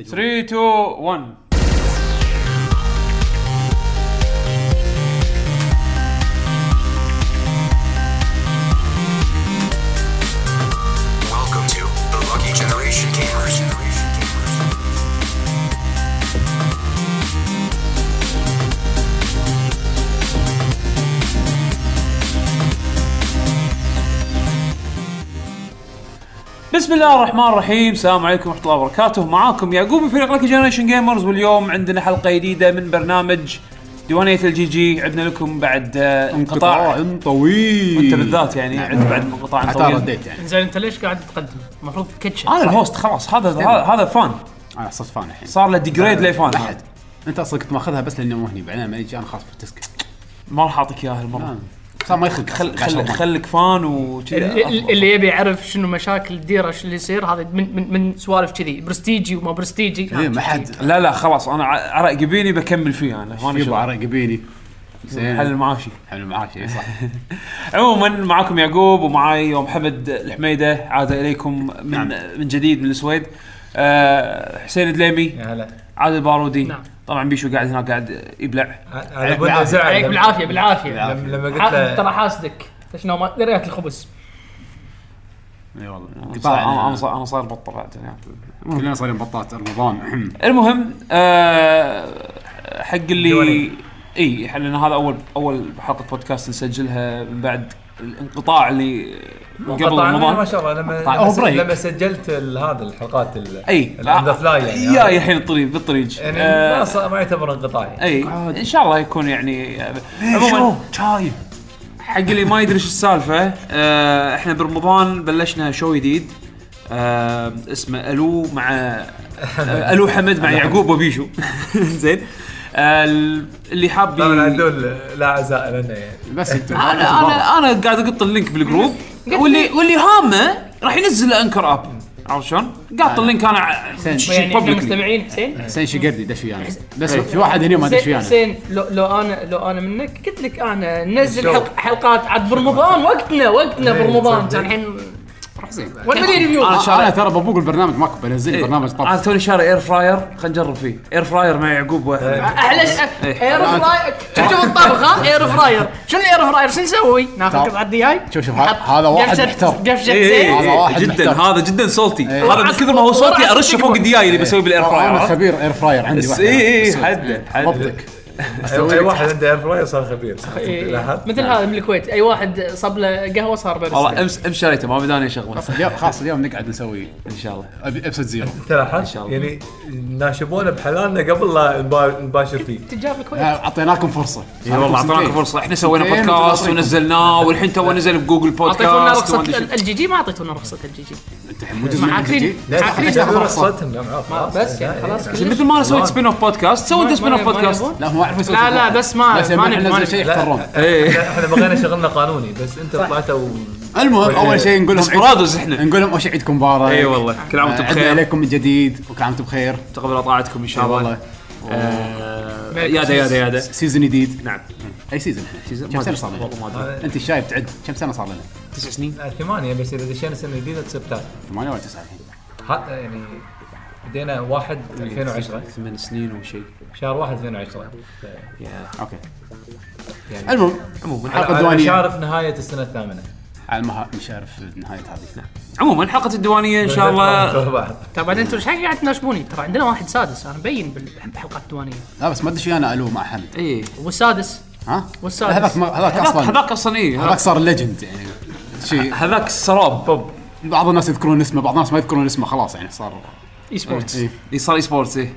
3 2 1 Welcome to the Lucky Generation Gamers. بسم الله الرحمن الرحيم السلام عليكم ورحمه الله وبركاته معاكم يعقوب من فريق لك جنريشن جيمرز واليوم عندنا حلقه جديده من برنامج ديوانيه الجي جي عندنا لكم بعد آه، انقطاع طويل نعم. انت بالذات يعني عند بعد انقطاع حتى طويل رديت يعني زين انت ليش قاعد تقدم؟ المفروض كيتشن آه، انا الهوست خلاص هذا هذا- هذا فان انا صرت فان الحين صار له ديجريد ليفان احد انت اصلا كنت ماخذها بس لاني مهني بعدين لما يجي انا خلاص فتسكت ما راح اعطيك اياها هالمره صار نعم. ما يخلق خل خل خلك فان اللي, وكذي اللي يبي يعرف شنو مشاكل الديره شو اللي يصير هذا من من من سوالف كذي برستيجي وما برستيجي إيه، ما حد لا لا خلاص انا ع- عرق يبيني بكمل فيه انا ما لي يبو شغل. عرق يبيني زين حل المعاشي حل معاك إي صح عموما معاكم يعقوب ومعاي محمد الحميده عاد اليكم من نعم. من جديد من السويد أه حسين دليمي يا هلا عادل بارودي نعم. طبعا بيشو قاعد هناك قاعد يبلع على بنا بالعافية. زعل عليك لما- بالعافيه بالعافيه لما لما قلت ح- ترى له حاسدك شنو ما ريت الخبز اي إيه والله صار- انا قطاع أنا صار- انا صاير بطل بعد يعني. كلنا صايرين بطات رمضان المهم أه حق اللي ديوانية. اي إحنا- لان هذا اول اول حلقه بودكاست نسجلها من بعد الانقطاع اللي قبل قطعنا ما رمضان شاء الله لما قطعنا. أو Oh, لما, بريك. لما سجلت ال- هذا الحلقات ال- اي ال- on the fly يعني يا هذا. الحين الطريق بالطريق يعني آه، ما صار- ما يعتبر انقطاع يعني اي ان شاء الله يكون يعني عموما شايف حق اللي ما يدري ايش السالفه آه، احنا برمضان بلشنا شو جديد آه، اسمه الو مع آه، الو حمد مع يعقوب وبيشو زين آه، اللي حاب ي- طبعا هذول لا عزاء لنا يعني بس انت انا انا انا قاعد اقط اللينك بالجروب واللي واللي هامه راح ينزل انكر اب عرفت شلون؟ قاط اللينك انا ع- حسين. شي يعني احنا publicly. مستمعين حسين حسين شقردي دش ويانا بس إيه. في واحد هنا ما دش حسين- ويانا حسين لو, لو انا لو انا منك قلت لك انا ننزل الجو. حلق حلقات عاد برمضان وقتنا وقتنا إيه، برمضان تصدق. كان الحين حسين وين مليون انا فيو شارع ترى ببوق البرنامج ماكو بنزل إيه. برنامج انا طب توني شاري اير فراير خلينا نجرب فيه اير فراير مع يعقوب واحمد احلى شيء إيه، اير فراير شوف الطبخ ها اير فراير شنو الاير فراير شو نسوي؟ تعال. ناخذ بعد دياي شوف شوف ه- هذا واحد محتار قفشه إيه، زين هذا واحد جدا محتاج. هذا جدا صوتي إيه. هذا من كثر ما هو صوتي ارشه فوق الدياي اللي بسوي بالاير انا فراير خبير اير فراير عندي بس واحد اي اي بس- حده حده ضبطك اي واحد عنده اير فراير صار خبير لاحظت؟ إيه. مثل هذا من الكويت اي واحد صب له قهوه صار والله بارستا امس امس شريته ما بداني شغله اليوم خلاص اليوم نقعد نسوي ان شاء الله ابسود زيرو انت لاحظت؟ شاء الله. يعني ناشبونا بحلالنا قبل لا نبا- نباشر فيه تجار الكويت اعطيناكم فرصه اي والله اعطيناكم فرصه احنا سوينا سنتين بودكاست وتلاطيكم. ونزلناه والحين تو نزل بجوجل بودكاست اعطيتونا رخصه وما أدري شو. الجي جي ما اعطيتونا رخصه الجي جي انت الحين مو جزء من معاكرين. الجي لا، عفريت لا، أخذ فرصة. رصدتهم، لا، معاف، خلاص بس إيه، يعني خلاص زين كلش مثل ما انا سويت سبين اوف بودكاست سوي انت سبين اوف بودكاست لا هو يعرف يسوي لا، شغل. لا، بس ما- بس لما ما إحنا نبي- ما ننزل شيء نبي. يختارون ايه يعني احنا بغينا شغلنا قانوني بس انت طلعتوا المهم اول شيء نقول لهم عيد- دسبرادوز احنا نقول لهم اول شيء عيدكم مبارك اي والله كل عام وانتم عدنا بخير عليكم آه، من جديد وكل عام وانتم بخير تقبل طاعتكم ان شاء اي الله والله آه، يادا يادا يادا سيزون جديد نعم اي سيزون احنا سيزون- كم ما سنه أدري. صار لنا؟ والله ما ادري انت الشايب تعد كم سنه صار لنا؟ تسع سنين آه، ثمانية بس اذا دشينا سنة جديدة تصير ثلاثة ثمانية ولا تسعة الحين؟ ح- يعني بدينا 1 2010 ثمان سنين وشيء شهر 1 2010 يا. اوكي يعني- المهم عموما حلقة على- على دوانية. شارف نهاية السنة الثامنة على ما نشارف نهايه هذه عموما حلقه الديوانيه ان شاء الله نتوه بعض. ترى طيب، بعدين انتم ايش قاعد تناشبوني ترى عندنا واحد سادس انا مبين بال- بحلقه الديوانيه لا بس ما ادري شو انا الو مع حمد ايه والسادس ها؟ والسادس. هذاك ما- هذاك هذاك اصلا هذاك اصلا ايه هذاك هذاك- صار ليجند يعني شيء هذاك السراب بوب بعض الناس يذكرون اسمه بعض الناس ما يذكرون اسمه خلاص يعني صار اي سبورتس إيه. اللي صار اي سبورتس ايه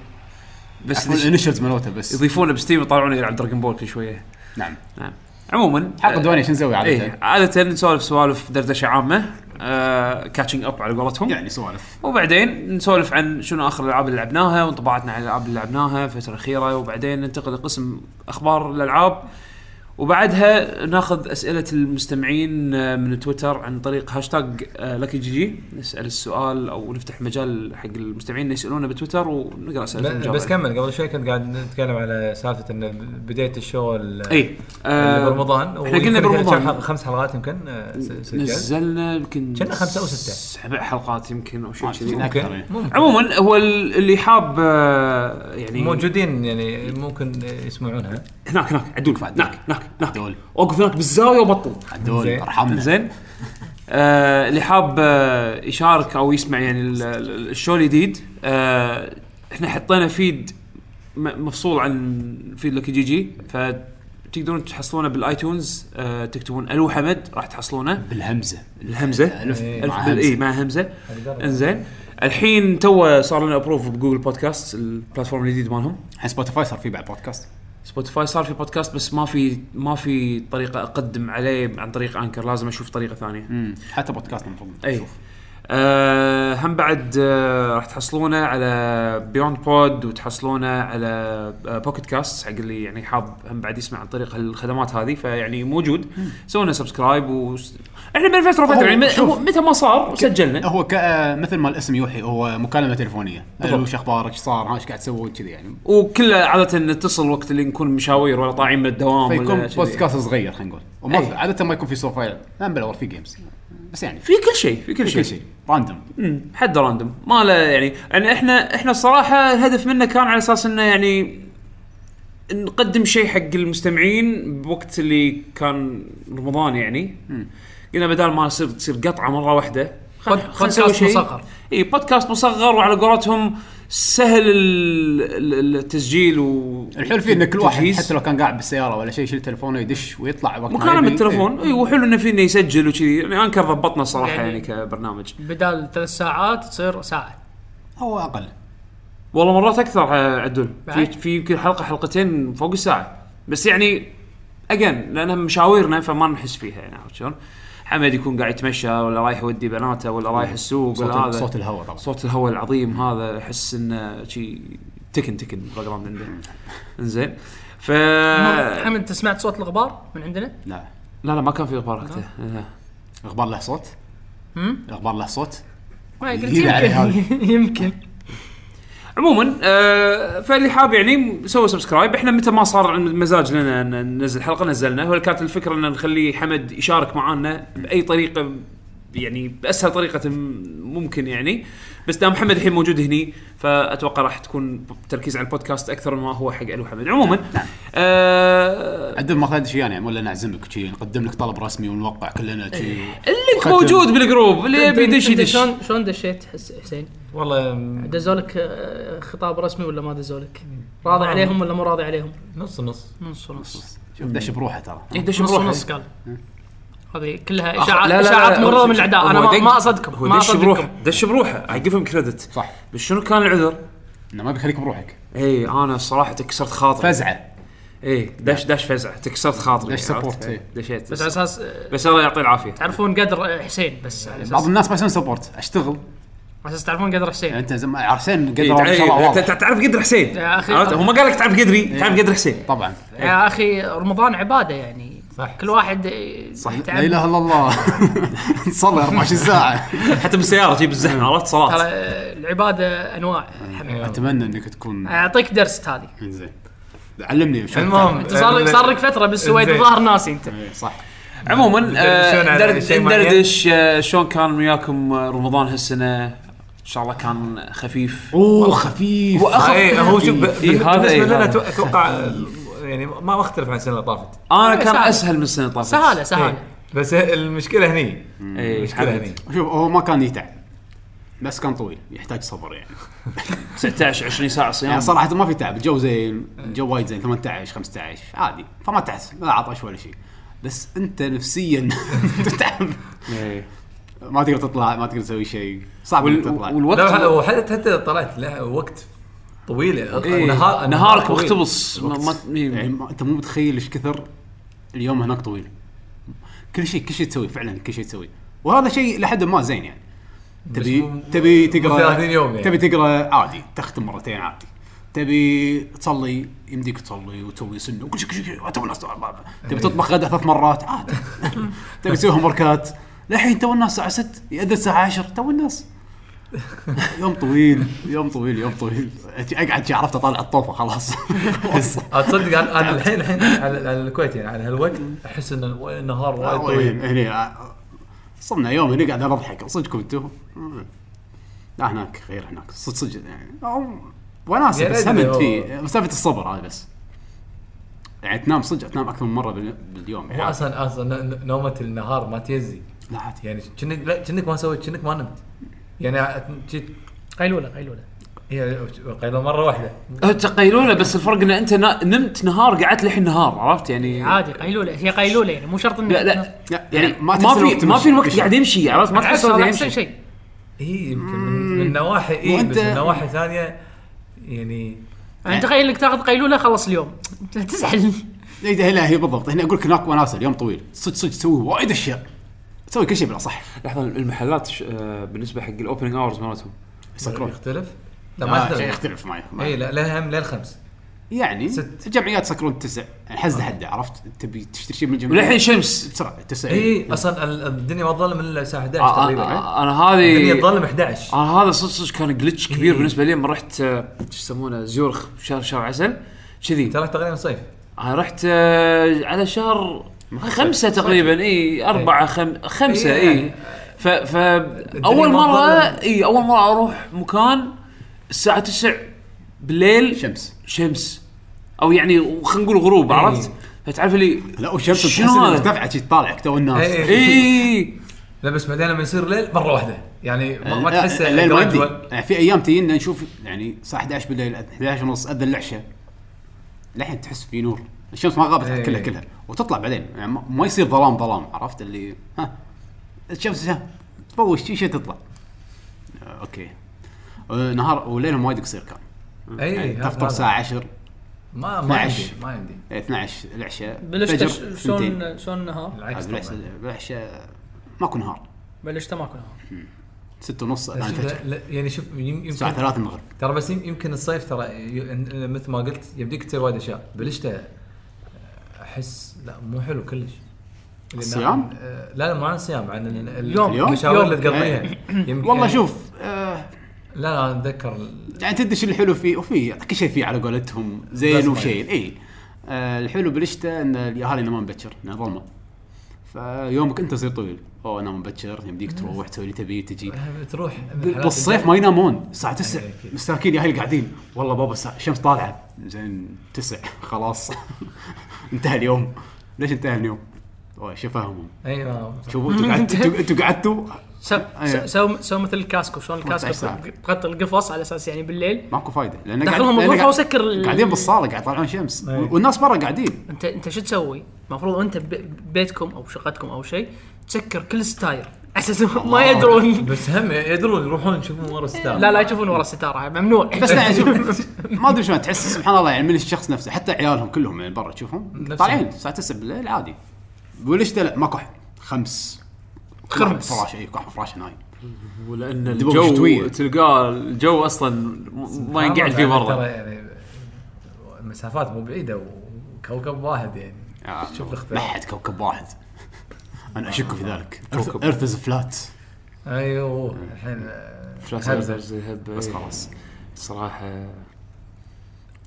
بس إذا الانيشلز مالته بس يضيفونه بستيم يطلعونه يلعب دراجون بول كل شويه نعم نعم عموما حلقه دوانية شو نسوي عاده؟ ايه عاده نسولف سوالف دردشه عامه آه كاتشنج اب على قولتهم يعني سوالف وبعدين نسولف عن شنو اخر الالعاب اللي لعبناها وانطباعاتنا على الالعاب اللي لعبناها الفتره الاخيره وبعدين ننتقل لقسم اخبار الالعاب وبعدها ناخذ اسئله المستمعين آه، من تويتر عن طريق هاشتاج لكي جي جي نسال السؤال او نفتح مجال حق المستمعين يسالونا بتويتر ونقرا اسئلتهم ب- ونجاوب بس عليها. كمل قبل شوي كنت قاعد نتكلم على سالفه ان ب- بدايه الشو ال- اي اللي آه، برمضان احنا قلنا ويمكن كان كم برمضان حلقة- خمس حلقات يمكن آه، س- سجلت نزلنا يمكن كنا خمسة أو ستة. آه، سبع حلقات يمكن او شيء كذي يمكن أكثر ممكن يعني. ممكن عموما هو ال- اللي حاب آه، يعني موجودين يعني ممكن يسمعونها هناك هناك عدول بعد. هناك هناك هناك عدول. اوقف هناك بالزاويه وبطل عدول زين. ارحمنا زين آه اللي حاب آه يشارك او يسمع يعني ال- ال- الشو الجديد آه احنا حطينا فيد م- مفصول عن فيد لك جي جي فتقدرون تحصلونه بالايتونز آه تكتبون الو حمد راح تحصلونه بالهمزه الهمزه الف إيه. الف مع بال- اي همزه مع همزه انزين الحين تو صار لنا ابروف بجوجل بودكاست البلاتفورم الجديد مالهم الحين سبوتيفاي صار فيه بعد بودكاست سبوتيفاي صار في بودكاست بس ما في ما في طريقه اقدم عليه عن طريق انكر لازم اشوف طريقه ثانيه امم حتى بودكاست المفروض اي آه هم بعد آه راح تحصلونه على بيوند بود وتحصلونه على آه بوكيت كاست حق اللي يعني حاب هم بعد يسمع عن طريق الخدمات هذه فيعني موجود سوينا سبسكرايب و... احنا بين فتره وفتره هو- يعني م- شوف. هو متى ما صار سجلنا هو ك... آه، مثل ما الاسم يوحي هو مكالمه تليفونيه بالضبط. الو وش اخبارك ايش صار ها ايش قاعد تسوي كذي يعني وكله عاده نتصل وقت اللي نكون مشاوير ولا طالعين من الدوام ولا فيكون كذي. بودكاست صغير خلينا نقول وما أي. في- عاده ما يكون في يعني صوفايل هم بالاول في جيمز بس يعني في في كل شيء في كل شيء كل شيء راندوم امم، حد راندوم ما له يعني يعني احنا احنا الصراحه الهدف منه كان على اساس انه يعني نقدم شيء حق المستمعين بوقت اللي كان رمضان يعني قلنا بدال ما يصير تصير قطعه مره واحده خل- بود- خل نسوي بودكاست شيء. مصغر. اي بودكاست مصغر وعلى قولتهم سهل ال- ال- التسجيل و الحلو فيه ان كل واحد والتجهيز. حتى لو كان قاعد بالسياره ولا شيء يشيل تليفونه يدش ويطلع وقت ما مكالمه يبي. بالتليفون اي وحلو انه فينا يسجل وكذي يعني انكر ضبطنا الصراحه يعني يعني- كبرنامج بدال ثلاث ساعات تصير ساعه إيه. هو اقل والله مرات اكثر آه، عدل في بعد؟ في يمكن حلقه حلقتين فوق الساعه بس يعني اجين لانها مشاويرنا فما نحس فيها يعني عرفت شلون؟ حمد يكون قاعد يتمشى ولا رايح يودي بناته ولا رايح السوق ولا صوت, هذا صوت الهواء طبعا صوت الهواء العظيم هذا احس انه شي تكن تكن البروجرام عنده انزين ف لا حمد انت سمعت صوت الغبار من عندنا؟ لا لا ما كان في غبار وقتها آه. الغبار له صوت الغبار له صوت ما قلت يزيد عليه يمكن يمكن عموما آه فاللي حاب يعني سوى سبسكرايب احنا متى ما صار عن مزاج لنا ان ننزل حلقه نزلنا هو كانت الفكره ان نخلي حمد يشارك معانا باي طريقه يعني باسهل طريقه ممكن يعني بس دام حمد الحين موجود هني فاتوقع راح تكون تركيز على البودكاست اكثر ما هو حق الو حمد عموما نعم، آه عدل ما خذ شيء يعني ولا نعزمك شي نقدم لك طلب رسمي ونوقع كلنا شي اللينك ختم. موجود بالجروب اللي يبي يدش أنت يدش شلون شلون دشيت حس- حسين؟ والله دزولك آه، خطاب رسمي ولا ما دزولك؟ آه. راضي عليهم ولا مو راضي عليهم؟ نص نص نص ونص شوف دش بروحه ترى يدش نص إيه، بروحه ونص قال هذه كلها آه. أخ- اشاعات لا لا لا، اشاعات هو- مره من الاعداء انا هو ما- دق- ما اصدقكم هو ما دش بروحه اصدقكم دش بروحه اي جيف كريدت صح بس شنو كان العذر؟ إيه، انه ما بيخليك بروحك اي انا الصراحه تكسرت خاطري فزعه اي داش داش فزعه تكسرت خاطري داش عرفت؟ سبورت، إي. دشيت بس على اساس آه، بس الله يعطيه العافيه تعرفون قدر آه، حسين بس على بعض اساس الناس ما يسوون سبورت اشتغل على اساس تعرفون قدر حسين يعني انت زم... عرسين إي، قدر ان شاء الله إيه، تعرف- واضح. تع- تعرف قدر حسين يا أخي. عرفت؟ هو ما قال لك تعرف قدري تعرف قدر حسين طبعا يا اخي رمضان عباده يعني صح. كل واحد آه، لا يتعب اله الا الله نصلي 24 ساعه حتى بالسياره تجيب الزحمه عرفت ترى صلاه آه، العباده انواع آه. حمد. اتمنى انك تكون اعطيك درس هذه زين علمني شو المهم آه، انت صار لك صار لك فتره بالسويد إنزين. الظاهر ناسي انت إيه، صح عموما آه، ندردشون على ندرد- شيء معين؟ ندردش آه، شلون كان وياكم آه، رمضان هالسنه ان شاء الله كان خفيف اوه خفيف اي هو شوف ب- إيه، هذا بالنسبه إيه، لنا هذا. أتو- اتوقع يعني ما ما اختلف عن السنه اللي طافت انا كان سهل. اسهل من السنه اللي طافت سهاله سهاله إيه. بس المشكله هني إي، المشكله حمد. هني شوف هو ما كان يتعب بس كان طويل يحتاج صبر يعني 19 20 ساعه صيام يعني صراحه ما في تعب الجو زين الجو وايد زين 18 15 عادي فما تحس لا عطش ولا شيء بس انت نفسيا تتعب إي. ما تقدر تطلع ما تقدر تسوي شيء صعب انك وال- تطلع والوقت لا وحتى حتى طلعت لها وقت طويل إي، نهار- إيه، نهارك طويل. مقتبس ما- ما- إيه. يعني ما انت مو متخيل ايش كثر اليوم هناك طويل كل شيء كل شيء تسوي فعلا كل شيء تسوي وهذا شيء لحد ما زين يعني تبي مو- تبي مو تقرا 30 يوم يعني. تبي تقرا عادي تختم مرتين عادي تبي تصلي يمديك تصلي وتسوي سنه وكل شيء كل شيء تو الناس إيه. تبي تطبخ غدا ثلاث مرات عادي تبي تسوي هوم وركات للحين تو الناس الساعه 6 يأذن الساعه 10 تو الناس يوم طويل يوم طويل يوم طويل اقعد شي عرفت اطالع الطوفه خلاص خلاص. اتصدق انا أنا الحين الحين على على الكويت يعني على هالوقت احس ان الو- النهار وايد طويل هني يعني، آه، صرنا يوم هني قاعد اضحك صدقكم انتم لا هناك غير هناك صدق صدق يعني أو- وناسه يا بس رجل هم هو- في مسافه الصبر هذه بس يعني تنام صدق تنام اكثر من مره بال- باليوم هو يعني اصلا اصلا ن- نومه النهار ما تيزي لا عادي يعني كأنك لا كأنك ما سويت كأنك ما نمت يعني جيت قيلوله قيلوله هي قيلوله مره واحده أه، تقيلونه بس الفرق ان انت نا- نمت نهار قعدت للحين نهار عرفت يعني عادي قيلوله هي قيلوله يعني مو شرط انه لا لا لا، يعني ما تحس في الوقت ما مش- في الوقت مش- قاعد يمشي عرفت ما تحس بالعكس الوقت هذا يعني. قاعد احسن يمشي شيء هي إيه، يمكن من, من نواحي اي وأنت- بس من نواحي ثانيه يعني نعم. يعني تخيل انك تاخذ قيلوله خلص اليوم تزعل إيه، لا لا هي بالضبط هنا اقول لك هناك وناسه اليوم طويل صدق صدق تسوي وايد اشياء تسوي كل شيء بالاصح لحظه المحلات ش- آه، بالنسبه حق الاوبننج اورز مالتهم يعني يسكرون يختلف لا ما آه، شيء يختلف يختلف معي اي لا لا هم للخمس يعني ست. الجمعيات سكرون تسع الحز لحد عرفت تبي تشتري شيء من الجمعيه وللحين شمس بسرعه تسع اي اصلا إيه، ال- الدنيا ما تظلم الا الساعه 11 آه، تقريبا آه، انا إيه. الدنيا هذه تظلم آه. 11 انا هذا صدق صدق كان جلتش كبير بالنسبه لي لما رحت آه، شو يسمونه زيورخ شهر شهر عسل كذي ترى تقريبا صيف انا رحت آه، على شهر خمسة تقريبا اي أربعة خم... خمسة إي. اي ف... ف اول ما مرة تظلم. اي اول مرة اروح مكان الساعة 9 بالليل شمس شمس او يعني خلينا نقول غروب إي. عرفت فتعرف لي لا والشمس تحس شنو انها هذا؟ ارتفعت شي تطالعك تو الناس إي. اي إيه، لا بس بعدين لما يصير ليل مره واحده يعني ما, ما لا، تحس الليل ما يدي. gradual. يعني في ايام تجينا نشوف يعني الساعه 11 بالليل 11 ونص اذن العشاء للحين تحس في نور الشمس ما غابت إي. كلها كلها وتطلع بعدين يعني ما- ما يصير ظلام ظلام عرفت اللي ها الشمس ها تفوش شي شي تطلع آه، اوكي آه، نهار وليلهم وايد قصير كان اي يعني إيه، هذا- تفطر الساعه 10 ما ما 12. عندي ما عندي 12 العشاء فجر، بلشت ثنتين. شلون شلون نهار العكس بالعكس- طبعاً. بالعشاء ماكو نهار بلشت ماكو نهار ستة ونص بس اذان شوف، الفجر لا- يعني شوف يم- الساعة يمكن ثلاثة المغرب ترى بس يم- يمكن الصيف ترى ي- مثل ما قلت يبديك تصير وايد اشياء بالشتاء احس لا مو حلو كلش لأن- الصيام؟ آه، لا لا مو عن الصيام عن ال- ال- اليوم. اليوم؟ إيه. المشاوير يوم. اللي تقضيها يمكن- والله يعني- شوف آه لا لا أنا اتذكر ال- يعني تدش الحلو فيه وفي كل شيء فيه على قولتهم زين بس طيب. ما وشين اي آه الحلو بالشتاء ان الاهالي ينامون مبكر انها ظلمه فيومك انت يصير طويل اوه انام مبكر يمديك تروح تسوي اللي تبي تجي تروح بال- بالصيف ما ينامون الساعة 9 إيه، أكيد. مساكين يا اهل قاعدين والله بابا الساعة- الشمس طالعة زين 9 خلاص انتهى اليوم ليش انتهى اليوم؟ أوه، شفاهمهم اي ما- شوفوا انتوا قعدتوا انتوا قعدتوا سو أيوة. سو سو مثل الكاسكو شلون 18 الكاسكو ساعة. تغطي القفص على اساس يعني بالليل ماكو فايده لان دخلهم لأن الغرفة قاعد- وسكر ال- قاعدين بالصاله قاعد يطلعون شمس أي. والناس برا قاعدين انت انت شو تسوي؟ المفروض انت ب- ببيتكم او شقتكم او شيء تسكر كل ستاير اساس ما يدرون بس هم يدرون يروحون يشوفون ورا الستار لا لا يشوفون ورا الستاره ممنوع بس لا يعني شوف ما ادري شلون تحس سبحان الله يعني من الشخص نفسه حتى عيالهم كلهم يعني برا تشوفهم نفسهم. طالعين الساعه 9 بالليل عادي والشتاء لا ماكو أحد. خمس خرمس. فراش اي كحف فراش نايم ولان دبوب شتوية. الجو تلقاه الجو اصلا م- ما ينقعد فيه ترى مره يعني مسافات مو بعيده وكوكب واحد يعني آه. شوف ما الاختلاف حد كوكب واحد انا اشك في ذلك كوكب. ايرث از فلات ايوه الحين آه، فلاش هذا. أرثرز يهب، بس إي. خلاص صراحه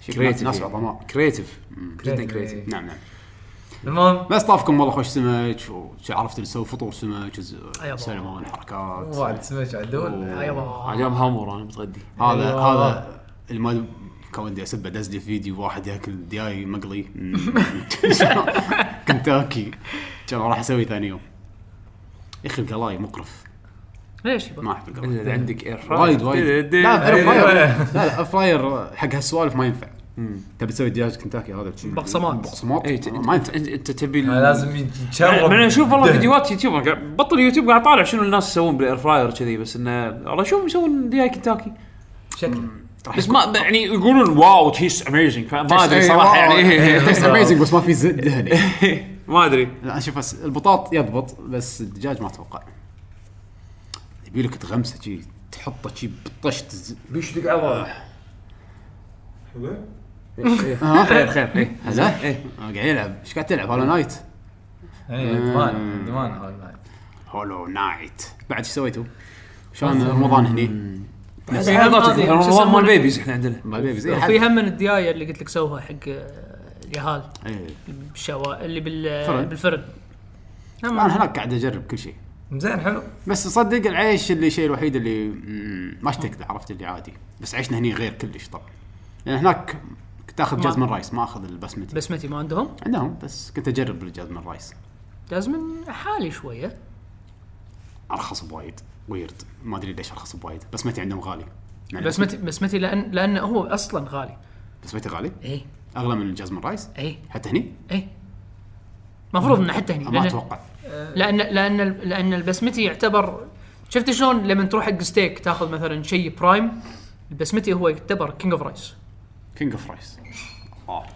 شكرا كريتيف ناس عظماء كريتيف جدا كريتيف إيه. نعم نعم المهم بس طافكم والله خوش سمك وعرفت تسوي فطور سمك وز- يابا. سلمون حركات واحد سمك عدول آه، ايوه عجب هامور انا متغدي هذا أيوة. هذا المال كان بدي اسبه دز لي فيديو واحد ياكل دياي مقلي كنتاكي كان راح اسوي ثاني يوم يا اخي القلاي مقرف ليش يبا؟ ما احب القلاي الا اذا عندك اير فراير إيه. وايد وايد لا إيه. أيوة. فراير لا لا فراير حق هالسوالف ما ينفع تبي تسوي دياج كنتاكي هذا بقسمات. بقسمات اي ت- ما انت ينفع انت أنت تبي ال- لازم يتشرب من أنا اشوف إيه. والله فيديوهات يوتيوب أنا قاعد- بطل يوتيوب قاعد اطالع شنو الناس يسوون بالاير فراير كذي بس انه والله شوفهم يسوون دياي كنتاكي شكله بس ما يعني يقولون واو تيس اميزنج ما ادري إيه، صراحه واو، يعني إيه، تيست اميزنج بس ما في زد دهني ما ادري لا شوف بس البطاط يضبط بس الدجاج ما اتوقع يبي لك تغمسه شي تحطه شي بطش تز- بيشدق عضله ها؟ خير خير ايه هلا إيه. آه، قاعد يلعب ايش قاعد تلعب هولو نايت اي دمان دمان هول نايت هولو نايت بعد ايش سويتوا؟ شلون رمضان هني؟ في علاقات هذه شو رمضان يسمونه؟ مال بيبيز احنا عندنا مال بيبيز إيه، وفي يعني هم من الديايه اللي قلت لك سوها حق آه، اليهال إيه. بالشوا اللي بال فرن. بالفرن هم- انا هناك قاعد اجرب كل شيء زين حلو بس صدق العيش اللي الشيء الوحيد اللي مم، ما اشتقت له، عرفت اللي عادي بس عيشنا هني غير كلش طبعا لان هناك تاخذ ما- جازمن رايس ما اخذ البسمتي بس بسمتي ما عندهم عندهم بس كنت اجرب الجازمن رايس جازمن حالي شويه ارخص بوايد ويرد ما ادري ليش ارخص بوايد بسمتي عندهم غالي يعني بسمتي بسمتي لان لان هو اصلا غالي بسمتي غالي اي اغلى من الجازمن رايس اي حتى هني اي المفروض انه حتى هني ما لأن- اتوقع لان لان لان البسمتي يعتبر شفت شلون لما تروح حق ستيك تاخذ مثلا شيء برايم البسمتي هو يعتبر كينج اوف رايس كينج اوف رايس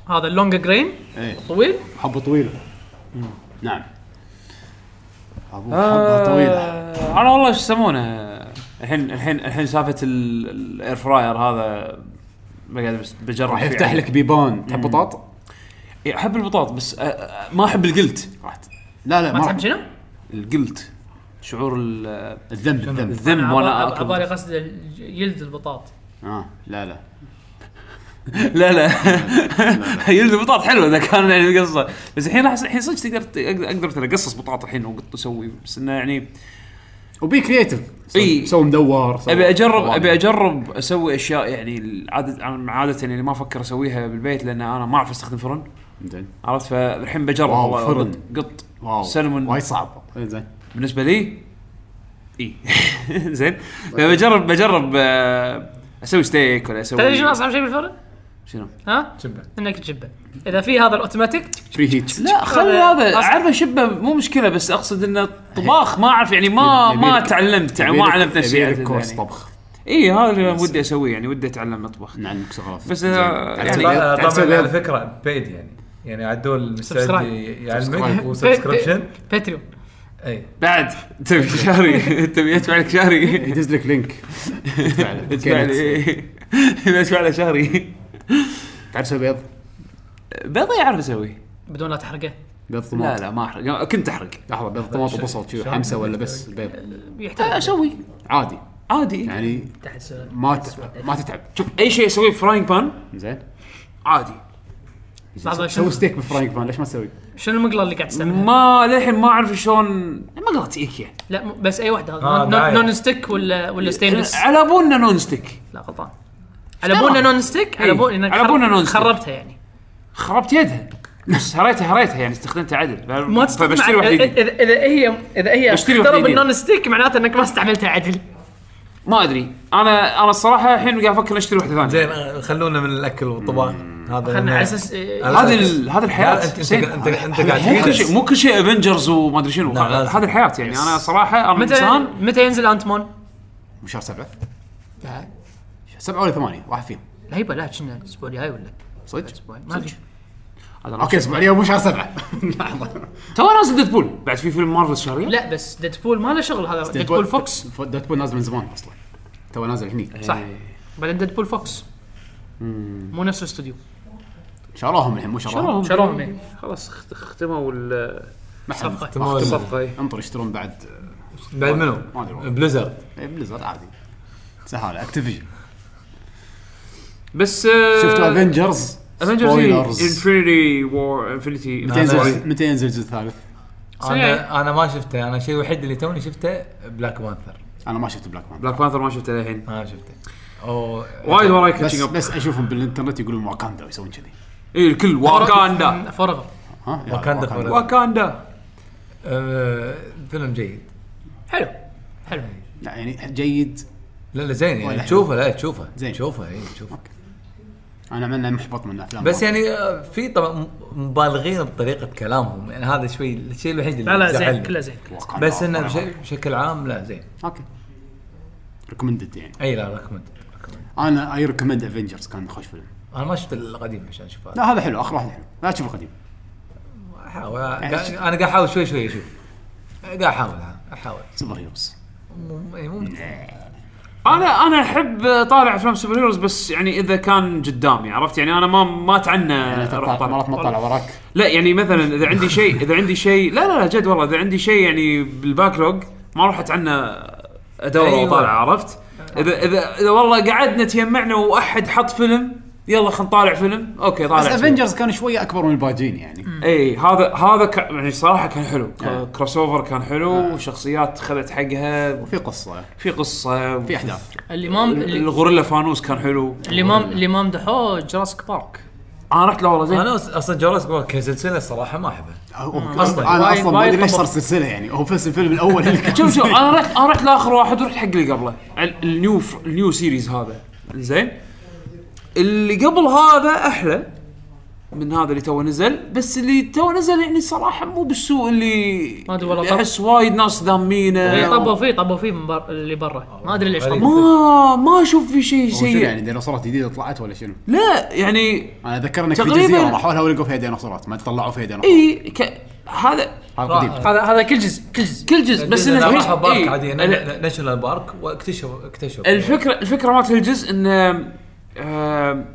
هذا اللونج جرين ايه طويل حبه طويله نعم ابو حبه طويله آه، انا والله شو يسمونه الحين الحين الحين سالفه ال- الاير فراير هذا بقعد بس بجرب راح فيه يفتح عادي. لك بيبان تحب بطاط إيه، احب البطاط بس آه، آه، ما احب القلت راح ت- لا لا ما ما تحب راح- شنو؟ القلت شعور ال- الذنب الذنب الذنب وانا على بالي اكل قصد ال- يلد البطاط اه لا لا لا لا يلد البطاط حلو اذا كان يعني القصه بس الحين احس الحين صدق تقدر ت- أقدر- اقدر مثلا اقصص بطاطا الحين وأقط- اسوي بس انه يعني وبي كريتيف سو- إي. سو مدور سو ابي اجرب طوالي. ابي اجرب اسوي اشياء يعني عاده عاده يعني ما افكر اسويها بالبيت لان انا ما اعرف استخدم فرن زين عرفت فالحين بجرب واو، والله فرن. قط- قط واو سلمون. وايد صعب زين بالنسبه لي اي زين طيب. فبجرب بجرب آه، اسوي ستيك ولا اسوي تدري شنو اصعب شيء بالفرن؟ شنو؟ ها؟ شبه انك تجبه اذا في هذا الاوتوماتيك بري هيت لا خلي هذا اعرف اشبه مو مشكله بس اقصد انه طباخ ما اعرف يعني ما يبيلك- ما تعلمت يعني ما علمت نفسي يبيلك كورس يعني. طبخ اي هذا اللي ودي اسويه يعني ودي اتعلم اطبخ نعلمك شغلات بس، زين. آه، تعال يعني- تسوي- طبعا تعال تسوي- طبعاً على فكره بيد يعني يعني عدول مستعد Subscribe. يعلمك Subscribe. وسبسكربشن باتريون اي بعد تبي شهري تبي ادفع لك شهري يدز لك لينك ادفع له. ادفع لي ادفع له شهري تعال تسوي بيض بيضه يعرف اسوي بدون لا تحرقه بيض لا طماط لا ما احرق كنت احرق لحظه بيض طماط وبصل شو حمسه ولا بس بيض يحتاج اسوي عادي عادي يعني تحت سؤال. ما تتعب ما تتعب شوف اي شيء اسويه فراينج بان زين عادي لحظة، شنو- سوي ستيك بالفراينج بان ليش ما تسوي؟ شنو المقلاة اللي قاعد تستعملها؟ ما للحين ما اعرف شلون ما قلت ايكيا لا م- بس اي واحده هذا آه، نون- دايرة. نون ستيك ولا ولا ستينلس على بالنا نون ستيك لا غلطان على بونا نون ستيك على إيه. بونا على بونا نون ستيك. خربتها يعني خربت يدها بس هريتها هريتها يعني استخدمتها عدل ما تستخدم فبشتري إذا- واحد جديد اذا اذا هي اذا هي بشتري واحد اخترب جديد. النون ستيك معناته انك ما استعملتها عدل ما ادري انا انا الصراحه الحين قاعد افكر اشتري واحده ثانيه زين آه، خلونا من الاكل والطباخ هذا خلنا لأنه- على اساس إيه، على هذه أساس- ال- هذه لا، الحياه انت انت زين. انت انت قاعد مو كل تحس. شيء مو كل شيء افنجرز وما ادري شنو لا، لازم. هذه الحياه يعني انا صراحه انا متى انسان متى ينزل انت مان؟ مو شهر سبعه؟ سبعه ولا ثمانيه واحد فيهم هيبه لا كنا الاسبوع الجاي ولا صدق؟ الاسبوع ما ادري اوكي اسبوع اليوم مو شهر سبعه لحظه تو نازل ديدبول بعد في فيلم مارفل شهرين لا بس ديدبول ما له شغل هذا ديدبول فوكس ديدبول نازل من زمان اصلا تو نازل إيه. هني صح بعدين ديدبول فوكس مو نفس الاستوديو شروهم الحين مو شروهم شروهم، إيه. خلاص اخت- اختموا ال- ما حد- صفقة. ما حد- الصفقه إيه. انطر يشترون بعد بعد ما أدري والله. منو؟ بليزرد إيه، بليزر عادي سهالة اكتيفيجن بس آه، إيه، شفتوا افنجرز افنجرز انفنتي وور انفنتي نعم. متى ينزل متى ينزل الجزء الثالث؟ انا انا ما شفته انا الشيء الوحيد اللي توني شفته بلاك بانثر انا ما شفت بلاك مان بلاك بانثر ما شفته للحين انا شفته او وايد وراي بس كاتشنج اب بس اشوفهم بالانترنت يقولون واكاندا ويسوون كذي اي الكل واكاندا فور ايفر ها يلا، واكاندا forever. واكاندا آه، فيلم جيد حلو حلو لا يعني جيد لا لا زين ولا يعني حلو. تشوفه لا تشوفه زين. تشوفه اي تشوفه انا منه محبط من الافلام بس يعني آه، في طبعا م- مبالغين بطريقه كلامهم يعني هذا شوي الشيء الوحيد اللي لا لا زين زعلني. كله زين واكاندا بس انه forever. بش- بشكل عام لا زين اوكي ريكومندد يعني اي لا ريكومند ريكومند. انا اي ريكومند افنجرز كان خوش فيلم انا ما شفت القديم عشان اشوف هذا لا هذا حلو اخر واحد حلو لا تشوف القديم احاول يعني قا- انا قاعد احاول شوي شوي اشوف قاعد احاول ها، احاول يعني سوبر هيروز مو- مو- مو- انا انا احب طالع افلام سوبر هيروز بس يعني اذا كان قدامي عرفت يعني انا ما ما اتعنى اروح تطلع- طالع. مرات يعني ما طالع وراك لا يعني مثلا اذا عندي شيء اذا عندي شيء لا لا لا جد والله اذا عندي شيء يعني بالباكلوج ما اروح اتعنى ادور أيوة. أيوة. وطالع عرفت؟ اذا اذا اذا والله قعدنا تيمعنا واحد حط فيلم يلا خلينا نطالع فيلم اوكي طالع بس فيلم. افنجرز كانوا شويه اكبر من الباجين يعني اي هذا هذا ك... يعني صراحه كان حلو آه. كروس اوفر كان حلو وشخصيات خذت حقها في قصه في قصه في احداث اللي ما اللي- الغوريلا فانوس كان حلو اللي ما اللي ما مدحوه جراسك بارك انا رحت له والله زين انا اصلا جوراسيك بارك كسلسله الصراحه ما احبها هو- آه، أصلاً. انا وايد- اصلا ما وايد ادري ليش صار خبط. سلسله يعني هو بس الفيلم الاول اللي كان شوف آه، شوف انا رحت انا رحت لاخر واحد ورحت حق اللي قبله ال- النيو ف- النيو سيريز هذا زين اللي قبل هذا احلى من هذا اللي تو نزل بس اللي تو نزل يعني صراحه مو بالسوء اللي ما أدري والله اللي طب- احس وايد ناس إيه، ذامينه طبوا فيه طبوا فيه من بر... اللي برا ما ادري ليش غريب. طبوا ما ما اشوف في شيء شنو سيء يعني ديناصورات جديده طلعت ولا شنو؟ لا يعني انا ذكرني في تقريباً- جزيره راحوا لها ولقوا فيها ديناصورات ما طلعوا فيها ديناصورات اي إيه، ك... هذا هذا قديم هذا هذا كل جزء كل جزء كل جزء بس إنه انه راحوا بارك إيه، عادي ال- ن- ناشونال بارك واكتشفوا اكتشفوا الفكره الفكره مالت الجزء انه آه،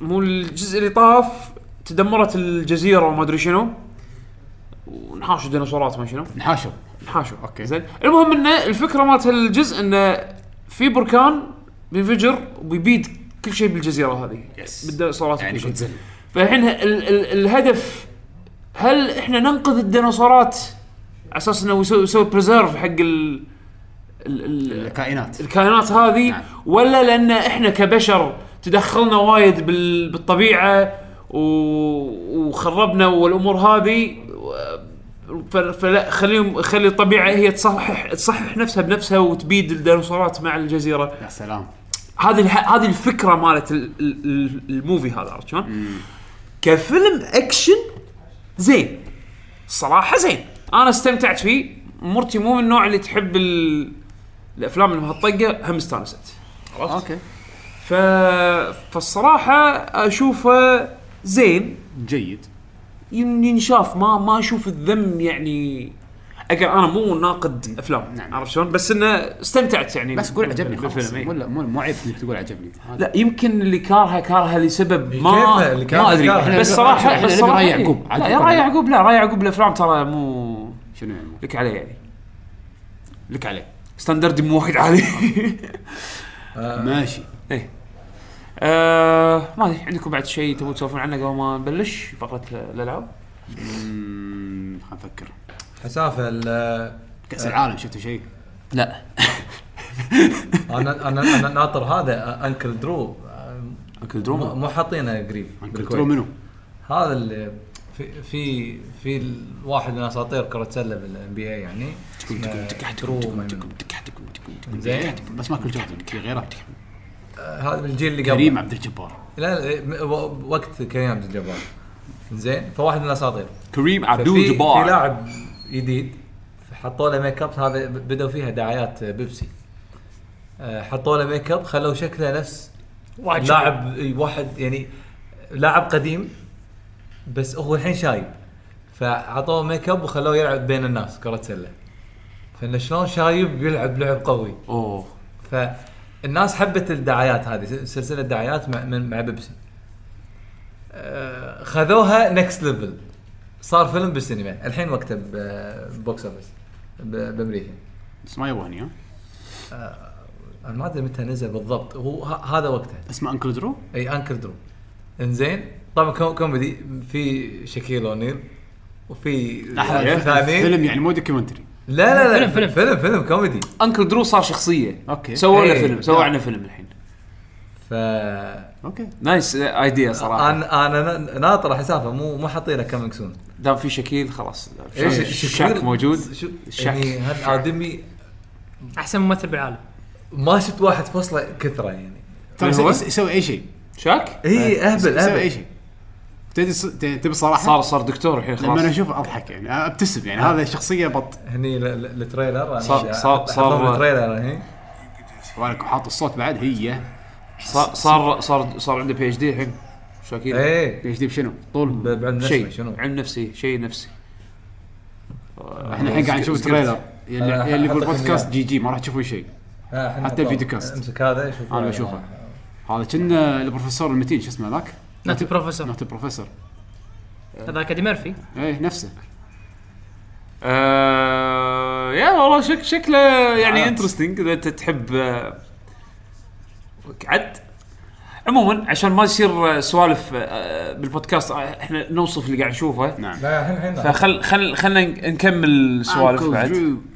مو الجزء اللي طاف تدمرت الجزيره وما ادري شنو ونحاشوا ديناصورات ما شنو نحاشوا نحاشوا أوكي. زين المهم انه الفكره مالت الجزء انه في بركان بينفجر وبيبيد كل شيء بالجزيره هذه Yes. بالديناصورات يعني وكل شيء. جودزيلا فالحين ال- ال- الهدف هل احنا ننقذ الديناصورات على اساس انه يسوي يسوي بريزيرف حق ال ال- ال- الكائنات الكائنات هذه نعم. ولا لان احنا كبشر تدخلنا وايد بال- بالطبيعه و... وخربنا والامور هذه و- ف- فلا خليهم خلي الطبيعه هي تصحح تصحح نفسها بنفسها وتبيد الديناصورات مع الجزيره يا سلام هذه الح... هذه الفكره مالت ال... ال... ال- الموفي هذا عرفت شلون؟ كفيلم اكشن زين صراحه زين انا استمتعت فيه مرتي مو من النوع اللي تحب ال... الافلام اللي بهالطقه هم استانست اوكي ف... فالصراحه اشوفه زين جيد ين- ينشاف ما ما اشوف الذم يعني اجل انا مو ناقد افلام نعم. عرفت شلون بس انه استمتعت يعني بس قول عجبني خلاص بالفيلم، إيه. إي. ولا مو مو عيب انك تقول عجبني لا يمكن اللي كارها كارها لسبب ما كيفها؟ اللي كارها ما ادري كارها. إحنا بس نبي- صراحه إحنا بس نبي صراحه راي إيه. يعقوب. لا يا راي يعقوب لا راي يعقوب الافلام ترى مو شنو يعني لك عليه يعني لك عليه ستاندرد مو وايد عالي ماشي ايه آه ما ادري عندكم بعد شيء تبون تسولفون عنه قبل ما نبلش فقره الالعاب اممم، خلنا نفكر حسافه ال- آه. كاس العالم شفتوا شيء؟ لا انا انا انا ناطر هذا انكل درو انكل مو دروما مو حاطينه قريب انكل بالكويت. ترو منو؟ هذا اللي في في في الواحد من اساطير كره سله بالان بي اي يعني اسمه درو من- زين آه. بس مايكل جوردن في غيره آه، هذا من الجيل اللي قبل كريم عبد الجبار لا لا م- و- وقت كريم عبد الجبار زين فواحد من الاساطير كريم ففي- عبدول في جبار لاعب جديد حطوا له ميك اب هذا ب- بدوا فيها دعايات بيبسي آه، حطوا له ميك اب خلوا شكله نفس واحد لاعب إي، واحد يعني لاعب قديم بس هو الحين شايب فعطوه ميك اب وخلوه يلعب بين الناس كره سله فانه شلون شايب يلعب لعب قوي اوه فالناس حبت الدعايات هذه سلسله دعايات مع من- مع بيبسي آه، خذوها نكست ليفل صار فيلم بالسينما الحين وقته ب- ببوكس اوفيس ب- بامريكا بس ما يبغني ها انا ما ادري متى نزل بالضبط هو ه- هذا وقته اسمه انكل درو اي انكل درو انزين طبعا كو- كوميدي في شكيل اونيل وفي لحظه ثاني فيلم يعني مو دوكيومنتري لا لا لا فيلم- فيلم. فيلم فيلم كوميدي انكل درو صار شخصيه اوكي سووا له إيه. فيلم سووا عنه فيلم الحين ف اوكي نايس ايديا صراحه انا انا ن- ناطر حسافه مو مو حاطينه كامينج سون دام في شكيل خلاص إيش- شاك- إيه، شكيل- شاك موجود شو- شاك. يعني هالادمي احسن ممثل بالعالم ما شفت واحد فصله كثره يعني إيه، ترى طيب، هو؟ يسوي- يسوي اي شيء شاك اي اهبل يسوي اي اهبل شيء تدري ص- ت- تبي الصراحه صار صار دكتور الحين لما انا خلاص آه. اشوفه اضحك يعني ابتسم يعني هذا شخصيه بط هني ال- ال- التريلر أنا صار- جا- صار- صار- حطوا التريلر هني ولكم حاط الصوت بعد هي صار صار صار, صار عنده بي اتش دي الحين شاكيل اي بي اتش دي بشنو؟ ب- طول بعد نسمه شيء إيه، شنو علم نفسي شيء نفسي احنا الحين قاعد نشوف يعني- سكت- تريلر يلي أنا يلي حاطط بالبودكاست جي جي ما راح تشوفون شيء آه، إحنا حتى الفيديو طب، كاست. امسك هذا شوف أنا بشوفه. هذا كنا البروفيسور المتين شو اسمه ذاك؟ ناتي بروفيسور نوت البروفيسور هذاك ايدي ميرفي اي نفسه آه يا والله شك شكله يعني آه. انترستنج اذا انت تحب آه، عد عموما عشان ما يصير آه، سوالف آه، بالبودكاست آه، احنا نوصف اللي قاعد نشوفه نعم. لا الحين الحين فخل خل خلنا نكمل سوالف Uncle بعد Drew.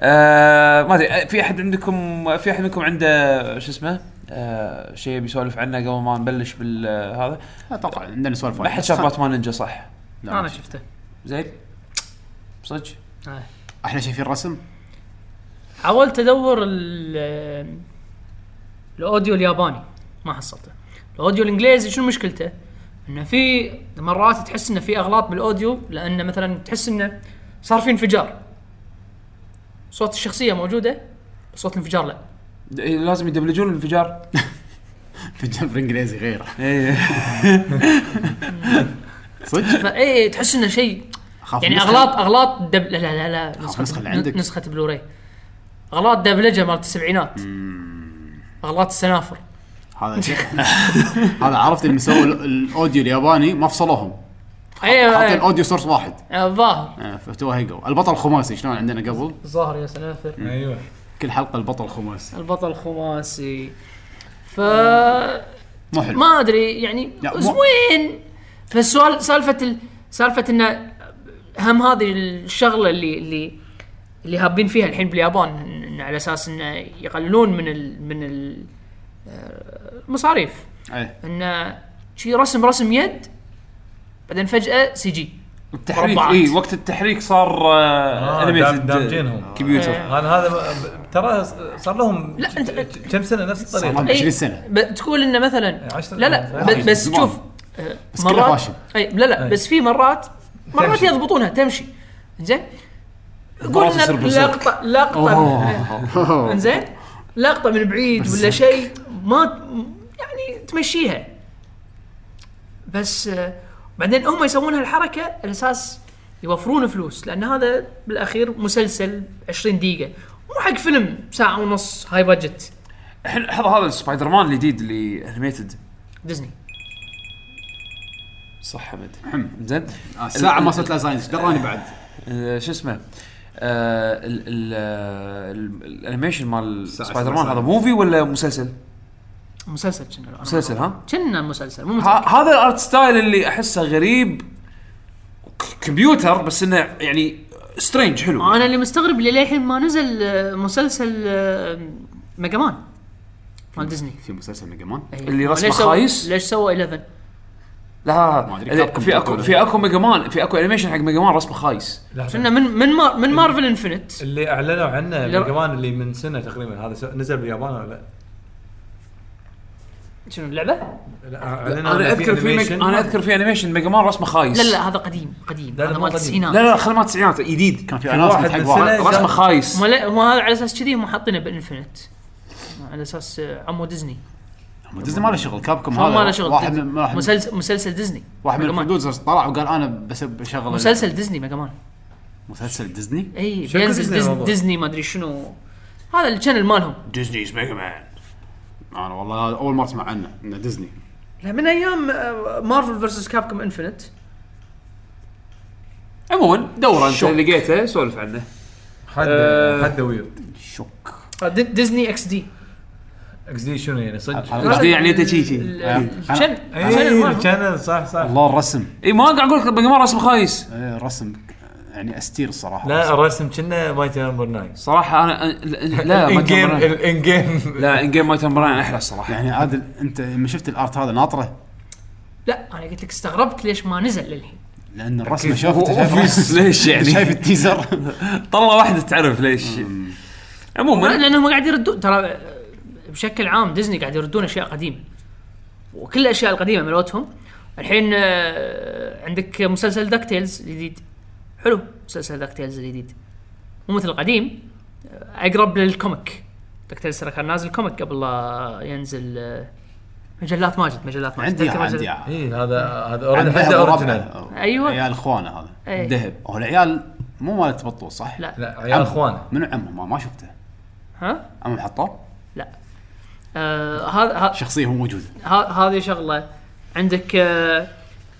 آه ما ادري آه، في احد عندكم في احد منكم عنده شو اسمه آه شيء بيسولف عنه قبل ما نبلش آه، بالهذا اتوقع عندنا سوالف نعم. ما حد شاف باتمان نينجا صح لا، انا شفته زين صدق آه. احلى شيء في الرسم حاولت ادور ال- الاوديو الياباني ما حصلته الاوديو الانجليزي شنو مشكلته انه في مرات تحس انه في اغلاط بالاوديو لان مثلا تحس انه صار في انفجار صوت الشخصيه موجوده بس صوت الانفجار لا د- إيه، لازم يدبلجون الانفجار في الجنب الانجليزي غير إيه. صدق فاي إيه، تحس انه شيء أخاف يعني نسخة. اغلاط اغلاط دب... لا لا لا لا نسخه النسخة اللي عندك. نسخه بلوراي اغلاط دبلجه مالت السبعينات اغلاط السنافر هذا شيء هذا عرفت اللي مسوي ال- الاوديو الياباني ما فصلوهم ايوه حاطين أيوة. اوديو سورس واحد آه، الظاهر آه، فتوهقوا البطل خماسي شلون عندنا قبل الظاهر يا سنافر ايوه كل حلقه البطل خماسي البطل خماسي ف مو حلو ما ادري يعني لا، مو- زوين فالسؤال سالفه ال... سالفه انه هم هذه الشغله اللي اللي اللي هابين فيها الحين باليابان إن- إن على اساس انه يقللون من ال... من ال... آه، المصاريف إيه. انه شي رسم رسم يد بعدين فجاه سي جي التحريك مربعات. اي وقت التحريك صار آه، دام- دامجينهم. انيميتد كمبيوتر إيه. آه. انا هذا ب- ترى صار لهم لا، أنت- ج- كم سنه نفس صار لهم الطريقه إيه. 20 سنه ب... تقول انه مثلا عشر لا لا سنوات. ب... بس زمان. شوف آه، بس كله فاشل. اي لا لا أي. بس في مرات مرات تمشي. يضبطونها تمشي زين قول مرات إن يصير بالصدق. لقطه لقطه زين لقطه من بعيد ولا شيء ما يعني تمشيها بس آه، بعدين هم يسوون هالحركه على اساس يوفرون فلوس لان هذا بالاخير مسلسل 20 دقيقه مو حق فيلم ساعه ونص هاي بادجت الحين لحظه هذا سبايدر مان الجديد اللي انيميتد ديزني صح حمد زين آه، ساعه ما صرت لا ساينس دراني بعد آه، شو اسمه آه، ال- ال- آه، ال- الانيميشن مال ساعة سبايدر مان ساعة. هذا موفي ولا مسلسل؟ مسلسل كنا مسلسل ها؟ كنا مسلسل مو ه- متأكد. هذا الارت ستايل اللي احسه غريب ك- كمبيوتر بس انه يعني سترينج حلو آه، انا اللي مستغرب اللي للحين ما نزل آه، مسلسل آه، ميجا مان مال ديزني في مسلسل ميجا مان أي. اللي رسمه ليش سوى- خايس؟ ليش سوى 11 لا لا، لا ما أدري، لا. كابكم في اكو بطولة. في اكو ميجا مان في اكو انيميشن حق ميجا مان رسمه خايس كنا من من مار من مارفل انفنت اللي اعلنوا عنه لا. كمان اللي من سنه تقريبا هذا س- نزل باليابان ولا لا؟ شنو اللعبه؟ لا اعلنوا انا إنه اذكر في ميج- animation. انا اذكر في انيميشن ميجا مان رسمه خايس لا لا هذا قديم قديم لا، لا، هذا مو مال قديم. التسعينات لا لا خلينا التسعينات جديد كان في في اناونسمنت واحد حق من واحد سنة- رسمه خايس هم لا هم هذا على اساس كذي هم حاطينه بالانفنت على اساس آه، عمو ديزني ديزني ما له شغل كابكم هو هذا ما له شغل واحد ديزني. من واحد من- مسلسل مسلسل ديزني واحد من ميجا مان. البرودوسرز طلع وقال انا بس بشغل مسلسل ديزني ميجا مان مسلسل ديزني اي شكل بينزل ديزني ديزني, الموضوع. ديزني ما ادري شنو هذا الشانل مالهم ديزني's ميجا مان انا والله هذا اول مره اسمع عنه انه ديزني لا من ايام آه، مارفل فيرسس كابكوم انفنت عموما دوره انت لقيته سولف عنه حد آه. حد ويرد شوك آه، دي- ديزني اكس دي اكس دي شنو يعني صدق؟ هذا- قصدي يعني آه، انت شي شي الشانل اي مالهم إيه، كان صح صح الله الرسم اي ما قاعد اقول لك ميجا مان رسمه خايس إيه، الرسم يعني استير الصراحه لا الرسم كنا مايتي نمبر 9 صراحه انا أنا- لا الان ما جيم تمرن الان جيم لا ان جيم ما تمرن احلى الصراحه يعني عادل انت لما شفت الارت هذا ناطره لا انا قلت لك استغربت ليش ما نزل للحين لان الرسمه أكيد. شوف انت شايف اوفيس الرسم. ليش انت شايف يعني التيزر طلع واحده تعرف ليش عموما لانهم قاعد يردون ترى آه، بشكل عام ديزني قاعد يردون اشياء قديمه وكل الاشياء القديمه ملوتهم الحين آه، عندك مسلسل داك تيلز الجديد حلو مسلسل داك تيلز الجديد مو مثل القديم آه، اقرب للكوميك داك تيلز ترى كان نازل كوميك قبل لا ينزل آه، مجلات ماجد مجلات ماجد عندي إياه، تذكر عندي مجلة- إياه. اي إيه، هذا هذا عندي اوريدي حد إياه بربعه. اوريجنال أيوة. عيال اخوانه هذا إيه. هو العيال مو مالت بطوط صح؟ لا لا عيال اخوانه منو عمه ما, ما شفته ها؟ اما حطوه لا آه، هذا آه شخصيه مو موجوده ه- هذه شغله عندك آه،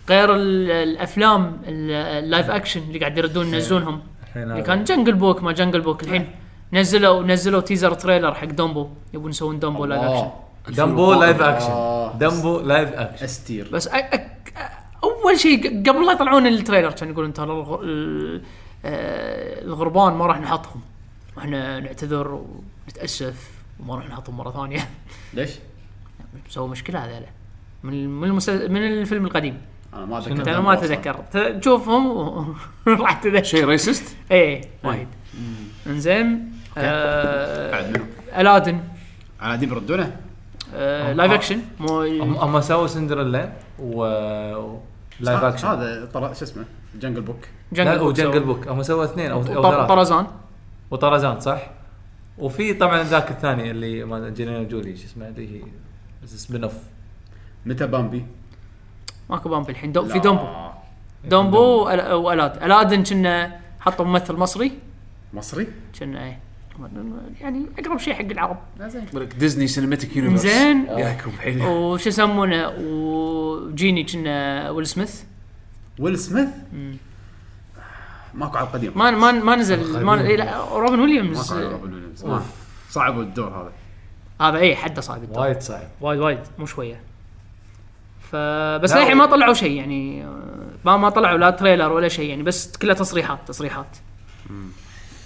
غير ال- الافلام ال- اللايف اكشن اللي قاعد يردون ينزلونهم الحين اللي هذا. كان جنجل بوك ما جنجل بوك الحين نزلوا نزلوا تيزر تريلر حق دومبو يبون يسوون دومبو لايف اكشن دمبو لايف آه. اكشن دمبو لايف اكشن استير بس أ... أ... اول شيء ق- قبل لا يطلعون التريلر كانوا يقولون ترى الغ... ال- آه، الغربان ما راح نحطهم واحنا نعتذر ونتاسف وما راح نحطهم مره ثانيه ليش؟ سووا مشكله هذول من من, المسل... من الفيلم القديم انا ما شنو؟ اتذكر انا ما اتذكر ت- تشوفهم و- راح تذكر إيه. شيء ريسست اي وايد انزين آه... الادن على دي بردونه آه... لايف اكشن مو هم هم سووا سندريلا و لايف آه، اكشن هذا طلع شو اسمه جنجل بوك لا بوك وجنجل سووا. بوك هم سووا اثنين او او وط- ثلاث طرزان وطرزان صح وفي طبعا ذاك الثاني اللي ما انجلينا جولي شو اسمه اللي هي سبين اوف متى بامبي؟ ماكو بامبي الحين دو... في لا. دومبو دومبو وأل- والاد الادن كنا حطوا ممثل مصري مصري؟ كنا إيه. يعني اقرب شيء حق العرب لك ديزني سينماتيك يونيفرس زين. ياكم حيل وشو يسمونه وجيني كنا ويل سميث ويل سميث؟ ماكو على القديم ما ما ما نزل ما إيه، لا، روبن ويليامز ماكو على روبن ويليامز ما- صعب الدور هذا هذا اي حده صعب الدور. وايد صعب وايد وايد مو شويه فبس لا، للحين و- ما طلعوا شيء يعني آه، ما ما طلعوا لا تريلر ولا شيء يعني بس كلها تصريحات تصريحات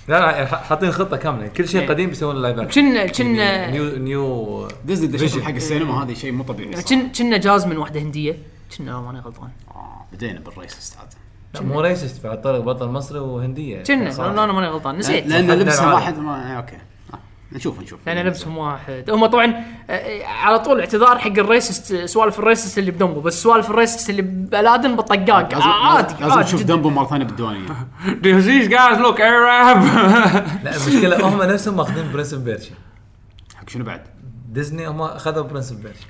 لا لا ح- حاطين خطه كامله كل إيه. شيء يعني قديم بيسوون يعني لايف اكشن كنا كنا يعني نيو نيو ديزني دشت حق السينما هذا شيء مو طبيعي صراحة. كنا كنا جاز من واحده هنديه كنا لو ماني غلطان آه، بدينا بالريسست هذا لا، مو ريسست بعد طارق بطل مصري وهنديه كنا صراحة. لو انا ماني غلطان نسيت لان حتى لبسه العالم. ما حد ما آه، اوكي آه، نشوف نشوف لان لبسهم واحد هم طبعا آه، على طول اعتذار حق الريسست سوالف الريسست اللي بدمبو بس سوالف الريسست اللي بالادن بالطقاق لازم آه، عادي لازم عادي نشوف جداً. دمبو مره ثانيه بالديوانيه This is guys look Arab لا المشكله هم نفسهم ماخذين برنس اوف بيرشا حق شنو بعد؟ ديزني هم اخذوا برنس اوف بيرشا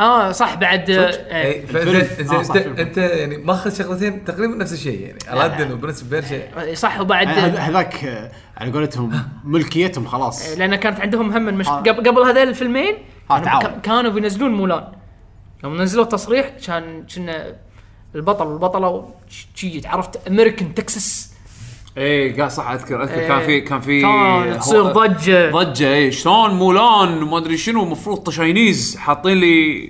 اه صح بعد آه، آه، اي الفيلم. فانت آه، صح، انت, الفيلم. انت يعني ماخذ شغلتين تقريبا نفس الشيء يعني الادن وبرنس اوف بيرشا آه، صح وبعد يعني هذا- آه، هذاك آه، على قولتهم ملكيتهم خلاص لان كانت عندهم هم مش آه. قبل قبل هذول الفيلمين آه، كانوا- تعاون. كانوا بينزلون مولان يوم نزلوا التصريح كان كنا البطل والبطله شي عرفت امريكان تكساس اي إيه، قاعد صح اذكر اذكر كان في كان في كان إيه. تصير هو- ضجه ضجه اي شلون مولان وما ادري شنو المفروض تشاينيز حاطين لي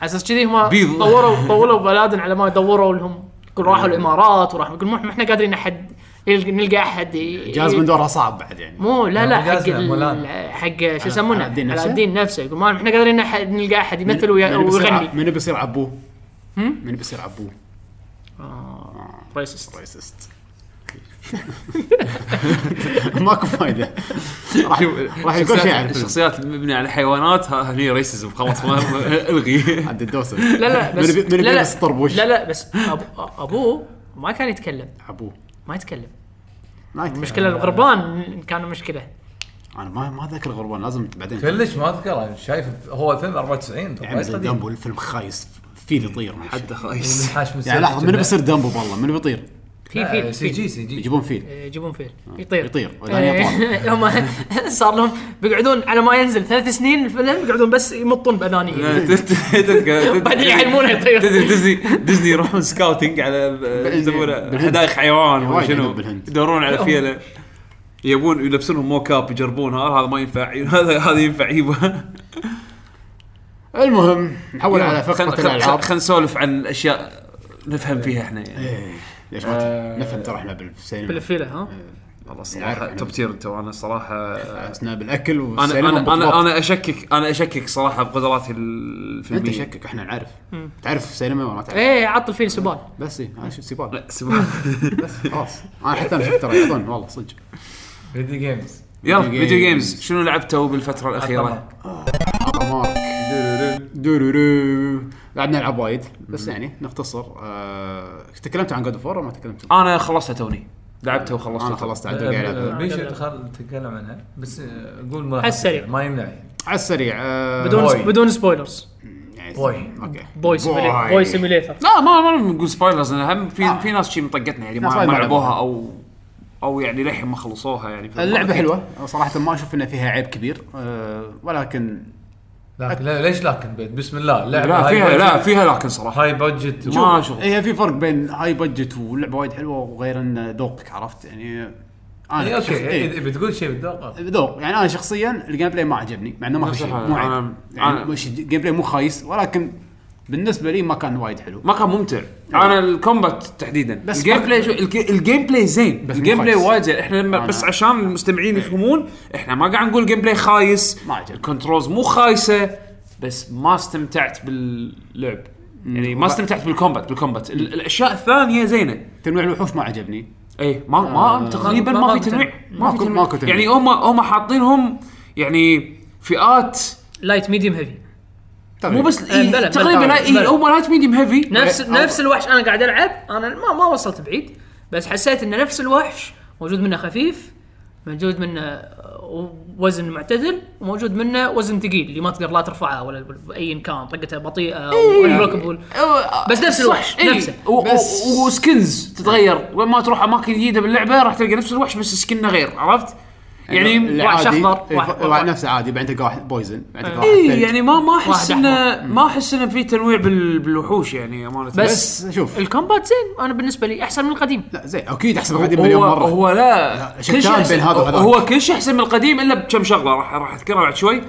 على اساس كذي هم بيض. نعم. طوروا طولوا بلادن على ما يدوروا لهم يقول راحوا الامارات وراح يقول ما احنا قادرين احد نلقى- نلقى احد ي- جازمن دورها صعب بعد يعني مو لا لا مو حق جازمة، مولان. ال- حق شو على يسمونه الدين على نفسه؟ الدين نفسه يقول ما احنا قادرين احد نلقى احد يمثل ويا- من بيصير ع- ويغني من بيصير عبوه؟ من بيصير عبوه؟ ريسست ريسست ماكو فايده راح راح يقول شيء يعني. عن الفيلم الشخصيات المبنيه على الحيوانات ها- هني ريسزم خلاص ما- الغي عند الدوسه لا لا بس من بي- من لا لا بيلبس طربوش لا لا بس أبو- ابوه ما كان يتكلم عبوه ما يتكلم ما يتكلم. مشكله الغربان كانوا مشكله انا ما ما ذاكر غربان لازم بعدين كلش ما اذكر انا شايف هو فيلم 94 يا وايد عمي زي قديم. دامبو الفيلم خايس فيل يطير من حد حد خايس والنحاش من يعني لحظه من بيصير دامبو والله من بيطير في في آه، آه، سي جي سي جي يجيبون فيل يجيبون فيل يطير يطير، ولا إيه، هم صار لهم بيقعدون على ما ينزل ثلاث سنين الفيلم بيقعدون بس يمطون آه. بأذانيهم بعدين يعلمونه يطير تدري ديزني ديزني يروحون سكاوتنج على يسمونه بالهند. حدائق حيوان ولا وايد شنو عندهم بالهند. يدورون على فيله يبون يلبسونهم موكاب يجربون ها، هذا ما ينفع هذا هذا ينفع يبه المهم نحول على خلينا فقره الالعاب نسولف عن اشياء نفهم فيها احنا يعني إيه، ليش ما آه. ت- نفهم ترى احنا بالسينما بالفيله ها والله نعرف صراحه إحنا. توب تير انت وانا صراحه اسنا بالاكل انا والسينما انا بالضبط. انا انا اشكك انا اشكك صراحه بقدراتي انت الفيلميه شكك احنا نعرف تعرف سينما ولا ما تعرف ايه عطل فيل سبال بس إيه، انا شفت سيبال لا، سبحان الله. خلاص انا حتى انا شفت ترى يعطون والله صدق فيديو جيمز يلا فيديو فيديو جيمز. جيمز شنو لعبتوا بالفتره الاخيره؟ عطا مارك دورورو قعدنا نلعب وايد بس يعني نختصر آه، تكلمت عن جود اوف ولا ما تكلمت؟ انا خلصتها توني لعبتها وخلصتها انا خلصت آه، عاد بقى ألعب. بيشو تخل تتكلم عنها بس آه، قول ملاحظة. على السريع. ما يمنع يعني على السريع آه، بدون بوي. بدون سبويلرز يعني- بوي. اوكي بوي سيميليتر بوي سيميليتر آه. لا ما ما نقول سبويلرز انا هم في في ناس شي مطقتنا يعني ناس ما وايد ما ما لعبوها او او يعني للحين ما خلصوها يعني فما اللعبه أكيد. حلوه صراحه ما اشوف ان فيها عيب كبير أه ولكن لكن لا ليش لكن بيت بسم الله اللعبه لا هاي فيها لا بادجت- فيها لكن صراحه هاي بادجت ما شغل هي في فرق بين هاي بادجت ولعبه وايد حلوه وغير ان ذوقك عرفت يعني انا اي شخص- اوكي إيه، إذا بتقول شيء بالذوق ذوق يعني انا شخصيا الجيم بلاي ما عجبني مع انه ما في نفس شيء الحال. مو أنا- عيب يعني أنا- مش الجيم بلاي مو خايس ولكن بالنسبه لي ما كان وايد حلو ما كان ممتع انا الكومبات تحديدا نعم. بس بس الجيم ما- بلاي شو الج- الجيم بلاي زين بس مو الجيم بلاي خايس. وايد زين احنا لما أنا- بس عشان المستمعين يفهمون احنا ما قاعد نقول جيم بلاي خايس إيه. ما عجبني. الكنترولز مو خايسه بس ما استمتعت باللعب يعني ما وب- استمتعت بالكومبات بالكومبات ال- الاشياء الثانيه زينه تنويع الوحوش ما عجبني اي إيه، ما ما تقريبا آه، ما- ما ما في تنويع ما ماكو- في تنويع ماكو تنويع. يعني هم هم حاطينهم يعني فئات لايت ميديوم هيفي طيب. مو بس إيه، بلى، بلى. تقريبا اي بلى. هم لايت ميديوم هيفي نفس إيه، نفس الوحش انا قاعد العب انا ما ما وصلت بعيد بس حسيت ان نفس الوحش موجود منه خفيف موجود منه آه، وزن معتدل وموجود منه وزن ثقيل اللي ما تقدر لا ترفعه ولا ايا كان طقته بطيئه والبلوكبل بس نفس الوحش، إيه، نفسه. بس- بس وسكنز تتغير وين ما تروح اماكن جديده باللعبه راح تلقى نفس الوحش بس سكنه غير عرفت؟ يعني اللي وحش عادي- أخضر، إيه، وح- ف- وح- نفسه عادي بعدين تلقى واحد بويزن بعدين تلقى واحد اي ثلج. يعني ما ما احس واحد انه ما احس انه في تنويع بال- بالوحوش يعني امانه بس, بس شوف. الكومبات زين انا بالنسبه لي احسن من القديم لا زين اكيد احسن من القديم مليون هو مره هو لا لا، كل شيء شتان أحسن- بين هذا وهذاك. هو كل شيء احسن من القديم الا بكم شغله راح راح اذكرها بعد شوي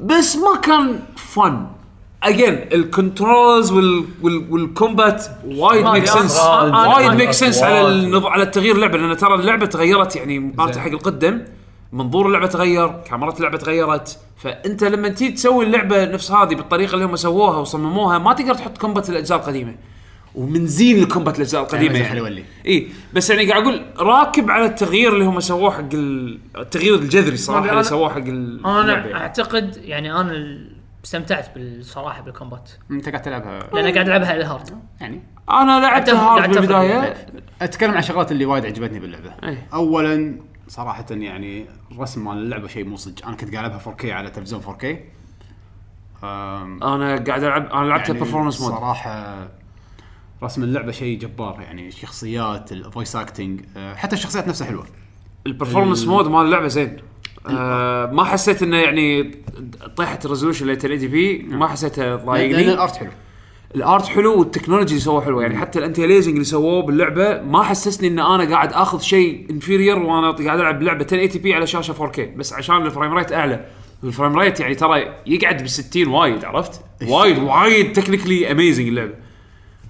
بس ما كان فن اجين الكنترولز وال وال والكومبات وايد ما ميك في سنس أصوات. وايد ما في ميك سنس على أصوات. النظ... على التغيير اللعبه لان ترى اللعبه تغيرت يعني مقارنه زين. حق القدم منظور اللعبه تغير كاميرات اللعبه تغيرت فانت لما تيجي تسوي اللعبه نفس هذه بالطريقه اللي هم سووها وصمموها ما تقدر تحط كومبات الاجزاء القديمه ومن زين الكومبات الاجزاء القديمه مثل يعني, حلولي. اي بس يعني قاعد اقول راكب على التغيير اللي هم سووه حق ال- التغيير الجذري ما صراحه أدري اللي أنا- سووه حق ال- اللعبة انا يعني. اعتقد يعني انا ال- استمتعت بالصراحه بالكومبات انت قاعد تلعبها لان قاعد العبها على الهارد يعني انا لعبت أعتقد- هارد أعتقد- يعني بالبدايه اتكلم عن الشغلات اللي وايد عجبتني باللعبه إيه. اولا صراحه يعني الرسم مال اللعبه شيء مزعج انا كنت قاعد العبها 4K على تلفزيون 4K أم، انا قاعد العب انا لعبتها يعني برفورمانس مود صراحه رسم اللعبه شيء جبار يعني الشخصيات الفويس اكتنج آه، حتى الشخصيات نفسها حلوه البرفورمانس مود مال اللعبه زين آه ما حسيت انه يعني طيحه الريزولوشن اللي 1080 بي ما حسيتها لان ضايقني الارت حلو الارت حلو والتكنولوجي اللي سووه حلوه يعني حتى الانتي اليزنج اللي سووه باللعبه ما حسسني ان انا قاعد اخذ شيء انفيرير وانا قاعد العب لعبه 1080 بي على شاشه 4K بس عشان الفريم ريت اعلى والفريم ريت يعني ترى يقعد ب 60 وايد عرفت؟ وايد وايد تكنيكلي اميزنج اللعبه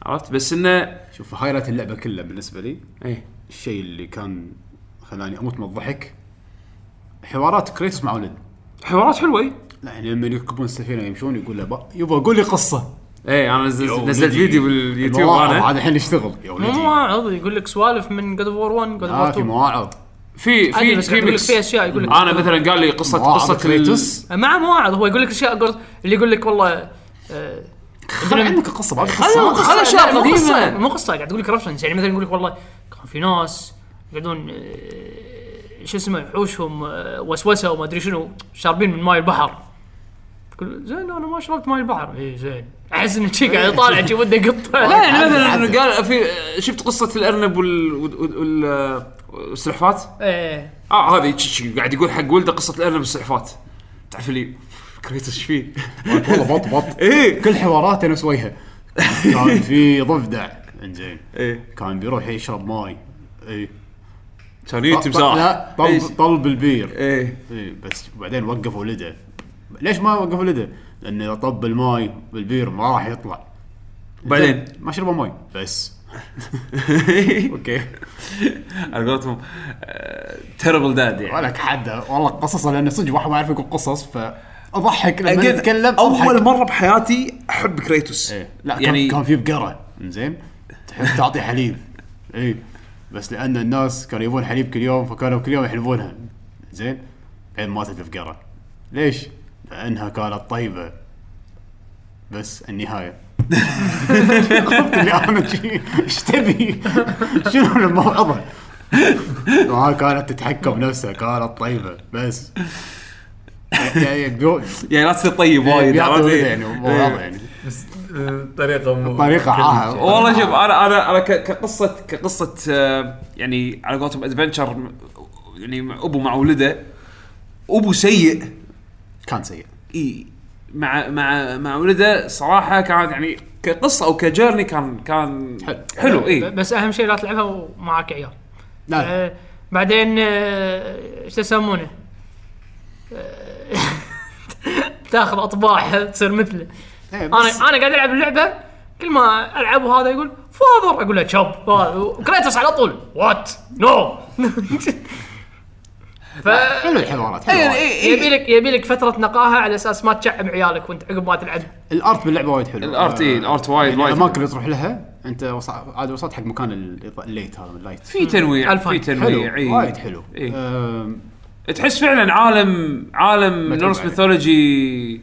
عرفت بس انه شوف هايلايت اللعبه كلها بالنسبه لي ايه الشيء اللي كان خلاني اموت من الضحك حوارات كريتوس مع ولد حوارات إيه. حلوه اي لا يعني لما يركبون السفينه يمشون يقول له با- يبا قول لي قصه ايه انا نزلت, يا نزلت ولدي. فيديو باليوتيوب المواعظ انا عاد الحين يشتغل يا مو ولدي مواعظ يقول لك سوالف من جود اوف وور 1 جود ما اوف آه، في وور مواعظ في 2 أدري في بس قاعد يقول لك في في اشياء يقول لك انا مثلا قال لي قصه مواعظ قصه كريتوس. مع مواعظ هو يقول لك اشياء يقول- اللي يقول لك والله آه، أيوه، خل عندك أيوة، قصه باقي خلنا- قصه خل أشياء لا، مو قديمة. قصة- مو قصه قاعد اقول لك رفرنس يعني مثلا يقول لك والله كان في ناس يقعدون آه، شو اسمه وحوشهم آه، وسوسه وما ادري شنو شاربين من ماي البحر تقول زين انا ما شربت ماي البحر اي زين احس انه شي قاعد يطالع شي وده قطه لا يعني عدل، مثلا عدل. قال في شفت قصه الارنب وال- وال- وال- والسلحفات إيه. اه هذه تش- تش- قاعد يقول حق ولده قصه الارنب والسلحفات تعرف لي كريتوس ايش فيه؟ والله بط بط ايه كل حواراته نفس وجهه كان في ضفدع انزين ايه كان بيروح يشرب ماي اي كان يجي لا تمساح طلب إيش؟ طلب البير ايه اي بس بعدين وقف ولده ليش ما وقف ولده؟ لانه اذا طب الماي بالبير ما راح يطلع بعدين ما شربوا ماي بس اوكي على قولتهم تيربل داد يعني ولك حد والله قصصه لانه صدق واحد ما يعرف يقول قصص فاضحك لما أجل، يتكلم اول أضحك. مره بحياتي احب آه، كريتوس إيه. لا يعني يعني كان في بقره زين تحب تعطي حليب اي بس لان الناس كانوا يبون حليب كل يوم فكانوا كل يوم يحلبونها زين بعدين ماتت البقره ليش؟ لانها كانت طيبه بس النهايه عرفت اللي انا شي- ايش تبي؟ شنو الموعظه؟ ما كانت تتحكم نفسها كانت طيبه بس يعني بيو- يعني لا تصير طيب وايد بيعطي عرفت؟ ولده إيه. يعني موعظه يعني بس طريقه مو طريقة عاهة. كليشيه. والله شوف انا انا انا ك- كقصه كقصه آه، يعني على قولتهم ادفنشر م- يعني مع ابو مع ولده ابو سيء كان سيء اي مع مع مع ولده صراحه كانت يعني كقصه او كجيرني كان كان حلو. حلو إيه. اي بس اهم شيء لا تلعبها ومعك عيال لا لا آه، بعدين آه، ايش يسمونه؟ آه، تاخذ اطباع تصير مثله إيه، انا بس- انا قاعد العب اللعبه كل ما العب وهذا يقول فاذر اقول له تشب كريتوس على طول وات نو ف حلو الحوارات حلو اي وايد. اي يبي لك يبي لك فتره نقاهه على اساس ما تشعب عيالك وانت عقب ما تلعب الارت باللعبه وايد آه، حلو الارت اي الارت إيه، وايد وايد الاماكن اللي تروح لها انت وص- عاد وصلت حق مكان ال- الليت هذا اللايت في تنويع في ألفان. حلو تنويع إيه. اي وايد حلو إي. أم، تحس فعلا عالم عالم متعوب نورس عليه. ميثولوجي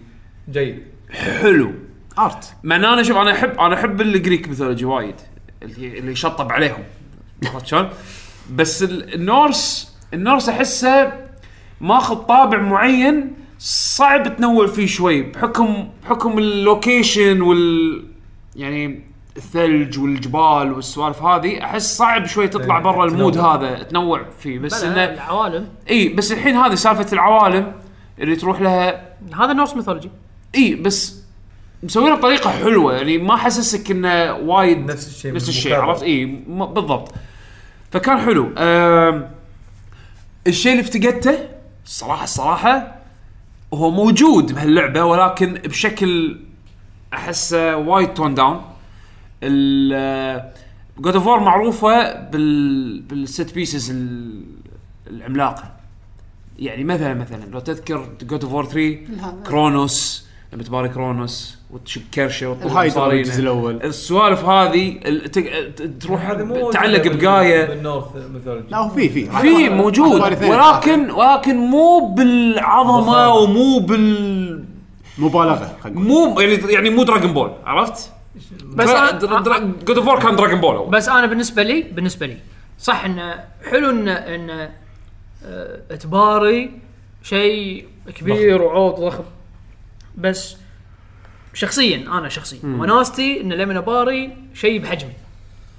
جيد حلو ارت مع ان انا شوف انا احب انا احب الجريك ميثولوجي وايد اللي اللي يشطب عليهم عرفت شلون؟ بس ال- النورس النورس احسه ماخذ طابع معين صعب تنوع فيه شوي بحكم بحكم اللوكيشن وال يعني الثلج والجبال والسوالف هذه احس صعب شوي تطلع إيه، برا المود تنوع. هذا تنوع فيه بس بلا، انه العوالم اي بس الحين هذه سالفه العوالم اللي تروح لها هذا نورس ميثولوجي اي بس مسوينها بطريقه حلوه يعني ما حسسك انه وايد نفس الشيء نفس الشيء بالمكرر. عرفت اي م- بالضبط فكان حلو آم، الشيء اللي افتقدته الصراحه الصراحه هو موجود بهاللعبه ولكن بشكل احسه وايد تون داون ال جود اوف معروفه بال بالست بيسز ال- العملاقه يعني مثلا مثلا لو تذكر جود اوف 3 كرونوس لما تباري كرونوس وتشب كرشه وتطلع الهايدرا مصارينه. الجزء الاول السوالف هذه ال- ت- ت- تروح هذه مو تعلق موجودة بقايه بالنورث ميثولوجي لا هو في في في موجود أخبار اثنين وثلاثة. ولكن ولكن مو بالعظمه بالضبط. ومو بال مبالغه خلينا نقول مو يعني يعني مو دراجون بول عرفت؟ بس أنا- جود اوف كان دراجون بول أول. بس انا بالنسبه لي بالنسبه لي صح انه حلو انه انه آه، تباري شيء كبير وعوض ضخم بس شخصيا انا شخصيا وناستي انه لمن اباري شيء بحجمي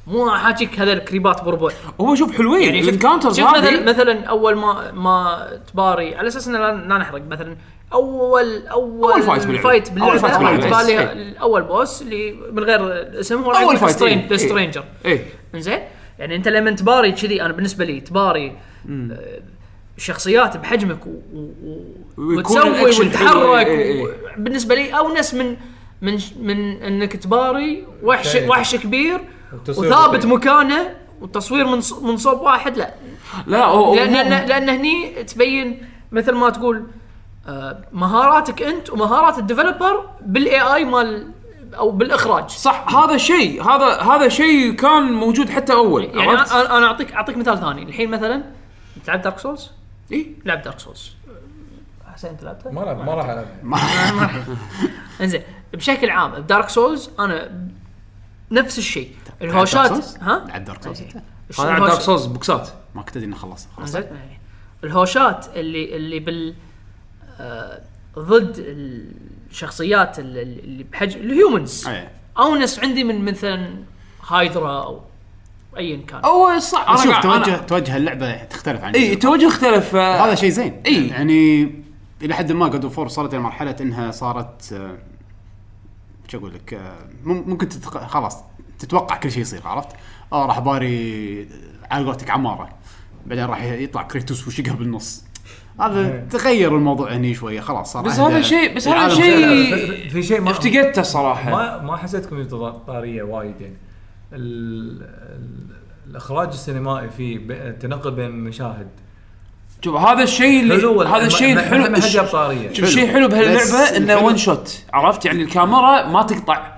مو حاجيك هذا الكريبات بربع هو شوف حلوين يعني الانكاونترز شوف مثلا هذه مثلا اول ما ما تباري على اساس انه لا لا نحرق مثلا اول اول أول فايت باللعبة. فايت أول فايت باللعبه باللعبة. تبالي إيه. الاول بوس اللي من غير اسم هو أول فايت، إيه. إيه. ذا سترينجر ايه انزين يعني انت لما تباري كذي انا بالنسبه لي تباري آه، شخصيات بحجمك و... و... و... ويكون وتسوي الأكشن وتتحرك حلو، إيه، إيه. و... بالنسبه لي اونس من من من انك تباري وحش فعلاً. وحش كبير وتصوير وثابت بطيء. مكانه والتصوير من ص- من صوب واحد لا لا هو لان هو- لان, لأن هني تبين مثل ما تقول آه، مهاراتك انت ومهارات الديفلوبر بالاي اي مال او بالاخراج صح هذا شيء هذا هذا شيء كان موجود حتى اول يعني عرفت؟ انا أنا- انا اعطيك اعطيك مثال ثاني الحين مثلا تلعب دارك سولز؟ إي. لعب دارك سولز حسين انت لعبتها؟ ما لعب ما راح إيه. العب انزين بشكل عام بدارك سولز انا نفس الشيء لعب Dark الهوشات Souls؟ ها؟ لعب دارك سولز انت الش- هذا عن الهوش- دارك سولز بوكسات ما كنت ادري انه خلص خلاص انزين إيه. الهوشات اللي اللي بال آه، ضد الشخصيات اللي- اللي بحجم الهيومنز إيه. اونس عندي من مثلا هايدرا او ايا كان هو صح بس شوف قاعد- إيه، توجه توجه اللعبه تختلف عن اي توجه اختلف آه، هذا شيء زين إي. يعني الى حد ما جود اوف وصلت لمرحله انها صارت آه، شو اقول لك آه، مم- ممكن تتق... خلاص تتوقع كل شيء يصير عرفت؟ اه راح باري آه، على قولتك عماره بعدين راح يطلع كريتوس وشقها بالنص هذا تغير الموضوع هني شويه خلاص صار بس أهدى. هذا شيء بس هذا العالم شيء في شيء ما افتقدته صراحه ما ما حسيت كوميديا طاريه وايد يعني ال... ال... الاخراج السينمائي فيه ب... التنقل بين المشاهد شوف هذا الشيء حلو اللي ولا- هذا الشيء ما- ما- الحلو ما حد جاب طارية. شوف حلو. الشيء حلو بس بهاللعبه انه الحلو- ون شوت عرفت يعني الكاميرا ما تقطع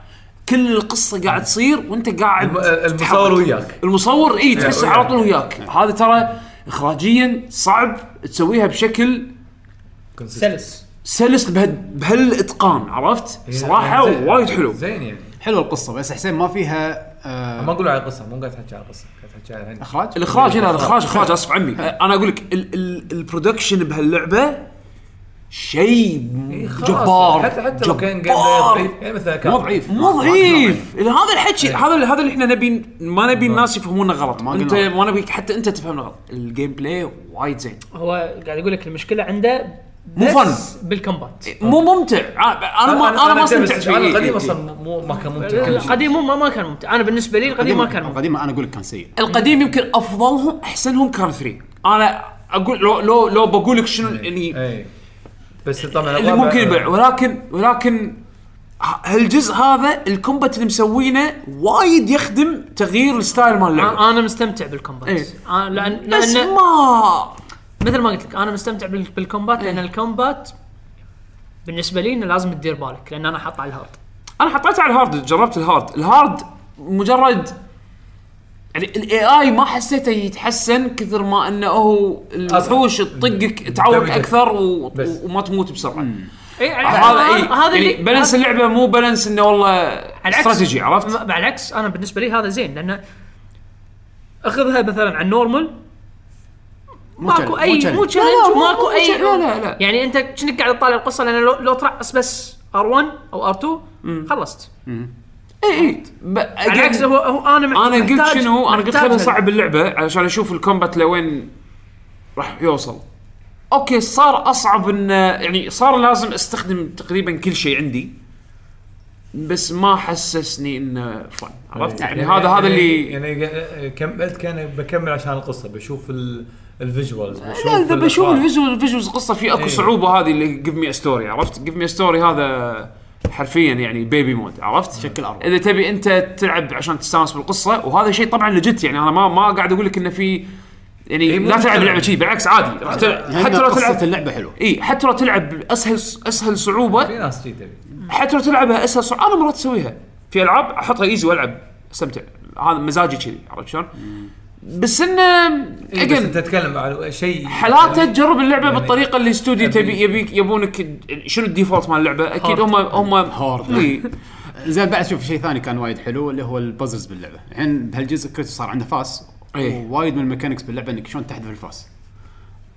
كل القصه قاعد تصير وانت قاعد الم- المصور تتحرك. وياك. إيه، المصور اي تحسه وياك. إيه. على طول وياك هذا ترى اخراجيا صعب تسويها بشكل سلس سلس بهال- بهالاتقان إيه، عرفت؟ صراحه زين. وايد حلو زين يعني حلوه القصه بس حسين ما فيها آه ما اقول على القصه مو قاعد تحكي على القصه قاعد تحكي على يعني. الهندسة. اخراج إيه. الاخراج هنا الاخراج اخراج اسف عمي انا اقول لك ال- ال- البرودكشن بهاللعبه شيء إي إيه، خلاص، جبار حتى حتى لو كان جيم بلاي جبار. ضعيف يعني مثلا كان مو ضعيف مو ضعيف هذا الحكي هذا اللي- هذا اللي احنا نبي ما نبي الناس يفهمونه غلط ما انت قلنا. ما نبي حتى انت تفهمنا غلط الجيم بلاي وايد زين هو قاعد يقول لك المشكله عنده مو بس بالكمبات مو ممتع ع- انا ما انا ما أنتبه، استمتعت فيه انا إي- إي- القديم إي. اصلا مو ما كان ممتع القديم مو- ما ما كان ممتع انا بالنسبه لي القديم ما كان ممتع القديم انا اقول لك كان سيء القديم يمكن افضلهم احسنهم كان 3 انا اقول لو لو لو بقول لك شنو يعني اي بس طبعا اللي الرابع- ممكن يبيع ولكن ولكن ه- هالجزء هذا الكومبات اللي مسوينه وايد يخدم تغيير الستايل مال اللعبه أ- انا مستمتع بالكومبات إيه. أنا- لان بس لان ما مثل ما قلت لك انا مستمتع بال- بالكومبات إيه. لان الكومبات بالنسبه لي انه لازم تدير بالك لان انا حاط على الهارد انا حطيته على الهارد جربت الهارد الهارد مجرد يعني الاي اي ما حسيته يتحسن كثر ما انه هو الوحوش تطقك تعوق دمجك. اكثر و... بس. وما تموت بسرعه اي يعني آه، هذا اي هذا- هذا يعني اللي بالانس اللعبه مو بالانس انه والله استراتيجي عرفت؟ م- بالعكس انا بالنسبه لي هذا زين لان اخذها مثلا على النورمال ماكو اي مو لا، تشالنج مو- ماكو مو اي challenge، لا، لا، لا. يعني انت كأنك قاعد تطالع القصه لان لو, لو ترقص بس ار1 او ار2 خلصت اي اي ب- على العكس هو, هو انا مح- انا قلت محتاج- شنو انا قلت خلينا محتاج نصعب اللعبه علشان اشوف الكومبات لوين راح يوصل اوكي صار اصعب انه يعني صار لازم استخدم تقريبا كل شيء عندي بس ما حسسني انه فن عرفت يعني هذا هذا اللي يعني يعني كملت كان بكمل عشان القصه بشوف ال- الفيجوالز بشوف لا اذا بشوف الإخراج. الفيجوال الفيجوالز قصه في اكو إيه. صعوبه هذه اللي جيف مي ستوري عرفت جيف مي ستوري هذا حرفيا يعني بيبي مود عرفت شكل أروع. اذا تبي انت تلعب عشان تستانس بالقصه وهذا شيء طبعا لجت يعني انا ما ما قاعد اقول لك انه في يعني إيه، مو لا تلعب مشكلة. لعبه شيء بالعكس عادي راح تلعب حتى حتى لو قصه تلعب اللعبه حلوه اي حتى لو تلعب اسهل اسهل في صعوبه ناس شي تبي حتى لو تلعبها اسهل صعوبه انا مرات اسويها في العاب احطها ايزي والعب استمتع هذا مزاجي كذي عرفت شلون؟ بس انه إيه، بس again، انت تتكلم على شيء حالاته تجرب اللعبه يعني بالطريقه اللي استوديو أبي- تبي يبيك يبونك شنو الديفولت مال اللعبه اكيد هارد. هم هم هارد. إي. زين بعد شوف شيء ثاني كان وايد حلو اللي هو البازلز باللعبه الحين بهالجزء كريتوس صار عنده فاس إيه. ووايد من الميكانكس باللعبه انك شلون تحذف الفاس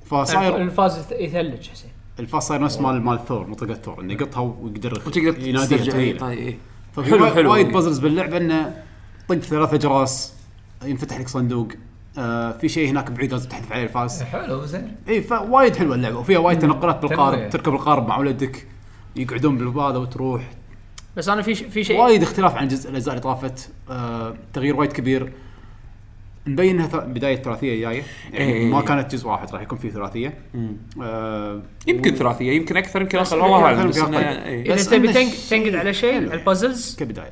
الف- فصاير الفاز يث- يثلج حسين الفاس صاير نفس مال مال ثور منطقه ثور انه يقطها ويقدر وتقدر يناديها تسترجع إي، تغييره. طيب، إي. ففي حلو، حلو حلو. حلو وايد بازلز باللعبه انه طق ثلاثة جراس ينفتح لك صندوق آه في شيء هناك بعيد لازم تحذف عليه الفاس حلو زين اي فوايد حلوه اللعبه وفيها وايد تنقلات تنويع. بالقارب تركب القارب مع ولدك يقعدون بالهذا وتروح بس انا في ش- في شيء وايد اختلاف عن جزء الاجزاء اللي طافت آه تغيير وايد كبير مبين انها ث- بدايه ثلاثيه جايه يعني إيه. ما كانت جزء واحد راح يكون في ثلاثيه آه يمكن ثلاثيه يمكن اكثر يمكن اقل والله اعلم بس يمكن أقل. إنه- إي. اذا بس تبي إنه تنق- شيء تنقد على شيء حلو. على البازلز كبدايه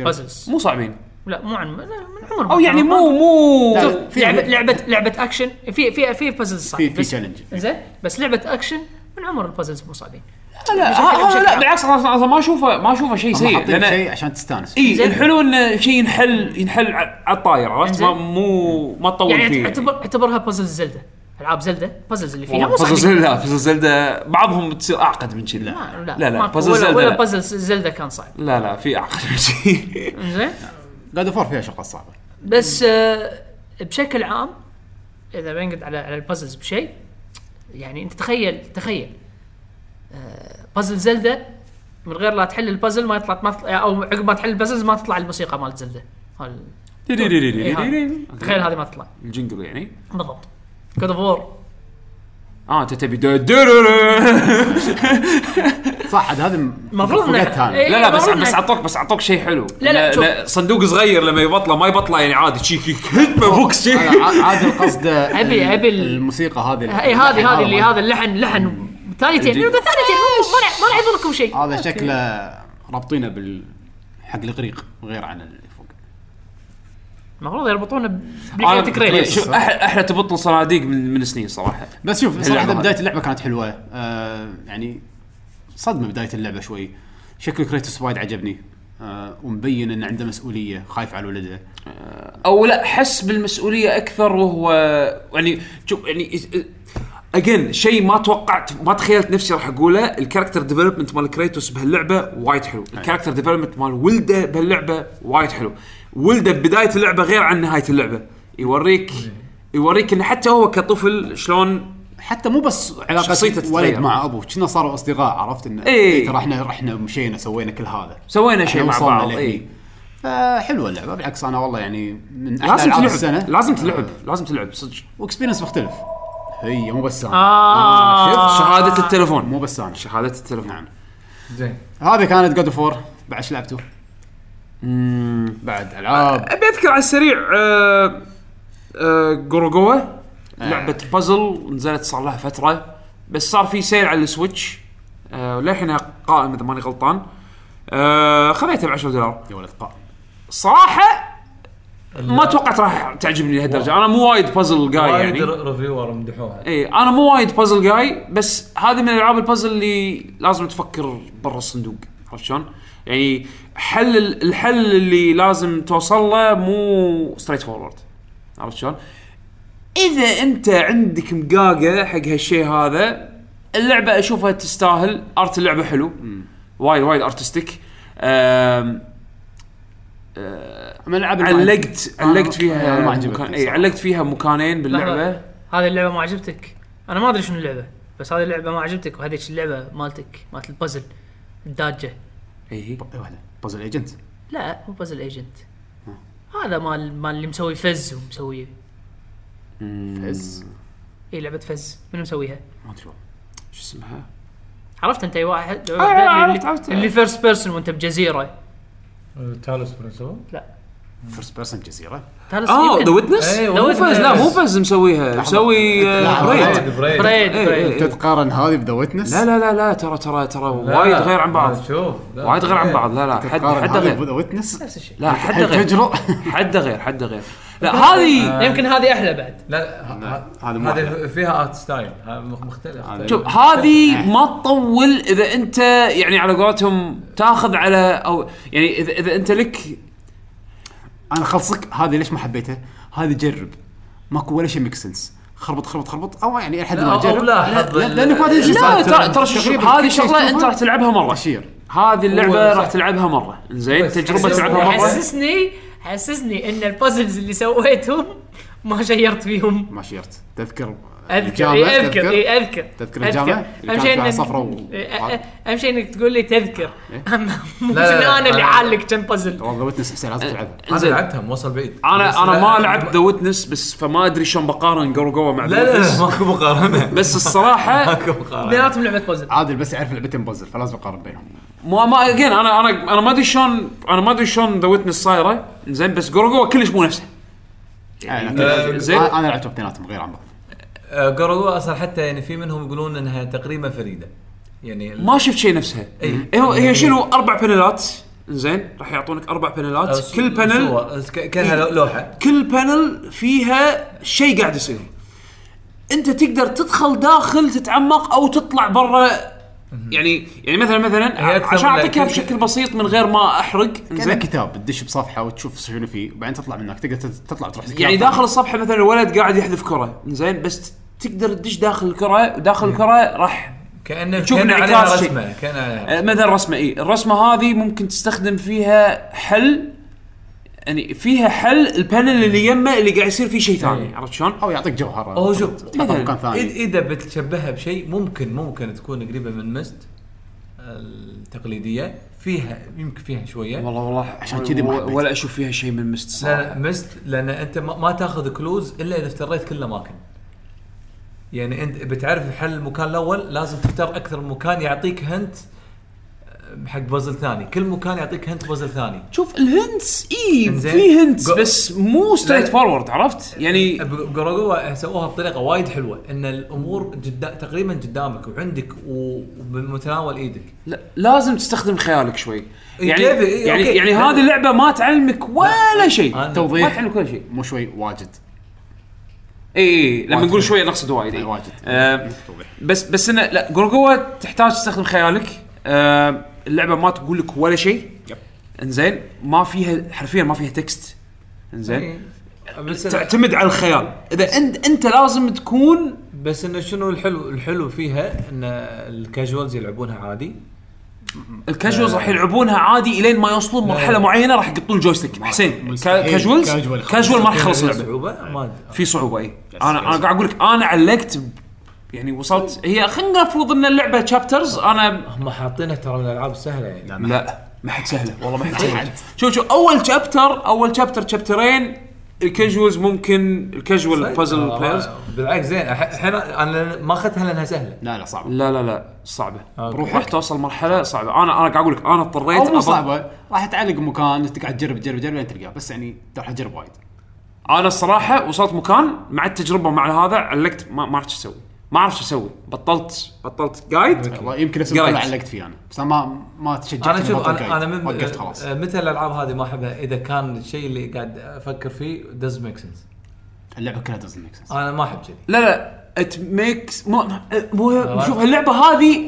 بازلز مو صعبين لا مو عن لا، من عمر او يعني مو مو لا. في- لعبه لعبه لعبه اكشن في في في بازلز صعبه في- في بس- challenge. زين بس لعبه اكشن من عمر البازلز مو صعبين لا بشكل- ها- ها- بشكل لا عام. بالعكس انا أصلاً ما اشوفه ما اشوفه شيء طيب، هم سيء حاطين لان شيء عشان تستانس اي زين. الحلو انه شيء ينحل ينحل ع- على الطاير عرفت ما زين. مو ما تطول يعني فيه اعتبر اعتبرها بازل زلدة العاب زلدة بازلز اللي فيها مو بازل صعبين زلدا بازل زلدا بعضهم تصير اعقد من كذا ما- لا لا ماكو. بازل ولا- زلدا ولا لا. بازل زلدة كان صعب لا لا في اعقد من كذي زين قاعد فور فيها شغلات صعبه بس آه، بشكل عام اذا بنقد على على البازلز بشيء يعني انت تخيل تخيل آه، بازل زلدة من غير لا تحل البازل ما يطلع ما تطلع او عقب ما تحل البازلز ما تطلع الموسيقى مالت زلدة هال- إيه، هذا. تخيل هذه ما تطلع الجنجل يعني بالضبط جود اوف وور اه انت تبي دو- إيه، دو- صح عاد هذا المفروض إنه- فقدت هذا إيه، لا لا بس المفروض بس إنه- اعطوك بس اعطوك شيء حلو لا، لا، شوف. صندوق صغير لما يبطله ما يبطله يعني عادي شي شي- هتمه بوكس شي أنا ع- عاد القصد أبي- ال- أبي ال- الموسيقى هذه اللي- اي إيه، هذه هذه اللي ما- هذا اللحن لحن ثانيتين الجديد. ثانيتين ما لع- ما لعب لكم شيء آه. هذا شكله رابطينه بال حق الاغريق غير عن اللي فوق المفروض يربطونه أنا- بلعبه كريتوس آه، طيب، شوف، احلى احلى تبطل صناديق من من سنين صراحه بس شوف اللعبة صراحه هذه. بدايه اللعبه كانت حلوه آه يعني صدمه بدايه اللعبه شوي شكل كريتوس وايد عجبني آه ومبين انه عنده مسؤوليه خايف على ولده او لا حس بالمسؤوليه اكثر وهو يعني شوف يعني اجين شيء ما توقعت ما تخيلت نفسي راح اقوله الكاركتر ديفلوبمنت مال كريتوس بهاللعبه وايد حلو الكاركتر ديفلوبمنت مال ولده بهاللعبه وايد حلو ولده ببدايه اللعبه غير عن نهايه اللعبه يوريك يوريك انه حتى هو كطفل شلون حتى مو بس شخصيته علاقه ولد تتغير. مع ابوه كنا صاروا اصدقاء عرفت انه إيه. إيه ترى احنا رحنا مشينا سوينا كل هذا سوينا إحنا شيء مع وصلنا بعض إيه. لهني. اي فحلوه اللعبه بالعكس انا والله يعني من احلى لازم العاب تلعب السنه لازم تلعب لازم تلعب صدق واكسبيرينس آه، مختلف هي مو بس انا آه. شفت شهاده التلفون مو بس انا شهاده التلفون نعم زين هذه كانت جود اوف وور بعد ايش لعبتوا؟ بعد العاب ابي اذكر على السريع آه، آه، جوروجوا لعبه بازل نزلت صار لها فتره بس صار في سيل على السويتش آه، للحين قائم اذا ماني غلطان آه، خذيتها ب 10 دولار يا ولد قاء صراحه ما توقعت راح تعجبني لهالدرجه انا مو وايد بازل جاي وايد يعني ر- ريفيور مدحوها اي انا إيه، مو وايد بازل جاي بس هذه من العاب البازل اللي لازم تفكر برا الصندوق عرفت شلون؟ يعني حل الحل اللي لازم توصل له مو ستريت فورورد عرفت شلون؟ اذا انت عندك مقاقه حق هالشيء هذا اللعبه اشوفها تستاهل ارت اللعبه حلو وايد وايد ارتستيك من العاب علقت أنا- علقت فيها أنا آه، ما عجبتني مكان- إي، صراحة. علقت فيها مكانين باللعبه لحظة. هذه اللعبه ما عجبتك انا ما ادري شنو اللعبه بس هذه اللعبه ما عجبتك وهذيك اللعبه مالتك مالت البازل الداجه اي إي إيه، واحدة. بازل ايجنت لا مو بازل ايجنت هذا مال مال اللي مسوي فز ومسوي فز اي لعبه فز منو مسويها؟ ما ادري والله. شو اسمها؟ عرفت انت اي واحد عرفت- اللي, عرفت. اللي فيرست بيرسون وانت بجزيره تالوس برنسو فيرست بيرسون جزيره تالس اه يمكن- ذا ويتنس؟ إيه، مو فاز لا مو فاز مسويها مسوي آه، لحظة. بريد بريد بريد إيه، بريد إيه. تتقارن هذه بذا ويتنس لا لا لا لا ترى ترى ترى لا، وايد غير عن بعض لا، شوف لا، وايد غير عن إيه. بعض لا لا حد تتقارن حد هذه غير بذا ويتنس نفس الشيء لا حد هل غير تجرؤ حد غير حد غير لا هذه يمكن هذه احلى بعد لا ه- هذا مو هذه فيها ارت ستايل ها- مخ- مختلف شوف هذه ما تطول اذا انت يعني على قولتهم تاخذ على او يعني اذا اذا انت لك انا خلصك هذه ليش ما حبيتها؟ هذه جرب ماكو ولا شيء ميك سنس خربط خربط خربط او يعني لحد لا، ما أو جرب لاحظ لا- ال- لانك ما تدري شو لا صار. ترى ترى شوف، تقريباً هذه كل شيء شغله انت تشوفه راح تلعبها مره اشير هذه اللعبه هو راح صح. تلعبها مره زين بس تجربه حسس- تلعبها مره حسسني حسسني ان البازلز اللي سويتهم ما شيرت فيهم ما شيرت تذكر اذكر الجامعة، إيه، اي اذكر اي اذكر تذكر الجامعة؟ اللي كانت اهم شيء فيها انك صفرة و- إيه. إيه، اهم شيء انك تقول لي تذكر اما مو لا، لا، شنو انا أنا- اللي عالق كم بازل والله ويتنس حسين لازم تلعبها انا إنزين. لعبتها موصل بعيد بس انا انا لا- ما لعبت ذا ويتنس بس فما ادري شلون بقارن جورجوا مع لا ذا لا ويتنس لا ماكو مقارنه بس الصراحه ماكو مقارنه بيناتهم لعبه بازل عادل بس يعرف لعبتين بازل فلازم اقارن بينهم ما ما اجين انا انا انا ما ادري شلون انا ما ادري شلون ذا ويتنس صايره زين بس جورجوا كلش مو نفسه يعني زين. أنا- انا لعبت اثنيناتهم غير عن بعض جورو اصلا أه، حتى يعني في منهم يقولون انها تقريبا فريده يعني ال- ما شفت شيء نفسها إي. هي هي شنو اربع بانلات زين راح يعطونك اربع بانلات س- كل إيه. بانل أه، صور، س- ك- كانها لو- لوحه كل بانل فيها شيء قاعد يصير انت تقدر تدخل داخل تتعمق او تطلع برا يعني يعني مثلا مثلا هي أكثر عشان من- اعطيكها بشكل بسيط من غير ما احرق كذا زين كتاب تدش بصفحه وتشوف شنو فيه وبعدين تطلع منك تقدر تت- تطلع تروح كتاب يعني ثاني. داخل الصفحه مثلا الولد قاعد يحذف كره زين بس تقدر تدش داخل الكره وداخل الكره راح كانه تشوف كان انعكاس عليها شيء. رسمه كان عليها آه، مثلا رسمه اي الرسمه هذه ممكن تستخدم فيها حل يعني فيها حل البانل اللي يمه اللي قاعد يصير فيه شيء إيه. ثاني عرفت شلون؟ او يعطيك جوهره أو أه، شوف، إيه. تحطه مثلاً، مكان إذ- ثاني اذا بتشبهها بشيء ممكن ممكن تكون قريبه من مست التقليديه فيها يمكن فيها شويه والله والله عشان كذي ما حبيت. ولا اشوف فيها شيء من مست لا لا مست لان انت ما, ما تاخذ كلوز الا اذا افتريت كل الاماكن. يعني انت بتعرف حل المكان الاول لازم تختار اكثر من مكان يعطيك هنت آه، حق بازل ثاني، كل مكان يعطيك هنت بازل ثاني. شوف الهنتس اي إنزين. في هنتس جو- بس مو ستريت لا. إيه. فورورد عرفت؟ يعني جوروجوا سووها بطريقه وايد حلوه ان الامور جدا تقريبا قدامك وعندك و- وبمتناول ايدك. لا لازم تستخدم خيالك شوي يعني كيف؟ إيه، يعني أوكي. يعني هذه اللعبه ما تعلمك ولا شيء أنا- ما توضيح تعلمك ولا شيء مو شوي واجد اي اي إيه، لما واجد. نقول شوي نقصد وايد أي إي. واجد. آه، توضيح. بس بس انه لا جورجوا تحتاج تستخدم خيالك آه، اللعبه ما تقول لك ولا شيء يب. انزين ما فيها حرفيا ما فيها تكست إيه. انزين بس تعتمد على الخيال اذا انت انت لازم تكون بس انه شنو الحلو الحلو فيها ان الكاجوالز يلعبونها عادي الكاجوالز راح يلعبونها عادي الين ما يوصلون مرحله معينه راح يقطون الجويستيك حسين كا- مستحيل. كاجوالز كاجوال يخلص. كاجوال ما راح يخلص فيها اللعبه إيه. صعوبه ما ادري في صعوبه اي يس، انا انا يس. قاعد اقول لك انا علقت ب- يعني وصلت هي خلينا نفرض ان اللعبه شابترز انا هم حاطينه ترى من الالعاب السهله يعني لا ما حد سهله والله ما حد سهله شوف شوف اول شابتر اول شابتر شابترين الكاجوالز ممكن الكاجوال بازل بلايرز آه، بالعكس زين أح- الحين انا ما اخذتها لانها سهله لا لا صعبه لا لا لا صعبه أوكي. روحك توصل مرحله صعبه انا انا قاعد اقول لك انا اضطريت او مو أبط- صعبه راح تعلق مكان تقعد تجرب تجرب تجرب لين تلقاه بس يعني راح اجرب وايد انا الصراحه وصلت مكان مع التجربه مع هذا علقت ما ما عرفت ايش اسوي ما عرفت ايش اسوي بطلت بطلت جايد والله يمكن نفس Great. المكان اللي علقت فيه انا بس أنا ما ما تشجعت انا إني شوف أبطل انا انا قايد. من وقفت خلاص آه، متى الالعاب هذه ما احبها اذا كان الشيء اللي قاعد افكر فيه دز ميك سنس اللعبه كلها دزنت ميك سنس انا ما احب كذي لا لا ات ميكس مو مو شوف اللعبه هذه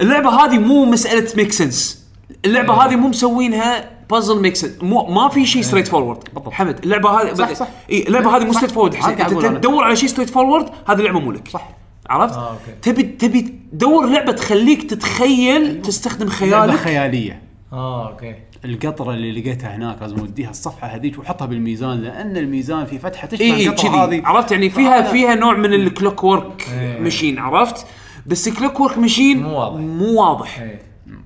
اللعبه هذه مو مساله ميك سنس اللعبه هذه مو مسوينها بازل ميك سنس مو ما في شيء ستريت فورورد بالضبط. حمد اللعبه هذه صح، صح. اي اللعبه هذه مو صح. ستريت فورورد حسين هذا قاعد انت أقول أنا. تدور على شيء ستريت فورورد هذه اللعبه مو لك صح. عرفت؟ آه، أوكي. تبي تبي تدور لعبه تخليك تتخيل تستخدم لعبه خيالك خياليه اه اوكي القطره اللي لقيتها هناك لازم اوديها الصفحه هذيك واحطها بالميزان لان الميزان في فتحه تشبه اي اي القطره إيه، كذي هذه عرفت يعني فيها فأنا- فيها نوع من الكلوك ورك إيه. مشين عرفت بس الكلوك ورك مشين مو واضح. مو واضح ايه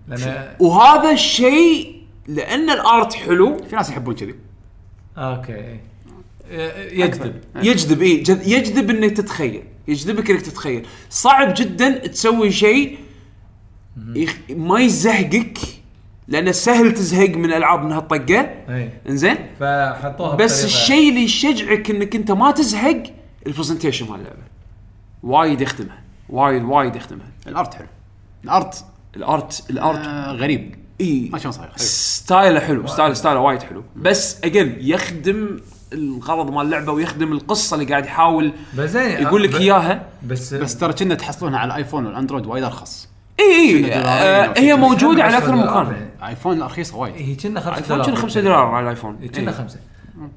لان وهذا الشيء لان الارت حلو في ناس يحبون كذي اوكي إيه. إيه، يجذب يجذب اي جذ- يجذب انك تتخيل يجذبك انك تتخيل صعب جدا تسوي شيء يخ... ما يزهقك لانه سهل تزهق من العاب من هالطقه إيه. انزين فحطوها بس بطريقة- الشيء اللي يشجعك انك انت ما تزهق البرزنتيشن مال اللعبه وايد يخدمها وايد وايد يخدمها الارت حلو الارت الارت الارت آه غريب اي ما شلون صاير حلو. ستايله حلو ستايل ستايله وايد حلو بس اجين يخدم الغرض مال اللعبه ويخدم القصه اللي قاعد يحاول بس زين آه، يقول لك ب- اياها بس بس ترى كنا تحصلونها على الايفون والاندرويد وايد ارخص اي شنو اي دولارين أو آه، شيء هي كذي. موجوده على خمسة اكثر دولار. مكان الايفون الرخيص وايد هي إيه، كنا 5 ايفون دولار إيه، كان 5 دولار إيه. على الايفون كنا إي. خمسة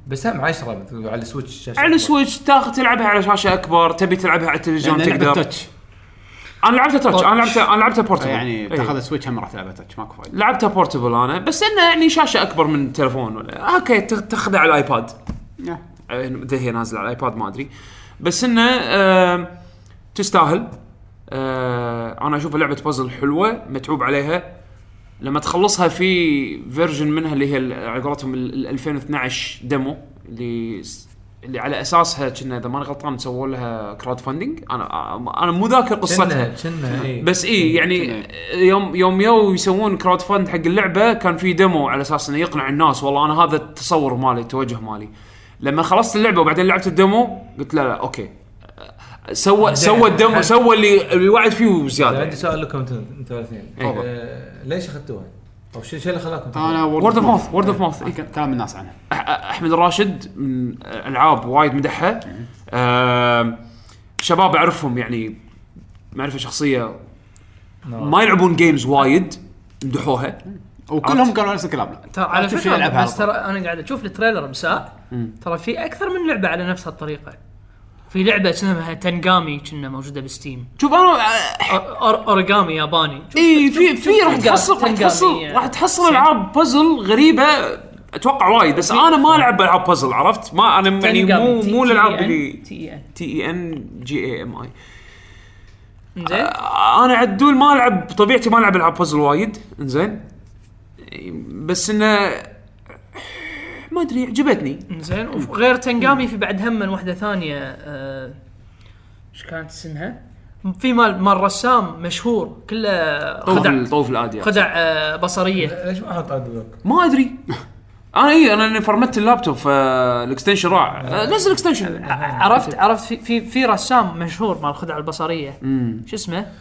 بس هم 10 على السويتش الشاشة على السويتش تاخذ تلعبها على شاشه اكبر تبي تلعبها على التلفزيون لأن لعبة تقدر تاتش انا لعبتها تاتش انا لعبتها انا لعبتها بورتبل يعني إي. تاخذ سويتش هم راح تلعبها تاتش ماكو فايده لعبتها بورتبل انا بس انه يعني شاشه اكبر من تلفون ولا اوكي تاخ- تاخذها على الايباد يا. آه، متى هي نازله على الايباد ما ادري بس انه آه تستاهل آه انا اشوفها لعبه بازل حلوه متعوب عليها لما تخلصها في فيرجن منها اللي هي ال- على قولتهم ال- ال 2012 ديمو اللي س- اللي على اساسها كنا اذا ماني غلطان سووا لها كراود فاندنج انا انا مو ذاكر قصتها كنا كنا إيه. بس اي يعني إيه. يوم يوم يو يسوون كراود فند حق اللعبه كان في ديمو على اساس انه يقنع الناس والله انا هذا التصور مالي التوجه مالي لما خلصت اللعبه وبعدين لعبت الديمو قلت لا لا اوكي سوى سوى الديمو سوى اللي اللي وعد فيه وزياده طيب، عندي يعني. سؤال لكم انتم انتوا الاثنين آه، ليش اخذتوها؟ او شو شو اللي خلاكم انا وورد اوف ماوث وورد اوف ماوث إيه، كلام الناس عنها احمد الراشد من العاب وايد مدحها آم، شباب اعرفهم يعني معرفه شخصيه ما يلعبون جيمز وايد مدحوها وكلهم قالوا نفس الكلام ترى طيب، على شوف شو يلعبها فكره على بس ترى انا قاعد اشوف التريلر مساء ترى في اكثر من لعبه على نفس هالطريقه في لعبه اسمها تنجامي كنا موجوده بستيم شوف انا أو- أور- اوريجامي ياباني شوف- اي إيه، في شوف- في شوف راح تنجامي- تحصل راح تنجامي تحصل يعني. راح تحصل العاب بازل غريبه اتوقع وايد بس انا ما العب العاب بازل عرفت ما انا يعني تنجامي. مو T- E مو الالعاب T-E-N. اللي E T-E-N. تي اي ان جي اي ام اي زين انا عدول ما العب بطبيعتي ما العب العاب بازل وايد انزين بس انه ما ادري عجبتني زين وغير تنجامي في بعد هم واحده ثانيه آه، ايش كانت اسمها؟ في مال مال رسام مشهور كله طوف خدع ال- طوف الاديه خدع آه، بصريه ليش ما احط اد بلوك؟ ما ادري انا اي انا إني فرمت اللابتوب فالاكستنشن راح آه، نزل الاكستنشن عرفت عرفت في في, في رسام مشهور مال الخدع البصريه شو اسمه؟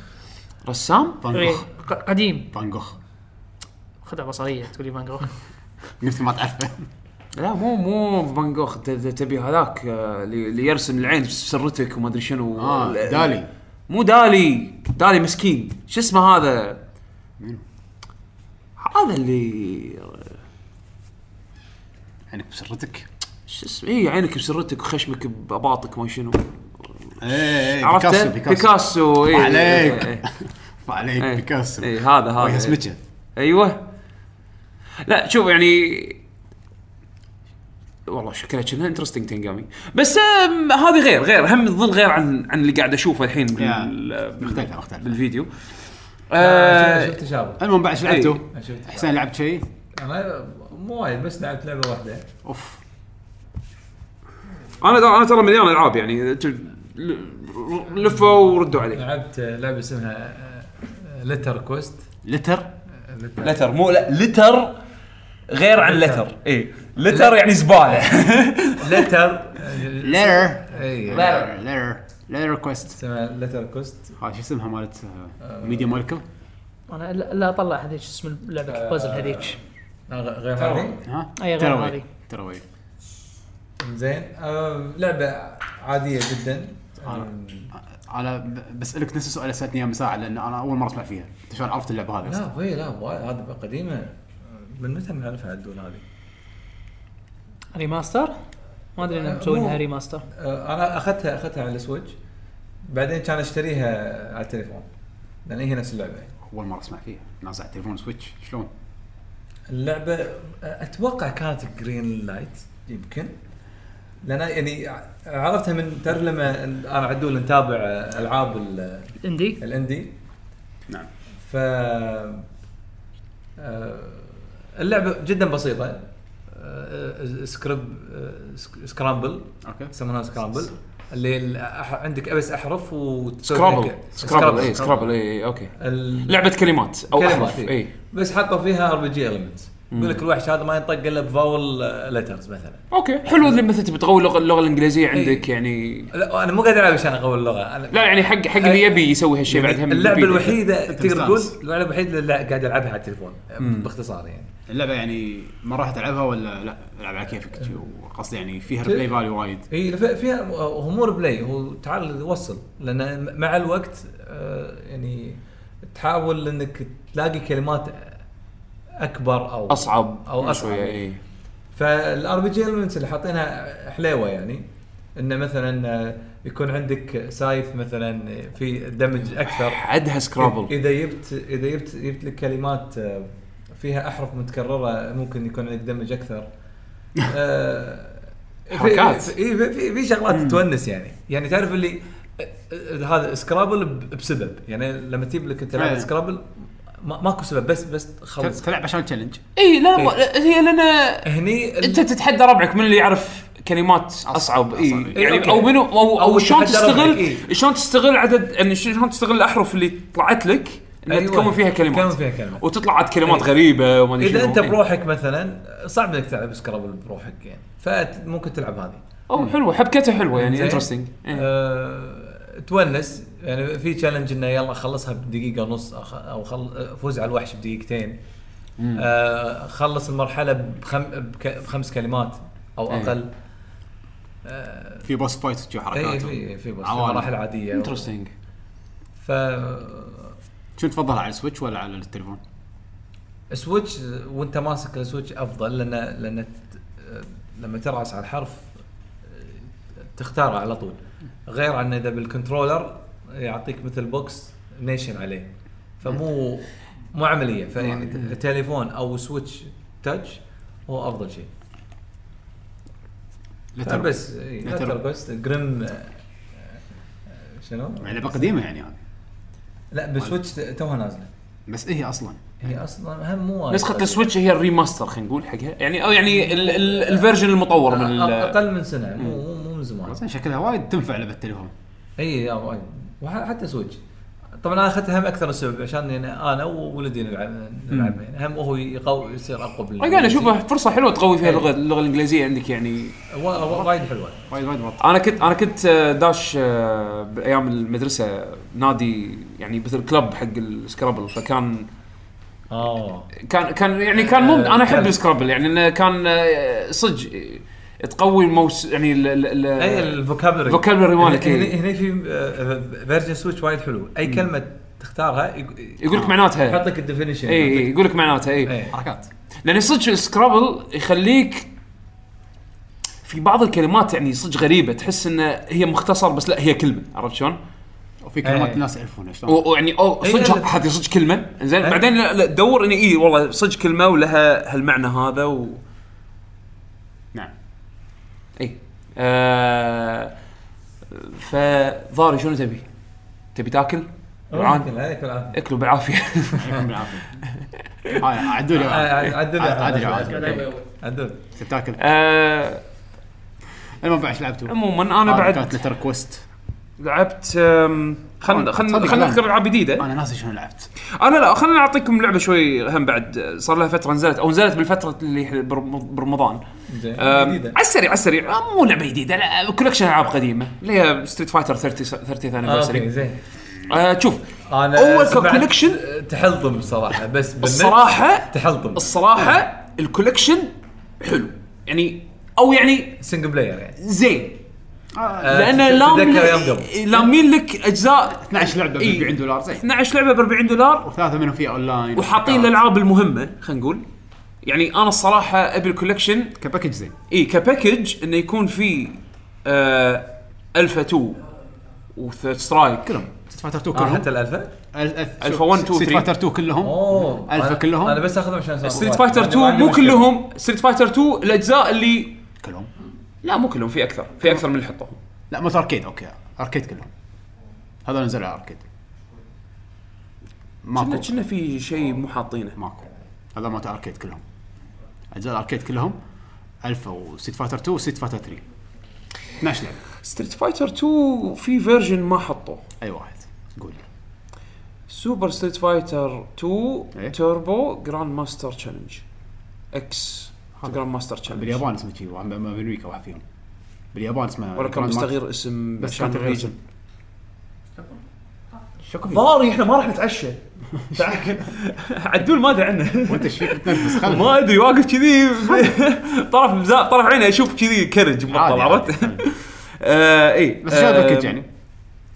رسام إيه، فانجوخ ق- قديم فانجوخ خدع بصريه تقولي فان جوخ مثل ما تعرفه لا مو مو فان جوخ ت- ت- تبي هذاك آه، اللي اللي يرسم العين بسرتك وما ادري شنو اه ال- دالي مو دالي دالي مسكين شو اسمه هذا هذا اللي عينك بسرتك شو اسمه اي عينك بسرتك وخشمك باباطك ما شنو ايه عرفته بيكاسو إيه. اي إيه، عليك. إي، عليك إي. بيكاسو اي إيه. هذا هذا وهي إي. اسمته أيوة. ايوه لا شوف يعني والله شكلها كنا انترستنج تنقامي بس آم، هذه غير غير هم تظل غير عن عن اللي قاعد اشوفه الحين بال... Yeah. مختلفة- مختلفة. بالفيديو آه، آه شفت تشابه المهم بعد ايش لعبتوا؟ إيه. أنا شفت تشابه. حسين لعبت شيء؟ انا آه، مو وايد بس لعبت لعبه واحده اوف انا انا ترى مليان العاب يعني ت- ل- لفوا وردوا عليه لعبت لعبه اسمها آه، لتر كوست لتر لتر مو لا لتر غير عن لتر اي لتر يعني زباله لتر لتر اي لتر لتر لتر كويست إيه، اسمها لتر كوست هاي شو اسمها مالت آه، ميديا ماركل انا لا, لا اطلع هذيك شو اسم لعبه البازل هذيك غير هذه ها؟ أي غير تراوي هذه. تراوي زين آه، لعبه عاديه جدا يعني انا ب- بسالك نفس السؤال اللي سالتني اياه من ساعه لان انا اول مره اسمع فيها انت شلون عرفت اللعبه هذه لا آه. أصلاً؟ وي لا وايد هذه بقى قديمه من متى نعرفها الدول هذه؟ ريماستر ما ادري انهم مسوينها ريماستر آه، انا اخذتها اخذتها على السويتش بعدين كان اشتريها على التليفون لان هي نفس اللعبه اول مره اسمع فيها نازع تليفون سويتش شلون؟ اللعبه آه، اتوقع كانت جرين لايت يمكن لان يعني ع- عرفتها من تعرف لما انا عدول نتابع آه، العاب ال- اندي الاندي نعم. ف آه، اللعبه جدا بسيطه آه، سكريب آه، سك- سكرامبل اوكي يسمونها سكرامبل اللي ال- أح- عندك بس احرف و سكرابل سكرابل اي سكرابل اي اوكي لعبه إيه، كلمات إيه. او احرف إيه. اي بس حطوا فيها ار بي جي المنتس يقول لك الوحش هذا ما ينطق الا بفاول آه، ليترز مثلا اوكي حلو اللي مثلا تبي تقوي اللغه اللغه الانجليزيه عندك إي. يعني لا انا مو قاعد العب عشان اقوي اللغه انا لا يعني حق حق اللي يبي يسوي هالشيء يعني بعد هم اللعبه يفيده. الوحيده تقدر تقول تستانس. اللعبه الوحيده اللي قاعد العبها على التليفون باختصار يعني اللعبه يعني ما راح تلعبها ولا لا العب على كيفك آه. شي، وقصدي يعني فيها ريبلاي فاليو وايد اي ف- فيها امور بلاي هو تعال وصل لان م- مع الوقت آه، يعني تحاول انك تلاقي كلمات اكبر او اصعب او اصعب شويه اي فالار بي جي المنتس اللي حاطينها حليوه يعني انه مثلا آه، يكون عندك سايف مثلا في دمج اكثر عدها سكرابل اذا جبت اذا جبت جبت لك كلمات آه، فيها احرف متكرره ممكن يكون عندك دمج اكثر آه، في- حركات. في إيه، في- في في شغلات تونس يعني يعني تعرف اللي آه، آه، هذا سكرابل ب- بسبب يعني لما تجيب لك انت لعبه إيه. سكرابل ما- ماكو سبب بس بس خلص تلعب عشان تشالنج اي إيه، لا لا هي لنا هني ال- انت تتحدى ربعك من اللي يعرف كلمات اصعب اي أصعب. يعني أوكي. او منو او, أو إيه. أو شلون تتحدى تستغل ربعك، إي. شلون تستغل عدد يعني شلون تستغل الاحرف اللي طلعت لك انها أيوة. تكون فيها كلمات إيه. تكون فيها كلمات. وتطلع عاد كلمات أي. غريبه وما ادري اذا شنو. انت إي. بروحك مثلا صعب انك تلعب سكرابل بروحك يعني فممكن تلعب هذه او حلوه إيه. حبكتها حلوه يعني زين؟ انترستنج آه، تونس يعني في تشالنج انه يلا خلصها بدقيقه ونص أخ- او خل... فوز على الوحش بدقيقتين آه خلص المرحله بخم... بك... بخمس كلمات او إيه. اقل في بوس فايت تجي اي حركات إيه، إيه، في في بس في عوالم. مراحل عاديه انترستنج ف شنو تفضلها على السويتش ولا على التليفون؟ سويتش وانت ماسك السويتش افضل لان لان ت- لما ترعس على الحرف تختاره على طول غير عن اذا بالكنترولر يعطيك مثل بوكس نيشن عليه فمو مو عمليه فيعني تليفون او سويتش تاتش هو افضل شيء لتر بس إي، لتر. لتر بس جريم آه، شنو؟ يعني لعبه قديمه يعني هذه لا بالسويتش توها نازله بس إيه هي اصلا هي اصلا هم مو وايد. نسخه السويتش هي الريماستر خلينا نقول حقها يعني او يعني ال- ال- الفيرجن المطور من ال- أ- اقل من سنه مو مو- مو من زمان زين شكلها وايد تنفع لعبه التليفون اي يا وايد وحتى سويتش طبعا انا اخذتها هم اكثر من سبب عشان يعني انا وولدي نلعب نلعب يعني هم هو يقو يصير اقوى بال انا قاعد اشوفها فرصه حلوه تقوي فيها اللغه اللغه الانجليزيه عندك يعني وا- وا- وايد حلوه وايد وايد مرة. انا كنت انا كنت آه، داش آه، بايام المدرسه نادي يعني مثل كلب حق السكرابل فكان آه. اه كان كان يعني كان مو انا احب السكرابل يعني انه كان آه، صدق آه، تقوي الموس يعني ال- ال- ال- اي الفوكابلري vocabulary مالك، هنا إي. هنا في فيرجن سويتش وايد حلو اي كلمه تختارها يق- يقول لك معناتها يحط لك الديفينيشن اي اي يقول لك معناتها اي حركات لان صدق السكرابل يخليك في بعض الكلمات يعني صدق غريبه تحس انه هي مختصر بس لا هي كلمه عرفت شلون؟ وفي كلمات إيه. الناس يعرفونها شلون و- ويعني او إي، صدق إيه، لا. إيه. هذه صدق كلمه زين إي. بعدين لا إيه، لا تدور اني اي والله صدق كلمه ولها هالمعنى هذا و نعم إيه. اي آه فضاري شنو تبي؟ تبي تاكل؟ جوعان؟ يمكن، عليك بالعافيه اكلوا بالعافيه يعطيكم العافيه هاي عدولي آه، عدل عدل عدل عدل انت بتاكل آه المهم بعد ايش لعبتوا؟ آه، عموما انا كانت بعد لتر كويست لعبت خلينا خلينا تصدق خلينا لا. نذكر العاب جديده انا ناسي شنو لعبت انا لا خليني اعطيكم لعبه شوي هم بعد صار لها فتره نزلت او نزلت بالفتره اللي إحنا برم- برمضان زين أم، جديدة. على السريع على السريع أم، مو لعبه جديده لا كولكشن العاب قديمه اللي هي ستريت فايتر 30 30 آه، اوكي انيفرسري زين آه، شوف انا أول سمعت ككولكشن- تحلطم الصراحه بس بالنت الصراحه تحلطم الصراحه الكولكشن حلو يعني او يعني سنجل بلاير يعني زين آه، لان تت- لام تتذكر يوم قبل إيه، لامين لك اجزاء 12 لعبه ب إيه. إي. 40 دولار زين 12 لعبه ب 40 دولار وثلاثه منهم فيها اونلاين آه. وحاطين الالعاب المهمه خلينا نقول يعني انا الصراحه ابي الكولكشن كباكج زين اي كباكج انه يكون في آه الفا 2 وثيرد سترايك كلهم ست فايتر 2 آه، كلهم حتى الالفا ألفا 1 2 ست 3. فايتر 2 كلهم اوه ألفا آه، أنا- كلهم؟ انا بس اخذهم عشان ستريت فايتر يعني 2 مو كلهم ستريت فايتر 2 الاجزاء اللي كلهم لا مو كلهم في اكثر في اكثر من اللي حطوهم لا مو اركيد اوكي اركيد كلهم هذول نزلوا على اركيد كنا ماكو كنا في شيء مو حاطينه ماكو هذول مالت اركيد كلهم اجزاء الاركيد كلهم الفا وست فايتر 2 وست فايتر 3 12 لعبه ستريت فايتر 2 في فيرجن ما حطوه اي واحد قول لي سوبر ستريت فايتر 2 إيه؟ توربو جراند ماستر تشالنج اكس جراند ماستر تشالنج باليابان اسمه شي واحد ما- ما بامريكا واحد فيهم باليابان اسمه ولا كان جراند ماستر. مستغير اسم بس عشان كان تغيير الريجن. اسم. شكو فيه؟ ضاري احنا ما راح نتعشى تعال. عدول ما ادري عنه وانت ايش فيك تتنفس خلنا ما ادري واقف كذي طرف مزا- طرف عيني اشوف كذي كرج عادي، مبطل عرفت؟ آه، اي بس شو آه، الباكج يعني؟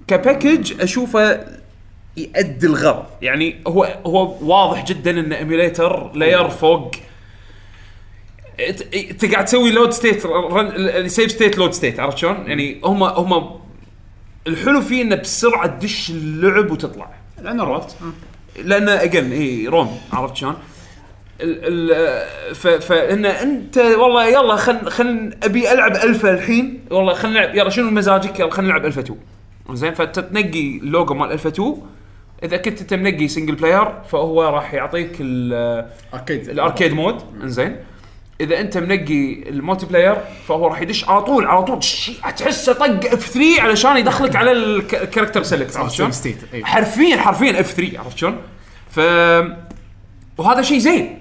كباكج اشوفه يؤدي الغرض يعني هو هو واضح جدا ان ايميليتر لاير فوق ت- انت قاعد تسوي لود ستيت سيف ستيت لود ستيت عرفت شلون؟ يعني هم هم الحلو فيه انه بسرعه تدش اللعب وتطلع لانه روت لان اجن اي روم عرفت شلون؟ ال ال ف فان انت والله يلا خل خل ابي العب الفا الحين والله خل نلعب يلا شنو مزاجك يلا خل نلعب الفا 2 زين فتنقي اللوجو مال الفا 2 اذا كنت انت منقي سنجل بلاير فهو راح يعطيك ال- اركيد الاركيد مود انزين اذا انت منقي المولتي بلاير فهو راح يدش على طول على طول شي- تحسه طق اف 3 علشان يدخلك على الكاركتر سيلكت عرفت شلون؟ ستيت اي حرفيا حرفيا اف 3 عرفت شلون؟ ف وهذا شيء زين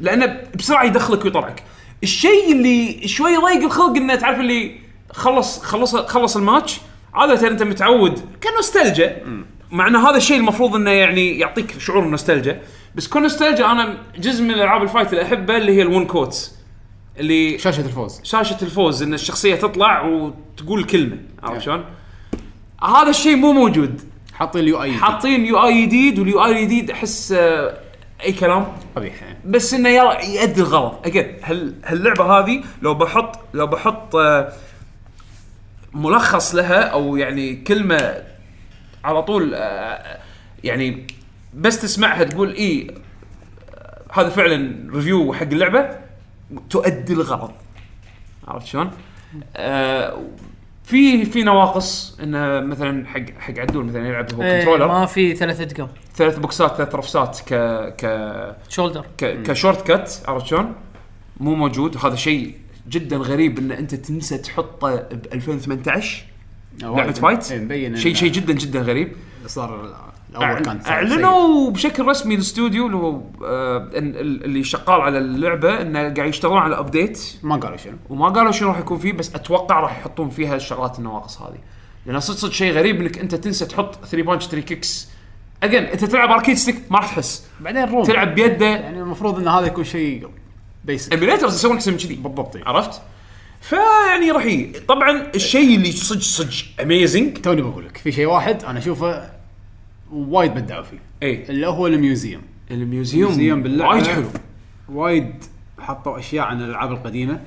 لانه بسرعه يدخلك ويطلعك. الشيء اللي شوي ضيق الخلق انه تعرف اللي خلص خلص خلص الماتش عاده انت متعود كنوستالجا مع ان هذا الشيء المفروض انه يعني يعطيك شعور النوستالجا بس كنوستالجا انا جزء من العاب الفايت اللي احبها اللي هي الون كوتس اللي شاشه الفوز شاشه الفوز ان الشخصيه تطلع وتقول كلمه عرفت شلون؟ هذا الشيء مو موجود حاطين اليو اي حاطين E يو اي جديد واليو اي الجديد احس آه، اي كلام قبيح يعني بس انه يلا يؤدي الغرض اجين هل هاللعبه هذه لو بحط لو بحط آه، ملخص لها او يعني كلمه على طول آه، يعني بس تسمعها تقول اي آه، هذا فعلا ريفيو حق اللعبه تؤدي الغرض عرفت شلون؟ آه، في في نواقص انه مثلا حق حق عدول مثلا يلعب هو كنترولر إيه، ما في ثلاث ادقم ثلاث بوكسات ثلاث رفسات ك ك شولدر ك كشورت كت عرفت شلون؟ مو موجود هذا شيء جدا غريب ان انت تنسى تحطه ب 2018 لعبه فايت إيه، شيء شيء جدا جدا غريب صار ال- الاول كان أعل- صار اعلنوا بشكل رسمي الاستوديو اللي هو آه، إن- ال- اللي شغال على اللعبه انه قاعد يشتغلون على ابديت سيء. ما قالوا شنو وما قالوا شنو راح يكون فيه بس اتوقع راح يحطون فيها الشغلات النواقص هذه لان صدق صدق شيء غريب انك انت تنسى تحط 3 بانش 3 كيكس اجين انت تلعب اركيد ستيك ما راح تحس بعدين روم تلعب بيده يعني المفروض ان هذا يكون شيء بيسك ايميليترز يسوون احسن من كذي بالضبط يعني. إي. عرفت؟ فيعني راح ي- طبعا الشيء اللي صدق صدق اميزنج توني بقول لك في شيء واحد انا اشوفه وايد بدعوا فيه اي اللي هو الميوزيوم الميوزيوم الميوزيوم باللعبة. وايد حلو وايد حطوا اشياء عن الالعاب القديمه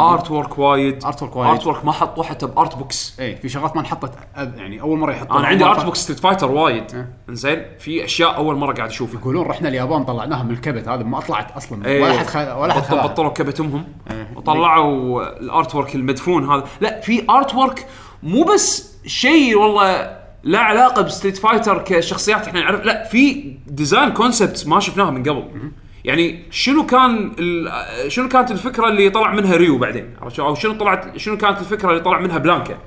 ارت ورك وايد Artwork وايد. ارت ورك ما حطوه حتى بارت بوكس اي في شغلات ما انحطت أب- يعني اول مره يحطون انا عندي ارت بوكس ستريت فايتر وايد إيه. زين في اشياء اول مره قاعد اشوفها يقولون رحنا اليابان طلعناها من الكبت هذا ما طلعت اصلا إيه. ولا حد خ- ولا حد بطل خلاها. بطلوا كبتهم إيه. وطلعوا الارت ورك المدفون هذا لا في ارت ورك مو بس شيء والله لا علاقه بستريت فايتر كشخصيات احنا نعرف لا في ديزاين كونسبت ما شفناها من قبل يعني شنو كان ال- شنو كانت الفكره اللي طلع منها ريو بعدين عرفت شلون؟ او شنو طلعت شنو كانت الفكره اللي طلع منها بلانكا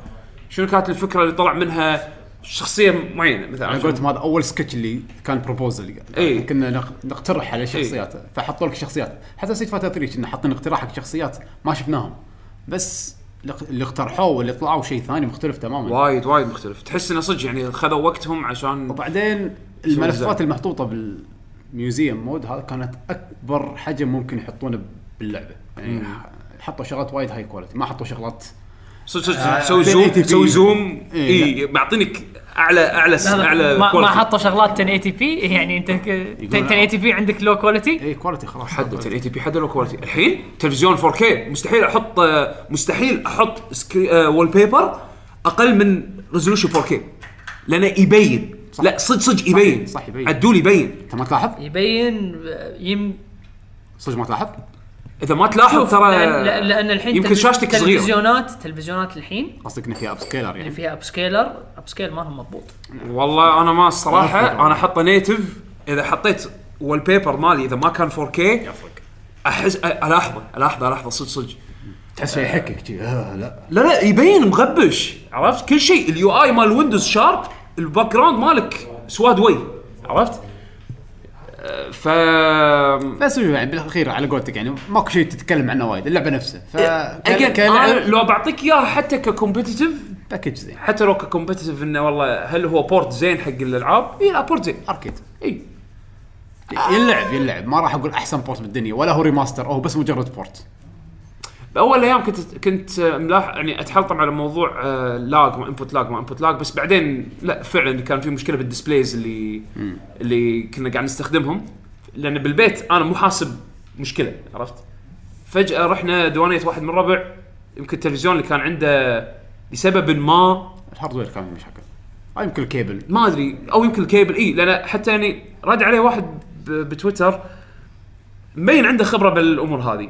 شنو كانت الفكره اللي طلع منها شخصيه معينه مثلا انا عرفت قلت هذا اول سكتش اللي كان بروبوزل إيه. كنا نق- نقترح على شخصيات فحطوا لك شخصيات حتى سيت فاتر 3 كنا حاطين اقتراح حق شخصيات ما شفناهم بس الاق- اللي اقترحوه واللي طلعوا شيء ثاني مختلف تماما وايد وايد مختلف تحس انه صدق يعني خذوا وقتهم عشان وبعدين الملفات المحطوطه بالميوزيوم مود هذا كانت اكبر حجم ممكن يحطونه باللعبه يعني حطوا شغلات وايد هاي كواليتي ما حطوا شغلات صدق صدق سوي زوم 1080p. سوي زوم إيه، اي معطينك اعلى اعلى لا، لا، اعلى ما, ما quality. حطوا شغلات 1080 بي يعني انت ك- 1080 بي عندك لو كواليتي اي كواليتي خلاص حد 1080 بي حد لو كواليتي الحين تلفزيون 4K مستحيل احط آه، مستحيل احط سكري وول بيبر اقل من ريزولوشن 4K لانه يبين صح. لا صدق صدق يبين صح، صح، يبين. عدول يبين انت ما تلاحظ يبين يم صدق ما تلاحظ اذا ما تلاحظ شوف آه، ترى لأن, لأن- لان الحين يمكن تلفز- شاشتك صغيره تلفزيونات تلفزيونات الحين قصدك انه في اب سكيلر اللي يعني فيها اب سكيلر اب سكيل ما هم مضبوط والله انا ما الصراحه يفرق. انا حاطه نيتف اذا حطيت وول بيبر مالي اذا ما كان 4K احس أ- الاحظه الاحظه الاحظه صدق صدق تحس شيء يحكك شي، آه، لا لا لا يبين مغبش عرفت كل شيء اليو اي مال ويندوز شارب الباك جراوند مالك سواد وي عرفت أه، ف بس هو يعني بالاخير على قولتك يعني ماكو شيء تتكلم عنه وايد اللعبه نفسها ف Again، كل- أنا كلعب لو بعطيك اياها حتى ككومبتتف باكج زين حتى لو ككومبتتف انه والله هل هو بورت زين حق الالعاب؟ اي لا بورت زين اركيد اي يلعب يلعب ما راح اقول احسن بورت بالدنيا ولا هو ريماستر هو بس مجرد بورت باول ايام كنت كنت ملاحظ يعني اتحلطم على موضوع آه، لاج ما انبوت لاج ما انبوت لاج بس بعدين لا فعلا كان في مشكله بالديسبلايز اللي اللي كنا قاعد نستخدمهم لان بالبيت انا مو حاسب مشكله عرفت فجاه رحنا ديوانيه واحد من ربع يمكن التلفزيون اللي كان عنده لسبب ما الهاردوير كان فيه مشاكل آه، يمكن الكيبل ما ادري او يمكن الكيبل اي لان حتى يعني رد عليه واحد ب- بتويتر مبين عنده خبره بالامور هذه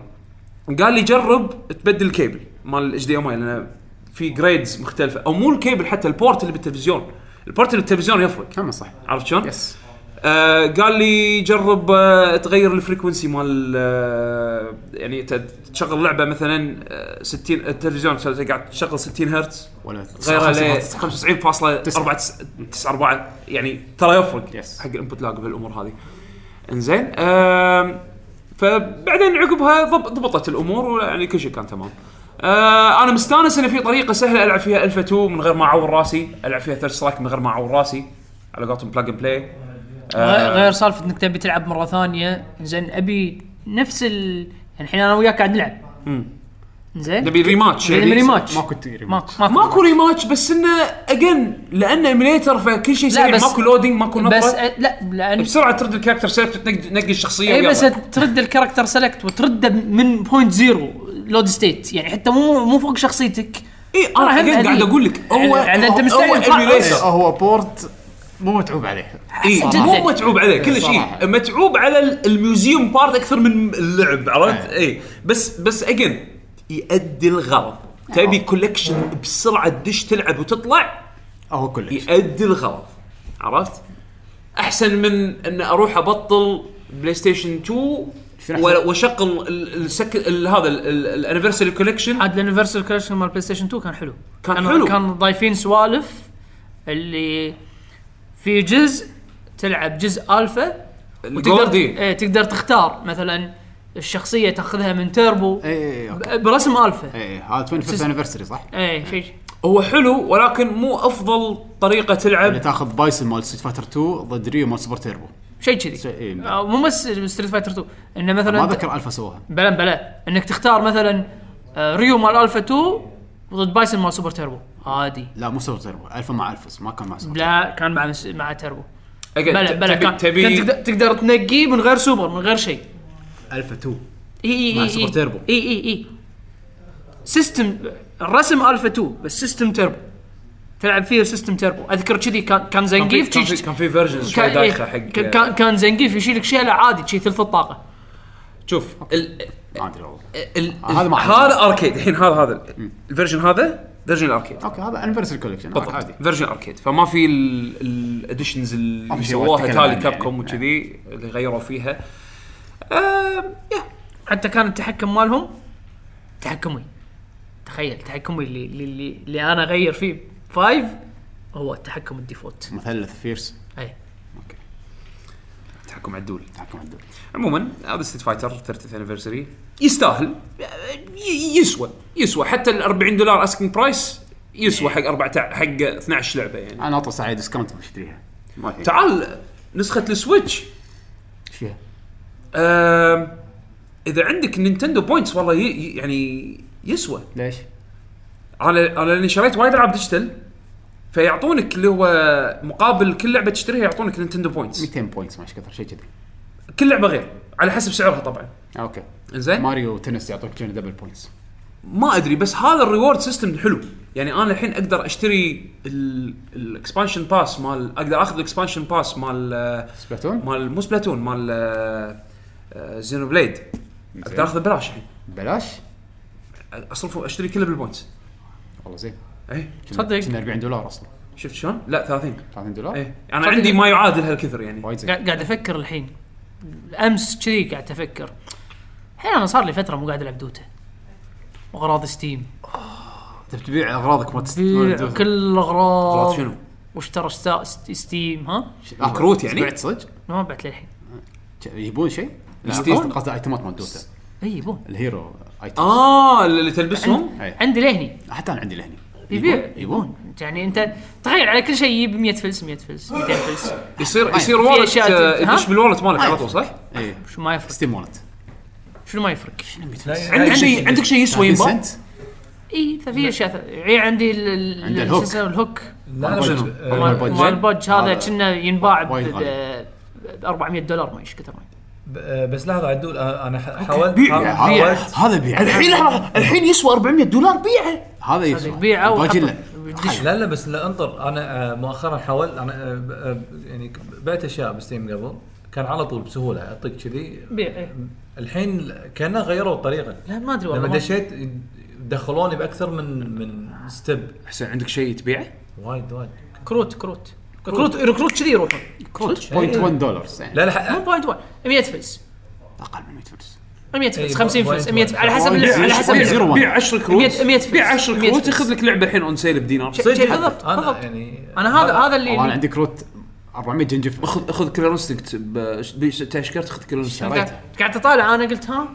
قال لي جرب تبدل الكيبل مال الاتش دي ام اي لان في جريدز مختلفه او مو الكيبل حتى البورت اللي بالتلفزيون البورت اللي بالتلفزيون يفرق كان صح عرفت شلون؟ يس آه قال لي جرب آه تغير الفريكونسي مال آه يعني ت- تشغل لعبه مثلا آه 60 التلفزيون قاعد تشغل 60 هرتز ولا غير عليه 95 95.94 يعني ترى يفرق Yes. حق الانبوت لاج بهالامور هذه انزين آم، فبعدين عقبها ضب- ضبطت الامور ويعني كل شيء كان تمام آه، انا مستانس ان في طريقه سهله العب فيها الفا 2 من غير ما اعور راسي العب فيها ثيرد سترايك من غير ما اعور راسي على قولتهم بلاج اند بلاي آه. غير غير سالفه انك تبي تلعب مره ثانيه زين ابي نفس ال يعني الحين انا وياك قاعد نلعب زين نبي ريماتش نبي ريماتش ماكو تيري ماكو ماكو ماكو ريماتش بس انه اجن لانه ايميليتر فكل شيء سريع بس- ماكو لودينج ماكو نطه بس أ- لا لان بسرعه ترد الكاركتر سيلكت تنقي الشخصيه اي ويلا. إيه، بس ترد الكاركتر سيلكت وترده من بوينت زيرو لود ستيت يعني حتى مو مو فوق شخصيتك اي ترى انا هذه- الحين إيه، قاعد هذه. اقول لك هو يعني انت مستعجل أول طلع- emulator. هو بورت مو متعوب عليه اي صراحة. مو متعوب عليه كل صراحة. شيء متعوب على ال- الميوزيوم بارت اكثر من اللعب عرفت اي بس بس اجين يؤدي الغرض تبي كولكشن بسرعه تدش تلعب وتطلع هو كلش يؤدي الغرض عرفت احسن من ان اروح ابطل بلاي ستيشن 2 و- شنو أحسن؟ واشغل ال- السك ال- هذا الانيفرساري كولكشن عاد الانيفرسال كولكشن مال بلاي ستيشن 2 كان حلو كان كانوا- حلو. كان ضايفين سوالف اللي في جزء تلعب جزء الفا وتقدر الجولدي. ايه تقدر تختار مثلا الشخصيه تاخذها من تيربو اي اي ب- إيه، أوكي. إيه. برسم إيه، الفا اي هذا 25 انيفرساري صح؟ اي شيء هو حلو ولكن مو افضل طريقه اللي تلعب يعني تاخذ بايسن مال ستيت فاتر 2 ضد ريو مال سوبر تيربو شيء كذي شيء- إيه. آه، مو بس ستريت فايتر 2 انه مثلا ما أنت- اذكر الفا سواها بلا بلا انك تختار مثلا آه، ريو مال الفا 2 ضد بايسن مال سوبر تيربو عادي لا مو سوبر تيربو الفا مع الفا ما كان مع سوبر لا كان مع مس- مع تيربو أجل، بلا ت- بلا تبي- كان, تبي كان تقدر, تقدر تنقيه من غير سوبر من غير شيء الفا 2 اي اي مع اي سوبر تيربو. اي اي اي سيستم الرسم الفا 2 بس سيستم تيربو تلعب فيه سيستم تيربو اذكر كذي كان كان كان في- زنقيف كان في- شي- كان في فيرجنز شوي كان- دايخه إيه، حق كان- كان كان زنقيف يشيلك شيله عادي شي ثلث الطاقه شوف ال- ما ادري والله ال- آه، هذا ما أعرف. هذا اركيد الحين هذا هذا الفيرجن هذا فيرجن الاركيد اوكي هذا انفرسال كوليكشن عادي بالضبط فيرجن اركيد فما في الاديشنز في اللي شيء سووها أتكلم تالي عنه كاب يعني. كوم وكذي اللي غيروا فيها آم، يا حتى كان التحكم مالهم تحكمي تخيل تحكمي اللي اللي, اللي انا اغير فيه فايف هو التحكم الديفولت مثلث فيرس اي تحكم عدول تحكم عدل عموما هذا ستيت فايتر 30th anniversary يستاهل ي- يسوى يسوى حتى ال 40 دولار اسكينج برايس يسوى حق 14 حق 12 لعبه يعني انا اطلع ساعه ديسكاونت بشتريها ما في تعال نسخه السويتش إيش فيها آم، اذا عندك نينتندو بوينتس والله ي- ي- يعني يسوى ليش؟ انا انا لاني شريت وايد العاب ديجيتال فيعطونك اللي هو مقابل كل لعبه تشتريها يعطونك نينتندو بوينتس 200 بوينتس ما ايش كثر شيء كذي كل لعبه غير على حسب سعرها طبعا اوكي زين ماريو تنس يعطوك جون دبل بوينتس ما ادري بس هذا الريورد سيستم حلو يعني انا الحين اقدر اشتري الاكسبانشن باس مال اقدر اخذ الاكسبانشن باس مال آه، سبلاتون مال مو سبلاتون مال آه، آه، زينو بليد اقدر اخذه ببلاش الحين ببلاش اصرف اشتري كله بالبوينتس إيه؟ والله زين اي صدق. كنا 40 دولار اصلا شفت شلون؟ لا 30 30 دولار اي انا عندي ما يعادل هالكثر يعني وايد زين قاعد قاعد افكر الحين امس كذي قاعد افكر الحين انا صار لي فتره مو قاعد العب دوتا واغراض ستيم تبي تبيع اغراضك ما بيع كل الاغراض شنو؟ واشترى ستا- ست- ستيم ها؟ كروت يعني؟ بعت صدق؟ ما بعت للحين يبون شيء؟ لا ستيم. قصد- قصد ايتمات مال دوتا اي بون الهيرو ايتم اه اللي تلبسهم أي. عندي لهني حتى انا عندي لهني يبيع يبون يبون يعني انت تخيل على كل شيء يجيب 100 فلس 100 فلس 200 فلس يصير يصير في والت أشياء آه، تد- ها؟ يدش بالوالت مالك على طول صح؟ اي شو ما يفرق ستيم والت شنو ما يفرق عندك شيء عندك شيء يسوى ينباع؟ سنت اي ففي اشياء ث- يعني عندي ال- ال- عند شو الهوك. اسمه الهوك لا لا شنو؟ بس- والله آه، البودج. مال البودج هذا هذا كنا ينباع ب وايد غالي. ب 400 دولار ما ايش كثر ما ب- آه، بس لحظه عدول آه، انا ح- حاولت بيع. حاولت- هذا هذا بيع الحين الحين يسوى 400 دولار بيعه هذا يسوى تبيعه الباجي وحطه- لا وتدش. لا لا بس لا انطر انا آه، مؤخرا حاولت انا آه، ب- آه، يعني ك- بعت اشياء بستيم قبل كان على طول بسهوله اعطيك كذي بيع إيه. الحين كانه غيروا الطريقه لا ما ادري والله لما ما- دشيت دخلوني باكثر من من ستيب حسين عندك شيء تبيعه؟ وايد وايد كروت كروت كروت ركروت كذي يروحون كروت 0.1 دولار يعني لا لا ح- مو بوينت 1 100 فلس اقل من 100 فلس 100 فلس إيه، 50 فلس بوينت 100 واحد. على حسب بوينت على زيرو. حسب بوينت زيرو. بيع بيع 10 كروت 100 100 فلس. بيع 10 100 كروت فلس. ياخذ لك لعبه الحين اون سيل بدينار شيء بالضبط انا بالضبط يعني انا هذا هذا اللي والله انا عندي كروت 400 جنجف خذ خذ كليرنستك تعيش كرت خذ كليرنستك قاعد قاعد اطالع انا قلت ها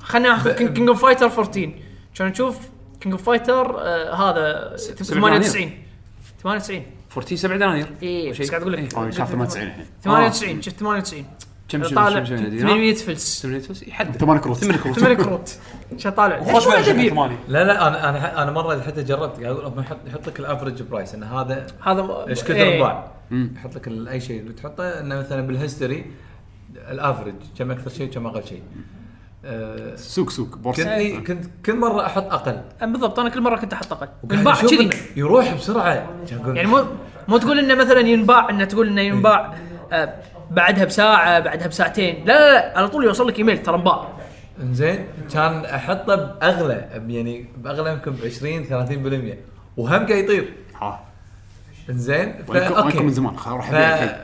خلنا اخذ كينج اوف فايتر 14 عشان نشوف كينج اوف فايتر آه، هذا 98 98 14 7 دنانير اي إيه، بس قاعد اقول لك أنا شاف 98 الحين 98 شفت 98 كم شنو- طالع كم شنو دينار؟ 800 فلس 8 فلس يحدد 8 كروت 8 كروت 8 كروت شو طالع ليش ما أدري؟ لا لا انا انا ح- انا مره حتى جربت قاعد اقول لهم يحط يحط لك الافرج برايس ان هذا هذا م- ايش كثر إيه. باع يحط لك ال- اي شيء بتحطه انه مثلا بالهيستوري الافرج كم اكثر شيء كم اقل شيء آه، سوق سوق بورصه كنت إيه، كنت كل مره احط اقل بالضبط انا كل مره كنت احط اقل وقاعد ينباع أشوف كذي إنه يروح بسرعه كان أقول يعني مو مو تقول انه مثلا ينباع انه تقول انه ينباع آه، بعدها بساعه بعدها بساعتين لا لا لا على طول يوصل لك ايميل ترى انباع انزين كان احطه باغلى ب- يعني باغلى يمكن ب 20 30% وهم قاعد يطير ها انزين فا وينكم وينكم من اوكي زمان خلاص اروح ف ابيع الحين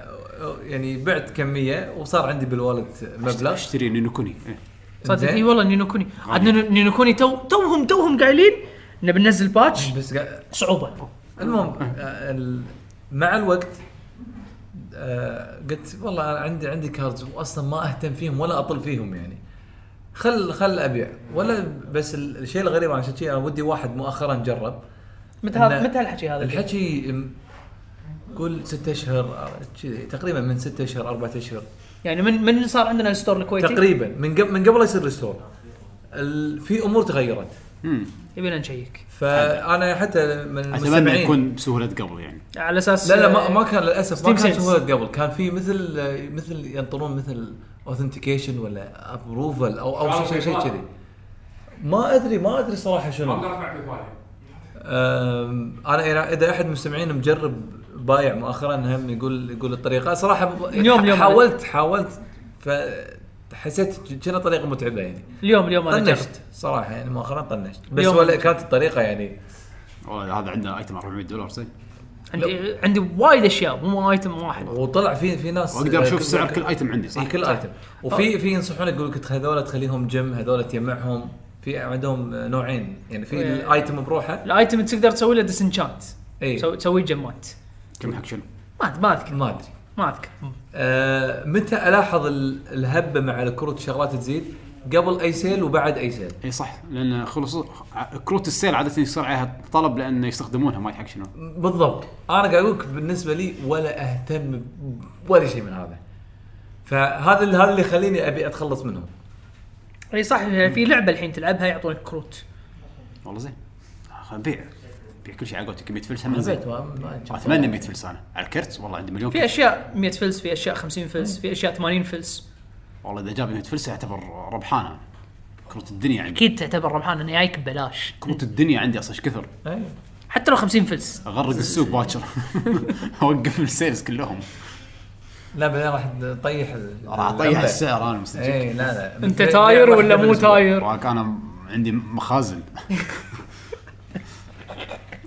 يعني بعت كميه وصار عندي بالوالد مبلغ اشتري نينوكوني إيه. صدق إيوه. إنزين. اي والله نينوكوني عاد نينو- نينوكوني تو توهم توهم قايلين انه بننزل باتش بس قاعد صعوبه المهم آه، ال- مع الوقت آه، قلت والله انا عندي عندي كاردز واصلا ما اهتم فيهم ولا اطل فيهم يعني خل خل ابيع ولا بس ال- الشيء الغريب عن شيء انا ودي واحد مؤخرا جرب متى هذا- إنه- متى هالحكي هذا الحكي م- قول ستة اشهر آه، شي- تقريبا من ستة اشهر أربعة اشهر يعني من من صار عندنا الستور الكويتي تقريبا من قبل من قبل لا يصير الستور ال- في امور تغيرت يبينا نشيك فانا حتى من اتمنى المستمعين يكون بسهوله قبل يعني على اساس لا لا ما, ما كان للاسف ما Steam كان sales. سهوله قبل كان في مثل مثل ينطرون مثل اوثنتيكيشن ولا ابروفل او او شيء شيء كذي ما ادري ما ادري صراحه شنو اقدر ارفع ببالي أم، انا يعني اذا احد من المستمعين مجرب بايع مؤخرا هم يقول يقول الطريقه صراحه ب- اليوم- اليوم حاولت حاولت فحسيت ج- كأنها طريقه متعبه يعني اليوم اليوم انا جربت طنشت صراحه يعني مؤخرا طنشت بس اليوم- ولا كانت الطريقه يعني والله هذا عنده ايتم 400 دولار زين عندي عندي وايد اشياء مو ايتم واحد وطلع في في ناس واقدر اشوف كل- سعر كل ايتم عندي صح؟ في كل ايتم وفي في ينصحونك يقول لك هذول تخليهم جيم هذول تجمعهم في عندهم نوعين يعني في إيه. الايتم بروحه الايتم تقدر تسوي له ديسنشانت اي تسوي جمات كم حق شنو؟ ما ما اذكر ما ادري ما اذكر آه، متى الاحظ ال- الهبه مع الكروت شغلات تزيد قبل اي سيل وبعد اي سيل اي إيه صح لان خلص كروت السيل عاده يصير عليها طلب لانه يستخدمونها ما أدري حق شنو بالضبط انا قاعد اقول لك بالنسبه لي ولا اهتم ب- ولا شيء من هذا فهذا اللي هذا اللي يخليني ابي اتخلص منهم اي صح في لعبه الحين تلعبها يعطونك كروت والله زين خل بيع بيع كل شيء على قولتك 100 فلس هم زين زين اتمنى 100 فلس انا على الكرت والله عندي مليون في كرت اشياء 100 فلس في اشياء 50 إيه. فلس في اشياء 80 فلس والله اذا جاب 100 فلس يعتبر ربحان أنا. كروت الدنيا عندي اكيد تعتبر ربحان انه جايك ببلاش كروت الدنيا عندي اصلا ايش كثر حتى لو 50 فلس اغرق السوق باكر اوقف السيلز كلهم لا بعدين راح تطيح ال- راح اطيح الهبة. السعر انا مستجيب اي لا لا انت تاير راح ولا تبدأ مو بالأسبوع. تاير وراك انا م- عندي مخازن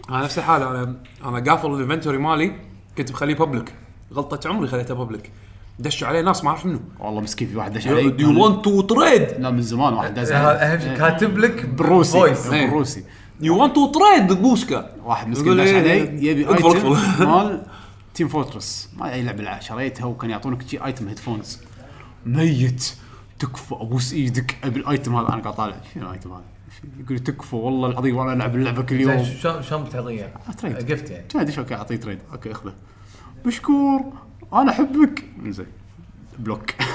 انا نفس الحاله انا انا قافل الانفنتوري مالي كنت مخليه بابليك غلطه عمري خليته بابليك دشوا عليه ناس ما اعرف منو والله مسكين في واحد دش علي يو ونت تو تريد لا من زمان واحد داز هذا علي إيه. اهم شيء كاتب لك بالروسي فويس إيه. بالروسي يو ونت تو تريد بوشكا واحد مسكين يقول داش إيه، علي إيه، يبي اقفل ايتم اقفل مال تيم فورترس ما اي لعبه لع- شريتها وكان يعطونك شي ايتم هيدفونز ميت تكفى ابوس ايدك ابي الايتم هذا انا قاعد طالع شنو الايتم هذا؟ يقول لي تكفى والله العظيم وانا العب اللعبه كل يوم زين، شلون شلون بتعطيه؟ تريد. جفت يعني كان ادش اوكي اعطيه تريد اوكي اخذه مشكور انا احبك زين بلوك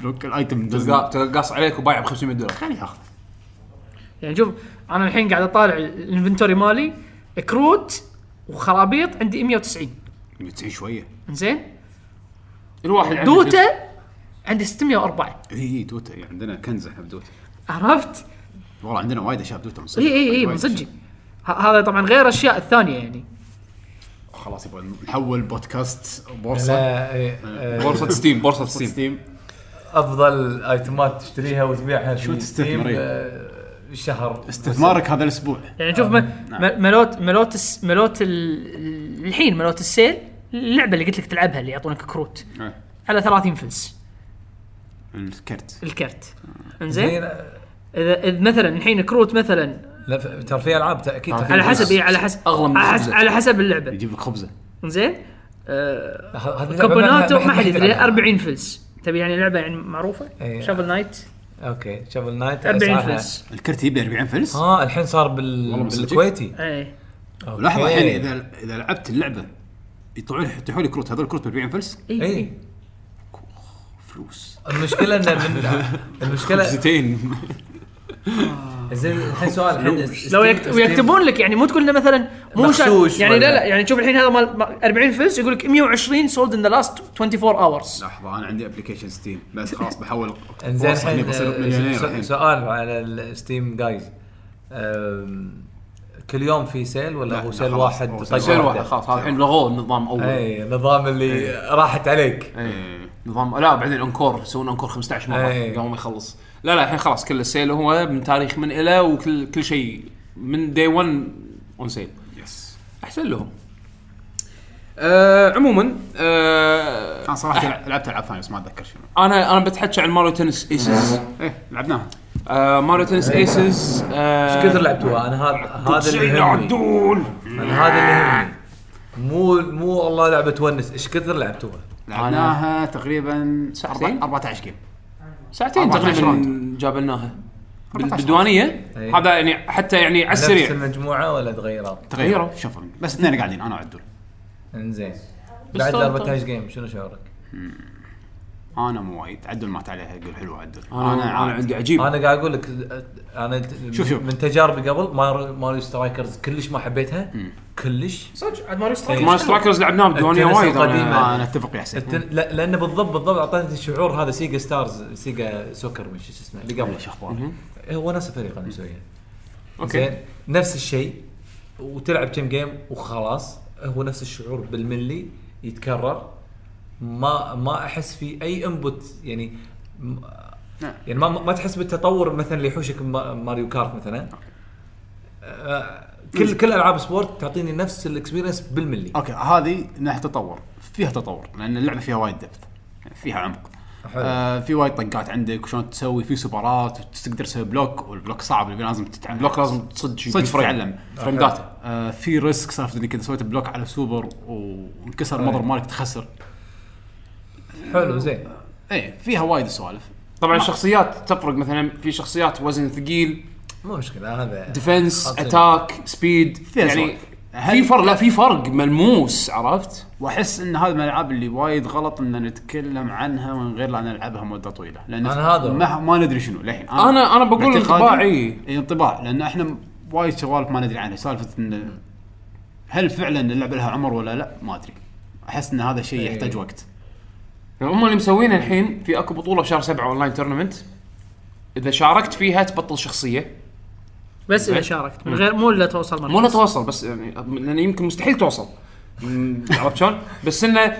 بلوك الايتم تلقاه- تلقاه قاص عليك وبايع ب 500 دولار خليه ياخذ يعني شوف انا الحين قاعد اطالع الانفنتوري مالي كروت وخرابيط عندي 190 متسعين شويه زين الواحد عنده شيء. دوتا عندي 604 اي اي دوتا إي، عندنا كنز احنا بدوتا عرفت؟ والله عندنا وايد اشياء بدوتا من صدق طيب، اي اي اي وايد من أشياء. صدقي ه- هذا طبعا غير اشياء الثانيه يعني خلاص يبغى نحول بودكاست بورصه لا إيه، آه، بورصه ستيم بورصه ستيم ستيم افضل ايتمات تشتريها وتبيعها شو في تستثمر Steam، إيه؟ آه، شهر استثمارك هذا الاسبوع يعني شوف آه، م- نعم. م- ملوت ملوت الس- ملوت ال- الحين ملوت السيل اللعبه اللي قلت لك تلعبها اللي يعطونك كروت آه. إيه. على 30 فلس الكرت الكرت انزين زين آه، اذا إذ مثلا الحين كروت مثلا لا ف- ترى في العاب تا- آه، اكيد ترى ترى في على خبز. حسب اي على حسب أغلى من على حسب, الخبزة. على حسب اللعبه يجيب لك خبزه انزين آه، ه- هذه اللعبة كوبوناتو ما حد يدري يلعبها. 40 إيه، فلس تبي يعني لعبه يعني معروفه إيه. شافل نايت اوكي شوف نايت 40 أسعارها. فلس الكرت يبي 40 فلس اه الحين صار بال... والله مصدق. بالكويتي ايه أوكي. لحظه الحين اذا اذا لعبت اللعبه يطلعون يطيحوا لي كروت هذول الكروت ب 40 فلس إيه. اي فلوس المشكله انه من المشكله زيتين زين الحين سؤال الحين س- لو ستيم- يكت... ستيم- ويكتبون لك يعني مو تقول لنا مثلا مو شا... مغشوش يعني لا ولا- لا يعني شوف الحين هذا مال مال 40 فلس يقول لك 120 سولد ان ذا لاست 24 اورز لحظه انا عندي ابلكيشن ستيم بس خلاص بحول انزين بورصة، الحين إني بصير آه، مليونير س- الحين سؤال على الستيم جايز أم، كل يوم في سيل لا، ولا هو لا، سيل خلاص، واحد هو سيل طقة عشان واحد خلاص هذا الحين لغوه النظام اول اي نظام اللي راحت عليك إيه. نظام لا بعدين انكور يسوون انكور 15 مره إيه. قبل ما يخلص لا لا الحين خلاص كل السيل هو من تاريخ من الى وكل كل شيء من دي 1 اون سيل يس احسن لهم آه عموما آه انا صراحه لعبت العاب ثانيه بس ما اتذكر شنو انا انا بتحكي عن ماريو تنس ايسز ايه لعبناها آه ماريو تنس آه، ايسز آه. ايش كثر لعبتوها انا هذا هذا اللي يهمني انا هذا اللي يهمني مو مو والله لعبه تونس ايش كثر لعبتوها لعبناها تقريبا ساعتين؟ أربع- 14 جيم ساعتين 14 تقريبا راوند. جابلناها بال- 14 بالديوانيه إيه. هذا يعني حتى يعني على نفس السريع المجموعه ولا تغيرات؟ تغيروا شفرنج أيوة. بس اثنين قاعدين انا وعدول انزين بعد طبعاً. 14 جيم شنو شعورك؟ انا مو وايد عدول مات عليها يقول حلو عدول انا انا عندي عجيب انا قاعد اقول لك انا ت- شوف- شوف. من تجاربي قبل ماريو ماريو سترايكرز كلش ما حبيتها كلش صدق عاد ماريو سترايكرز ماريو سترايكرز لعبناه بديوانيه التنس وايد القديمة. أنا- آه انا اتفق يا حسين التن- لا لانه بالضبط بالضبط اعطاني الشعور هذا سيجا ستارز سيجا سوكر مش شو اسمه اللي قبله ايش اخبارك؟ هو نفس الفريق اللي مسويه اوكي زين نفس الشيء وتلعب كم جيم وخلاص هو نفس الشعور بالملي يتكرر ما ما احس في اي انبوت يعني م- يعني ما ما تحس بالتطور مثلا اللي يحوشك ما- ماريو كارت مثلا آه، كل كل العاب سبورت تعطيني نفس الاكسبيرينس بالملي اوكي هذه ناحيه تطور فيها تطور لان اللعبه فيها وايد دبث فيها عمق حلو. آه في وايد طقات عندك وشلون تسوي في سوبرات وتقدر تسوي بلوك والبلوك صعب اللي لازم تتعلم بلوك لازم تصد شي صدق فريم. تتعلم فريم داتا آه في ريسك سالفه انك اذا سويت بلوك على سوبر وانكسر المضرب مالك تخسر حلو زين ايه فيها وايد سوالف طبعا الشخصيات تفرق مثلا في شخصيات وزن ثقيل مو مشكله هذا ديفنس خاصة. اتاك سبيد فيها يعني سوالف. في فرق لا في فرق ملموس عرفت واحس ان هذا من الالعاب اللي وايد غلط ان نتكلم عنها من غير لا نلعبها مده طويله لان أنا هذا هو. ما, ما ندري شنو للحين أنا- أنا بقول باعتقادي- انطباع إي. اي انطباع لان احنا وايد سوالف ما ندري عنها سالفه ان هل فعلا اللعبه لها عمر ولا لا ما ادري احس ان هذا شيء إي. يحتاج وقت هم اللي مسوينه الحين في اكو بطوله بشهر سبعة اونلاين تورنمنت اذا شاركت فيها تبطل شخصيه بس اذا شاركت من غير مو الا توصل مرة مو لا توصل بس يعني لان يمكن مستحيل توصل مم، عرفت شلون؟ بس انه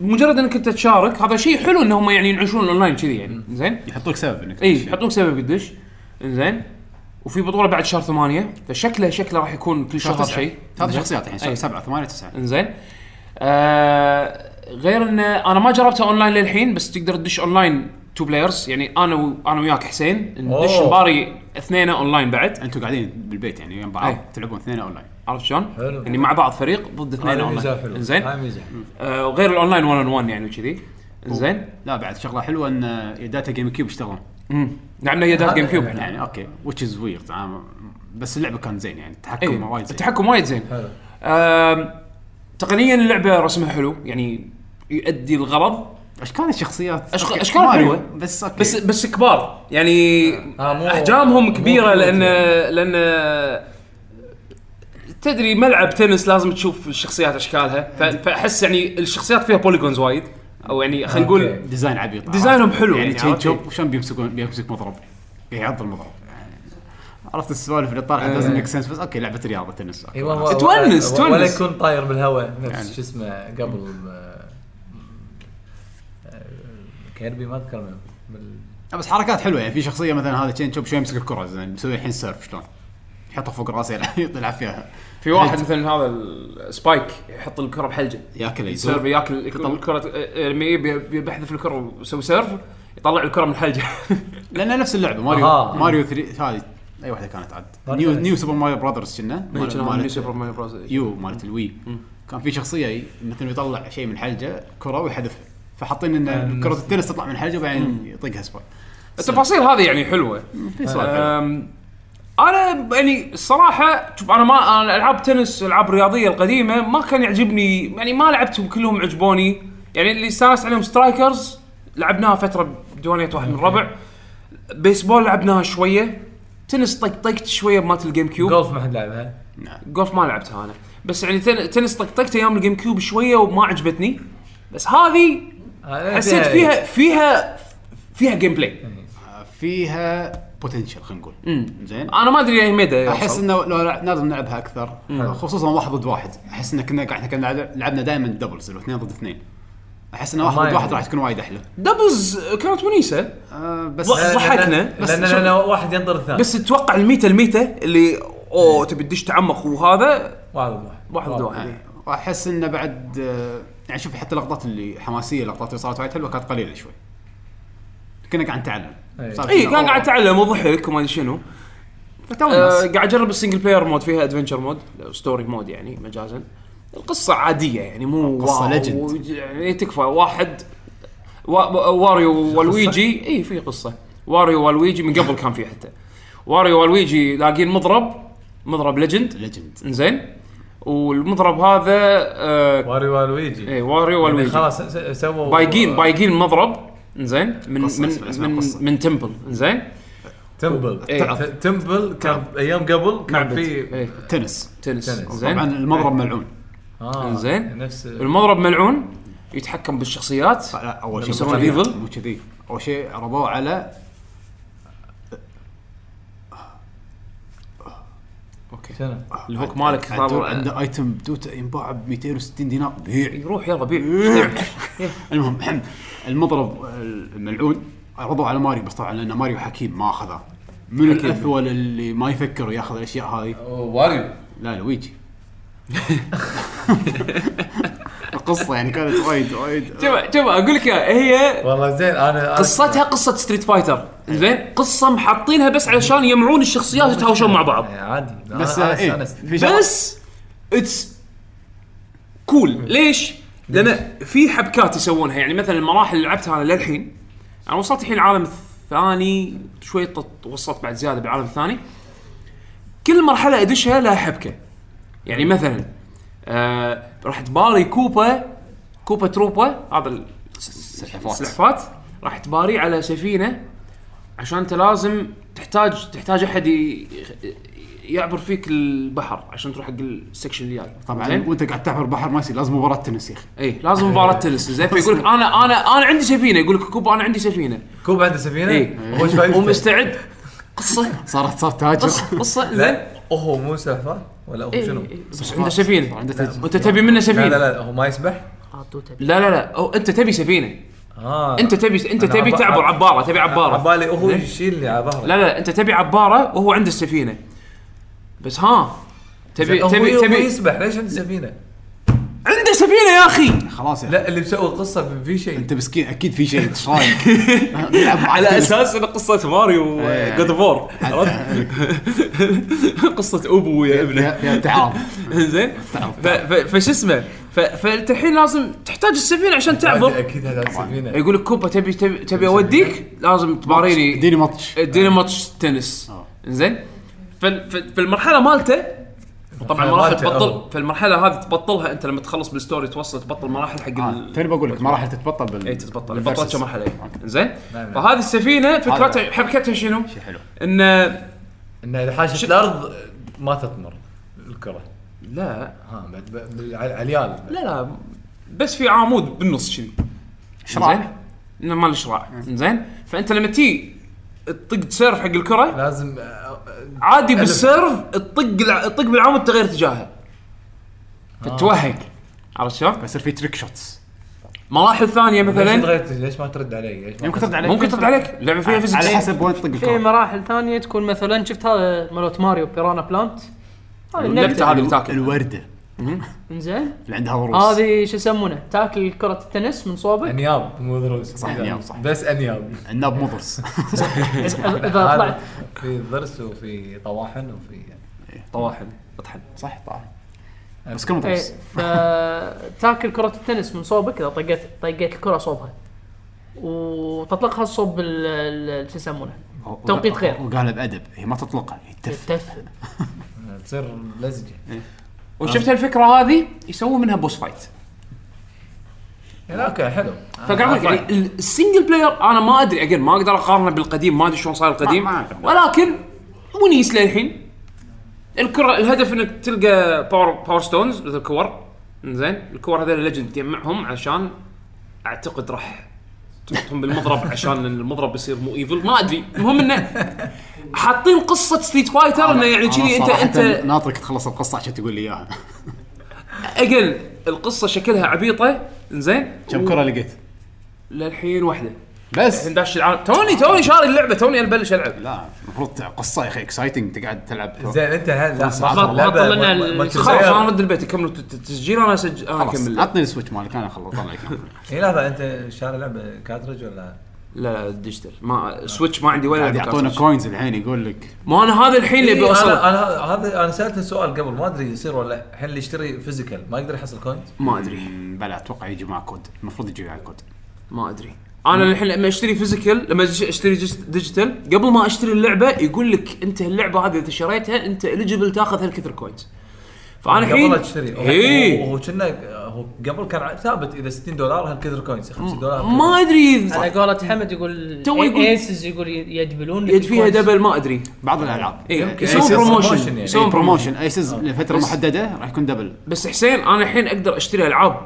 مجرد انك انت تشارك هذا شيء حلو انهم يعني ينعشون الاونلاين كذي يعني زين؟ يحطوك سبب انك اي يحطون إيه، سبب قديش زين وفي بطوله بعد شهر ثمانية فشكله شكله راح يكون كل شهر شيء ثلاث زين؟ شخصيات الحين إي. سبعه ثمانيه تسعه انزين آه غير ان انا ما جربتها اونلاين للحين بس تقدر تدش اونلاين تو بلايرز يعني انا و... انا وياك حسين ندش أوه. مباري اثنين اونلاين بعد انتم قاعدين بالبيت يعني ويا بعض إي. تلعبون اثنين اونلاين عرفت شلون؟ حلو. يعني مع بعض فريق ضد اثنين هذا ميزه اونلاين حلوه انزين هاي ميزه آه وغير الاونلاين 1 اون 1 يعني وكذي انزين لا بعد شغله حلوه ان داتا جيم كيوب إيه، يشتغلون مم. لعبنا يدات هذا جيم كيوب يعني. يعني اوكي وتش از ويرد بس اللعبه كان زين يعني اي التحكم وايد زين إيه، التحكم وايد زين حلو آم، تقنيا اللعبه رسمها حلو يعني يؤدي الغرض اشكال الشخصيات أشخ- أوكي، أشكال ماريو، حلوة. بس اوكي بس بس كبار يعني إيه. آه، مو- احجامهم مو كبيره كيوت لان يعني. لان تدري ملعب تنس لازم تشوف الشخصيات اشكالها ف- فاحس يعني الشخصيات فيها بوليجونز وايد او يعني خلينا نقول أوكي. ديزاين عبيط ديزاينهم حلو يعني يعني، تشين عرفت؟ تشوب شلون بيمسكون بيمسك مضرب يعض المضرب يعني عرفت السوالف اللي طالعه دازنت ميك سنس بس اوكي لعبه رياضه تنس أوكي. إيوه. ايوه و- تونس- و- تونس. ولا يكون طاير بالهواء نفس يعني. شو اسمه قبل آه، آه، كيربي ما اذكر منه بال- لا، بس حركات حلوه يعني في شخصيه مثلا هذا تشين تشوب شلون يمسك الكره زين مسوي الحين سيرف شلون يحطها فوق راسه يلعب- يطلع فيها في واحد مثلا هذا ال- سبايك يحط الكره بحلجه سيرف ياكل يعني يزور ياكل الكره آه، لما يبي بيحذف الكره ويسوي سيرف يطلع الكره من الحلجه لان نفس اللعبه ماريو أها. ماريو 3 هذه اي واحده كانت عاد ماريو نيو ثري. نيو سوبر ماريو براذرز كنا مالت- مالت- سوبر ماريو بروز. يو مالت الوي كان في شخصيه ي- مثلا يطلع شيء من حلجه كره ويحذفها فحاطين ان كره التنس تطلع من حلجه وبعدين يطقها سبايك التفاصيل هذه يعني حلوه في سؤال حلو. أم، انا يعني الصراحه شوف انا ما انا العاب تنس العاب رياضيه القديمه ما كان يعجبني يعني ما لعبتهم كلهم عجبوني يعني اللي استانست عليهم سترايكرز لعبناها فتره بديوانيه واحد من ربع بيسبول لعبناها شويه تنس طقطقت شويه بمات الجيم كيوب جولف ما حد لعبها جولف ما لعبتها انا بس يعني تن- تنس طقطقت ايام الجيم كيوب شويه وما عجبتني بس هذه آه، حسيت فيها فيها فيها جيم بلاي آه، فيها بوتنشل خلينا نقول زين انا ما يعني ادري اي مدى احس يوصل. انه لو لع- لازم نلعبها اكثر خصوصا واحد ضد واحد احس ان كنا احنا كنا لعب- لعبنا دائما دبلز اللي هو اثنين ضد اثنين احس ان واحد ما ضد واحد يعني. راح تكون وايد احلى دبلز كانت ونيسه أه بس لا، لا. ضحكنا. بس بس لان شوف- لأن واحد ينطر الثاني بس تتوقع الميتا الميتا اللي اوه تبي تدش تعمق وهذا واحد واحد واحد إيه، ضد واحد يعني واحس انه بعد آه، يعني شوف حتى اللقطات اللي حماسيه اللقطات اللي صارت وايد حلوه كانت قليله شوي كنا قاعد نتعلم أي. صار اي كنا- كان إيه، قاعد اتعلم وضحك وما ادري شنو فتو آه، الناس. قاعد اجرب السنجل بلاير مود فيها ادفنشر مود ستوري مود يعني مجازا القصه عاديه يعني مو قصة واو، legend. و- يعني تكفى واحد وا- وا- واريو والويجي اي في قصه واريو والويجي من قبل كان في حتى واريو والويجي لاقين مضرب مضرب ليجند ليجند زين والمضرب هذا آه واري والويجي اي واريو يعني والويجي خلاص س- س- سووا بايقين بايقين مضرب زين من قصة من اسمها- اسمها من, قصة. من تمبل زين تمبل إيه. نعم. ت- تمبل كان ايام قبل كان في إيه، تنس تنس نعم، تنس. طبعا زين المضرب ملعون آه، زين. نفس المضرب ملعون يتحكم بالشخصيات لا اول طيب، شيء يسوون مو كذي، يعني evil. مو كذي اول شيء ربوه على شنو؟ الهوك مالك عدول طال- عنده ايتم دوتا ينباع ب 260 دينار بيع يروح يلا بيع إيه. المهم المضرب الملعون عرضوا على ماريو بس طبعا لان ماريو حكيم ما اخذه من الاثول اللي ما يفكر ياخذ الاشياء هذه واريو لا لويجي القصه يعني كانت وايد وايد شوف شوف اقول لك إياها، هي والله زين انا أنا- قصتها قصه ستريت فايتر إيه. زين قصه محاطينها بس علشان يجمعون الشخصيات ويتهاوشون مع بعض إيه، عادي بس أنا- أنا ايه استانست. في شغلة- بس اتس كول ليش؟ لان في حبكات يسوونها يعني مثلا المراحل اللي لعبتها انا للحين انا وصلت الحين العالم الثاني شوي طط- وصلت بعد زياده بالعالم الثاني كل مرحله ادشها لها حبكه يعني مثلا آه راح تباري كوبا كوبا تروبا هذا ال- السلحفات راح تباري على سفينه عشان انت لازم تحتاج تحتاج احد ي- يعبر فيك البحر عشان تروح حق السكشن اللي جاي طبعا زين؟ وانت قاعد تعبر بحر ما يصير لازم مباراه تنس يا اخي اي لازم مباراه تنس زين فيقول لك انا انا انا عندي سفينه يقول لك كوبا انا عندي سفينه كوب عنده سفينه إيه. هو ايش فايدته؟ ومستعد قصه صارت صار تاجر قصه قصه زين لا هو إيه؟ مو سلحفاه ولا هو إيه، شنو؟ إيه، بس عنده سفينه عنده تاجر وانت تبي منه لا سفينه لا لا هو ما يسبح؟ حاطوه تبي لا لا لا أو انت تبي سفينه اه انت تبي انت أنا تبي عب- تعبر عب- عباره تبي عباره عبالي هو يشيلني على ظهره لا لا لا، انت تبي عباره وهو عنده السفينه بس ها تبي زين، هو- تبي هو تبي يسبح ليش عنده سفينه؟ عنده سفينه يا اخي خلاص يا أخي. لا اللي مسوي القصه في شيء انت مسكين اكيد في شيء ايش رايك؟ نلعب مع التنس. ان قصه ماريو إيه. جود فور عاد- قصه ابو ويا ابنه فيها فيها تعارض زين ف- ف- فش اسمه ف- فانت الحين لازم تحتاج السفينه عشان تعبر إيه. اكيد هذا سفينه يقول لك كوبا تبي تبي تبي اوديك لازم تباريني اديني ماتش اديني ماتش تنس آه. زين فال- ف- فالمرحله مالته طبعا مراحل مالته، تبطل آه. أوه. فالمرحله هذه تبطلها انت لما تخلص بالستوري توصل تبطل مراحل حق آه، ال... توني بقول لك مراحل تتبطل بال اي تتبطل بالفيرسز. بطلت مرحله آه. زين نعم. فهذه السفينه فكرتها حبكتها شنو؟ شيء حلو ان انه اذا حاشت الارض ما تطمر الكره لا ها بعد ب- بال- على- عليال لا لا بس في عمود بالنص كذي شراع آه. انه مال الشراع زين فانت لما تي تطق سيرف حق الكره لازم آه، آه، عادي بالسيرف تطق الع- تطق بالعمود تغير اتجاهها فتوهق عرفت شلون؟ فيصير في تريك شوتس مراحل ثانيه ليش مثلا تغيرت ليش ما ترد علي؟ ليش ما يمكن ترد عليك ممكن ترد عليك اللعبه فيها فيزكس على حسب وين تطق في الكره مراحل ثانيه تكون مثلا شفت هذا مالوت ماريو بيرانا بلانت هذه النبتة النبتة. هذه اللي تاكل الورده انزين اللي عندها ضروس هذه شو يسمونه تاكل كره التنس من صوبك انياب مو ضروس صح، أنياب، صح. بس انياب الناب مو ضرس اذا طلعت في ضرس وفي طواحن وفي طواحن اطحن صح طبعا بس كلهم إيه، ضرس فتاكل كرة التنس من صوبك اذا طقيت طقيت الكرة صوبها وتطلقها صوب ال- ال- شو يسمونه توقيت خير. وقالها بادب هي ما تطلقها هي تف التف تصير لزجه وشفت الفكره هذه يسووا منها بوس فايت يعني اوكي حلو فقاعد آه، اقول لك طيب. يعني ال- السنجل بلاير انا ما ادري اجين ما اقدر اقارنه بالقديم ما ادري شلون صار القديم ما- ما أقدر. ولكن ونيس للحين الكره الهدف انك تلقى باور باور ستونز مثل الكور زين الكور هذول ليجند تجمعهم عشان اعتقد راح تحطهم بالمضرب عشان المضرب يصير مو ايفل ما ادري المهم انه حاطين قصه ستريت فايتر انه يعني أنا كذي انت صراحة انت ناطرك تخلص القصه عشان تقول لي اياها اجين القصه شكلها عبيطه زين كم كره لقيت للحين واحده بس الحين داش العالم توني توني شاري اللعبه توني أنا بلش العب لا المفروض قصه يا اخي اكسايتنج انت قاعد تلعب زين انت هل لا، صعب. ما- ما لعبة طلعنا ما- ما- ما ال- خلاص تغير. انا ارد البيت اكمل الت- التسجيل انا اسجل انا خلاص، اكمل عطني السويتش مالك انا اخلص اطلع لك اي لحظه انت إيه، شاري لعبه كاترج ولا لا لا ديجيتال ما سويتش ما عندي ولا قاعد لعبة يعطونا كارتريج. كوينز الحين يقول لك ما انا هذا الحين اللي إيه، بوصل انا انا هذا انا سالت السؤال قبل ما ادري يصير ولا لا. الحين اللي يشتري فيزيكال ما يقدر يحصل كوينز ما ادري بلا اتوقع يجي معاه كود المفروض يجي معاه كود ما ادري انا الحين لما اشتري فيزيكال لما أج- اشتري جس- ديجيتال قبل ما اشتري اللعبه يقول لك انت اللعبه هذه اذا شريتها انت اليجبل تاخذ هالكثر كوينز فانا قبل لا الحين إيه. تشتري اي وهو كنا هو قبل كان ع- ثابت اذا 60 دولار هالكثر كوينز 50 دولار ما هالكثر. ادري على قولة حمد يقول تو يقول- ايسز يقول يدبلون يد فيها دبل ما ادري بعض الالعاب إيه، يمكن. يسوون أي سيزون بروموشن إيه، promotion يعني. يسوون بروموشن بروموشن ايسز لفتره محدده راح يكون دبل بس حسين انا الحين اقدر اشتري العاب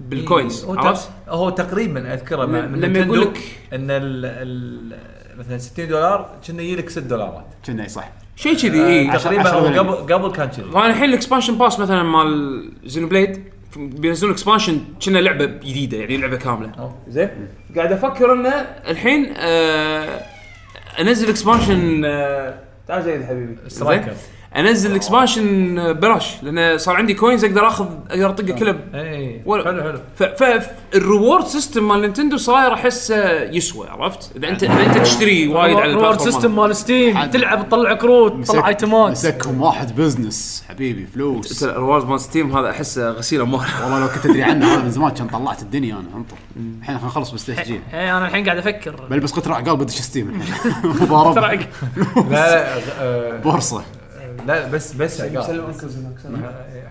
بالكوينز هو, عرفت؟ تق- هو تقريبا اذكره مع لما من نينتندو يقول لك- ان ال ال مثلا 60 دولار كنا يجي لك 6 دولارات كنا صح شيء كذي اي تقريبا عشرة هو دولار. قبل قبل كان كذي وانا الحين الاكسبانشن باس مثلا مال زينو بليد بينزلون اكسبانشن كنا لعبه جديده يعني لعبه كامله أوه. زين قاعد افكر انه الحين آه انزل اكسبانشن آه تعال زين حبيبي سترايكر. زين؟ انزل الاكسبانشن ببلاش لان صار عندي كوينز اقدر اخذ اقدر اطقه كله ب- اي ولا- آه. إيه. حلو حلو ف- فالريورد سيستم مال نينتندو صاير احسه يسوى عرفت؟ اذا انت اذا انت تشتري وايد على ريورد البلاتفورم سيستم مال ستيم عاد. تلعب تطلع كروت تطلع ايتمات مسكهم واحد بزنس حبيبي فلوس الريورد مال ستيم هذا احسه غسيل اموال والله لو كنت تدري عنه هذا من زمان كان طلعت الدنيا انا انطر الحين خلينا نخلص بالتسجيل ايه انا الحين قاعد افكر بلبس قطر عقال بدش ستيم الحين مضاربه ترى لا لا آه، بورصه لا بس بس عقال. آه،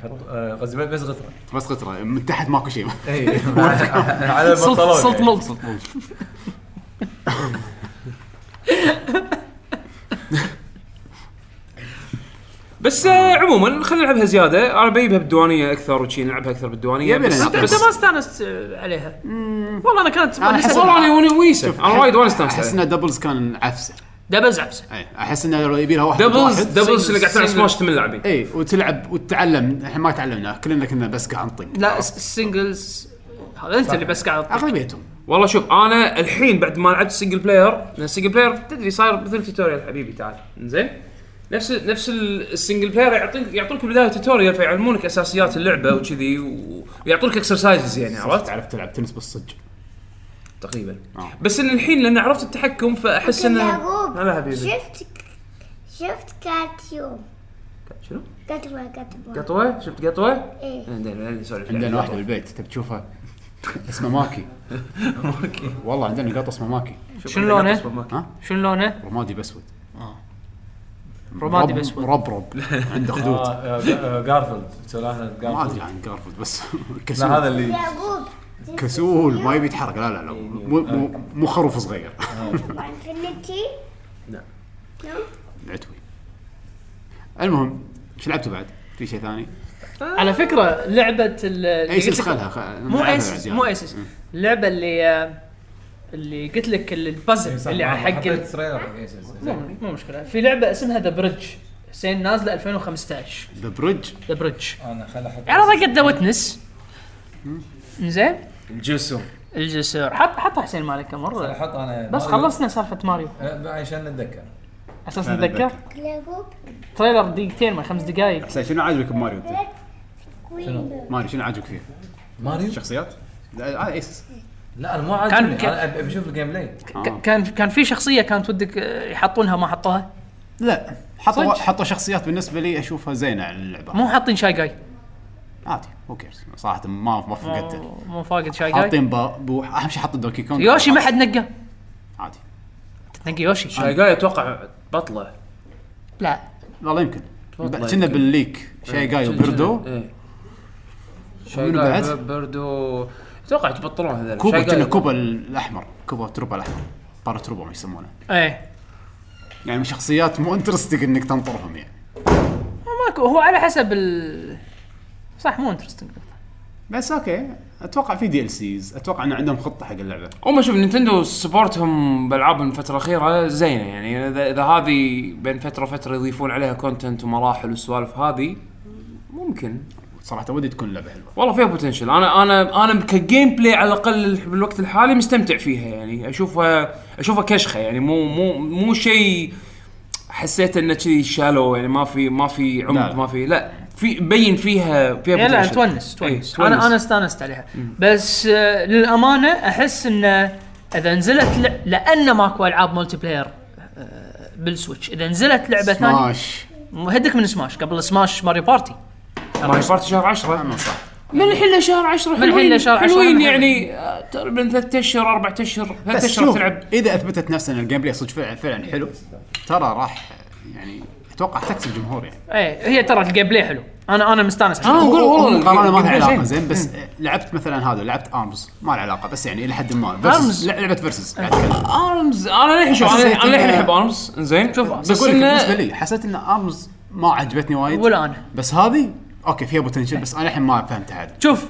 حط- آه، قصدي بس- بس غطره بس قطره من تحت ماكو شيء اي على البنطلون صلت يعني. ملصق بس آه، عموما خلينا نلعبها زياده انا بجيبها بالديوانيه اكثر وشي نلعبها اكثر بالديوانيه يبينا بس نلعب. انت انت بس ما استانست عليها والله انا كانت أنا أحس- والله انا وني ويسه شوف، انا وايد وايد استانست احس عليها. ان دبلز كان عفسه دبل زعبسه اي احس انه لو يبي لها واحد دبلز واحد. دبلز اللي قاعد تلعب سينجل. سماش ثمان لاعبين اي وتلعب وتتعلم احنا ما تعلمنا كلنا كنا بس قاعد نطق لا السنجلز هذا انت اللي بس قاعد اغلبيتهم والله شوف انا الحين بعد ما لعبت سنجل بلاير لان السنجل بلاير تدري صاير مثل توتوريال حبيبي تعال زين نفس نفس ال- السنجل بلاير يعطيك يعطونك بدايه توتوريال فيعلمونك اساسيات اللعبه وكذي و- ويعطونك اكسرسايزز يعني عرفت تعرف تلعب تنس بالصج تقريبا آه. بس إن الحين لان عرفت التحكم فاحس ان يعقوب، هلا حبيبي شفت شفت كاتيو شنو؟ قطوة قطوة قطوه شفت قطوه؟ ايه عندنا عندنا سوري عندنا واحده بالبيت تبي تشوفها اسمها ماكي والله عندنا قط اسمه ماكي شنو لونه؟ ها شنو لونه؟ رمادي باسود رمادي رب- بس مربرب عنده خدود آه، آه، آه، جارفيلد سولانة ما جارفيلد ادري عن جارفولد بس لا كسول هذا اللي يعقوب كسول ما يبي يتحرك لا لا لا مو مو- مو خروف صغير انفنتي نعم. نعم عتوي المهم ايش لعبتوا بعد؟ في شيء ثاني؟ على فكره لعبه ال- اللي قلت ايسس لك- خلها خ... مو ايسس نعم. مو ايسس اللعبه اللي آه، اللي قلت لك ال- البازل اللي على حق ال- حطيت تريلر إيه، زين، زين. مو مو مشكله في لعبه اسمها ذا بريدج حسين نازله 2015 ذا بريدج ذا بريدج انا خل احط على طاقه ذا ويتنس زين الجسر الجسر حط حط حسين مالك كم خل مره احط انا بس ماريو. خلصنا سالفه ماريو آه، عشان نتذكر اساس أنا نتذكر يعقوب تريلر دقيقتين ما خمس دقائق حسين شنو عاجبك بماريو أنت؟ كوين ماريو شنو عاجبك فيه؟ ماريو شخصيات؟ لا آه، هذا ايسس لا انا مو كان- عاجبني كان- انا أبي- ابي اشوف الجيم بلاي آه. ك- كان كان في شخصيه كانت ودك آه، يحطونها ما حطوها لا حطوا حطوا شخصيات بالنسبه لي اشوفها زينه على اللعبه مو حاطين شاي جاي عادي اوكيرز صراحه ما ما فقدته مو- مو فاقد شاي جاي حاطين با- بو اهم شيء حطوا دونكي كونغ يوشي ما حد نقى عادي تنقي يوشي شاي جاي اتوقع بطله لا والله يمكن والله كنا يمكن. بالليك شاي جاي وبردو إيه. شاي ومنو جاي بعد؟ بر- بردو اتوقع يتبطلون هذول كوبا شاي جاي كنا كوبا الاحمر كوبا تروبا الاحمر بارا تروبا ما يسمونه ايه يعني شخصيات مو انترستنج انك تنطرهم يعني ماكو هو على حسب ال صح مو انترستنج بس اوكي اتوقع في دي ال سيز اتوقع ان عندهم خطه حق اللعبه هم شوف نينتندو سبورتهم بالعاب الفتره الاخيره زينه يعني اذا اذا هذه بين فتره وفتره يضيفون عليها كونتنت ومراحل والسوالف هذه ممكن صراحه ودي تكون لعبه حلوه والله فيها بوتنشل انا انا انا كجيم بلاي على الاقل بالوقت الحالي مستمتع فيها يعني اشوفها اشوفها كشخه يعني مو مو مو شيء حسيت انه كذي شالو يعني ما في ما في لا عمق لا. ما في لا في بين فيها فيها لا لا potential. تونس إيه، تونس انا انا استانست عليها بس آه، للامانه احس انه اذا نزلت لع... لان ماكو العاب مولتي بلاير آه، بالسويتش اذا نزلت لعبه ثانيه سماش هدك من سماش قبل سماش ماريو بارتي ماري بارتي شهر 10 انا صح من الحين لشهر 10 الحين حلوين- لشهر 10 حلوين أنا يعني آه، تقريبا ثلاث اشهر اربع اشهر ثلاث بس اشهر شوف تلعب اذا اثبتت نفسها ان الجيم بلاي صدق فعلا فعلا حلو ترى راح يعني اتوقع تكسب جمهور يعني ايه هي إيه، ترى الجيم بلاي حلو انا انا مستانس آه. عشان قول والله. المقارنه ما لها زين. علاقه زين بس لعبت مثلا هذا لعبت ارمز ما له علاقه بس يعني الى حد ما Arms. فيرسز لعبه فيرسز آه. قاعد اتكلم ارمز انا للحين شوف انا حسيت انا للحين إنه- احب ارمز زين شوف بس بس أقول لك انه بالنسبه لي حسيت ان ارمز ما عجبتني وايد ولا أنا. بس هذه اوكي فيها بوتنشل بس انا الحين ما فهمتها عاد شوف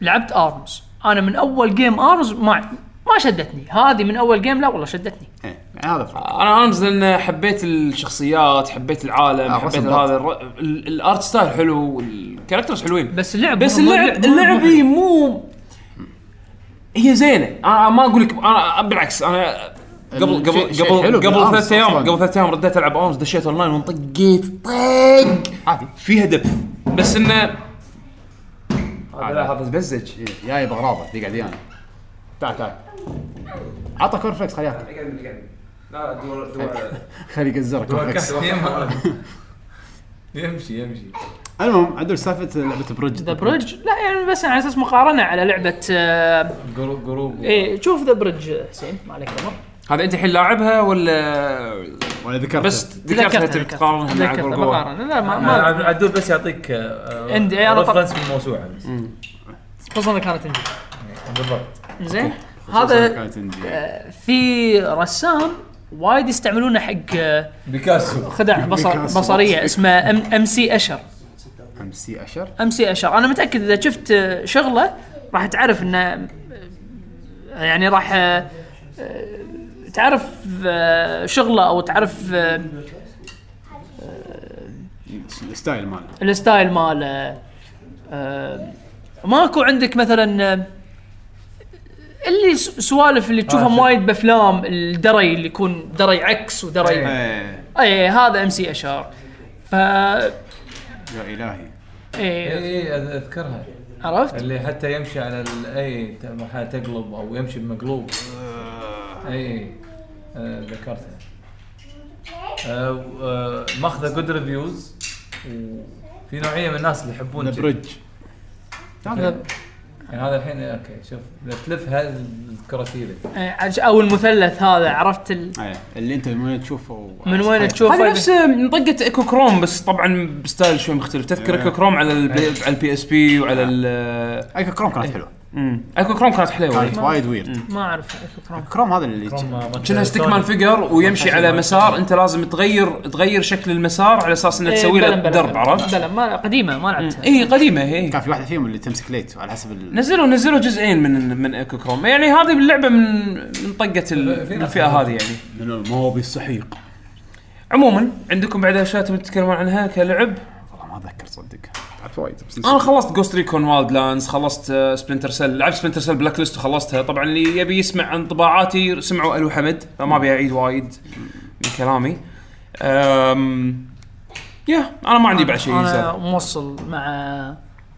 لعبت ارمز انا من اول جيم ارمز ما ما شدتني هذه من اول جيم لا والله شدتني إيه، يعني هذا الفرق انا ارمز لان حبيت الشخصيات حبيت العالم آه، حبيت رسم هذا الر- ال- الارت ستايل حلو والكاركترز حلوين بس اللعب بس مو- مو- اللعب مو- مو- اللعب هي مو هي زينه انا ما اقول لك انا بالعكس انا قبل الشيء- قبل شيء قبل حلو قبل بالأرمز ثلاث ايام أصلاً. قبل ثلاث ايام رديت العب ارمز دشيت اونلاين وانطقيت طق عادي فيها دب بس انه هذا هذا بزج إيه، جاي بغراضه ذي قاعد انا تعال تعال عطى كورفلكس خليه ياكل لا دور دور خليه يقزرك كورفلكس يمشي يمشي المهم عدول سالفه لعبه بريدج ذا بريدج لا يعني بس على اساس مقارنه على لعبه آه، جروب جروب ايه شوف ذا بريدج حسين ما عليك امر هذا انت الحين لاعبها ولا ولا ذكرت بس ذكرتها تبي تقارنها مع ذكرتها جورجورا مقارنه لا ما ما عدول بس يعطيك أه، عندي- أنا طب- ريفرنس بالموسوعه بس خصوصا إنها كانت عندي بالضبط زين هذا هذا في رسام وايد يستعملونه حق آه، بيكاسو خدع بصر بيكاسو. بصريه اسمه ام سي اشر ام سي اشر ام سي اشر انا متاكد اذا شفت آه، شغله راح تعرف انه آه، يعني راح آه، آه، تعرف آه، شغله او تعرف آه، الستايل ماله الستايل ماله آه، ماكو عندك مثلا آه، اللي س- سوالف اللي تشوفهم شوف. وايد بافلام الدري اللي يكون دري عكس ودري ايه اي هذا ام سي اشار ف يا الهي إيه اي اذكرها عرفت؟ اللي حتى يمشي على ال- اي ت- مرحله تقلب او يمشي بمقلوب اي آه، ذكرتها آه، و- آه، ماخذه جود ريفيوز في نوعيه من الناس اللي يحبون كذي. بريدج يعني هذا الحين اوكي شوف لا تلفها الكراتيله إيه، عج- او المثلث هذا عرفت ال... ايه اللي انت من وين تشوفه من وين تشوفه هذا نفس منطقة ايكو كروم بس طبعا بستايل شوي مختلف تذكر ايكو كروم على البي على البي اس بي وعلى ال ايكو كروم كانت حلوه مم. ايكو كروم كانت حلوه كانت وايد ويرد ما اعرف إيش الكرام. كروم هذا اللي إيه، كانها ستيك مان فيجر ويمشي على مسار انت لازم تغير تغير شكل المسار على اساس انه إيه، تسوي له بلا- بلا- درب بلا- عرفت؟ إيه، بلا ما قديمه ما لعبتها اي قديمه هي كان في واحده فيهم اللي تمسك ليت على حسب ال... نزلوا نزلوا جزئين من من ايكو كروم يعني هذه اللعبه من من طقه ال- في من ناس الفئه هذه يعني من الماضي السحيق عموما عندكم بعد اشياء تبون تتكلمون عنها كلعب والله ما اتذكر صدق تعرف وايد بس انا خلصت جوست ريكون وايلد لاندز خلصت سبلنتر سيل لعبت سبلنتر سيل بلاك ليست وخلصتها طبعا اللي يبي يسمع عن طباعاتي سمعوا الو حمد فما ابي اعيد وايد من كلامي أم... يا انا ما عندي بعد شيء انا يزاد. موصل مع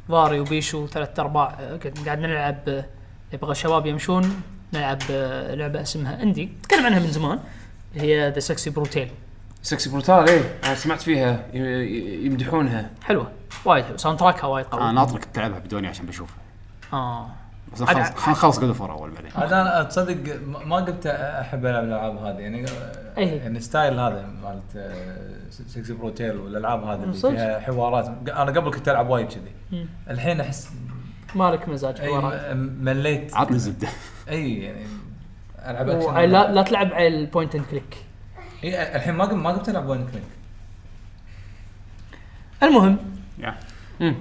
فاري وبيشو ثلاث ارباع قاعد قاعد نلعب يبغى شباب يمشون نلعب لعبه اسمها اندي تكلم عنها من زمان هي ذا سكسي بروتيل سكسي بروتال ايه انا سمعت فيها ي- ي- يمدحونها حلوه وايد حلوه ساوند تراكها وايد انا قوي ناطرك تلعبها بدوني عشان بشوفها آه. اه بس خلص خلنا نخلص جود فور اول بعدين هذا انا تصدق ما ما قلت احب العب الالعاب هذه يعني آه، إيه. يعني ستايل هذا مالت آه، سكسي بروتيل والالعاب هذه اللي صدق. فيها حوارات انا قبل كنت العب وايد كذي الحين احس مالك مزاج اي حوارات. م- مليت عطني زبده اي يعني العب وعلى- اكشن لا, لا تلعب على البوينت اند كليك اي الحين ما قمت ما قمت العب وين كليك المهم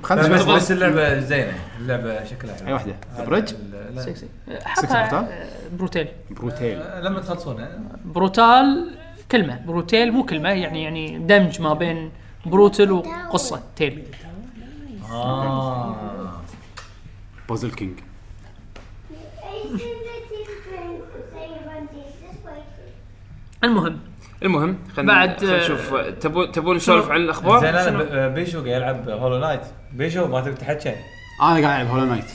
خلنا بس بس نشوف اللعبه زينه اللعبه شكلها حلو اي واحده هذا بريدج ال- لا. سكسي سكسي حطها بروتيل بروتيل آه، لما تخلصونها بروتال كلمه بروتيل مو كلمه يعني يعني دمج ما بين بروتل وقصه تيل اه بوزل كينج المهم المهم خلينا بعد- خلينا نشوف تبون تبون نسولف عن الاخبار زين انا ب- بيشو قاعد يلعب هولو نايت بيشو ما تبي تحكي انا قاعد العب هولو نايت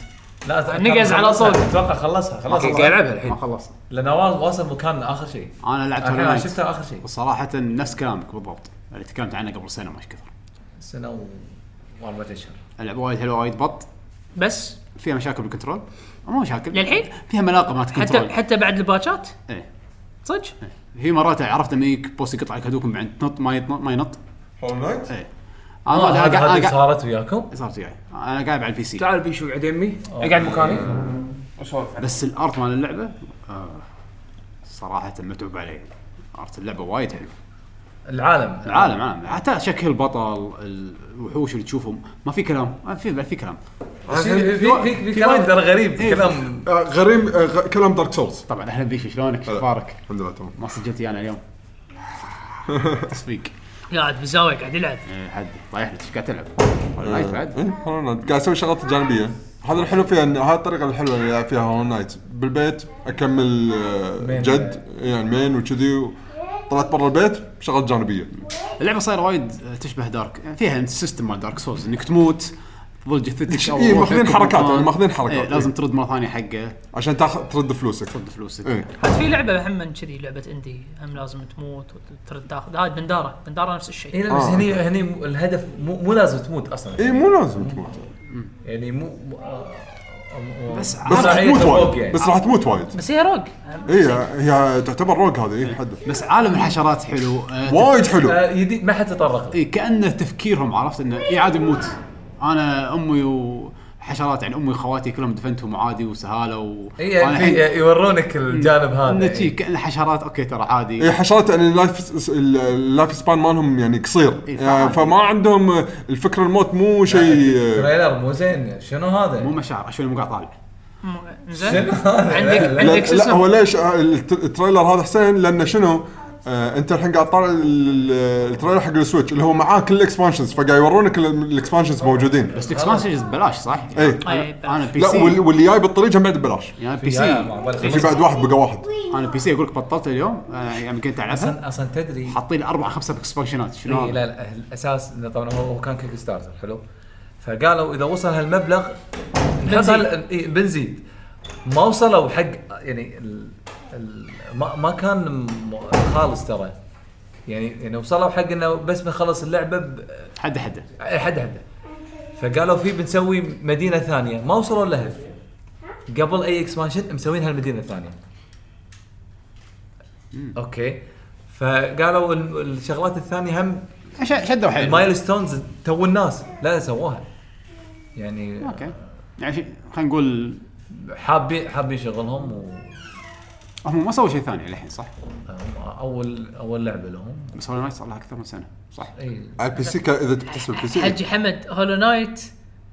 لا أتوقع نقز على خلصها. طول. اتوقع خلصها خلاص قاعد العبها الحين ما خلصت لانه وا- واصل مكاننا اخر شيء انا لعبت هولو الحين أنا نايت شفته اخر شيء وصراحة نفس كلامك بالضبط اللي تكلمت عنه قبل سنة ما إيش كثر سنه و- واربعة اشهر اللعبة وايد حلوة وايد بط بس فيها مشاكل بالكنترول مو مشاكل للحين؟ فيها ملاقة مالت حتى كنترول حتى بعد الباتشات ايه صدق يعني في مرات عرفت لما يجيك بوس يقطع لك هدوكم بعد تنط ما ينط ما ينط هول نايت ايه انا ما أدري، هذه أنا قاعد هذه أنا قاعد- صارت وياكم صارت وياي انا قاعد على البي سي تعال بيشو قاعد يمي آه، قاعد مكاني اسولف عنه. بس الارت مال اللعبه آه صراحه متعوب عليه ارت اللعبه وايد حلو العالم العالم عالم حتى شكل البطل الوحوش اللي تشوفهم ما في كلام ما في في كلام في في- في في في كلام ترى غريب كلام آه، غريم آه، غ- كلام دارك سولز طبعا اهلا بيك شلونك شو اخبارك؟ الحمد لله تمام ما سجلت انا اليوم تصفيق قاعد بالزاويه قاعد يلعب إيه، حد طايح لك ايش قاعد تلعب؟ نايت بعد إيه، هولو نايت قاعد اسوي شغلات جانبيه هذا الحلو فيها إن- هذه الطريقه الحلوه اللي ألعب فيها هولو نايت بالبيت اكمل آه، جد يعني مين وكذي و- طلعت برا البيت شغلات جانبيه اللعبه صايره وايد آه، تشبه دارك يعني فيها السيستم مال دارك سولز انك تموت تظل جثتك إيه، روحك ماخذين حركات، بالمكان. يعني ماخذين حركات. إيه، لازم ترد مره ثانيه حقه عشان تاخذ ترد فلوسك ترد فلوسك ايه عاد في لعبه هم من كذي لعبه اندي هم لازم تموت وترد تاخذ هاي بنداره بنداره نفس الشيء هنا بس هني هني م- الهدف مو مو لازم تموت اصلا اي إيه، مو لازم تموت يعني مو مو- آه، آه، بس بس راح تموت الروج وايد يعني. بس راح تموت وايد بس هي روج اي هي تعتبر روج هذه إيه، حد بس عالم الحشرات حلو آه، وايد حلو آه، يدي ما حد تطرق له. إيه كانه تفكيرهم عرفت انه اي عادي نموت انا امي وحشرات يعني امي واخواتي كلهم دفنتهم عادي وسهاله و إيه، يعني أنا في- الحين يورونك الجانب هذا إنه شي يعني. كان حشرات اوكي ترى عادي اي حشرات يعني اللايف اللايف سبان مالهم يعني قصير إيه، يعني فما عندهم الفكره الموت مو شيء يعني. تريلر مو زين شنو هذا؟ مو مشاعر شو اللي مو قاعد طالع زين شنو هذا؟ لا، عندك لا. لا, عندك شو لا هو اسمه ليش الت- التريلر هذا حسين لانه شنو آه انت الحين قاعد طالع ال- ال- التريلر حق السويتش اللي هو معاه كل الاكسبانشنز فقاعد يورونك ال- الاكسبانشنز موجودين بس الاكسبانشنز ببلاش صح؟ اي أي، انا أنا بي إيه. لا سي وال- واللي جاي بالطريق هم بعد ببلاش يعني بي يا سي ما بالك. في بعد واحد بقى واحد انا بي سي اقول لك بطلت اليوم آه، يعني كنت العبها اصلا اصلا تدري حاطين لي اربع خمسه اكسبانشنات شنو إيه هذا؟ لا لا الاساس إنه طبعا هو هو كان كيك ستارتر حلو فقالوا اذا وصل هالمبلغ نحط هال- إيه، بنزيد ما وصلوا حق يعني ال... ال... ما... ما كان م- خالص ترى يعني يعني وصلوا حق انه بس بنخلص اللعبه ب... حد حد حد حد فقالوا في بنسوي مدينه ثانيه ما وصلوا لها قبل اي اكسبانشن مسوين هالمدينه الثانيه اوكي فقالوا ال- الشغلات الثانيه هم ش- شدوا حيل المايلستونز تو الناس لا سووها يعني اوكي يعني شي- خلينا نقول حابين حابين شغلهم و... هم ما سووا شيء ثاني للحين صح؟ اول اول لعبه لهم بس هولو نايت صار لها اكثر من سنه صح؟ اي على البي سي ك- اذا تحسب البي سي حجي حمد هولو نايت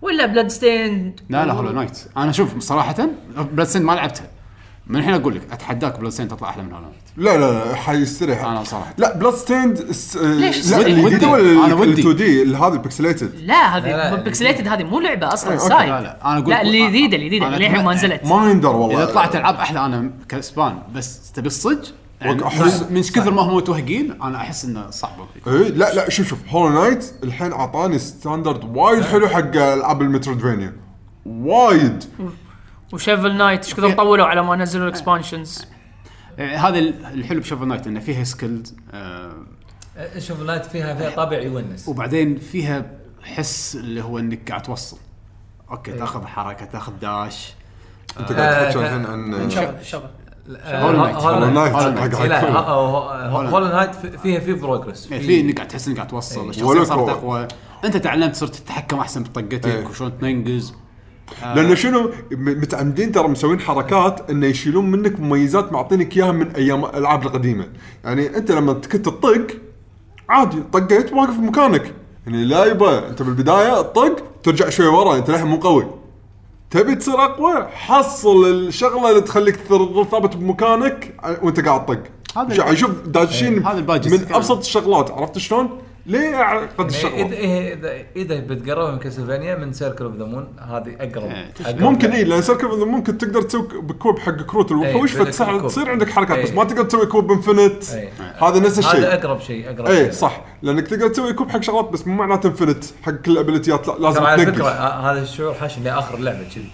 ولا بلاد ستيند لا لا هولو نايت انا شوف صراحه بلاد سند ما لعبتها من الحين اقول لك اتحداك بلاد سند تطلع احلى من هولو نايت لا لا لا حيستريح أنا صراحة. لا بلاد ستيند الس- ليش؟ لا ودي- الجديده ودي. أنا ولا ال ودي. 2 دي هذه البكسليتد لا لا، هذه لا. بيكسليتد هذه مو لعبه اصلا إيه، أوكي، سايد لا، لا، أنا أقول لا لك- الجديده الجديده أنا للحين ما أتمنى- نزلت ما يندر والله اذا طلعت العاب احلى انا كسبان بس تبي الصج يعني أحس- من- من كثر ما هم متوهقين انا احس انه صعب اي إيه، لا لا شوف شوف هولو نايت الحين اعطاني ستاندرد وايد حلو حق العاب المترويدفانيا وايد وشيفل نايت ايش كثر طولوا على ما نزلوا الاكسبانشنز آه، هذا ال- الحلو بشوفل نايت انه فيها سكيلز آه شوف لايت فيها فيها طابع يونس وبعدين فيها حس اللي هو انك قاعد توصل اوكي إيه. تاخذ حركه تاخذ داش انت قاعد تحكي آه، الحين عن شغل شغل هولو نايت. هولو نايت هولو نايت. حق- حق لا كل. هولو نايت فيها في بروجرس يعني في انك قاعد تحس انك قاعد توصل الشخصيه إيه. ولك صارت هو. اقوى انت تعلمت صرت تتحكم احسن إيه. بطقتك وشلون تنقز لان شنو م- متعمدين ترى مسوين حركات انه يشيلون منك مميزات معطينك اياها من ايام الالعاب القديمه يعني انت لما كنت تطق عادي طقيت واقف مكانك يعني لا يبا انت بالبدايه تطق ترجع شوي ورا انت للحين مو قوي تبي تصير اقوى حصل الشغله اللي تخليك تظل ثابت بمكانك ع- وانت قاعد تطق هذا إيه، هذا شوف داشين هذا الباجس. من ابسط الشغلات عرفت شلون؟ ليه ع- قد يعني إيه، الشغلات اذا اذا اذا بتقرب من كاسلفانيا من سيركل اوف ذا مون هذه اقرب إيه، أقرب. ممكن اي لان سيركل أوف ذا ممكن تقدر تسوي بكوب حق كروت الوحوش إيه، بدك فتصير الكوب. تصير عندك حركات بس إيه. ما تقدر تسوي كوب انفنت إيه. هذا هذا نفس الشيء اقرب شيء اقرب اي شيء. إيه، صح لانك تقدر تسوي كوب حق شغلات بس مو معناته انفنت حق كل الابيلتيات لا لازم ترى على فكره تنقز آه، هذا الشعور حاش اني اخر لعبه كذي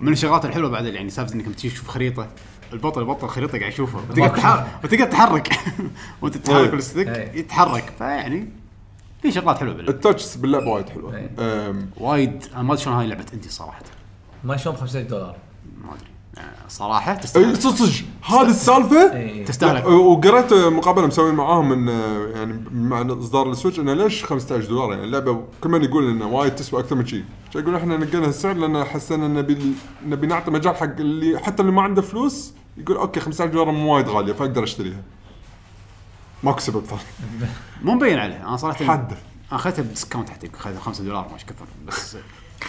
من الشغلات الحلوه بعد يعني سالفه انك بتجي تشوف خريطه البطل البطل خريطه قاعد يشوفها وتقدر تحرك وتقدر تحرك وانت طيب. إيه. تتحرك بالستيك إيه. يتحرك فيعني في شغلات حلوه باللعبه التاتشز باللعبه وايد حلوه إيه. أم، وايد انا ما ادري شلون هاي لعبه انت صراحه ما شلون ب 50 دولار ما ادري صراحه اي تستاهل إيه، صدق صدق هذه السالفه إيه. لا، تستاهل وقريت مقابله مسوين معاهم من يعني مع اصدار السويتش انه ليش 15 دولار يعني اللعبه كل من يقول انه وايد تسوى اكثر من شيء يقول احنا نقينا السعر لان حسينا ان نبي نبي نعطي مجال حق اللي حتى اللي ما عنده فلوس يقول اوكي 15 دولار مو وايد غاليه فاقدر اشتريها ماكو سبب ثاني مو مبين عليه انا صراحه حد انا اخذتها بديسكاونت حتى اخذتها 5 دولار ما ايش كثر بس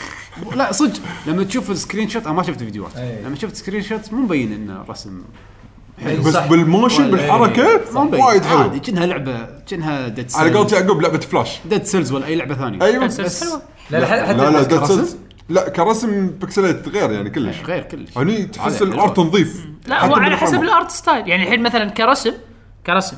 لا صدق لما تشوف السكرين شوت انا ما شفت فيديوهات أي. إيه. لما شفت سكرين شوت مو مبين انه رسم إيه، يعني بس صح. بالموشن بالحركه مو مبين وايد عادي حلو كأنها لعبه كأنها ديد على قولت سيلز يعقوب لعبه فلاش ديد سيلز ولا اي لعبه ثانيه ايوه بس- بس- حلوة. لا لا حتى لا لا حتى- Dead كرسم؟ Cells- لا كرسم بكسلات غير يعني كلش غير كلش هني تحس حلوة. الارت نظيف لا حتى هو على حسب بالفريم. الارت ستايل يعني الحين مثلا كرسم كرسم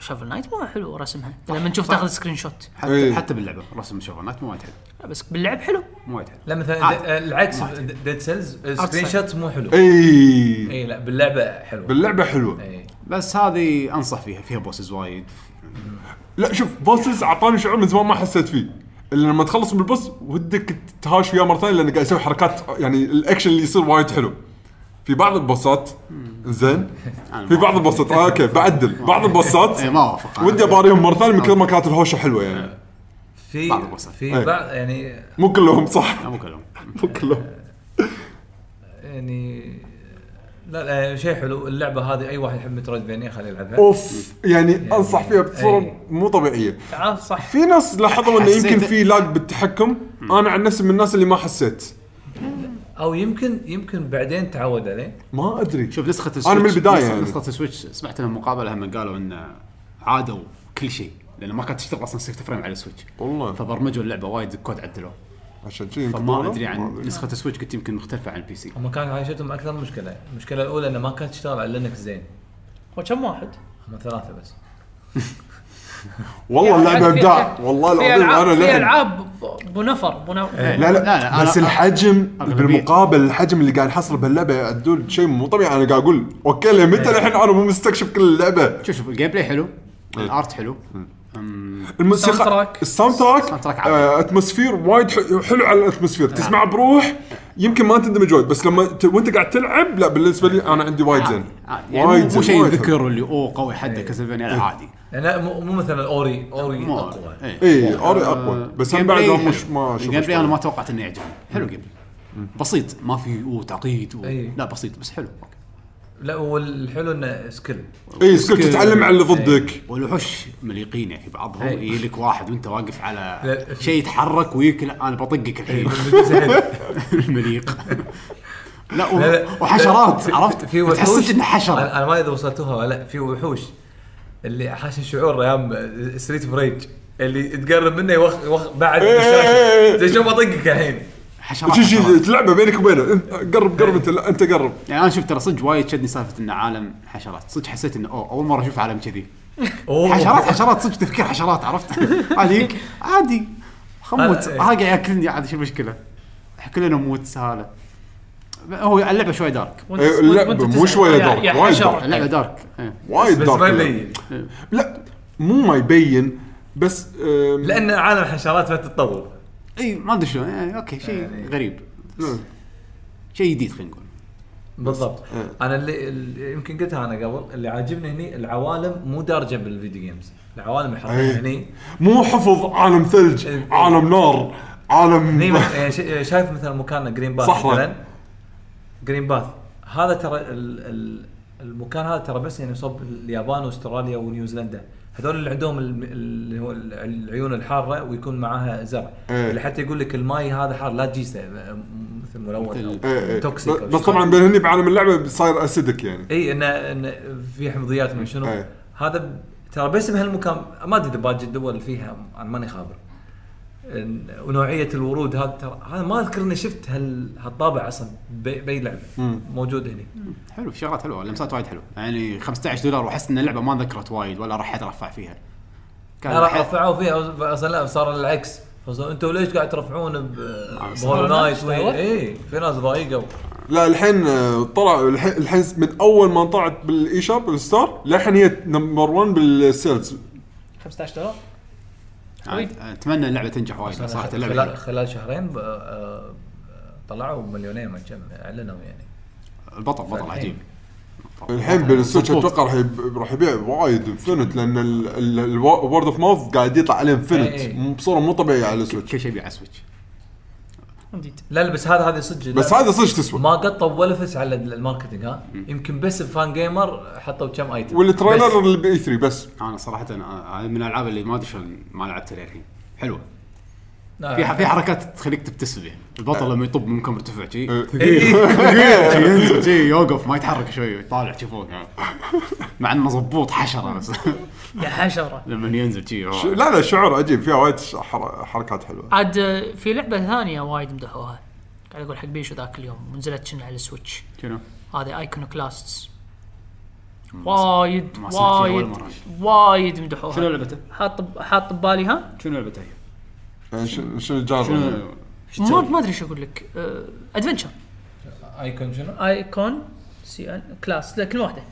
شافل نايت مو حلو رسمها لما نشوف تاخذ سكرين شوت حتى إيه. حتى باللعبه رسم شغلات مو وايد حلو بس باللعب حلو مو وايد حلو لا مثلا عادي. د- آه، العكس ديد سيلز السكرين شوت مو حلو اي إيه. اي لا باللعبه حلوه باللعبه حلوه اي بس هذه انصح فيها فيها بوسز وايد لا شوف بوسس اعطاني شعور من زمان ما حسيت فيه الا لما تخلص من البوس ودك تهاوش وياه مره ثانيه لانه قاعد يسوي حركات يعني الاكشن اللي يصير وايد حلو في بعض البوسات زين في بعض البوسات آه اوكي بعدل بعض البوسات إيه، ما إيه. وافق أنا. ودي اباريهم مره ثانيه من كثر ما كانت الهوشه حلوه يعني في بعض البوسات. في إيه. بعض يعني مو كلهم صح لا مو كلام مو كلهم يعني لا لا شيء حلو اللعبه هذه اي واحد يحب مترويدفينيا خليه يلعبها اوف يعني انصح فيها بصوره إيه. مو طبيعيه تعال صح في ناس لاحظوا انه يمكن حسيت- في لاج بالتحكم انا عن نفسي من الناس اللي ما حسيت او يمكن يمكن بعدين تعود عليه ما ادري شوف نسخه السويتش أنا من البداية نسخة- يعني. نسخه السويتش سمعت لهم مقابله هم قالوا انه عادوا كل شيء لان ما كانت تشتغل اصلا 60 فريم على السويتش والله فبرمجوا اللعبه وايد الكود عدلوه عشان كذي يمكن فما طولوا. ادري ما عن نسخه السويتش كنت يمكن مختلفه عن البي سي هم كان عايشتهم اكثر مشكله المشكله الاولى انه ما كانت تشتغل على لينكس زين وكم واحد؟ هم ثلاثه بس والله اللعبه يعني في- ابداع في- والله في العظيم العاب انا في للحين العاب بو نفر بو نفر لا لا، لا، لا أنا- بس أنا- الحجم أغلبية. بالمقابل الحجم اللي قاعد يحصل بهاللعبه عدول شيء مو طبيعي انا قاعد اقول اوكي لمتى إيه. الحين انا مو مستكشف كل اللعبه شوف شوف الجيم بلاي حلو إيه. الارت حلو أم، الموسيقى ساوند تراك. الساوند ساوند تراك تراك آه، اتموسفير وايد ح- حلو على الاتموسفير نعم. تسمع بروح يمكن ما تندمج وايد بس لما ت... وانت قاعد تلعب لا بالنسبه لي انا عندي وايد زين عادي. يعني مو- مو شيء وايد حلو. يذكر اللي اوه قوي حده كاسلفينيا لا، عادي يعني لا، مو مو مثلا اوري اوري مو اقوى إيه. اي اوري اقوى بس هم جيم بعد بلاي أنا مش حلو. ما الجيم بلاي انا شغل. ما توقعت انه يعجبني حلو جيم بلاي بسيط ما في اوه تعقيد أوه. أي. لا بسيط بس حلو أوكي. لا والحلو انه سكيل اي سكيل سكيل. إيه، تتعلم على اللي إيه. ضدك والوحوش مليقين يعني بعضهم أي. يجي لك واحد وانت واقف على لا. إيه، شيء يتحرك ويك لا انا بطقك الحين المليق لا, و... لا، لا. وحشرات عرفت في وحوش تحسك انه حشره انا أنا ما ادري وصلتوها ولا لا في وحوش اللي حاش شعور ايام ستريت فريج اللي تقرب منه يوخ يوخ بعد إيه، إيه، إيه. بالشاشة. زي شو بطقك الحين حشرات, آه. تجي حشرات. تلعبه بينك وبينه أنت- قرب إيه. قرب انت لا، انت قرب يعني انا شفت ترى صدق وايد شدني سالفه انه عالم حشرات صدق حسيت انه أوه اول مره اشوف عالم كذي أوه. حشرات حشرات صدق تفكير حشرات عرفت عليك عادي خموت أنا- ها قاعد ياكلني عادي شو المشكله كلنا نموت سهاله هو اللعبه شوي دارك وأنت- إيه، لا، وأنت مو تسأل. شوية يا- دارك، يا وايد حشرة. دارك. اللعبه دارك إيه. وايد بس ما دارك يبين لا مو ما يبين بس آم، لان عالم الحشرات ما تتطور اي ما ادري شلون يعني اوكي شيء غريب شيء جديد خلينا نقول بالضبط إيه. انا اللي, اللي يمكن قلتها انا قبل اللي عاجبني هني العوالم مو دارجه بالفيديو جيمز العوالم أي. الحرفيه هني مو حفظ عالم ثلج إيه. عالم نار هني عالم مث- يعني شا- شايف مثلا مكاننا جرين باث صحراء. مثلا جرين باث هذا ترى ال ال المكان هذا ترى بس يعني صوب اليابان واستراليا ونيوزيلندا هذول اللي عندهم الم- اللي هو الع- العيون الحاره ويكون معاها زرع إيه. اللي حتى يقول لك الماي هذا حار لا تجيسه م- مثل ملون إيه، او إيه. توكسيك ب- أو بس شيء. طبعا بين هني بعالم اللعبه صاير اسيدك يعني اي انه انه في حمضيات من شنو إيه. هذا ب- ترى بس بهالمكان ما ادري اذا باقي الدول فيها انا ماني خابر إن- ونوعيه الورود هذا ترى هذا ما اذكر اني شفت هال هالطابع اصلا ب- باي لعبه موجود هنا حلو في شغلات حلوه لمسات وايد حلوه يعني 15 دولار واحس ان اللعبه ما ذكرت وايد ولا راح اترفع فيها كان راح راح رفعوا فيها اصلا لا صار العكس فصار انتم ليش قاعد ترفعون ب آه، صار بهولو نايت نايت وهي- دعوة. اي في ناس ضايقوا لا الحين آه، طلع الحين الحين من اول ما طلعت بالاي شوب بالستور للحين هي نمبر 1 بالسيلز 15 دولار اتمنى اللعبه آه، تنجح وايد صراحه اللعبه خلال, حلوة. آه، خلال شهرين ب- آه، طلعوا مليونين ما كم اعلنوا يعني البطل بطل عجيب آه، الحين بالسويتش مضبوط. اتوقع راح يب- راح يبيع وايد انفنت لان الورد اوف ماوث قاعد يطلع عليه إي. انفنت بصوره مو طبيعيه على السويتش كل شيء بيع على سويتش لا لا بس هذا هذه صدق بس لا، هذا صدق تسوى ما قطوا ولا فلس على الماركتنج ها يمكن بس بفان جيمر حطوا كم ايتم والتريلر اللي باي 3 بس انا صراحه أنا- هذه من الالعاب اللي ما ادري شلون ما لعبتها للحين حلوه نعم. في ح- في حركات تخليك تبتسم يعني البطل لما يطب ممكن مرتفع شي ينزل شي يوقف ما يتحرك شوي يطالع شي فوق مع انه زبوط حشره بس يا حشره لما ينزل شي ش- لا لا شعور عجيب فيها وايد ش- حر- حركات حلوه عاد آه، في لعبه ثانيه وايد مدحوها قاعد اقول حق بيشو ذاك اليوم ونزلت شنو على السويتش شنو؟ هذه ايكونوكلاستس وايد ما سمعت فيها ولا وايد مرة. وايد مدحوها شنو لعبته؟ حاط حاط ببالي ها شنو لعبته هي؟ يعني شنو شنو الجانر؟ شنو ما ما ادري ايش اقول لك أه، ادفنشر ايكون شنو؟ ايكون سي ان كلاس لا كلمه واحده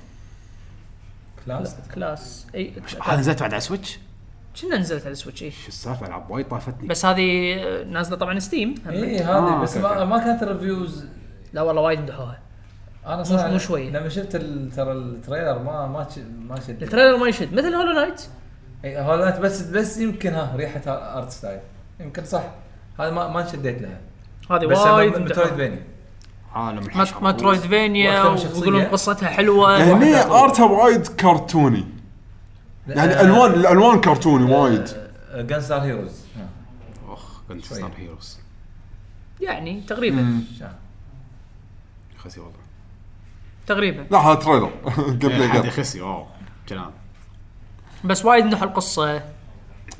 كلاس كلاس اي هذا نزلت بعد على سويتش؟ كنا نزلت على إيه. السويتش اي شو السالفه العاب وايد طافتني بس هذه آه، نازله طبعا ستيم اي آه، هذه بس أوكي، ما ما كانت ريفيوز لا والله وايد مدحوها انا مو شوية. لما شفت ال- ترى التريلر ما ما ش- ما شد التريلر ما يشد مثل هولو نايت اي هولو نايت بس بس يمكن ها ريحه ها- ارت ستايل يمكن صح هذا ما ما شديت لها هذه بس وايد مترويد مدحوها. بيني عالم مت- حشرة. مترويدفينيا وأكثر من شخصية. ويقولون قصتها حلوه يعني هني يعني ارتها وايد كرتوني يعني الوان الالوان كرتوني وايد جان ستار هيروز اخ كنت ستار هيروز يعني تقريبا خسي والله تقريبا لا هذا تريلر جيم بلاي هذه جيم خسي اوه كلام بس وايد مدحوا القصه إي،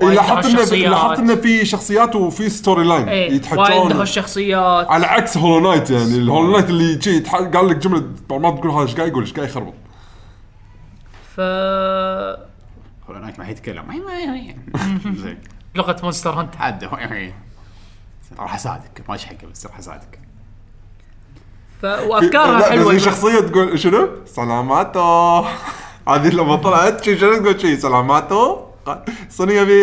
إيه، لاحظت انه الشخصيات. لاحظت انه في شخصيات وفي ستوري لاين اي إيه، وايد مدحوا يتحجون الشخصيات على عكس هولو نايت يعني الهولو نايت اللي جي يتح- قال لك جمله ما تقول هذا ايش قاعد يقول ايش قاعد يخربط ف هولو نايت ما يتكلم زين لغه مونستر هانتر عدى راح اساعدك ما حقه بس راح اساعدك ف... وافكارها لا، حلوه بس في شخصيه تقول شنو؟ سلاماتو هذه لما طلعت شي شنو تقول شي سلاماتو قال، صنيع بي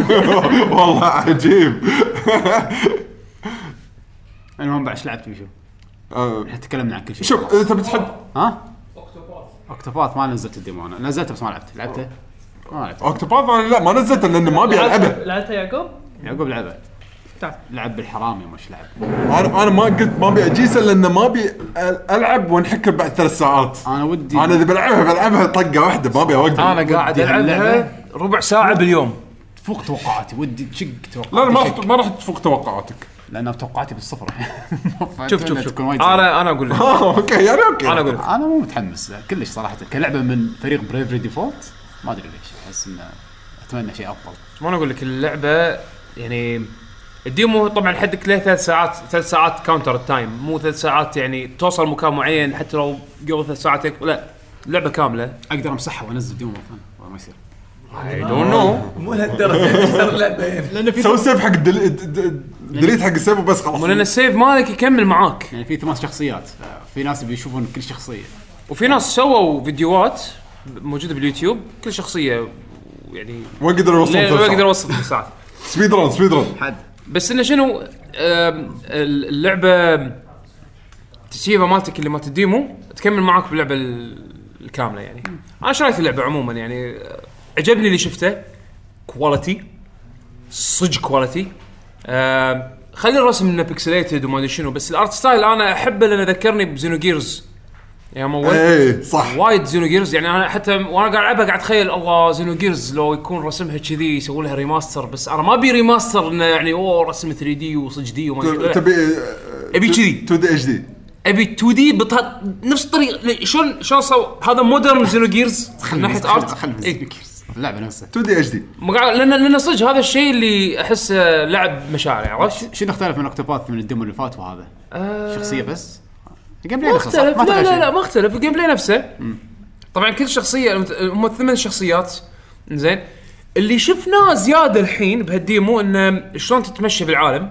والله عجيب المهم بعد ايش لعبت بيشو؟ آه، احنا تكلمنا عن كل شيء شوف اذا تبي تحب ها؟ اكتوباث ما نزلت الديمو انا نزلته بس ما لعبته لعبته؟ ما لعبته اوكتوباث انا لا ما نزلته لان ما ابي العبه لعبتها يعقوب؟ يعقوب لعبه تعال. لعب بالحرامي مش لعب انا انا ما قلت ما ابي اجيسه لان ما ابي أل- العب وانحكر بعد ثلاث ساعات انا ودي انا اذا بلعبها بلعبها طقه واحده ما ابي اوقف انا قاعد ودي العبها هاللعبة. ربع ساعه باليوم فوق توقعاتي ودي تشق توقعاتي لا لا، ما شق. راح ما راح تفوق توقعاتك لان توقعاتي بالصفر شوف شوف شوف تكون وايد سيئة. انا انا اقول لك اه اوكي يعني اوكي انا اقول لك انا مو متحمس كلش صراحه كلعبه من فريق بريفري ديفولت ما ادري ليش احس انه اتمنى شيء افضل شلون اقول لك اللعبه يعني الديمو طبعا حدك له ثلاث ساعات ثلاث ساعات كاونتر التايم مو ثلاث ساعات يعني توصل مكان معين حتى لو قبل ثلاث ساعات لا اللعبه كامله اقدر امسحها وانزل ديمو مره ثانيه والله ما يصير اي دونت نو مو لهالدرجه اشتر لعبه يعني لان في سوي سيف حق الدل- الد- الد- الدليت حق السيف وبس خلاص لان السيف مالك يكمل معاك يعني في ثمان شخصيات في ناس بيشوفون كل شخصيه وفي ناس سووا فيديوهات موجوده باليوتيوب كل شخصيه يعني وين قدر يوصل ليه- ما ثلاث اقدر ساعات؟ اوصل ثلاث ساعات سبيد ران سبيد ران بس انه شنو آم، اللعبه تسييفه مالتك اللي مالت الديمو تكمل معاك باللعبه ال- الكامله يعني انا شريت اللعبه عموما يعني آه، عجبني اللي شفته كواليتي صدق كواليتي آم، خلي الرسم انه بيكسليتد وما ادري شنو بس الارت ستايل انا احبه لانه ذكرني بزينو جيرز يا مول اي إيه، صح وايد زينو جيرز يعني انا حتى وانا قاعد العبها قاعد اتخيل الله زينو جيرز لو يكون رسمها كذي يسوون لها ريماستر بس انا ما ابي ريماستر انه يعني اوه رسم 3 دي وصج دي وما طيب، أدري- لا. تبي أبي كذي. 2 دي اتش دي ابي 2 دي بطه نفس الطريقه ل- شلون شلون سو هذا مودرن زينو جيرز من إيه. ناحيه ارت خلنا إي. اللعبه نفسها 2 دي اتش دي مو قاعد- لان لان صدق هذا الشيء اللي احسه لعب مشاعر يعني عرفت؟ شنو اختلف من اكتوباث من الديمو اللي فات وهذا؟ شخصيه بس الجيم بلاي ما نفسه صح؟ اختلف آه. لا تغير لا شيء. لا ما اختلف الجيم بلاي نفسه طبعا كل شخصيه المت- هم ثمان شخصيات زين اللي شفناه زياده الحين بهالديمو انه شلون تتمشى بالعالم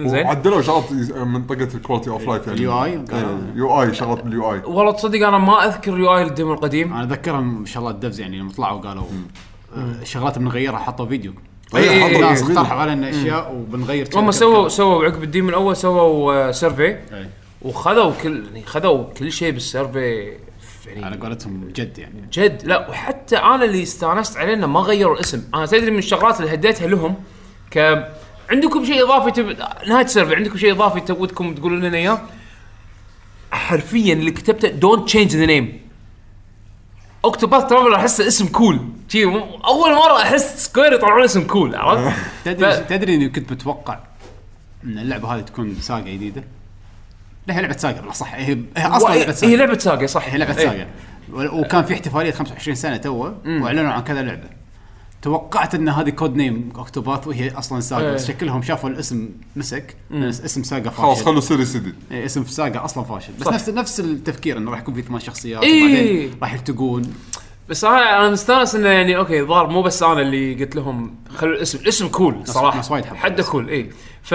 زين عدلوا شغلات من طقه الكواليتي اوف لايف يعني اليو آي. آه. يو اي شغلات باليو اي والله تصدق انا ما اذكر يو اي الديمو القديم انا اذكرهم ان شاء الله الدفز يعني لما طلعوا قالوا آه، شغلات بنغيرها حطوا فيديو إي، إي، إي. ناس اقترحوا علينا اشياء وبنغير هم كذا- سووا كذا. سووا عقب الديمو الاول سووا سيرفي إي. آه، وخذوا كل يعني خذوا كل شيء بالسيرفي يعني على قولتهم جد يعني جد لا وحتى انا اللي استانست عليه انه ما غيروا الاسم انا تدري من الشغلات اللي هديتها لهم ك عندكم شيء اضافي تب... نهايه السيرفي عندكم شيء اضافي تبودكم تقولون لنا اياه حرفيا اللي كتبته دونت تشينج ذا نيم اوكتوباث ترافل احسه اسم كول شي م- اول مره احس سكوير يطلعون اسم كول عرفت؟ تدري ف- تدري اني كنت متوقع ان اللعبه هذه تكون ساقه جديده لا هي لعبه ساقه بالأصح صح هي هي اصلا لعبه هي ساقه لعبه ساقه صح هي لعبه إيه. ساقه و- وكان في احتفاليه 25 سنه توه واعلنوا عن كذا لعبه توقعت ان هذه كود نيم اكتوباث وهي اصلا ساقه إيه. بس شكلهم شافوا الاسم مسك اسم ساقه فاشل خلاص خلوا السيري سدد إيه، اسم في ساقه اصلا فاشل بس صح. نفس نفس التفكير انه راح يكون في ثمان شخصيات إيه. وبعدين راح يلتقون بس انا انا مستانس انه يعني اوكي ظهر مو بس انا اللي قلت لهم خلوا الاسم الاسم كول صراحه ناس وايد حبوا حده الاسم. كول اي ف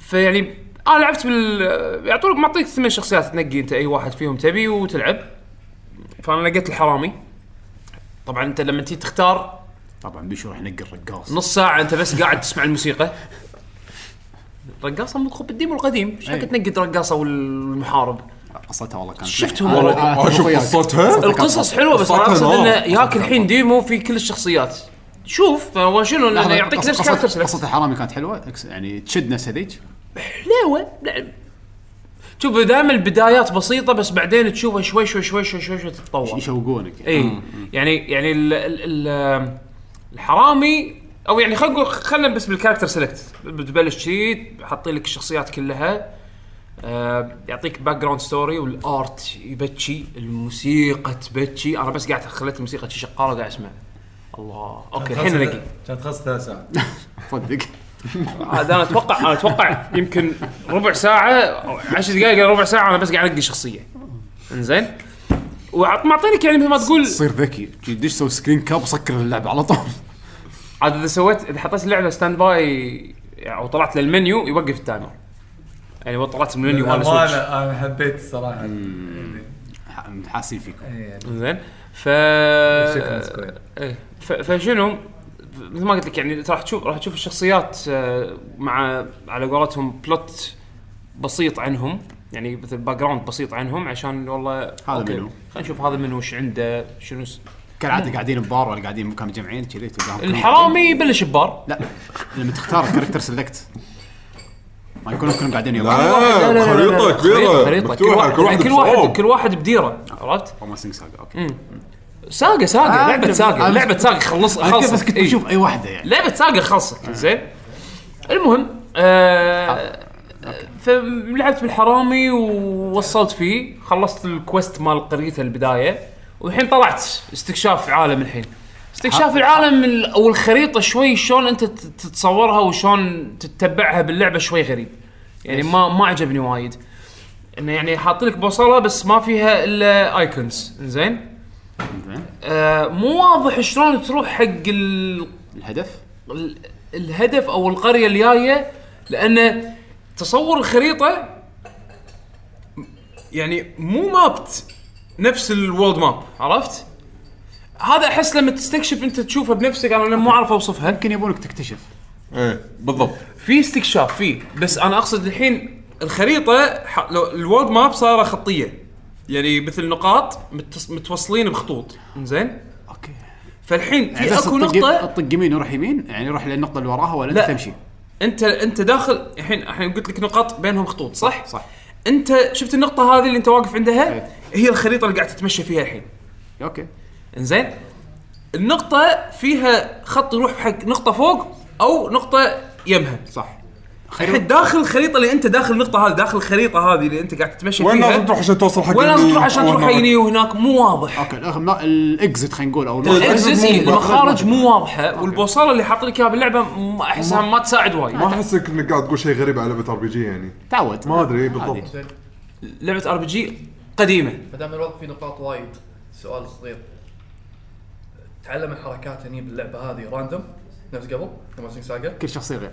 فيعني انا لعبت بال يعطونك معطيك ثمان شخصيات تنقي انت اي واحد فيهم تبي وتلعب فانا لقيت الحرامي طبعا انت لما تيجي تختار طبعا بيشو راح ينقي الرقاص نص ساعة انت بس قاعد تسمع الموسيقى رقاصة من خب الديم القديم، ايش أي. رايك تنقد رقاصة والمحارب؟ قصتها والله كانت شفتهم آه، والله. آه، اشوف أخوياك. قصتها القصص حلوه بس انا قصتها اقصد نار. انه ياك الحين ديمو في كل الشخصيات شوف هو شنو انه لحظة، يعطيك قص- نفس قصة- كاركترز قصة الحرامي كانت حلوه إكس- يعني تشد نفس هذيك حلاوه لا. شوف دائما البدايات بسيطه بس بعدين تشوفها شوي شوي شوي شوي شوي, شوي تتطور يشوقونك يعني. اي يعني يعني ال ال ال الحرامي او يعني خلينا نقول خلينا بس بالكاركتر سيلكت بتبلش شي حاطين لك الشخصيات كلها آه يعطيك باك جراوند ستوري والارت يبكي الموسيقى تبكي انا بس قاعد خليت الموسيقى شي شغاله قاعد اسمع الله اوكي الحين الاقي كانت خلص ثلاث ساعات صدق هذا انا اتوقع انا اتوقع يمكن ربع ساعه او 10 دقائق إلى ربع ساعه انا بس قاعد انقي شخصيه انزين ومعطينك يعني مثل ما تقول تصير ذكي تدش تسوي سكرين كاب وسكر اللعبه على طول عاد اذا سويت اذا حطيت اللعبه ستاند باي او طلعت للمنيو يوقف التايمر يعني هو طلعت من المنيو مال للأمانة سويتش انا حبيت الصراحه ح- حاسين فيكم إيه. زين ف شكراً سكوير. إيه. ف- فشنو مثل ما قلت لك يعني راح تشوف راح تشوف الشخصيات آه، مع على قولتهم بلوت بسيط عنهم يعني مثل باك جراوند بسيط عنهم عشان والله أوكي، منو؟ خلينا نشوف هذا منو وش عنده شنو س- كالعاده قاعدين ببار ولا قاعدين مكان مجمعين كذي تلقاهم كلهم- الحرامي يبلش ببار لا لما تختار الكاركتر سلكت ما يكونون كلهم قاعدين يبار لا، لا، لا، لا لا، لا. خريطه كبيره خريطة. آه، كل واحد مفتوحه يعني كل كل واحد واحد بصوب. كل واحد بديره عرفت؟ رومانسينج ساجا اوكي ساقه ساقه آه، لعبه أدري. ساقه أنا- لعبه ساقه خلص أنا بس خلص كنت بشوف اي واحده يعني لعبه ساقه خلصك زين المهم آه فلعبت بالحرامي ووصلت فيه خلصت الكوست مال قريته البدايه والحين طلعت استكشاف العالم الحين استكشاف العالم ال- او الخريطه شوي شلون انت تت- تتصورها وشلون تتبعها باللعبه شوي غريب يعني ما ما عجبني وايد انه يعني حاطين لك بوصله بس ما فيها الا ايكونز زين زين. آه مو واضح شلون تروح حق ال... الهدف ال... الهدف او القريه الجايه لان تصور الخريطه يعني مو مابت نفس الوورد ماب عرفت؟ هذا احس لما تستكشف انت تشوفها بنفسك انا لما مو عارف اوصفها يمكن يبونك تكتشف ايه بالضبط في استكشاف فيه بس انا اقصد الحين الخريطه ح... لو الوورد ماب صايره خطيه يعني مثل نقاط متص... متوصلين بخطوط زين اوكي فالحين يعني في بس اكو تطق نقطه تطق يمين وروح يمين يعني روح للنقطه اللي وراها ولا لا. لا تمشي انت انت داخل الحين الحين قلت لك نقاط بينهم خطوط صح؟ صح. انت شفت النقطه هذه اللي انت واقف عندها ايه. هي الخريطه اللي قاعد تتمشى فيها الحين اوكي انزين النقطه فيها خط يروح حق نقطه فوق او نقطه يمها صح الحين داخل الخريطه اللي انت داخل النقطه هذه داخل الخريطه هذه اللي انت قاعد تتمشى وين فيها لازم تروح عشان توصل حق وين لازم ال- تروح عشان تروح وهناك. هني وهناك مو واضح اوكي الأخ- ما- الاكزت خلينا نقول او المخرج. الإكزيز، مو- إيه، المخارج مو- مو واضحه والبوصله اللي حاطين لك اياها باللعبه م- احسها ما تساعد وايد ما احسك انك قاعد تقول شيء غريب على لعبه ار بي جي يعني تعود ما ادري إيه بالضبط لعبه ار بي جي قديمه ما دام الوقت في نقاط وايد سؤال صغير تعلم الحركات هني باللعبه هذه راندوم نفس قبل رومانسينج ساجا كل شخصيه غير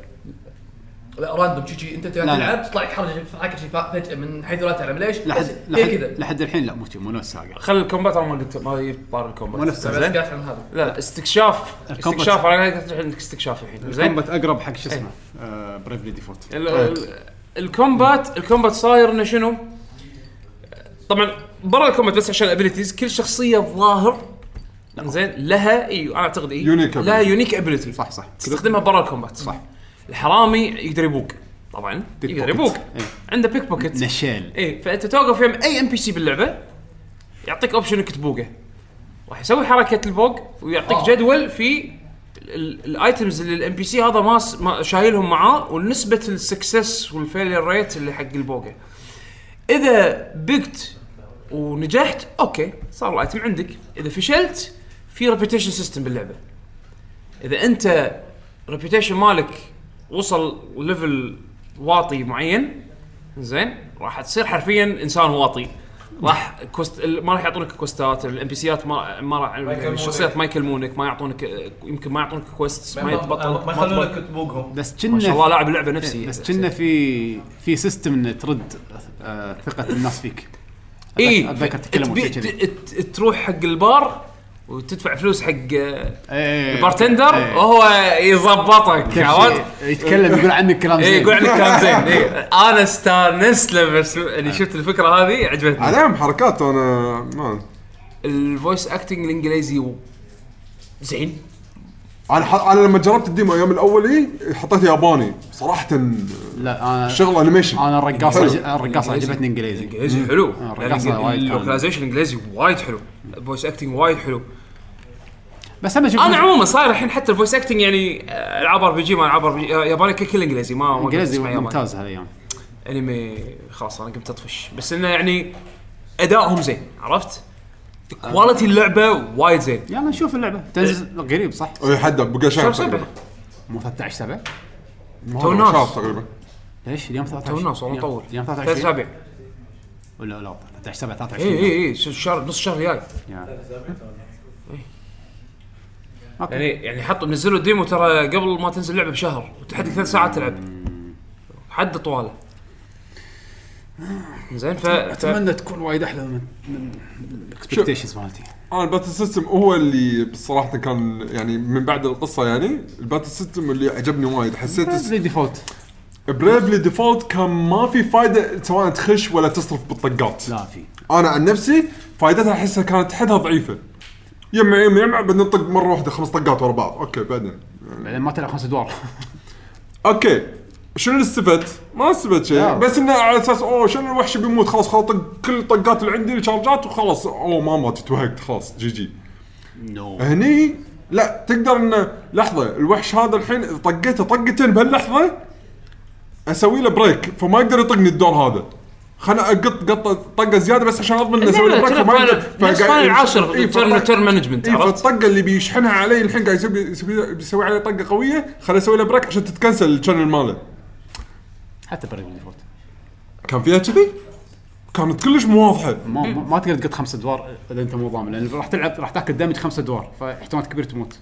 لا راندوم شي شي انت لا. قاعد تلعب تطلع تحرك حركه شي فجاه من حيث لا تعلم ليش؟ لحد هي إيه لحد كذا لحد الحين لا مو شي، مو نفس ساقه خلي الكومبات انا ما قلت ما جبت طار الكومبات مو نفس بس ساقه قاعد عن هذا لا لا استكشاف الكومبات. استكشاف انا قاعد أتحدث عن استكشاف الحين زين آه، كومبات اقرب حق شو اسمه بريفلي ديفولت إيه. ال- ال- الكومبات الكومبات صاير انه شنو؟ طبعا برا الكومبات بس عشان الابيلتيز كل شخصيه الظاهر زين لها اي انا اعتقد اي Unique لها ability. يونيك ابيلتي صح صح تستخدمها برا الكومبات صح. الحرامي يقدر يبوك طبعا بيك يقدر بوكيت. يبوك إيه. عنده بيك بوكيت نشال اي فانت توقف يم اي ام بي سي باللعبه يعطيك اوبشن انك تبوقه راح يسوي حركه البوق ويعطيك آه. جدول في ال- ال- الايتمز اللي الام بي سي هذا ما س- ما شايلهم معاه ونسبه السكسس والفيلير ريت اللي حق البوقه اذا بقت ونجحت اوكي صار الايتم عندك اذا فشلت في ريبيتيشن سيستم باللعبه اذا انت ريبيتيشن مالك وصل ليفل واطي معين زين راح تصير حرفيا انسان واطي راح كوست ال- ما راح يعطونك كوستات الام بي سيات ما ما راح يكلمونك. الشخصيات ما يكلمونك ما يعطونك آه، يمكن ما يعطونك كويست ما يتبطلونك ما يخلونك تبوقهم بس ما شاء الله كنا لاعب لعبه نفسي بس كنا في في سيستم ان ترد آه، ثقه الناس فيك اي اتذكر تكلموا تبي- شيء كذي إيه، ت- ت- تروح حق البار وتدفع فلوس حق آه، إيه. البارتندر إيه. وهو يظبطك عرفت؟ يتكلم يقول عنك كلام اي زين إيه، يقول عنك كلام زين إيه. انا استانست لما سم- اني شفت الفكره هذه عجبتني عليهم حركات انا ما الفويس اكتنج الانجليزي و- زين انا ح... انا لما جربت الديمو ايام الاولي حطيت ياباني صراحه لا انا شغل انيميشن انا حلو. الرقاصه الرقاصه إنجليزي. عجبتني انجليزي الانجليزي حلو آه، الرقصة لأن وايد اللوكلايزيشن الانجليزي وايد حلو الفويس اكتنج وايد حلو بس انا شفت انا عموما صاير الحين حتى الفويس اكتنج يعني آه، العاب ار بي جي ما العاب ار بي جي آه، ياباني كل كل انجليزي ما ما قاعد انجليزي أسمع ياباني. ممتاز هالايام انمي خلاص انا قمت اطفش بس انه يعني ادائهم زين عرفت؟ آه. كواليتي اللعبه وايد زين يلا نشوف اللعبه تنزل قريب صح؟ اي حد بقى شهر شهر سبعة. تقريبا مو 13 7 تو شهر ناس تقريبا ليش اليوم 13 تو الناس والله اليوم- طول اليوم ثلاث إيه، 23 اسابيع ولا لا 13 7 اي 23 اي اي شهر نص شهر جاي إيه. يا. يعني يعني حطوا نزلوا الديمو ترى قبل ما تنزل اللعبه بشهر وتحدك ثلاث ساعات تلعب حد طواله زين ف, ف... اتمنى تكون وايد احلى من الاكسبكتيشنز مالتي انا الباتل سيستم هو اللي صراحه كان يعني من بعد القصه يعني الباتل سيستم اللي عجبني وايد حسيت زي ديفولت بريفلي ديفولت كان ما في فائده سواء تخش ولا تصرف بالطقات لا في انا عن نفسي فائدتها احسها كانت حدها ضعيفه يمع يمع يمع بعدين نطق مره واحده خمس طقات ورا بعض اوكي بعدين بعدين ما تلعب خمس ادوار اوكي شنو اللي استفدت؟ ما استفدت شيء نعم. لا. بس انه على اساس اوه شنو الوحش بيموت خلاص خلاص طق كل الطقات اللي عندي الشارجات وخلاص اوه ما مات توهقت خلاص جي جي نو هني لا تقدر انه لحظه الوحش هذا الحين إذا طقيته طقتين بهاللحظه اسوي له بريك فما يقدر يطقني الدور هذا خلنا اقط قطه طقه زياده بس عشان اضمن انه اسوي له بريك فما يقدر نفس فقاعد- فاينل 10 إي، تيرن فطق- تيرن مانجمنت اي عرفت؟ فالطقه اللي بيشحنها علي الحين قاعد يسوي يسوي- بيسوي علي طقه قويه خليني اسوي له بريك عشان تتكنسل الشانل ماله حتى بريد ديفولت كان فيها كذي؟ كانت كلش مو واضحه ما ما- ما تقدر تقط خمس ادوار اذا انت مو ضامن لان راح تلعب راح تاكل دامج خمس ادوار فاحتمال كبير تموت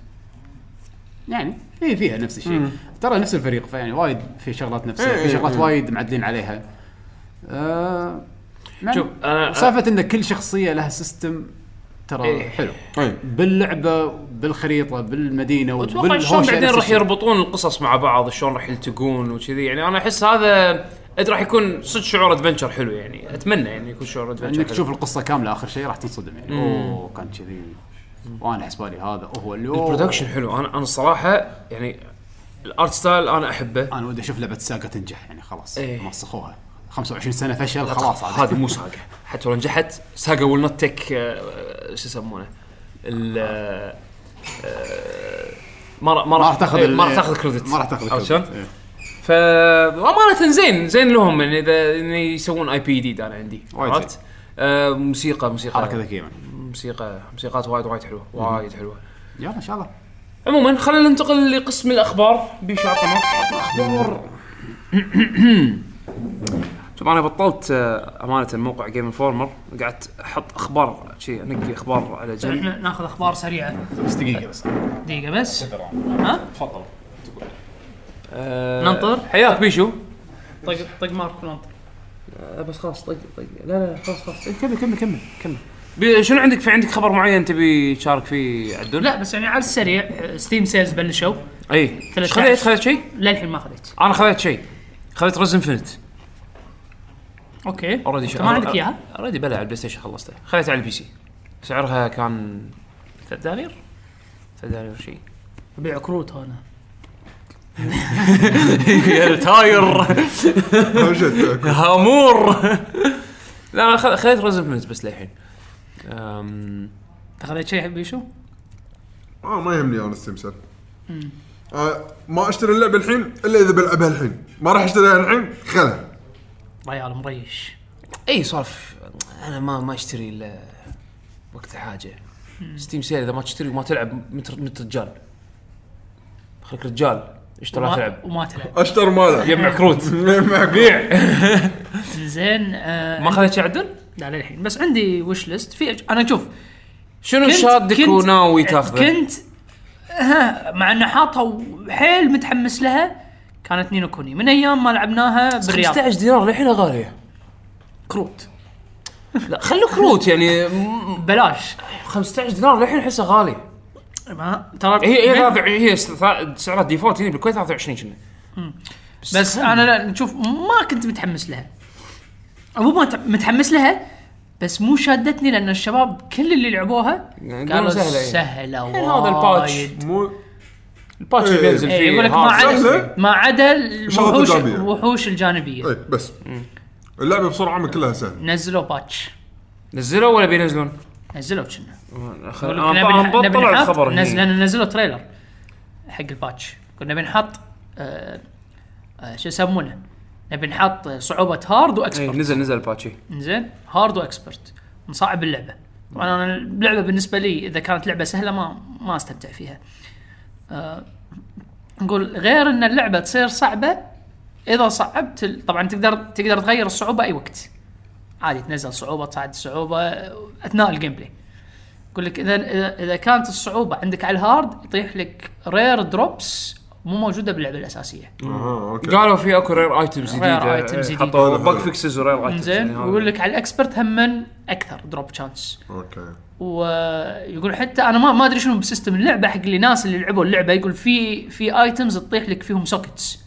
يعني هي فيها نفس الشيء ترى نفس الفريق فيعني وايد في شغلات نفسها إيه، في إيه، شغلات إيه. وايد معدلين عليها آه شوف، أنا- سالفه ان كل شخصيه لها سيستم ترى إيه. حلو اي باللعبه بالخريطه بالمدينه اتوقع شلون نفس بعدين راح الشيء. يربطون القصص مع بعض شلون راح يلتقون وكذي يعني انا احس هذا أد- راح يكون صدق شعور ادفنشر حلو يعني اتمنى يعني يكون شعور ادفنشر انك حلو. تشوف القصه كامله اخر شيء راح تنصدم يعني اوه كان كذي وانا حسبالي هذا هو اللي أوه. البرودكشن حلو انا انا الصراحه يعني الارت ستايل انا احبه انا ودي اشوف لعبه ساقه تنجح يعني خلاص إيه. مسخوها 25 سنه فشل خلاص عاد. هذه مو ساقه حتى لو نجحت ساقه ويل نوت تيك آه، شو يسمونه ال آه، آه، ما راح ما راح تاخذ إيه، ال- ما راح تاخذ كريدت ما راح تاخذ عرفت كريدت شلون؟ إيه. فامانه زين زين لهم يعني اذا إن يسوون اي بي جديد انا عندي وايد عرفت؟ آه، موسيقى موسيقى حركه ذكيه يعني. موسيقى موسيقات وايد وايد حلوه وايد حلوه يلا ان شاء الله عموما خلينا ننتقل لقسم الاخبار بيش عطنا الاخبار شوف انا بطلت آه، امانه موقع جيم انفورمر قعدت احط اخبار شي انقي اخبار على جنب احنا طيب، ناخذ اخبار سريعه بس إيه. دقيقه بس دقيقه بس آه، ننطر؟ حياك بيشو طق طق مارك ننطر آه، بس خلاص طق طق لا لا خلاص خلاص إيه، كمل كمل كمل كمل بي- شنو عندك في عندك خبر معين تبي تشارك فيه عدل؟ لا بس يعني على السريع ستيم سيلز بلشوا اي 13. خذيت خذيت شيء؟ للحين ما خذيت انا خذيت شيء خذيت رز انفنت اوكي اوريدي انت ما عندك اياها؟ اوريدي بلا على البلاي ستيشن خلصته خليتها على البي سي سعرها كان 3 دنانير 3 دنانير شيء ابيع كروت انا تاير فشت. هامور لا انا خل- خليت ريزنفمنت بس للحين أم، انت خذيت شيء بيشو؟ اه ما يهمني انا ستيم سيل آه ما اشتري اللعبه الحين الا اذا بلعبها الحين ما راح اشتريها الحين خلها ريال مريش اي سوالف انا ما ما اشتري الا وقت الحاجه ستيم سيل اذا ما تشتري وما تلعب متر متر رجال خليك رجال اشتري لا وما- تلعب وما تلعب اشتر ماله جمع كروت بيع زين آه ما خذيت شيء عدل؟ لا للحين بس عندي وش ليست في أج... انا شوف شنو كنت- شادك كنت- وناوي تاخذه؟ كنت ها مع انه حاطه و- حيل متحمس لها كانت نينو كوني من ايام ما لعبناها بالرياض 15 دينار للحين غاليه كروت لا خلوا كروت يعني م- بلاش 15 دينار للحين احسها غالي ما ترى هي هي بين- 23 هي س- سعرها الديفولت هنا بالكويت 23 كنا بس انا لا نشوف ما كنت متحمس لها او مو مت- متحمس لها بس مو شادتني لان الشباب كل اللي لعبوها سهلة، قالوا سهله إيه. سهله هذا الباتش. وايد. مو الباتش اللي إيه. بينزل إيه، فيه يقول لك ما هذا. عدا سهلة. طيب. ما عدا شغلات الوحوش إيجابية. الوحوش الجانبيه اي بس اللعبه بسرعه من كلها سهله نزلوا باتش نزلوا ولا بينزلون؟ نزلوا كنا انا أنا بطلع الخبر هني. نزل لان نزلوا تريلر حق الباتش كنا بنحط آه، آه، شو يسمونه نبي نحط صعوبه هارد إيه، واكسبرت نزل نزل الباتشي زين هارد واكسبرت نصعب اللعبه طبعا انا اللعبه بالنسبه لي اذا كانت لعبه سهله ما ما استمتع فيها آه نقول غير ان اللعبه تصير صعبه اذا صعبت ال- طبعا تقدر تقدر تغير الصعوبه اي وقت عادي تنزل صعوبه تصعد الصعوبه اثناء الجيم بلاي يقول لك اذا اذا اذا كانت الصعوبه عندك على الهارد يطيح لك رير دروبس مو موجوده باللعبه الاساسيه اه اوكي قالوا في اكو رير ايتمز جديده Rare items إيه، جديدة. حطوا حلو، بق حلو. فيكسز ورير ايتمز زين ويقول لك على الاكسبرت هم اكثر دروب تشانس اوكي ويقول حتى انا ما ما ادري شنو بسيستم اللعبه حق اللي ناس اللي لعبوا اللعبه يقول في في ايتمز تطيح لك فيهم سوكتس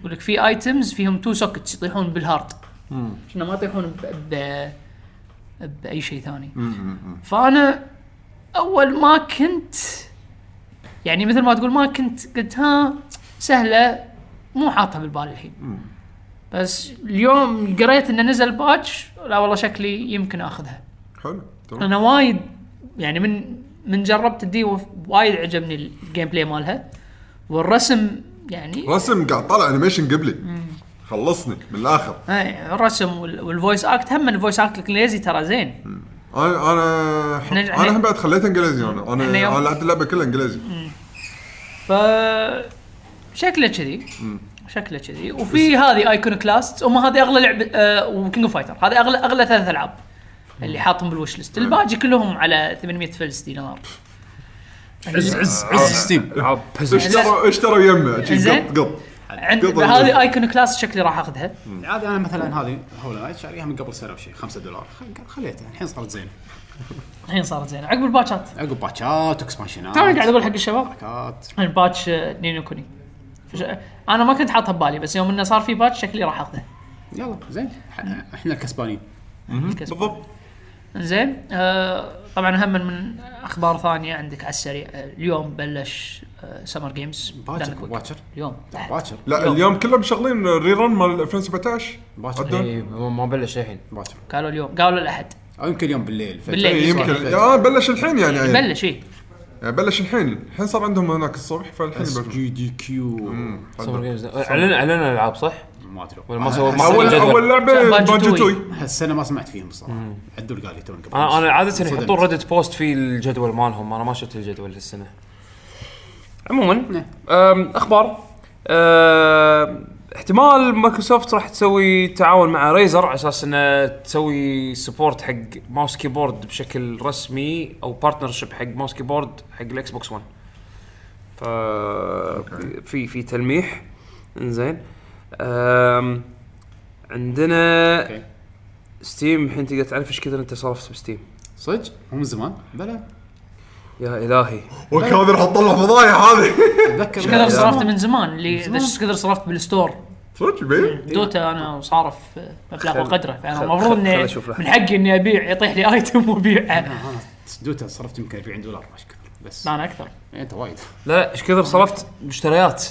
يقول لك في ايتمز فيهم تو سوكتس يطيحون بالهارد شنو ما يطيحون ب... ب... باي شيء ثاني فانا اول ما كنت يعني مثل ما تقول ما كنت قلت ها سهله مو حاطها بالبال الحين بس اليوم قريت انه نزل باتش لا والله شكلي يمكن اخذها حلو تمام انا وايد يعني من من جربت الدي وف- وايد عجبني الجيم بلاي مالها والرسم يعني رسم قاعد طالع انيميشن قبلي خلصني من الاخر إيه، الرسم وال- والفويس اكت هم الفويس اكت الانجليزي ترى زين انا انا إحنا- إحنا- انا هم بعد خليتها انجليزي انا انا إحنا يوم- انا لعبت اللعبه كلها انجليزي ف شكله كذي شكله كذي وفي هذه ايكون كلاست هم هذه اغلى لعبه آه وكينج اوف فايتر هذه اغلى اغلى ثلاث العاب اللي حاطهم بالوش ليست الباقي كلهم على 800 فلس دينار عز عز عز ستيم العاب بزنس. اشتروا اشتروا يمه شي زين. قط قط عند قطع هذه جدا. ايكون كلاست شكلي راح اخذها عادي انا مثلا هذه هول نايت شاريها من قبل سنه وشي 5 دولار خل- خليتها الحين صارت زينه الحين صارت زينه عقب الباتشات عقب باتشات اكسبانشنات توني قاعد اقول حق الشباب حركات الباتش آه، نينو كوني فش- انا ما كنت حاطها ببالي بس يوم انه صار في باتش شكلي راح اخذه يلا زين ح- احنا الكسبانين بالضبط زين آه طبعا هم من اخبار ثانيه عندك على السريع آه، اليوم بلش آه، سمر جيمز باكر باكر اليوم أحد. باكر لا اليوم كلهم مشغلين ريرن مال 2017 باكر عدل. إيه، ما بلش الحين باكر قالوا اليوم قالوا الاحد او يمكن اليوم بالليل فجأة. بالليل. إيه، يمكن صح. اه بلش الحين يعني يعني. بلش إيه. اي يعني بلش الحين الحين صار عندهم هناك الصبح فالحين اس بلش جي دي كيو سمر جيمز اعلن اعلن الالعاب صح؟ ما ادري ولا ما سووا- ما سووا اول جدول. اول جدول. لعبه باجي بانجي توي. توي هالسنه ما سمعت فيهم الصراحه عدول قال لي توني قبل انا انا عاده انصدمت. يحطون ردت بوست في الجدول مالهم انا ما شفت الجدول هالسنه عموما أم، اخبار أم، احتمال مايكروسوفت راح تسوي تعاون مع ريزر على اساس انها تسوي سبورت حق ماوس كيبورد بشكل رسمي او بارتنرشيب حق ماوس كيبورد حق الاكس بوكس 1 ف في في تلميح انزين أم، عندنا أوكي. ستيم الحين تقدر تعرف ايش كثر انت صرفت بستيم صدق مو من زمان بلا يا الهي وك هذا راح تطلع فضايح هذه اتذكر ايش كثر صرفت من زمان اللي ايش كثر صرفت بالستور صدق يبين؟ دوتا انا وصارف آه، مبلغ خل- وقدره فانا خل- المفروض خل- اني خل أشوف لحظة. من حقي اني ابيع يطيح لي ايتم وابيعه انا دوتا صرفت يمكن 40 دولار ما كثر بس لا انا اكثر انت وايد لا ايش كثر صرفت مشتريات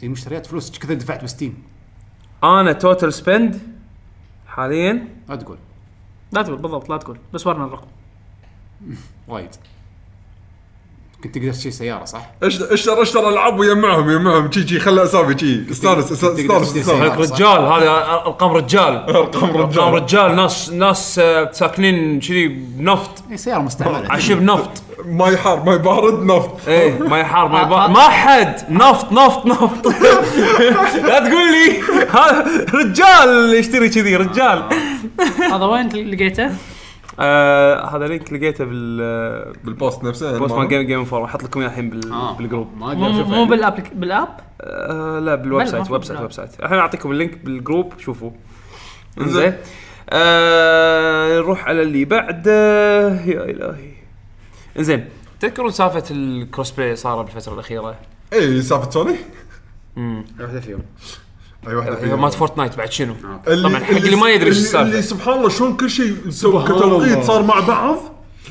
هي مشتريات فلوس ايش كثر دفعت بستيم انا توتال سبند حاليا لا تقول لا تقول بالضبط لا تقول بس ورنا الرقم وايد كنت تقدر تشتري سياره صح؟ اشتر اشتر اشتر العاب ويجمعهم يجمعهم شي شي خلى اسامي شي استانس تقدر استانس تشتري استانس سيارة. رجال هذا ارقام رجال ارقام ارقام رجال رجال ناس ناس آه، ساكنين كذي بنفط اي سياره مستعمله عشب نفط ماي حار ماي بارد نفط ايه ما يحار ما يبا ما حد نفط نفط نفط لا تقول لي هذا رجال اللي يشتري كذي رجال هذا وين لقيته؟ آه، هذا لينك لقيته بال آه، بالبوست نفسه بوست مال جيم جيم انفور راح احط لكم اياه الحين بال- آه. بالجروب ما مو اقدر مو يعني. اشوفها بالابلك بالاب آه لا بالويب بلى، سايت مفروض ويب سايت بالويب ويب سايت الحين اعطيكم اللينك بالجروب شوفوا إنزين. انزين آه نروح على اللي بعده يا الهي انزين تذكرون سالفه الكروس بلاي صار بالفتره الاخيره اي سالفه إيه، سوني واحده فيهم اي واحده اذا فيهم. مات فورتنايت بعد شنو؟ اللي طبعاً حق اللي ما يدري إيش السالفة. اللي سبحان الله شلون كل شيء سو- سبحان الله. كتوقيت صار مع بعض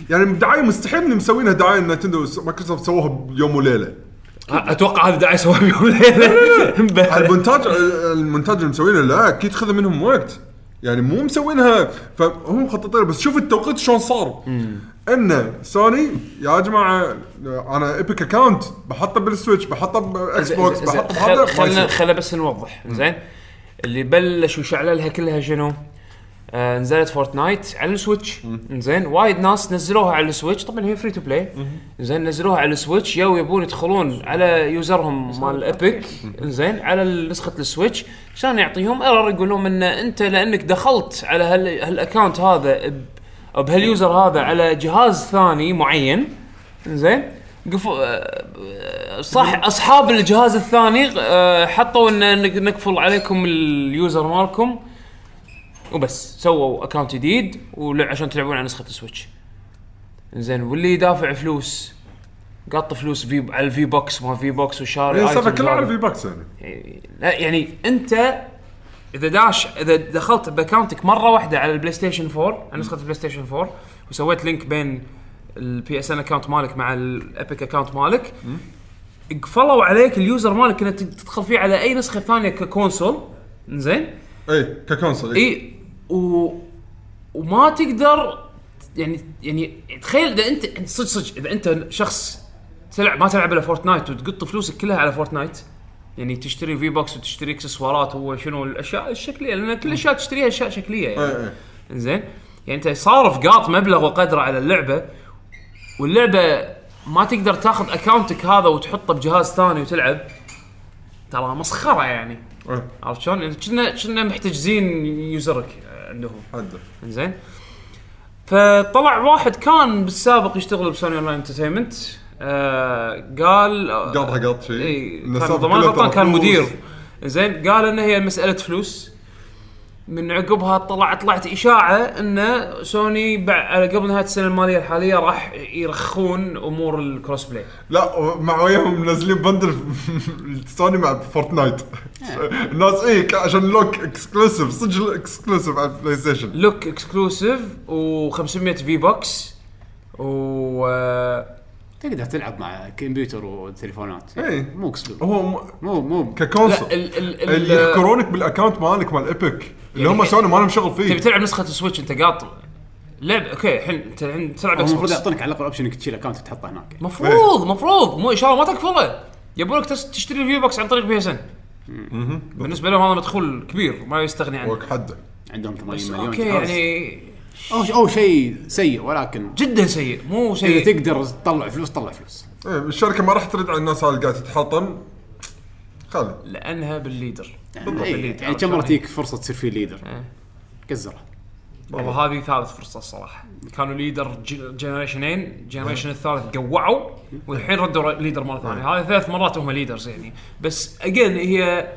يعني دعايه مستحيل ان مسوينها دعايه نتندو وس- مايكروسوفت سووها بيوم وليله اتوقع هذا دعايه سواه بيوم ليله المونتاج المونتاج اللي مسوينه لا اكيد خذ منهم وقت يعني مو مسوينها فهم مخططين بس شوف التوقيت شلون صار ان سوني يا جماعه انا ايبك اكاونت بحطه بالسويتش بحطه باكس بوكس بحطه بهذا ما خلنا يصير. خلنا بس نوضح زين اللي بلش وشعللها كلها شنو؟ آه نزلت فورتنايت على السويتش زين وايد ناس نزلوها على السويتش طبعا هي فري تو بلاي زين نزلوها على السويتش يو يبون يدخلون على يوزرهم مال ايبك زين على نسخه السويتش عشان يعطيهم ايرور يقولون ان انت لانك دخلت على هال- هالاكونت هذا ب- أو بهاليوزر هذا على جهاز ثاني معين زين قفو آه، صح اصحاب الجهاز الثاني آه، حطوا ان نق- نقفل عليكم اليوزر مالكم وبس سووا اكونت جديد ولع- عشان تلعبون على نسخه السويتش زين واللي يدافع فلوس قط فلوس في على الفي بوكس ما في بوكس وشاري يعني السالفه items كلها على هذا. في باكس يعني لا يعني انت اذا داش اذا دخلت باكونتك مره واحده على البلاي ستيشن 4 على نسخه البلاي ستيشن 4 وسويت لينك بين البي اس ان اكونت مالك مع الابيك اكونت مالك قفلوا عليك اليوزر مالك انك تدخل فيه على اي نسخه ثانيه ككونسول زين اي ككونسل اي اي إيه، و... وما تقدر يعني يعني تخيل اذا انت أنت يعني صدق صدق اذا انت شخص تلعب ما تلعب الا فورتنايت وتقط فلوسك كلها على فورتنايت يعني تشتري في بوكس وتشتري اكسسوارات هو شنو الاشياء الشكليه لان كل الاشياء تشتريها اشياء شكليه يعني إي. زين يعني انت صارف قاط مبلغ وقدره على اللعبه واللعبه ما تقدر تاخذ اكونتك هذا وتحطه بجهاز ثاني وتلعب ترى مسخره يعني إيه. عرفت شلون؟ يعني كنا كنا محتجزين يوزرك عندهم حده زين فطلع واحد كان بالسابق يشتغل بسوني اونلاين انترتينمنت آه قال قاطها قاط شيء اي إيه، إن كان السالفة ضمان كلها غلطان ترى كان فلوس. مدير زين قال ان هي مساله فلوس من عقبها طلع طلعت اشاعه ان سوني بع- على قبل نهايه السنه الماليه الحاليه راح يرخون امور الكروس بلاي لا مع وياهم منزلين بندل سوني مع فورتنايت الناس اي ك- عشان لوك اكسكلوسيف صدق اكسكلوسيف على البلاي ستيشن لوك اكسكلوسيف و500 في بوكس و آه، تقدر تلعب مع كمبيوتر وتليفونات إي. مو اكسبل هو م- مو مو ككونسل لا ال ال اللي ال يحكرونك بالاكونت مالك مال ايبك اللي هم يعني- سوني ما لهم شغل تبي فيه تلعب نسخه السويتش انت قاطع لعب اوكي الحين انت الحين تلعب هو اكس المفروض بوكس يعطونك على الاقل اوبشن انك تشيل اكونت وتحطه هناك مفروض مفروض مو ان شاء الله ما تكفله يبونك تس- تشتري الفيو بوكس عن طريق بي اس ان بالنسبه لهم هذا مدخول كبير ما يستغني عنه وك حده عندهم 80 مليون اوكي جهاز. يعني او او شيء سيء ولكن جدا سيء مو اذا سيء تقدر تطلع فلوس طلع فلوس إيه، الشركه ما راح ترد على الناس اللي قاعده تتحطم خلي لانها بالليدر يعني إي، بالليد. يعني كم مره تجيك فرصه تصير فيه ليدر كزرها والله هذه ثالث فرصه الصراحه كانوا ليدر ج- جنريشنين جنريشن الثالث قوعوا والحين ردوا ر- ليدر مره ثانيه هذه ثلاث مرات هم ليدرز يعني بس اجين هي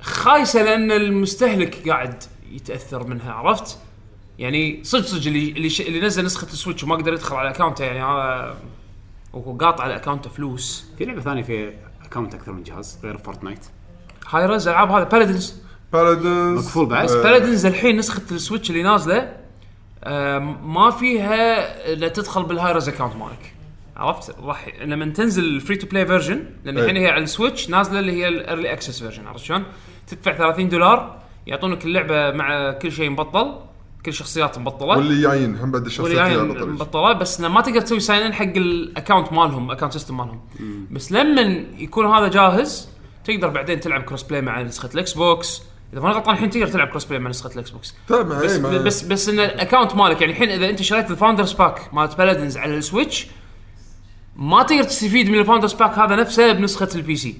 خايسه لان المستهلك قاعد يتاثر منها عرفت؟ يعني صدق صدق اللي اللي, ش... اللي نزل نسخه السويتش وما قدر يدخل على اكونته يعني هذا وقاطع على اكونته فلوس في لعبه ثانيه في اكونت اكثر من جهاز غير فورتنايت هاي رز العاب هذا بارادنز بارادنس مقفول بعد؟ آه، بارادنز الحين نسخه السويتش اللي نازله آه، ما فيها الا تدخل بالهايرز اكونت مالك عرفت راح لما تنزل الفري تو بلاي فيرجن لان الحين هي على السويتش نازله اللي هي الايرلي اكسس فيرجن عرفت شلون؟ تدفع 30 دولار يعطونك اللعبه مع كل شيء مبطل كل شخصيات مبطله واللي جايين هم بعد الشخصيات واللي اللي يعني على طريق. مبطله بس إنه ما تقدر تسوي ساين ان حق الاكونت مالهم اكونت سيستم مالهم بس لما يكون هذا جاهز تقدر بعدين تلعب كروس بلاي مع نسخه الاكس بوكس اذا ما أنا غلطان الحين تقدر تلعب كروس بلاي مع نسخه الاكس بوكس طيب، ما- بس إيه، ما- بس بس ان الاكونت مالك يعني الحين اذا انت شريت الفاوندرز باك مالت بلادنز على السويتش ما تقدر تستفيد من الفاوندرز باك هذا نفسه بنسخه البي سي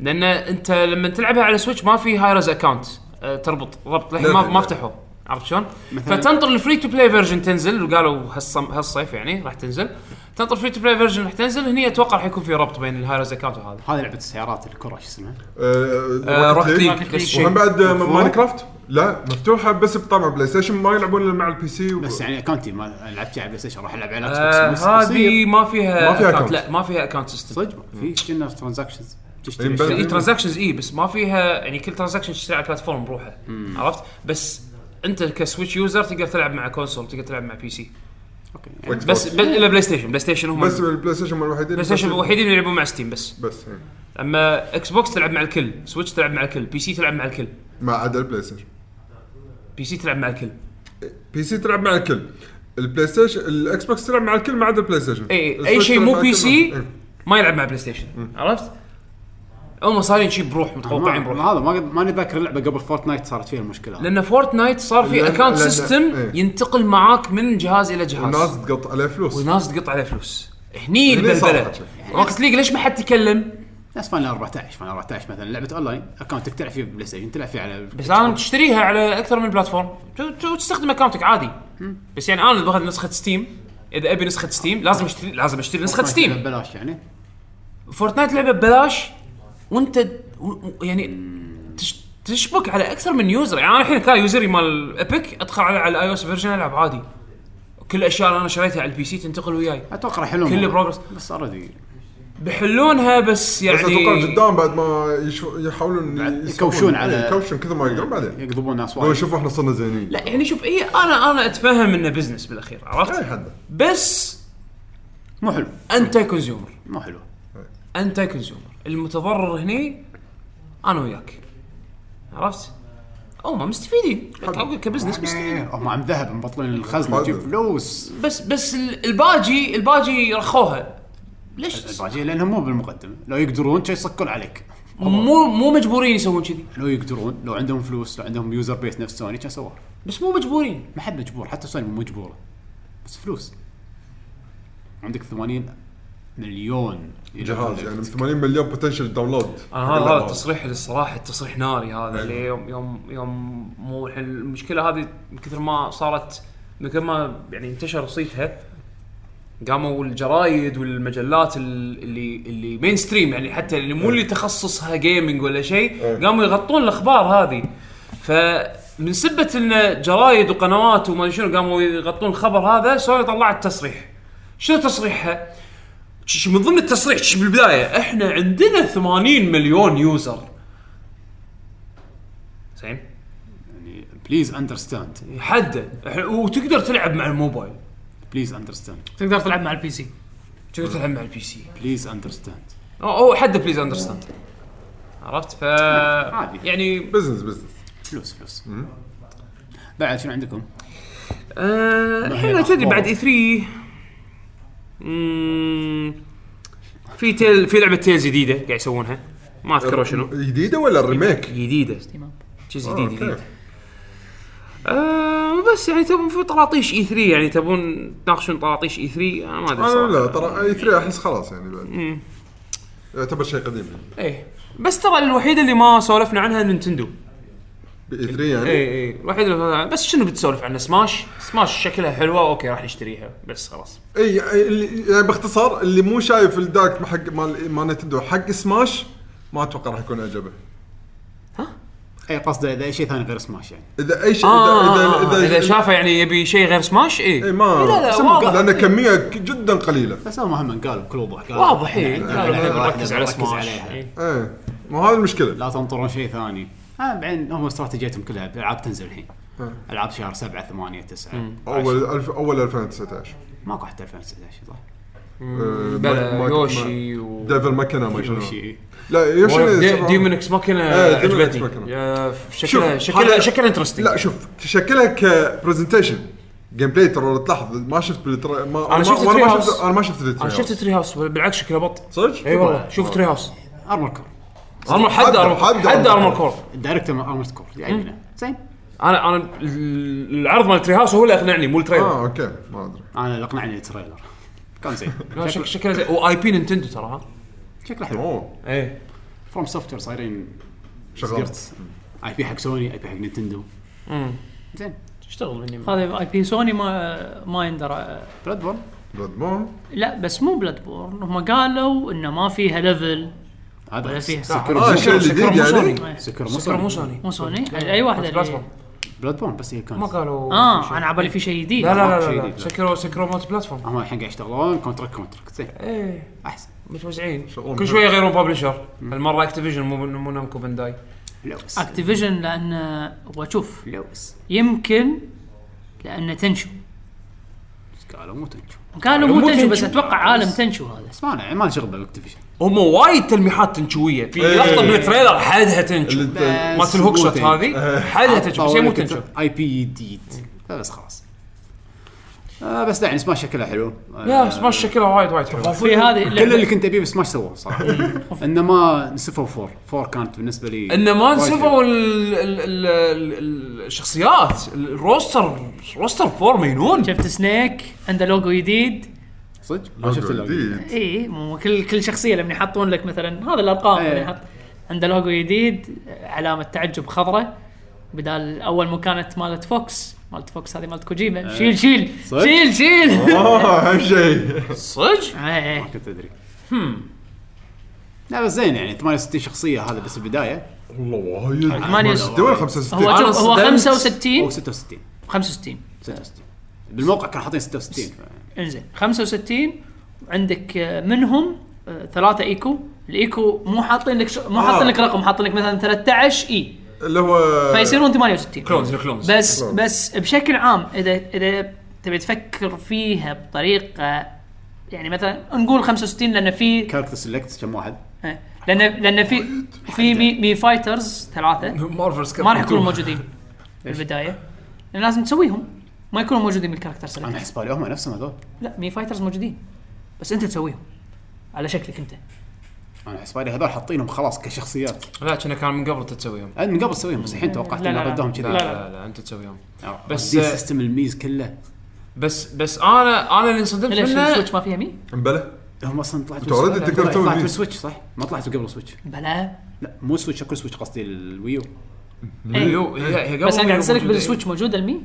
لان انت لما تلعبها على سويتش ما في هايرز اكونت آه، تربط ربط لا، للحين ما لا، ما لا. فتحوا عرفت شلون؟ مثلاً- فتنطر الفري تو بلاي فيرجن تنزل وقالوا هالصم- هالصيف يعني راح تنزل تنطر الفري تو بلاي فيرجن راح تنزل هني اتوقع راح يكون في ربط بين الهايرز اكونت وهذا هذه لعبه السيارات الكره شو اسمها؟ آه، روكت روكت ليج. ليج. نفس الشيء. وهم بعد آه، مقفولة؟ ماينكرافت لا مفتوحه بس بطبع بلاي ستيشن ما يلعبون الا مع البي سي و- بس يعني اكونتي ما لعبت على بلاي ستيشن راح العب على آه، اكس بوكس هذه ما فيها ما فيها account. account. لا ما فيها اكونت سيستم صدق في كنا ترانزاكشنز إيه، تشتري بل- اي أشياء. ترانزاكشنز اي بس ما فيها يعني كل ترانزاكشن تشتري على بلاتفورم بروحه عرفت بس انت كسويتش يوزر تقدر تلعب مع كونسول تقدر تلعب مع بي سي أوكي. وإكس بس بوكس. بل الا بلاي ستيشن بلاي ستيشن هم بس بلاي البلاي ستيشن هم الوحيدين ستيشن بس- الوحيدين اللي يلعبون مع ستيم بس بس إيه. اما اكس بوكس تلعب مع الكل سويتش تلعب مع الكل بي سي تلعب مع الكل ما عدا البلاي ستيشن بي سي تلعب مع الكل بي سي تلعب مع الكل البلاي ستيشن الاكس بوكس تلعب مع الكل ما عدا البلاي ستيشن اي اي السويتش إيه، شيء تلعب مو مع بي الكل. سي إيه. ما يلعب مع بلاي ستيشن عرفت؟ هم صايرين شيء بروح متوقعين ما- بروح هذا ما قد- ماني ذاكر اللعبه قبل فورتنايت صارت فيها المشكله هذه. لان فورتنايت صار في لأن- اكونت لأن- سيستم إيه. ينتقل معاك من جهاز الى جهاز والناس تقط عليه فلوس والناس تقط عليه فلوس هني هني صار البلبله حكي. وقت ليج ليش ما حد تكلم؟ ناس فاينل 14 فاينل 14 مثلا لعبه اونلاين اكونتك تلعب فيه بلاي ستيشن تلعب فيه على بس لازم تشتريها على اكثر من بلاتفورم تو- تو- تستخدم اكونتك عادي بس يعني انا اللي باخذ نسخه ستيم اذا ابي نسخه ستيم لازم اشتري لازم اشتري نسخه ستيم ببلاش يعني فورتنايت لعبه ببلاش وانت د- و- و- يعني تش- تشبك على اكثر من يوزر يعني انا الحين كان يوزري مال ايبك ادخل على على اي او اس فيرجن العب عادي كل الاشياء اللي انا شريتها على البي سي تنتقل وياي اتوقع راح يحلون كل الموضوع. بروجرس. بس اوريدي بيحلونها بس يعني بس اتوقع قدام بعد ما يشو- يحاولون يسوون- يكوشون على- إيه، يكوشون كثر ما يقدرون بعدين يقضبون ناس لو وايد شوفوا احنا صرنا زينين لا يعني شوف اي انا انا اتفهم انه بزنس بالاخير اي عرفت حد بس مو حلو انت كونسيومر مو حلو انت كونسيومر المتضرر هني انا وياك عرفت؟ او ما مستفيدين كبزنس مستفيدين إيه، هم عم ذهب مبطلين الخزنه حلو. تجيب فلوس بس بس ال- الباجي الباجي رخوها ليش الباجي لانهم مو بالمقدمه لو يقدرون شي يسكون عليك مو مو مجبورين يسوون كذي لو يقدرون لو عندهم فلوس لو عندهم يوزر بيس نفس سوني كان سووها بس مو مجبورين ما حد مجبور حتى سوني مو مجبوره بس فلوس عندك 80 مليون جهاز يعني 80 مليون بوتنشل داونلود انا آه، هذا هذا التصريح اللي الصراحه التصريح ناري هذا اللي يوم يوم يوم مو الحين المشكله هذه من كثر ما صارت من كثر ما يعني انتشر صيتها قاموا الجرايد والمجلات ال- اللي اللي مين ستريم يعني حتى اللي مو اللي تخصصها جيمنج ولا شيء قاموا يغطون الاخبار هذه فمن سبه ان جرايد وقنوات وما أدري شنو قاموا يغطون الخبر هذا سوني طلعت تصريح شنو تصريحها؟ شي- من ضمن التصريح شي بالبدايه احنا عندنا 80 مليون يوزر زين يعني بليز اندرستاند حده إح- وتقدر تلعب مع الموبايل بليز اندرستاند تقدر تلعب مع البي سي تقدر تلعب مع البي سي بليز اندرستاند أو- هو حده بليز اندرستاند عرفت ف عادي. يعني بزنس بزنس فلوس فلوس بعد شنو عندكم؟ آه، هي احنا تدري الأخبار. بعد اي 3 مم، في تيل في لعبه تيلز جديده قاعد يسوونها ما اذكر شنو جديده ولا الريميك؟ جديده شيء جديد أوكي. جديد آه بس يعني تبون في طراطيش اي 3 يعني تبون تناقشون طراطيش اي 3 انا ما ادري انا صراحة. آه، لا ترى اي 3 احس خلاص يعني بعد يعتبر شيء قديم ايه بس ترى الوحيده اللي ما سولفنا عنها نينتندو اي 3 يعني اي اي الوحيده اللي بس شنو بتسولف عنها سماش سماش شكلها حلوه اوكي راح نشتريها بس خلاص اي أي- اللي- يعني باختصار اللي مو شايف الدايركت حق مال مال نتندو حق سماش ما اتوقع راح يكون عجبه اي قصده اذا اي شيء ثاني غير سماش يعني اذا اي شيء آه اذا, إذا شافه يعني يبي شيء غير سماش إيه. اي اي ما لا لا بس واضح. ممكن، لأن كميه ك- جدا قليله بس هو مهما قال بكل وضوح قال واضح إيه. اي إيه. إحنا عندنا لعبة واحدة ركز على نركز سماش عليها. إيه. ايه ما هذه المشكله لا تنطرون شيء ثاني آه بعدين هم استراتيجيتهم كلها العاب تنزل الحين العاب شهر 7 8 9 اول الف اول 2019 ماكو حتى 2019 صح بلا يوشي و ديفل ماكينا ما شنو شيء لا يوشي ديمون اكس ماكينه إيه، Demon X عجبتني Machina. يا، شكلها شوف، شكلها هذا- شكلها انترستنج لا شوف شكلها كبرزنتيشن جيم بلاي ترى لو تلاحظ ما شفت بالترا... ما أنا ما- شفت وأنا ما Treehouse. شفت انا ما شفت انا التريهاوس. آه، شفت إيه، تري هاوس بالعكس شكلها بط صدق؟ اي والله شوف تري هاوس ارمر كور ارمر آه. حد حد- ارمر حد حد Armor ارمر Core. كور الدايركتور مال ارمر كور يعجبنا زين انا انا ال- العرض مال تري هاوس هو اللي اقنعني مو التريلر اه اوكي ما ادري انا اللي اقنعني التريلر كان زين لا، شك- شكلها زي واي بي نينتندو ترى ها شكله حلو اوه اي فروم سوفت وير صايرين شغال اي بي حق سوني اي بي حق نينتندو زين اشتغل مني هذا اي بي سوني ما ما يندر بلاد بورن بلاد بورن لا بس مو بلاد بورن هم قالوا انه ما فيها ليفل هذا ولا فيها اه شيء آه، جديد يعني سكر ترى مو مو سوني مو سوني اي واحده اللي- بلاتفورم بلاد بورن بس هي كانت ما قالوا اه انا على بالي في شيء جديد لا لا شيء لا لا جديد. سكروا سكروا مالتي بلاتفورم هم الحين قاعد يشتغلون كونتراكت كونتراكت زين ايه احسن متوزعين شغل كل شويه يغيرون ببلشر هالمره اكتيفيجن مو مو نامكو بانداي لوس اكتيفيجن لان ابغى اشوف لوس يمكن لان تنشو قالوا مو تنشو قالوا مو مو تنشو تنشو. بس اتوقع عالم تنشو هذا بس ما له- ما له شغل بالاكتيفيشن هم وايد تلميحات تنشويه في إيه. لقطه من التريلر حدها تنشو مالت الهوك شوت إيه. هذه حدها تنشو بس هي مو تنشو اي بي جديد بس خلاص آه بس لا يعني سماش شكلها حلو آه يا سماش شكلها وايد وايد حلو في هذه كل اللي اللعبة- كنت ابيه بس ما سووه صراحه انما نسفوا فور فور كانت بالنسبه لي انه ما وايد حلوة. نسفوا ال- ال- ال- ال- الشخصيات الروستر روستر فور مينون شفت سنيك عنده لوجو جديد صدق ما شفت اللعبة. آه، جديد اي إيه، مو كل كل شخصيه لما يحطون لك مثلا هذا الارقام إيه. اللي يحط عنده لوجو جديد علامه تعجب خضراء بدال اول مو كانت مالت فوكس مالت فوكس هذه مالت كوجيما شيل شيل إيه. صدق؟ شيل شيل اه هالشيء صدق إيه. ما كنت ادري لا بس زين يعني 68 شخصيه هذا بس البدايه والله وايد ثمانية وستين. دول هو 65 شوف هو صدمت. 65 او 66 65 66 بالموقع كانوا حاطين 66 ف- انزين 65 عندك آه، منهم آه، ثلاثة ايكو الايكو مو حاطين لك ش... مو حاطين آه. لك رقم حاطين لك مثلا 13 اي اللي هو إيه. فيصيرون 68 كلونز الكلونز بس خلاص. بس بشكل عام اذا اذا تبي تفكر فيها بطريقه يعني مثلا نقول 65 لان في كاركتر سيلكت كم واحد آه، لان لان في في مي, مي فايترز ثلاثه مارفلز ما راح يكونوا موجودين بالبدايه لأن لازم تسويهم ما يكونوا موجودين بالكاركتر انا سيلكت احس بالي هم نفسهم هذول لا مي فايترز موجودين بس انت تسويهم على شكلك انت انا احس بالي هذول حاطينهم خلاص كشخصيات لا كنا كان من قبل تسويهم أنا من قبل تسويهم بس الحين توقعت لا، ان لا، لا. ردهم لا كذي لا لا انت تسويهم بس- بس السيستم الميز كله بس بس انا انا اللي انصدمت ليش منه السويتش ما فيها مي؟ بلى هم اصلا طلعت أنت already تقدر تسوي طلعت الميز. بالسويتش صح؟ ما طلعت قبل السويتش بلا لا مو سويتش اكو سويتش قصدي الويو يو- هي هي قبل بس انا ما قاعد اسالك موجودين. بالسويتش موجوده المي؟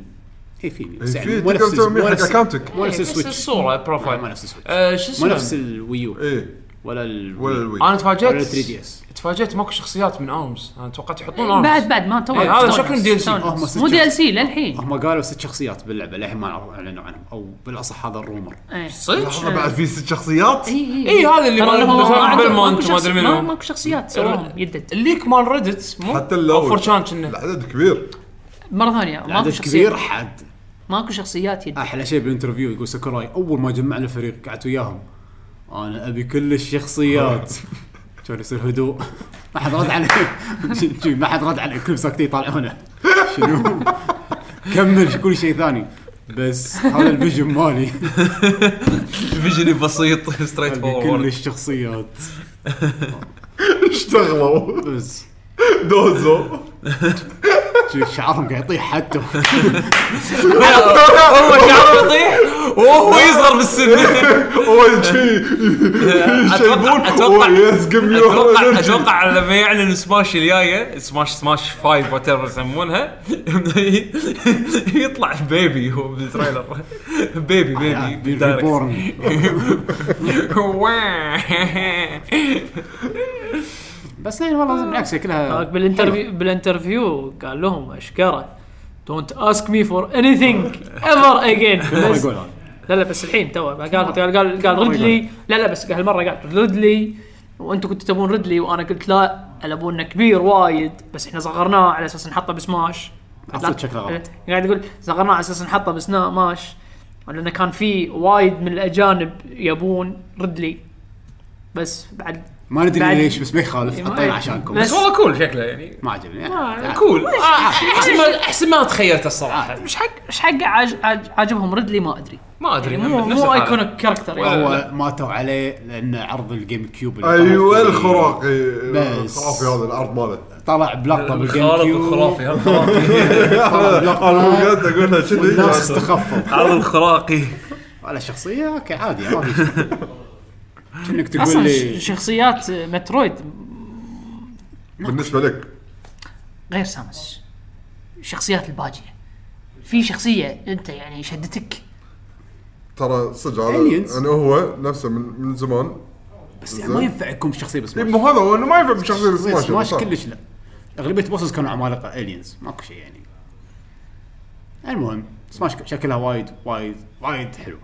هي في ميو بس في يعني مو تقدر نفس تسوي مو حق نفس اكونتك مو نفس بس السويتش الصوره ما البروفايل نفس السويتش آه، شو مو نفس اسمه الويو ايه ولا ولا الويو الوي انا ولا 3 دي تفاجئت اس تفاجئت ماكو شخصيات من ارمز انا توقعت يحطون ارمز بعد بعد ما تو إيه، هذا تو- شكله تو- DLC. آه، هم ست مو دي ال شخص. سي للحين هم قالوا ست شخصيات باللعبه للحين ما اعلنوا عنهم او بالاصح هذا الرومر إيه. صدق لحظه بعد في ست شخصيات اي إي، هذا اللي إيه، ترى مال- هو مثلاً ماكو بيلمونت شخص- وما أدري منو. ما- ماكو شخصيات سواهم يدد الليك مال ريدت مو حتى اللو او 4chan كنا العدد كبير مره ثانيه ماكو عدد كبير شخصيات حد ماكو شخصيات يدد احلى شيء بالانترفيو يقول ساكوراي اول ما جمعنا الفريق قعدت وياهم انا ابي كل الشخصيات كان يصير هدوء ما حد رد علي شي- ما حد رد علي كلهم ساكتين يطالعونه شنو كمل كل شيء ثاني بس هذا الفيجن مالي فيجني بسيط ستريت ابي كل فورورد الشخصيات اشتغلوا بس دوزو شي شعرهم قاعد يطيح حتى هو شعره يطيح وهو يصغر بالسن اول شيء "Oh, يشيبون أتوقع- يس جيف اتوقع اتوقع لما يعلن سماش الجايه سماش سماش 5 وات ايفر يسمونها يطلع بيبي هو بالتريلر بيبي يعني بيبي بالدايركت. ريبورن بس يعني والله بالعكس هذاك آه، شكلها بالانترفيو بالانترفيو قال لهم اشكره دونت اسك مي فور اني ثينج ايفر اجين ما يقول هذا لا لا بس الحين تو قال قال قال, قال ريدلي لا لا بس هالمره قال ريدلي وانتم كنتوا تبون ريدلي وانا قلت لا الابونا كبير وايد بس احنا صغرناه على اساس نحطه بسماش حسيت شكله غلط. إيه، قاعد اقول صغرناه على اساس نحطه بسنا ماش لانه كان في وايد من الاجانب يبون ريدلي بس بعد ما ندري بعد- ليش بس ما يخالف إيه، ما- حطينا عشانكم بس- بس بس والله كول شكله يعني ما عجبني كول آه، احسن ما احسن ما تخيلته الصراحه مش حق مش حق عاج- عاج- عاجبهم ريدلي ما ادري ما ادري يعني مو هم إيه، نفس مو الحالة. ايكونيك كاركتر يعني هو ماتوا عليه لان عرض الجيم كيوب اللي طلع ايوه فيه- الخرافي بس. الخرافي هذا العرض ماله طلع بلقطه بالجيم الخارب كيوب الخرافي الخرافي طلع انا بلقطه بجد اقولها كذي والناس استخفوا عرض الخراقي على الشخصيه اوكي عادي ما في شيء. كأنك تقول اصلا لي ش- شخصيات مترويد بالنسبه لك غير سامس الشخصيات الباجيه في شخصيه انت يعني شدتك ترى صدق Aliens. هذا انا هو نفسه من من زمان بس يعني ما ينفعكم شخصيه بس إيه، مو هذا هو انه ما ينفع بشخصيه سماش سماش سماش صح. كلش لا اغلبيه بوسز كانوا عمالقه الينز ماكو شيء يعني المهم سماش شكلها وايد وايد وايد حلوه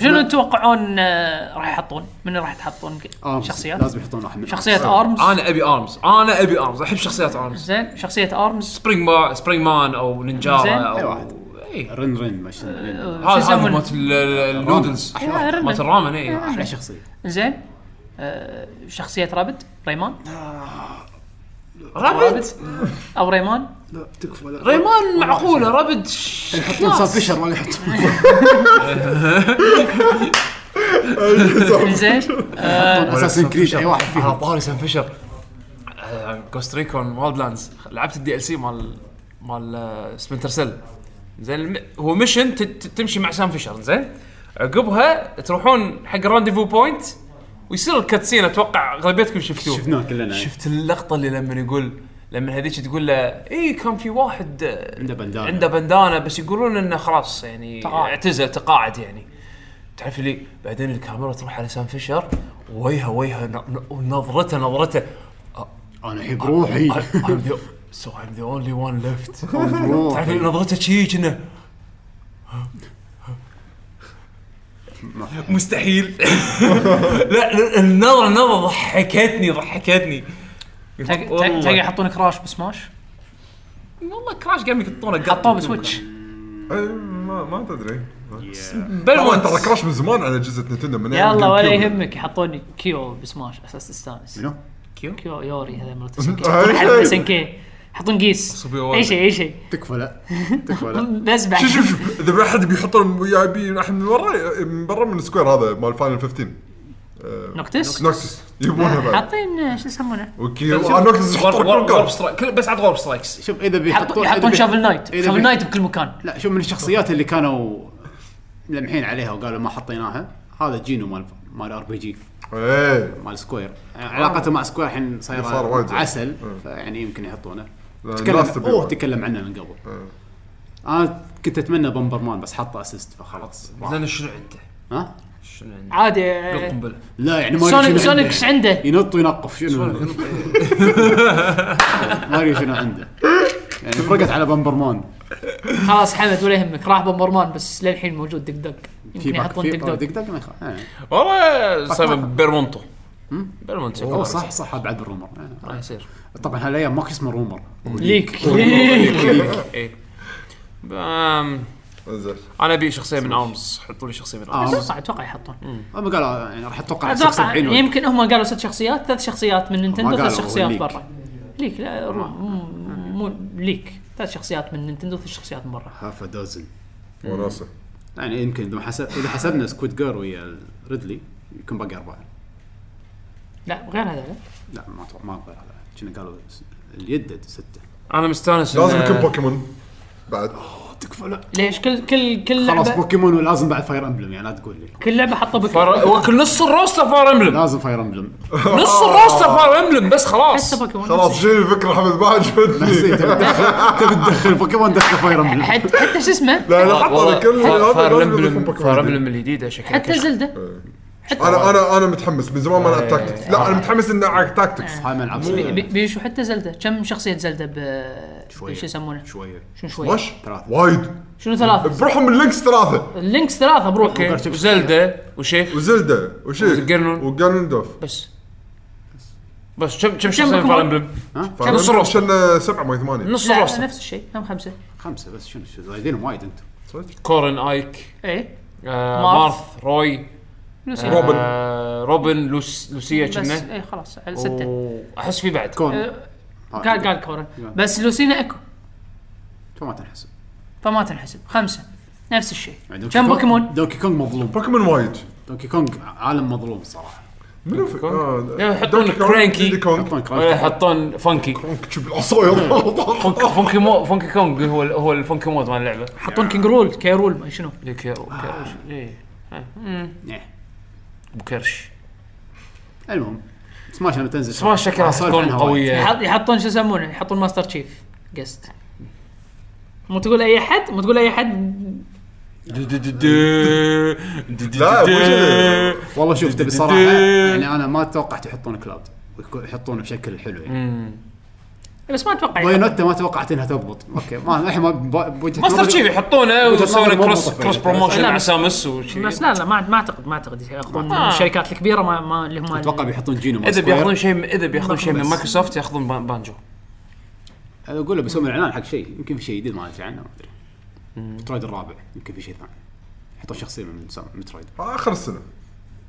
شنو تتوقعون آه، راح يحطون؟ من راح تحطون ك- آرمز. آه. شخصيات؟ لازم يحطون واحد من شخصيات آرمز. ارمز انا ابي ارمز انا ابي ارمز احب شخصيات ارمز زين شخصيه ارمز سبرينج ما سبرينج مان او زين. أيوة. نينجارا أي او واحد. اي رن رن ما شنو رن. هذا شو هذا يسمونه؟ مالت ال- ال- النودلز أحلى أيوة، واحد. رن. مالت الرامن إيه. اي احلى شخصيه زين آه، شخصيه رابد ريمان رابد او ريمان ريمان معقوله رابد يحطون سام فيشر ولا يحطون زين اساسن كريد اي واحد على فيهم طاري سان فيشر آه، كوستريكون وايلد لاندز لعبت الدي ال سي مال مال سبنتر سيل زين الم- هو ميشن ت- ت- تمشي مع سام فيشر زين عقبها تروحون حق رانديفو بوينت ويصير الكاتسين اتوقع اغلبيتكم شفتوه شفناه كلنا شفت اللقطه اللي لما يقول لما هذيك تقول له اي كان في واحد آه، عنده بندانة. عنده بندانه بس يقولون انه خلاص يعني تقاعد. اعتزل تقاعد يعني تعرف لي بعدين الكاميرا تروح على سام فيشر وجهه وجهه ن- ن- ونظرته نظرته انا احب روحي آه. سو ايم ذا اونلي وان ليفت تعرف روحي. اللي نظرته شي كنا مستحيل لا لا، النظره النظره ضحكتني ضحكتني تلقى يحطون كراش بسماش والله كراش قام يقطونه حطوه بسويتش إيه، ما ما تدري بل طبعا وانت ترى كراش من زمان على جزء نتندو من أيام يلا ولا GameCube. يهمك حطوني كيو بسماش اساس تستانس منو؟ كيو؟ كيو يوري هذا مرت SNK. حطون حلب SNK. حطون قيس صبي اي وايد. شيء اي شيء تكفى لا تكفى لا نزبح شوف شوف شوف اذا في احد بيحط يبي احد من برا من برا من سكوير هذا مال فاينل 15 نوكتس نوكسس يبونها بعد حاطين آه، شو يسمونه؟ اوكي آه، نوكسس يحط غرب- غرب- غرب كل سترايك- كل- بس عاد غرب سترايكس شوف اذا يحطون بيحطون إذا يحطون بي- شافل نايت إذا شافل بي- نايت بكل مكان لا شوف من الشخصيات اللي كانوا ملمحين عليها وقالوا ما حطيناها هذا جينو مال مال ار بي جي ايه مال سكوير علاقته مع سكوير الحين صار وايد صايره زين. عسل مم. فيعني يمكن يحطونه لا، تكلم الناس تبي اوه وايد. تكلم عنه من قبل مم. انا كنت اتمنى بمبرمان بس حطه اسيست فخلاص زين شنو عنده؟ ها شنو عنده؟ عادي آه، قنبله لا يعني ما سونيك أدري شنو سونيك عنده. ايش عنده؟ ينط وينقف شنو ما ادري شنو عنده يعني فرقت على بمبرمان خلاص حمد ولا يهمك راح بمبرمان بس للحين موجود دق دق في يمكن باك يعني يحطون في دق دق دق دق ما يخاف آه. والله صار طق. بيرمونتو بيرمونتو اوه صح صح هذا بعد الرومر آه. ما يصير طبعا هالايام ماكو اسمه رومر ليك ايه أم، انزين انا ابي شخصيه من ارمز حطوا لي شخصيه من ارمز اتوقع اتوقع يحطون آه، ما قال آه، يعني راح اتوقع على اتوقع 76 ولا- يمكن هم قالوا ست شخصيات ثلاث شخصيات من نينتندو قالوا ثلاث شخصيات ليك. برا ليك لا رو- مو مو- ليك ثلاث شخصيات من نينتندو ثلاث شخصيات من برا هاف دوزن وناسه يعني يمكن اذا حسب اذا حسبنا سكويد جير ويا ريدلي يكون باقي اربعه لا غير هذا لا. لا ما أتوقع- ما اقبل هذا كنا قالوا س- اليدد سته انا مستانس لازم إن- يكون بوكيمون بعد تكفى لا ليش كل كل كل خلاص لعبه بوكيمون ولازم بعد فاير امبلم يعني لا تقول لي كل لعبه حطوا فار- بوكيمون وكل نص الروستر فار امبلم لازم فاير امبلم نص الروستر فار امبلم بس خلاص حتى بوكيمون خلاص شيل الفكره حمد ما عجبتني تبي تدخل بوكيمون دخل فاير امبلم حتى حتى شو اسمه لا انا حط على كل هذا فار لازم يكون امبلم فار بوكيمون امبلم الجديده شكلها حتى كشخ. زلده انا انا انا متحمس من زمان ما لعبت تاكتكس لا انا متحمس اني العب تاكتكس هاي ما العب بي- شويه بيشو حتى زلده كم شخصيه زلده ب شو شوية. يسمونه شويه شنو شويه وش ثلاثة. وايد شنو ثلاثه بروحهم من لينكس ثلاثه اللينكس ثلاثه بروح اوكي وزلده وشيخ وزلدة وشيخ وجنون. وجانون دوف بس بس كم كم كم شخصيه بيكون؟ فاير امبلم؟ نص الروستر. كان سبعه ما ثمانيه نص لا الروستر نفس الشيء هم خمسه خمسه بس شنو شنو زايدينهم وايد انتم كورن ايك اي آه مارث. مارث روي لوسي آه، روبن. روبن لوس لوسيا بس كنا اي خلاص على سته احس في بعد كون آه، آه، قال قال كورن بس لوسينا اكو تو ما تنحسب فما تنحسب خمسه نفس الشيء يعني دوكي كم كونغ- بوكيمون؟ دوكي كونغ مظلوم بوكيمون وايد دوكي كونغ عالم مظلوم صراحه منو في- آه، يعني يحطون دونكي كونغ، كرانكي. ديدي كونغ أعطوني ولا كراش. يحطون فانكي كونغ شوف Hmm. العصاير فونك- فونكي مو فونكي كونج هو ال- هو الفونكي مود مال اللعبه حطون كينج رول كي رول ما شنو إيه، كيرو كيرو إيه. آه، مم. إيه. ابو كرش المهم سماش انا تنزل سماش شكلها صار تكون عنها وايد. قويه يحط يحطون شو يسمونه يحطون ماستر تشيف قست مو تقول اي احد مو تقول اي احد لا مو كذا. والله شوف تبي صراحه يعني انا ما توقعت يحطون كلاود ويكو- يحطونه بشكل حلو يعني بس ما اتوقع يعني. بايونتا ما توقعت انها تضبط اوكي ما الحين ما ب- بوجهه ماستر نظري- شيف يحطونه وجهة ويسوون نظري مو كروس موظفة كروس يعني. بروموشن لا، مع بس- سامس وشي بس لا لا ما ما اعتقد ما اعتقد ياخذون من آه. الشركات الكبيره ما, ما اللي هم اتوقع بيحطون جينو مع اذا سكوير. بياخذون شيء من- اذا بياخذون شيء من بس. مايكروسوفت ياخذون بان- بانجو هذا اقول له بيسوون اعلان حق شيء يمكن في شيء جديد ما ادري عنه ما ادري مترويد الرابع يمكن في شيء ثاني يحطون شخصيه من سام- مترويد اخر السنه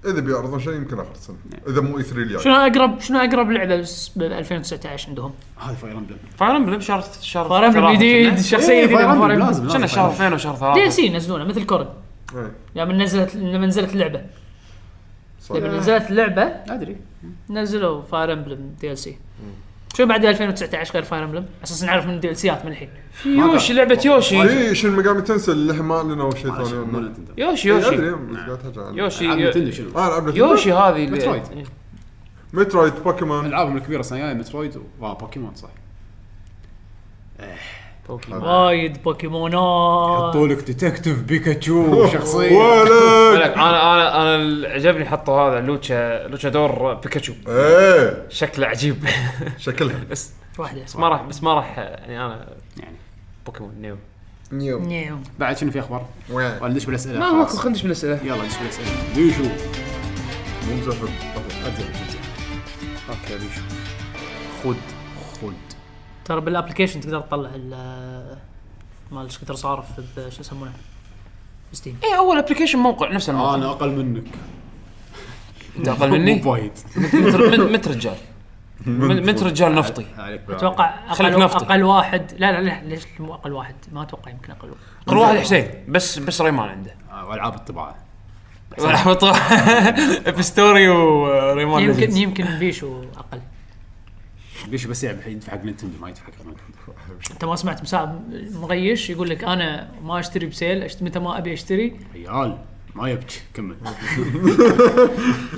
اذا بيعرضون شيء يمكن اخر السنه اذا مو اي 3 الجاي شنو اقرب شنو اقرب لعبه بس ب 2019 عندهم؟ هذا فاير امبلم فاير امبلم شهر شهر فاير امبلم ثلاثة جديد كنا. شخصيه جديده إيه، Fire Emblem، فاير لازم كنا لازم شهر Fire Emblem. اثنين وشهر دي ال ثلاثه سي ينزلونه مثل كورن إيه، لما نزلت لما نزلت اللعبه صح. لما نزلت اللعبه ادري نزلوا فاير امبلم دي ال سي شو بعد 2019 غير فاير امبلم اساس نعرف من الدي ال سيات من الحين يوشي لعبه يوشي في شن مقامي تنسى اللي ما اعلنوا شيء ثاني مو عنه. نتندو يوشي إيه، يوشي ادري بس قاعد أحكي عنه. يوشي العاب يو- نتندو شنو؟ اه العاب نتندو. يوشي هذه اللي- مترويد. مترويد بوكيمون العابهم الكبيره السنه الجايه مترويد وبوكيمون صح وايد بوكيمونات يحطوا لك ديتكتيف بيكاتشو شخصيه ولد ولك، انا انا انا اللي عجبني حطوا هذا لوتشا لوتشا دور بيكاتشو ايه شكله عجيب شكلها بس واحده بس ما راح بس ما راح يعني انا يعني. بوكيمون نيو نيو نعم. بعد شنو في اخبار؟ وين ولا ندش بالاسئله ما خلاص. ماكو خلينا ندش بالاسئله يلا ندش بالاسئله بيشو مو مسافر ابدا اوكي بيشو خد خد ترى بالابلكيشن تقدر تطلع ال- مال ايش كثر صارف ب- شو يسمونه ستيم اي اول ابلكيشن إيه، موقع نفس الموقع انا اقل منك انت اقل مني مو وايد متر مت- مت رجال مت مت رجال نفطي عليك اتوقع خليك اقل نفطي. اقل واحد لا لا لا ليش مو اقل واحد ما اتوقع يمكن اقل واحد كل واحد حسين بس بس ريمان عنده والعاب الطباعه راح بطلع ابستوري وريمان يمكن ليجندز. يمكن بيشو اقل بيشو بس يلعب الحين يدفع حق نتندو ما يدفع حق نتندو انت ما سمعت مساعد مغيش يقول لك انا ما اشتري بسيل أشت... متى ما ابي اشتري عيال ما يبكي كمل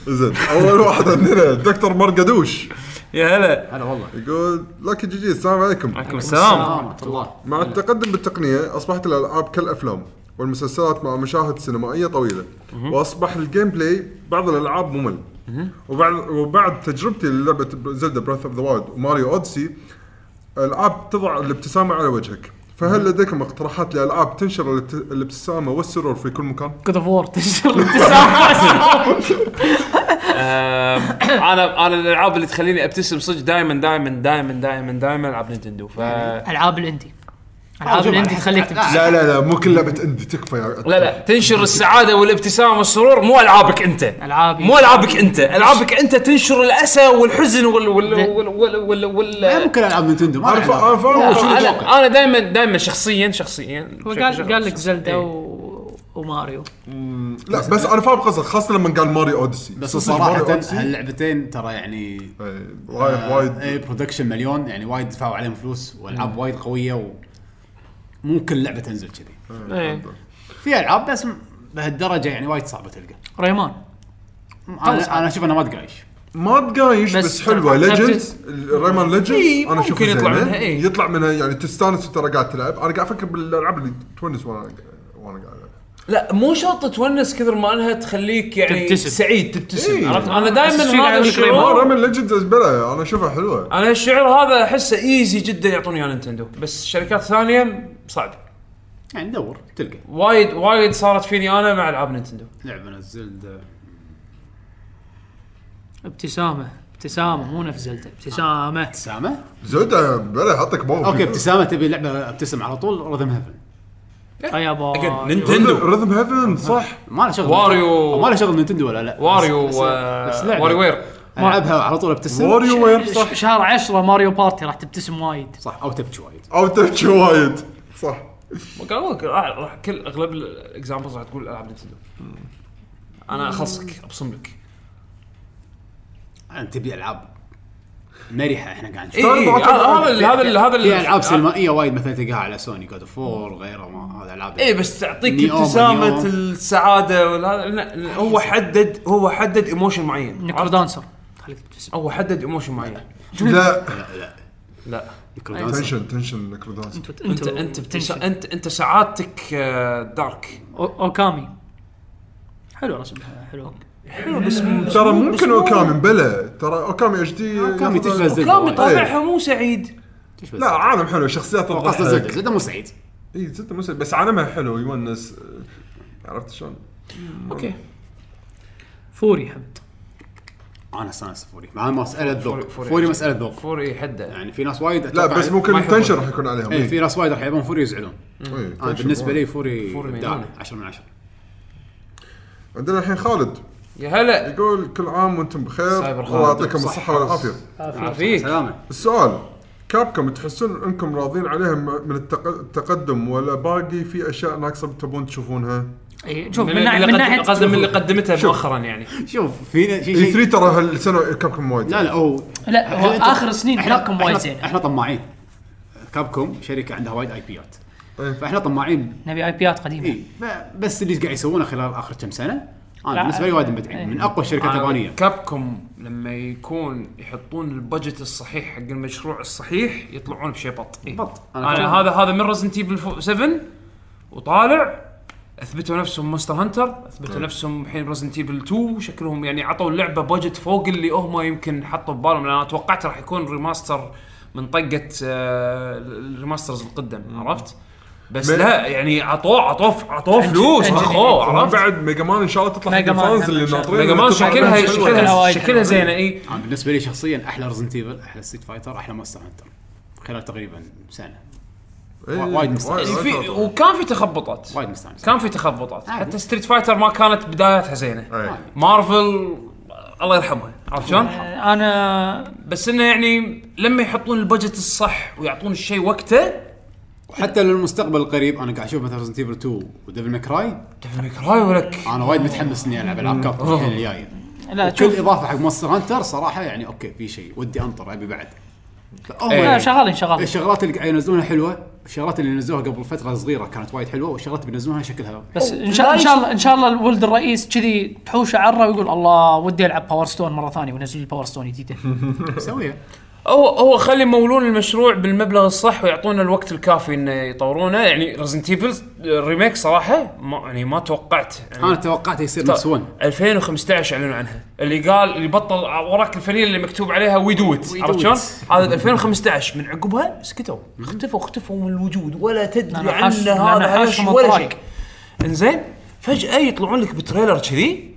زين اول واحد عندنا دكتور مرقدوش يا هلا هلا والله يقول لك جي جي السلام عليكم عليكم السلام سلامة الله مع التقدم بالتقنيه اصبحت الالعاب كالافلام والمسلسلات مع مشاهد سينمائيه طويله واصبح الجيم بلاي بعض الالعاب ممل وبعد وبعد تجربتي للعبه زلدا براث اوف ذا وايلد وماريو اوديسي العاب تضع الابتسامه على وجهك فهل لديكم اقتراحات لالعاب تنشر الابت- الابتسامه والسرور في كل مكان؟ جود اوف وور تنشر الابتسامه آم، انا انا الالعاب اللي تخليني ابتسم صدق دائما دائما دائما دائما دائما العاب نينتندو ف لا العاب الاندي العاب الاندي تخليك تبتسم لا لا لا مو كل لعبه اندي تكفى يا لا تنشر السعاده والابتسام والسرور مو العابك انت العاب مو العابك انت العابك انت تنشر الاسى والحزن وال وال زين. وال وال, وال, وال إيه، ممكن العاب نتندو ما انا راح فا- أنا ألعب. فاهم شنو تتوقع انا انا دائما دائما شخصيا شخصيا هو بشكل قال شخصي. قال لك زلدا إيه. و... وماريو لا بس انا فاهم قصدك خاصه لما قال ماريو اوديسي بس صدق صراحه ماريو أوديسي، هاللعبتين ترى يعني أه، إيه، رايح وايد اي برودكشن مليون يعني وايد دفعوا عليهم فلوس والعاب وايد قويه و مو كل لعبه تنزل كذي إيه. في العاب بس م- بهالدرجه يعني وايد صعبه تلقى ريمان انا انا اشوف انها ما تقايش ما تقايش بس بس, حلوه ترى- ليجندز ريمان ليجندز انا اشوفها إيه، ممكن يطلع زينة. منها، إيه. يطلع منها يعني تستانس وترى قاعد تلعب انا قاعد افكر بالالعاب اللي تونس وانا وانا قاعد ألعب. لا مو شرط تونس كثر ما انها تخليك يعني تبتسم. سعيد تبتسم إيه. عرفت انا بس دائما في هذا لعبة ما الشعور ريمان ليجندز زبله انا اشوفها حلوه انا الشعور هذا احسه ايزي جدا يعطوني اياه نينتندو بس شركات ثانيه صعب يعني دور تلقى وايد وايد صارت فيني انا مع العاب نينتندو لعبه نزلت ابتسامه ابتسامه مو نفس زلده ابتسامه ابتسامه زلدة بلا يحطك موقف اوكي ابتسامه تبي لعبه ابتسم على طول رذم هيفن آه يا باي. نينتندو رذم هيفن صح ما له شغل واريو. ما له شغل نينتندو ولا لا واريو بس- و- بس لعبة. واري وير العبها على طول ابتسم واريو وير ش- شهر 10 ماريو بارتي راح تبتسم وايد صح او تبكي وايد او تبكي وايد صح قالوا لك راح راح كل اغلب الاكزامبلز راح تقول العاب نينتندو انا اخلصك ابصم لك انت تبي العاب مرحه احنا قاعد نشوف إي، إي، إيه، هذا هذا ال- هذا ال- هذا ال- آه، في العاب سينمائيه وايد مثلا تلقاها على سوني جود اوف وور وغيره ما هذا العاب اي إيه، بس تعطيك نيو، ابتسامه نيو. السعاده ولا لا، لا، هو حدد هو حدد ايموشن معين نكرو دانسر خليك تبتسم هو حدد ايموشن معين لا لا تنشن تنشن نكرودانس انت انت انت بتس... بتنشن. انت انت سعادتك آه، دارك أو- اوكامي حلو رسمها حلو حلو بس ترى ممكن اوكامي بلا ترى اوكامي اتش دي اوكامي تشبه زلده كلامي وايد. طالعها مو سعيد تشبه لا زلدة. عالم حلو شخصيات هو قصده إيه. زلده زلده مو سعيد اي زلدة مو سهل، إيه، بس عالمها حلو يونس عرفت شلون؟ اوكي فوري حمد انا استانس فوري مع إنه مساله ذوق فوري مساله ذوق فوري حده يعني في ناس وايد لا أتوقع- بس ممكن ما يحبون. تنشن راح يكون عليهم إيه، إي. في ناس وايد راح يبون فوري يزعلون إي، انا تنشن بالنسبه وايد. لي فوري فوري إبداع، مجنونة. 10 من 10 عندنا الحين خالد يا هلا يقول كل عام وانتم بخير سايبر خالد. الله يعطيكم الصحه والعافيه فيك سلامه السؤال كابكم تحسون انكم راضين عليها م- من التق- التقدم ولا باقي في اشياء ناقصه تبون تشوفونها؟ اي إيه، شوف من, ناحيه من ناحيه قدم من اللي قدمتها مؤخرا يعني شوف في شيء اي شيء 3 إيه، ترى هالسنه كابكم وايد إيه. لا لا هو لا هو إحنا- اخر سنين حلقكم وايد إحنا- زين احنا طماعين كابكوم شركه عندها وايد اي بيات إيه. فاحنا طماعين نبي اي بيات قديمه اي بس اللي قاعد يسوونه خلال اخر كم سنه انا لا، بالنسبه لي وايد إيه. مدعين من اقوى الشركات اليابانيه كابكم لما يكون يحطون البجت الصحيح حق المشروع الصحيح يطلعون بشيء بط إيه. بط. أنا انا كمان. هذا هذا من رزنت ايفل 7 وطالع اثبتوا نفسهم مونستر هانتر اثبتوا نفسهم الحين رزنت ايفل 2 شكلهم يعني عطوا اللعبه بجت فوق اللي هم يمكن حطوا ببالهم لان انا توقعت راح يكون ريماستر من طقه آه، الريماسترز القدم عرفت بس مل- لا يعني عطوه عطوه عطوه فلوس أنجل- اخوه طبعاً عرفت بعد ميجا مان ان شاء الله تطلع حق ميجا مان الفانز هم إن اللي شاء ناطرين ميجا مان شكلها شكلها وايد. شكلها إيه. زينه اي انا بالنسبه لي شخصيا احلى ريزنت ايفل احلى ستيت فايتر احلى ماستر هانتر خلال تقريبا سنه إيه، وايد مستانس. إيه، يعني في وكان في تخبطات وايد مستانس كان في تخبطات عادي. حتى ستريت فايتر ما كانت بداياتها زينه إي. مارفل الله يرحمها عرفت شلون؟ آه، انا بس انه يعني لما يحطون البجت الصح ويعطون الشيء وقته وحتى للمستقبل القريب انا قاعد اشوف مثلا ريزنت ايفل 2 وديفل ماكراي ديفل ميك راي ولك انا وايد متحمس اني العب العاب كابكوم الحين الجايه لا كل شوف اضافه حق مونستر هانتر صراحه يعني اوكي في شيء ودي انطر ابي بعد فهم لا، يعني شغالين شغالين الشغلات اللي قاعد ينزلونها حلوه الشغلات اللي نزلوها قبل فتره صغيره كانت وايد حلوه والشغلات اللي بينزلونها شكلها بس ان شاء ان شاء الله ان شاء الله الولد الرئيس كذي تحوشه عره ويقول الله ودي العب باور ستون مره ثانيه وينزل لي باور ستون جديده سويها هو هو خلي يمولون المشروع بالمبلغ الصح ويعطونا الوقت الكافي انه يطورونه يعني ريزنت ايفل الريميك صراحه ما يعني ما توقعت يعني انا توقعت يصير نفس 1 2015 اعلنوا عنها اللي قال اللي بطل وراك الفنيله اللي مكتوب عليها وي دو ات We do عرفت شلون؟ it. هذا 2015 من عقبها سكتوا اختفوا اختفوا من الوجود ولا تدري لأن حاش- عنه لأن هذا حاش هش ولا شيء مطرايق. انزين فجاه يطلعون لك بتريلر كذي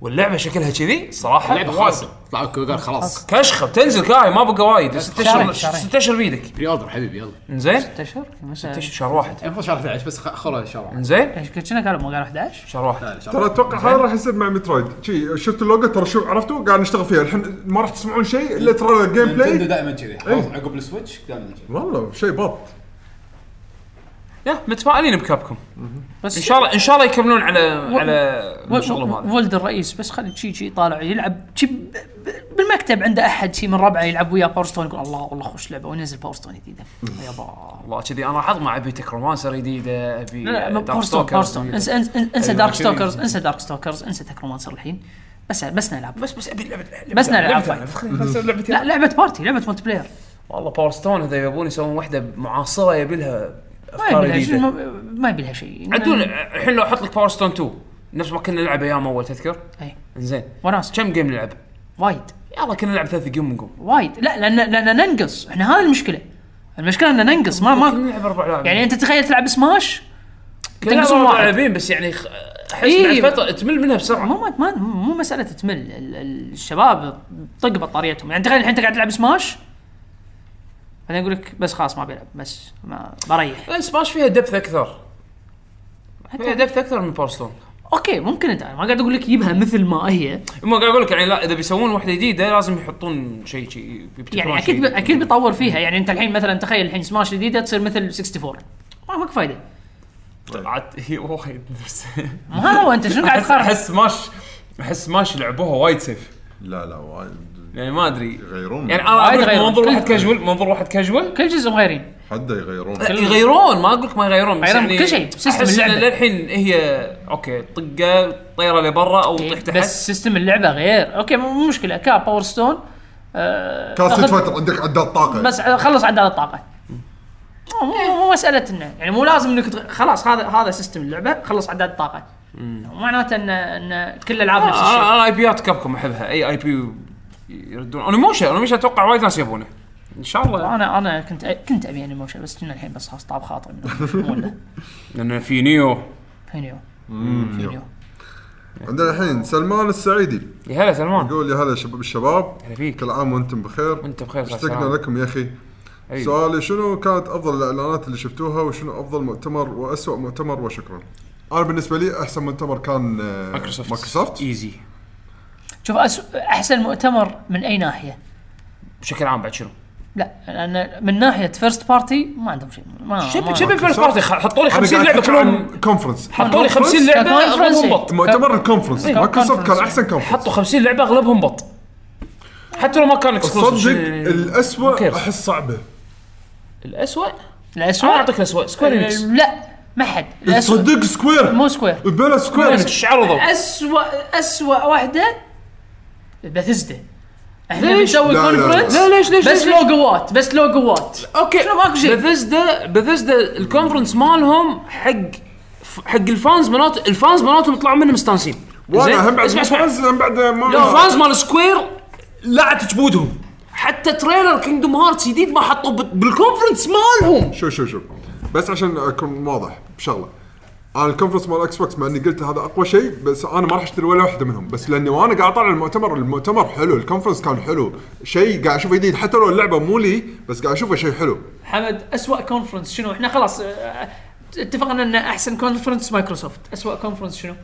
واللعبه شكلها كذي صراحه لعبه وايد. خاصه طلع أوكي وقال خلاص كشخه بتنزل كاي ما بقى وايد ست شهرين، اشهر شهرين. ست اشهر بيدك بري اوردر حبيبي يلا انزين ست اشهر مثلا ست أشهر- شهر واحد المفروض شهر 11 بس خ- خلوه شهر انزين ايش كنا قالوا مو قالوا 11 شهر واحد ترى اتوقع هذا راح يصير مع مترويد شي شفت اللوجو ترى شو عرفتوا قاعد نشتغل فيها الحين ما راح تسمعون شيء الا ترى الجيم نتندو بلاي دائما كذي خلاص عقب السويتش دائما كذي والله شيء بط يا متفائلين بكابكم بس ان شاء الله ان شاء الله يكملون على و- على و- شغلهم هذا ولد الرئيس بس خلي شي شي طالع يلعب شي ب- ب- بالمكتب عنده احد شي من ربعه يلعب وياه باور ستون يقول الله والله خوش لعبه ونزل باور ستون جديده يابا والله كذي انا حظ ما ابي تكرومانسر جديده ابي لا لا ما- دارك باور ستون ستوكرز باور ستون جديدة. انسى انسى انسى أيوة، دارك كذي. ستوكرز انسى دارك ستوكرز انسى تكرومانسر الحين بس بس نلعب بس بس ابي لعبه بس نلعب فايت. لعبه لا لعبه بارتي لعبه ملتي بلاير والله باور ستون اذا يبون يسوون وحده معاصره يبي لها ما يبي افكار لها شيء جديده ما- ما يبي لها شيء عدول الحين لو احط لك باور ستون 2 نفس ما كنا نلعب ايام اول تذكر إيه. زين وناس كم جيم نلعب؟ وايد يلا كنا نلعب ثلاث جيم ونقوم وايد لا لان لان ننقص احنا هذه المشكله المشكله ان ننقص آه، ما كنا ما نلعب اربع لاعبين يعني انت تخيل تلعب سماش كنا نلعب تنقصون اربع واحد. لاعبين بس يعني خ... احس إيه. بعد فتره تمل منها بسرعه مو ما- ما مو مساله تمل ال- ال- الشباب طق بطاريتهم يعني تخيل الحين انت قاعد تلعب سماش بعدين يقول لك بس خلاص ما بيلعب بس ما بريح لا سماش فيها دبث اكثر فيها حتى دبث اكثر من باور ستون اوكي ممكن انت ما قاعد اقول لك يبها مثل ما هي ما قاعد اقول لك يعني لا اذا بيسوون واحده جديده لازم يحطون شيء شيء يبتكرون يعني شيء اكيد جديد. اكيد بيطور فيها يعني انت الحين مثلا تخيل الحين سماش جديده تصير مثل 64 ما ماك فايده طلعت هي وايد نفس ما هذا هو انت شنو قاعد احس تقارن احس سماش احس سماش لعبوها وايد سيف لا لا وايد يعني ما ادري يغيرون يعني انا وايد اقول لك غيروا. منظور واحد كل- كاجوال منظور واحد كاجوال كل جزء مغيرين حده يغيرون أه. يغيرون ما اقول لك ما يغيرون بس غيروا يعني كل شيء، سيستم احس اللعبة. إن للحين هي اوكي طقه طيره لبرا او طيح تحت إيه، بس سيستم اللعبه غير اوكي مو مو مشكله كاب باور ستون آه، كاسة أخذ- فتره عندك عداد طاقه بس خلص عداد الطاقه مو- مو مو مساله انه يعني مو لازم انك تغ- خلاص هذا هذا سيستم اللعبه خلص عداد الطاقه مو معناته ان ان كل الالعاب نفس آه، انا الشيء انا اي بيات كابكم احبها اي اي بي يردون انيموشن انيموشن اتوقع وايد ناس يبونه ان شاء آه، الله انا انا كنت كنت ابي انيموشن بس كنا الحين بس خلاص طاب خاطري منه. مو إلا. لان في نيو فينيو فينيو عندنا الحين سلمان السعيدي يا هلا سلمان يقول يا هلا شباب الشباب هلا فيك كل عام وانتم بخير وانت بخير صح اشتقنا سلام. لكم يا اخي حبيبي. سؤالي شنو كانت افضل الاعلانات اللي شفتوها وشنو افضل مؤتمر واسوء مؤتمر وشكرا انا بالنسبه لي احسن مؤتمر كان آه، مايكروسوفت مايكروسوفت ايزي شوف أس- احسن مؤتمر من اي ناحيه بشكل عام بعد شنو؟ لا لان من ناحيه فيرست بارتي ما عندهم شيء ما شبي شبي فيرست بارتي خ- حطوا لي أنا 50 قاعد لعبه أتكلم كلهم عن كونفرنس حطوا لي 50 كونفرنس. لعبه اغلبهم كونفرنس. بط مؤتمر الكونفرنس إيه، مايكروسوفت كان كونفرنس. احسن كونفرنس حطوا 50 لعبه اغلبهم بط حتى لو ما كان صدق إيه، اكسكلوسيف الاسوء احس صعبه الاسوء الاسوء انا اعطيك الاسوء سكوير انكس لا ما حد الأسوأ. صدق سكوير مو سكوير بلا سكوير ايش عرضوا؟ اسوء اسوء واحده بثزدا احنا ليش؟ بنسوي لا، لا، لا. كونفرنس لا ليش ليش بس ليش- لوجوات بس لوجوات اوكي لا ماكو شيء بثزدا بثزدا الكونفرنس مالهم حق حق الفانز مالت الفانز مالتهم طلعوا منهم مستانسين وانا هم بعد اسمع اسمع فاز، هم بعد ما الفانز مال سكوير لعت جبودهم حتى تريلر كينجدوم هارتس جديد ما حطوه بال- بالكونفرنس مالهم شوف شوف شوف بس عشان اكون واضح بشغله انا الكونفرنس مال اكس بوكس مع اني قلت هذا اقوى شيء بس انا ما راح اشتري ولا واحده منهم بس لاني وانا قاعد اطالع المؤتمر المؤتمر حلو الكونفرنس كان حلو شيء قاعد اشوفه جديد حتى لو اللعبه مو لي بس قاعد اشوفه شيء حلو حمد اسوء كونفرنس شنو احنا خلاص آه، اتفقنا ان احسن كونفرنس مايكروسوفت اسوء كونفرنس شنو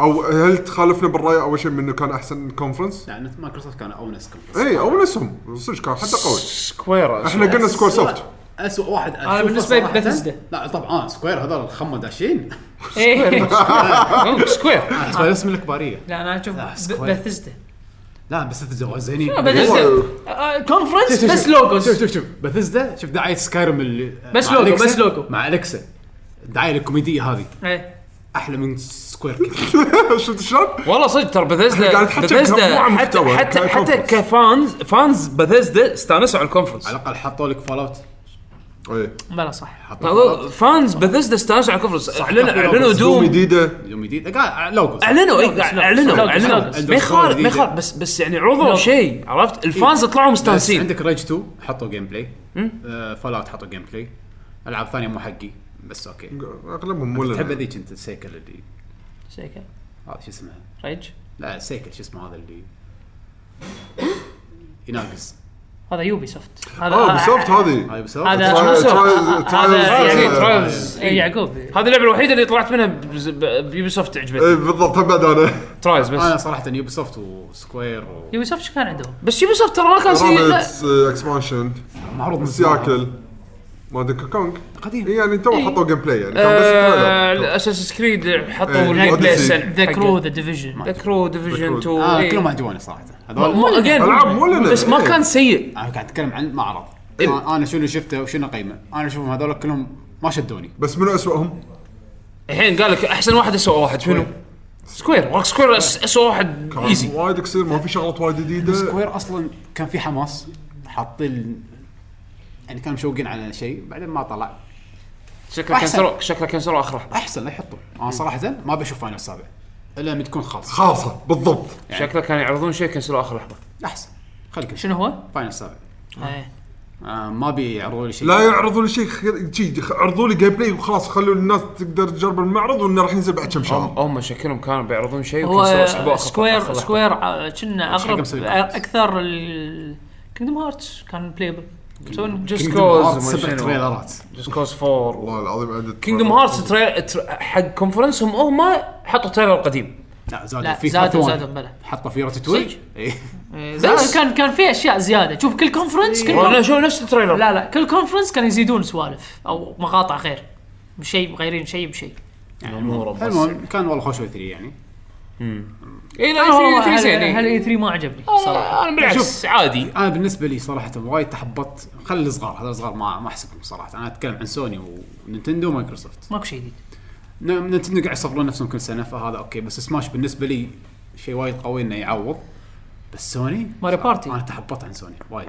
او هل تخالفنا بالراي اول شيء منه كان احسن كونفرنس يعني مايكروسوفت كان اونس كونفرنس اي اونسهم صدق كان حتى قوي سكوير احنا قلنا سكوير سوفت اسوء واحد أنا بالنسبة لي Bethesda. لا طبعا سكوير هذول الخمه داشين ايه سكوير سكوير اسم الكباريه لا انا اشوف لا، ب- سكوير. بثزدا لا بس الزواج زينين بثزدا آه، كونفرنس بس شوف لوجوز شوف شوف بثزدا شوف دعايه سكايرم اللي بس مع لوجو، Alexa- بس لوجو. مع الكسا الدعايه الكوميديه هذه إيه. احلى من سكوير كيف شفت شلون؟ والله صدق ترى بثزدا قاعد نتحكم كمجموعة بثزدا حتى محتوى، حتى حتى ككونفرنس. كفانز فانز بثزدا استانسوا على الكونفرنس على الاقل حطوا لك فول اوت اي بلا صح حطوا Fallout. هذول فانز بثزدا استانسوا على الكونفرنس اعلنوا صح. اعلنوا دوم دوم جديده يوم جديد قاعد لوجو اعلنوا اي لوجوز، اعلنوا لوجوز، اعلنوا لوجوز. ما يخالف ما يخالف بس بس يعني عرضوا لوجوز. شيء عرفت الفانز طلعوا بس مستانسين عندك ريج 2 حطوا جيم بلاي فول اوت حطوا جيم بلاي العاب ثانيه مو حقي بس اوكي اغلبهم مو تحب لنا. آه، هذيك انت السيكل اللي شيكه هذا شو اسمها ريج لا سيكل شو اسمه هذا اللي يناقص هذا يوبي سوفت هذا اه بسوفت هذه هاي بس هو- هذا- ترايل- هذا- ترايل- هذا- ترايل- يعني- ترايلز. إيه، يعقوب هذه اللعبه الوحيده اللي طلعت منها بز- ب- بيوبي سوفت عجبتني اي إيه، بالضبط هم بعد انا ترايز انا بس صراحه يوبي سوفت وسكوير و- يوبي سوفت شو كان عندهم؟ بس يوبي سوفت ترى ما كان سيء لا. رابط اكسبانشن معروض من زمان. سياكل إيه، ما دنكي كونج قديم. إيه يعني تو حطوا جيم بلاي يعني كان بس آه، تريلر. اساس كريد إيه، حطوا الجيم بلاي Odyssey. السنة ذا حقه. كرو ذا ديفيجن ذا كرو ديفيجن ذا 2 آه إيه. كلهم عجبوني صراحه مو- هذول مو- again، ألعاب مو لنا. بس ما إيه. كان سيء انا قاعد اتكلم عن معرض إيه. انا أنا شنو اللي شفته وشنو قيمه انا اشوفهم هذول كلهم ما شدوني بس منو اسوأهم؟ الحين قال لك احسن واحد اسوء واحد شنو؟ سكوير وارك سكوير أس- اسوء واحد ايزي وايد قصير ما في شغلات وايد جديده سكوير اصلا كان في حماس حاطين يعني كانوا مشوقين على شيء بعدين ما طلع شكله أحسن. كنسلوا شكله كنسلوا اخر لحظه احسن لا يحطون انا صراحه ما بشوف فاينل السابع الا لما تكون خالص خاصه بالضبط شكله كانوا يعرضون شيء كنسلوا اخر لحظه احسن خليك شنو هو؟ فاينل السابع إيه. آه ما بيعرضوا لي شيء لا يعرضوا لي شيء خير- شيء خ- عرضوا لي جيم بلاي وخلاص خلوا الناس تقدر تجرب المعرض وانه راح ينزل بعد كم شهر هم شكلهم كانوا بيعرضون شيء هو وكسروا سحبوه آخر- آخر سكوير لحظة. سكوير آه، كنا حق اقرب مسوي آه، اكثر كينجدم هارتس كان بلايبل يسوون Just جست Cause آه، وما سبع شنو. تريلرات Just Cause 4 والله العظيم عدد كينجدم هارتس تري... تر... حق كونفرنسهم هم حطوا تريلر قديم لا زادوا لا في زادوا فاتون. زادوا بلا حطوا في راتاتوي صدق؟ إيه. إيه، زادوا، كان كان في اشياء زياده شوف كل كونفرنس كل وانا شو نفس التريلر لا لا كل كونفرنس كانوا يزيدون سوالف او مقاطع غير شيء مغيرين شيء بشيء المهم كان والله خوش 3 يعني اي إيه، لا والله E3 هل زين إي. اي 3 ما عجبني صراحه انا بالعكس عادي انا بالنسبه لي صراحه وايد تحبطت خلي الصغار هذول الصغار ما ما احسبهم صراحه انا اتكلم عن سوني ونينتندو ومايكروسوفت ماكو شيء جديد ن- نينتندو قاعد يصغرون نفسهم كل سنه فهذا اوكي بس سماش بالنسبه لي شيء وايد قوي انه يعوض بس سوني ماريو بارتي. انا تحبطت عن سوني وايد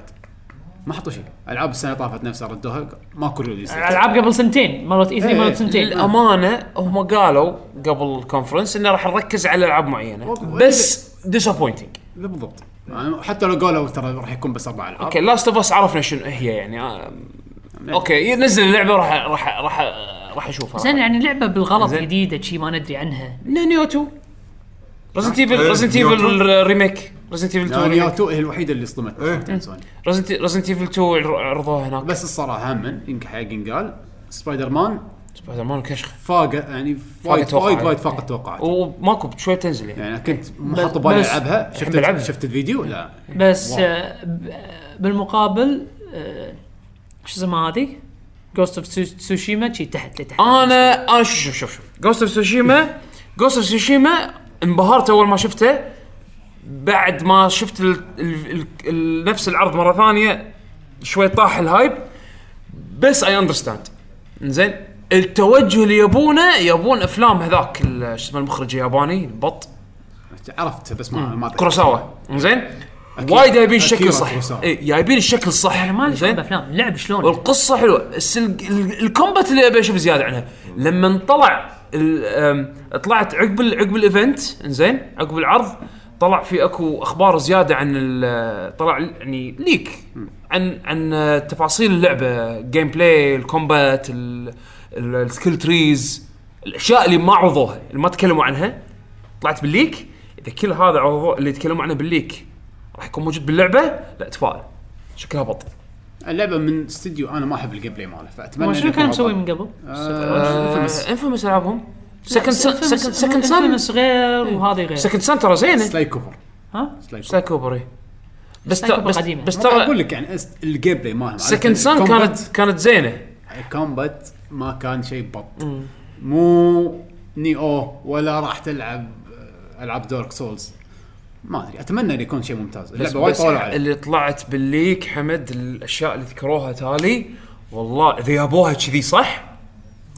ما حطوا شيء العاب السنه طافت نفسها ردوها ماكو ريليس العاب قبل سنتين مرات اي 3 إيه، مرات سنتين للامانه هم قالوا قبل الكونفرنس انه راح نركز على العاب معينه بس ديسابوينتنج بالضبط يعني حتى لو قالوا ترى راح يكون بس اربع العاب اوكي لاست اوف اس عرفنا شنو هي يعني آه، أمم. اوكي نزل اللعبه راح راح راح راح زين اشوفها يعني لعبه بالغلط زين. جديده شي ما ندري عنها نيو 2 ريزنت ايفل إيه، ريزنت نيو ايفل 2. الريميك ريزنت ايفل 2 نيو ريميك 2 هي الوحيده اللي صدمت إيه. سوني ريزنت ايفل 2 عر- عرضوها هناك بس الصراحه هم ينك حق ينقال سبايدر مان سبايدر مان كشخه فاق يعني وايد وايد توقعات. وايد فاق التوقعات وماكو شوي تنزل يعني يعني انا كنت محط بالي بس- العبها الحين شفت بلعبها. شفت الفيديو لا بس واو. آه، ب- آه، بالمقابل آه، شو اسمها هذه؟ جوست اوف تسوشيما شي تحت لتحت انا انا شوف شوف شوف شوف جوست اوف سوشيما جوست اوف سوشيما انبهرت اول ما شفته بعد ما شفت ال ال ال ال نفس العرض مره ثانيه شوي طاح الهايب بس اي اندرستاند زين التوجه اللي يبونه يبون افلام هذاك ال- شو اسمه المخرج الياباني البط عرفت بس ما ما أدري. كوروساوا زين وايد جايبين الشكل أكيرا صح كوروساوا. إيه، جايبين الشكل صح انا ما لي شغل زين؟ بافلام لعب شلون والقصه حلوه بس ال- ال- الكومبات اللي ابي اشوف زياده عنها لما طلع ال- أم، طلعت عقب ال- عقب الايفنت زين عقب العرض طلع في اكو اخبار زياده عن ال- طلع يعني ليك عن عن آه، تفاصيل اللعبه جيم بلاي الكومبات ال- ال- السكيل تريز الاشياء اللي ما عرضوها اللي ما تكلموا عنها طلعت بالليك اذا كل هذا عرضوه اللي تكلموا عنه بالليك راح يكون موجود باللعبه لا تفائل شكلها بط اللعبه من استديو انا ما احب الجيم بلاي ماله فاتمنى هو شنو إنه كان يكون مسوي أفضل. من قبل؟ آه، انفيمس العابهم سكند سكند سكند سن انفيمس غير إيه. وهذه غير سكند سن ترى زينه سلاي كوفر ها؟ سلاي كوفر سلاي كوبري بس سلاي ترى- كوبر بس قديمة. بس ما اقول ترى لك يعني أست- الجيم بلاي ماله سكند سن كانت كانت زينه الكومبات ما كان شيء بط مو نيو ولا راح تلعب آه، العاب دارك سولز ما ادري اتمنى انه يكون شيء ممتاز بس, اللعبه وايد بس طولوا عليه اللي طلعت بالليك حمد الاشياء اللي ذكروها تالي والله اذا يابوها كذي صح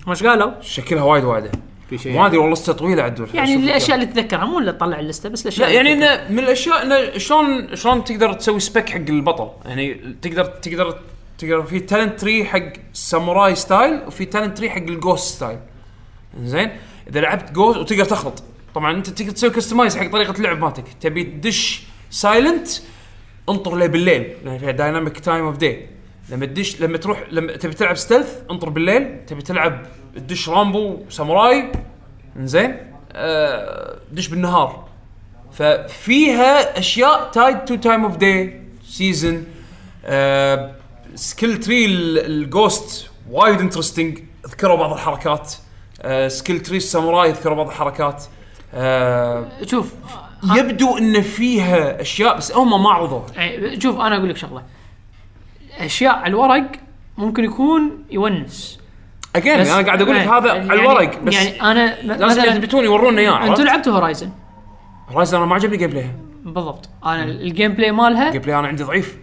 وش قالوا؟ شكلها وايد وايده في شيء ما ادري والله لسته طويله عدول يعني الاشياء اللي تذكرها مو اللي تطلع اللسته بس لا الاشياء يعني اللي انه من الاشياء انه شلون شلون تقدر تسوي سبيك حق البطل يعني تقدر تقدر تقدر في تالنت تري حق ساموراي ستايل وفي تالنت تري حق الجوست ستايل زين اذا لعبت جوست وتقدر تخلط طبعا انت تقدر تسوي كستمايز حق طريقه اللعب مالتك تبي تدش سايلنت انطر لي بالليل لان فيها دايناميك تايم اوف داي لما تدش لما تروح لما تبي تلعب ستيلث انطر بالليل تبي تلعب تدش رامبو ساموراي زين آه دش بالنهار ففيها اشياء تايد تو تايم اوف داي سيزون آه، سكيل تري الجوست وايد انترستنج ذكروا بعض الحركات آه، سكيل تري الساموراي ذكروا بعض الحركات آه، تذكرها. شوف يبدو ان فيها اشياء بس هم ما عرضوها يعني شوف انا اقول لك شغله اشياء على الورق ممكن يكون يونس اجين بس- انا قاعد اقول لك هذا يعني- على الورق بس يعني انا م- لازم مثلا يثبتون يورونا اياه انتم عرفت؟ لعبتوا هورايزن رايزن انا ما عجبني جيم بلايها بالضبط انا الجيم بلاي مالها جيم بلاي انا عندي ضعيف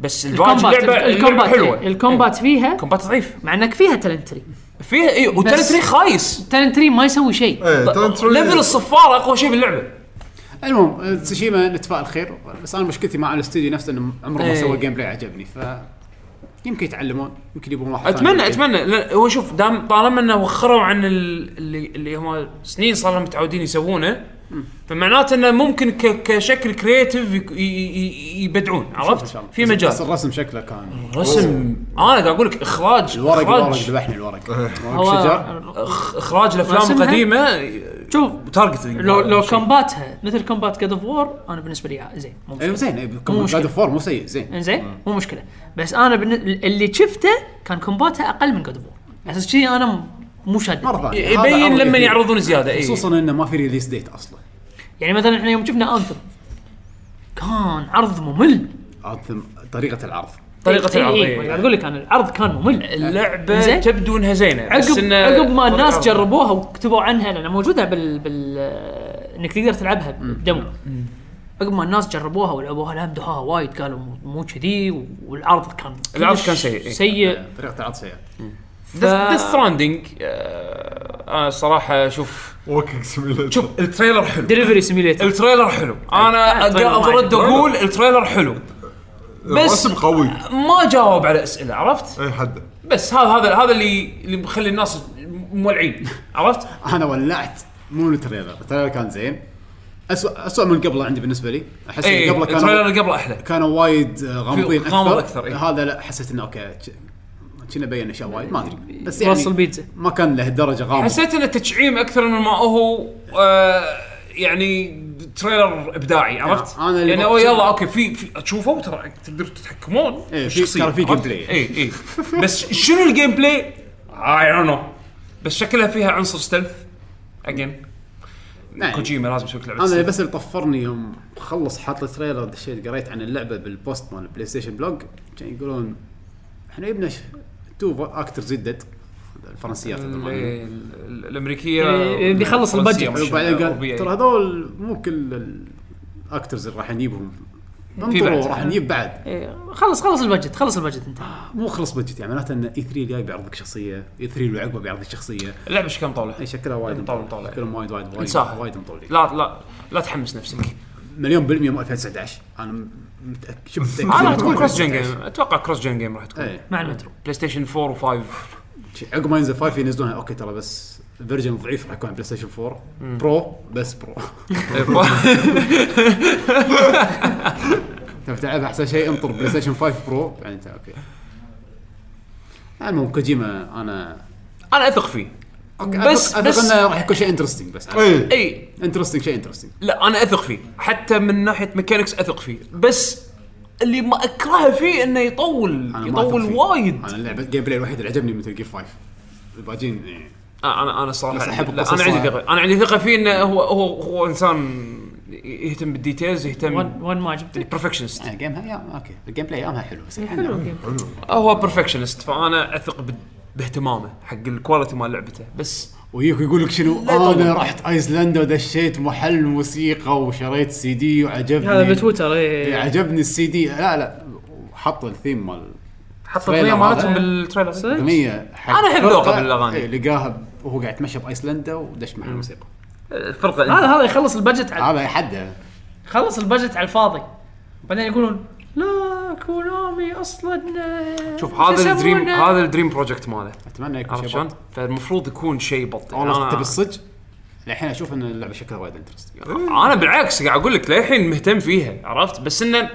بس الباقي الكومبات اللعبه اللعبة الكومبات حلوه إيه، الكومبات فيها كومبات ضعيف مع انك فيها تلنتري فيها اي وتري خايس تلنتري ما يسوي شيء ايه طيب، تالنت ريلي- ليفل الصفاره اقوى شيء باللعبه المهم آه، تسوشيما نتفائل خير بس انا مشكلتي مع الاستوديو نفسه انه عمره ما إيه. سوى جيم بلاي عجبني ف يمكن يتعلمون يمكن يبون واحد اتمنى ثاني. اتمنى لا هو شوف دام طالما انه وخروا عن ال- اللي اللي هم سنين صار لهم متعودين يسوونه فمعناته انه ممكن ك- كشكل كرييتيف يك- ي- ي- يبدعون عرفت؟ في بس مجال الرسم شكله كان رسم انا قاعد اقول لك اخراج الورق الورق اخراج ذبحني الورق هو- ورق شجر إخ- اخراج الافلام رسمها؟ القديمه شوف تارجتنج لو لو كومباتها مثل كومبات جاد اوف وور انا بالنسبه لي ع- زين مو ايوه مشكله زين مو جاد مشكلة. اوف مو سيء زين زين مو مشكله بس انا بالن... اللي شفته كان كومباتها اقل من جاد اوف وور اساس كذي انا م- مو شاد مره ثانيه هذا إيه، يبين أمر لما كثير. يعرضون إيه. زياده اي خصوصا انه ما في ريليس ديت اصلا يعني مثلا احنا يوم شفنا انثم كان عرض ممل عاد طريقه العرض طريقه إي- إي- العرض إي، إي. قاعد اقول لك انا العرض كان ممل اللعبه زين. تبدو انها زينه بس عقب إنه- عقب ما الناس جربوها وكتبوا عنها لان موجوده بال بال انك تقدر تلعبها بدمو عقب ما الناس جربوها ولعبوها لا مدحوها وايد قالوا مو كذي والعرض كان العرض كان كلش سيء، إي. سيء طريقه العرض سيئه ديث ستراندنج انا الصراحه آه، شوف وكينج سيميليتر شوف التريلر حلو ديليفري سيميليتر التريلر حلو انا التريلر ما ارد عجبني. اقول التريلر حلو بس الرسم قوي ما جاوب على اسئله عرفت اي حد بس هذا هذا هذا اللي اللي مخلي الناس مولعين عرفت انا ولعت مو من التريلر التريلر كان زين اسوء اسوء من قبله عندي بالنسبه لي احس اي ان قبله إيه، التريلر كانوا اللي قبله احلى كانوا وايد آه، غامضين في- غامض أكثر، إيه. هذا لا حسيت انه اوكي ك- كنا بين اشياء وايد ما ادري بس يعني وصل بيتزا ما كان لهالدرجه غامض إيه، حسيت انه تشعيم اكثر من ما هو آه يعني تريلر ابداعي عرفت؟ نعم، أنا اللي يعني بقصد- أو يلا اوكي في في تشوفوا ترى تقدروا تتحكمون إيه، في- بالشخصية، ترى في عرفت؟ game play. اي اي بس شنو الجيم بلاي؟ اي دونت نو بس شكلها فيها عنصر ستلف اجين نعم. كوجيما لازم يسوي لك لعبه انا stealth. بس اللي طفرني يوم خلص حاط التريلر دشيت قريت عن اللعبه بالبوست مال بلاي ستيشن بلوج كانوا يقولون احنا جبنا ش- تو اكترز جدد الفرنسيات إيه، هذول مالهم. ال- ال- الامريكيه إيه، بيخلص والفرنسية البادجت. مش وبعدين الأوروبية. قال ترى هذول مو كل الاكترز اللي راح نجيبهم انطروا إيه، بعد. راح نجيب بعد إيه، خلص خلص البجت خلص البجت انت مو خلص بجت يعني معناته ان اي 3 الجاي بيعرض لك شخصيه اي 3 اللي عقبه بيعرض لك شخصيه اللعبه ايش كم طوله؟ اي شكلها وايد مطول- مطول مطول. شكلهم وايد وايد وايد انساها. وايد مطول لا لا لا تحمس نفسك مليون بالمية مو 2019 انا متاكد شو متاكد انا راح تكون كروس جن جيم اتوقع كروس جن جيم راح تكون ايه مع المترو بلاي ستيشن 4 و5 شي- عقب ما ينزل 5 ينزلونها اوكي ترى بس فيرجن ضعيف راح يكون على بلاي ستيشن 4 برو بس برو إيه، تبي تلعب احسن شيء انطر بلاي ستيشن 5 برو يعني انت اوكي المهم كوجيما انا انا اثق فيه اوكي بس- أثق- اثق بس- إيه. انه راح يكون شيء انترستنج بس اي اي انترستنج شيء انترستنج لا انا اثق فيه حتى من ناحيه ميكانكس اثق فيه بس اللي ما اكرهه فيه انه يطول انا ما يطول أثق فيه. وايد انا اللعبه الجيم بلاي الوحيد اللي عجبني مثل جير 5 الباجين إيه. آه، انا انا صراحه بس أحب لا، القصص انا عندي صراحة. ثقه انا عندي ثقه فيه انه هو هو هو انسان يهتم بالديتيلز يهتم وين وين ما عجبتك برفكشنست آه، جيمها يا اوكي الجيم بلاي يامها حلو بس حلو الجيم. هو برفكشنست فانا اثق ب- باهتمامه حق الكواليتي مال لعبته بس ويجيك يقول لك شنو لا يطول. انا رحت ايسلندا ودشيت محل موسيقى وشريت سي دي وعجبني هذا بتويتر إيه، يعني اي عجبني السي دي لا لا حط الثيم مال حط تريلر الغنيه مالتهم هذا. بالتريلر اغنيه حق أنا أحب ذوقه فرقة، بالأغاني. إيه، لقاها وهو قاعد يتمشى بايسلندا ودش محل موسيقى الفرقه هذا هذا يخلص البجت آه. على هذا حده خلص البجت على الفاضي بعدين يقولون لا كونامي اصلا آه، شوف شو هذا الدريم يسمونه؟ هذا الدريم بروجكت ماله اتمنى يكون عرفت شيء شلون؟ بط. فالمفروض يكون شيء بطيء والله تبي انا الصج الحين اشوف ان اللعبه شكلها وايد انترستنج انا أه. بالعكس قاعد اقول لك للحين مهتم فيها عرفت بس انه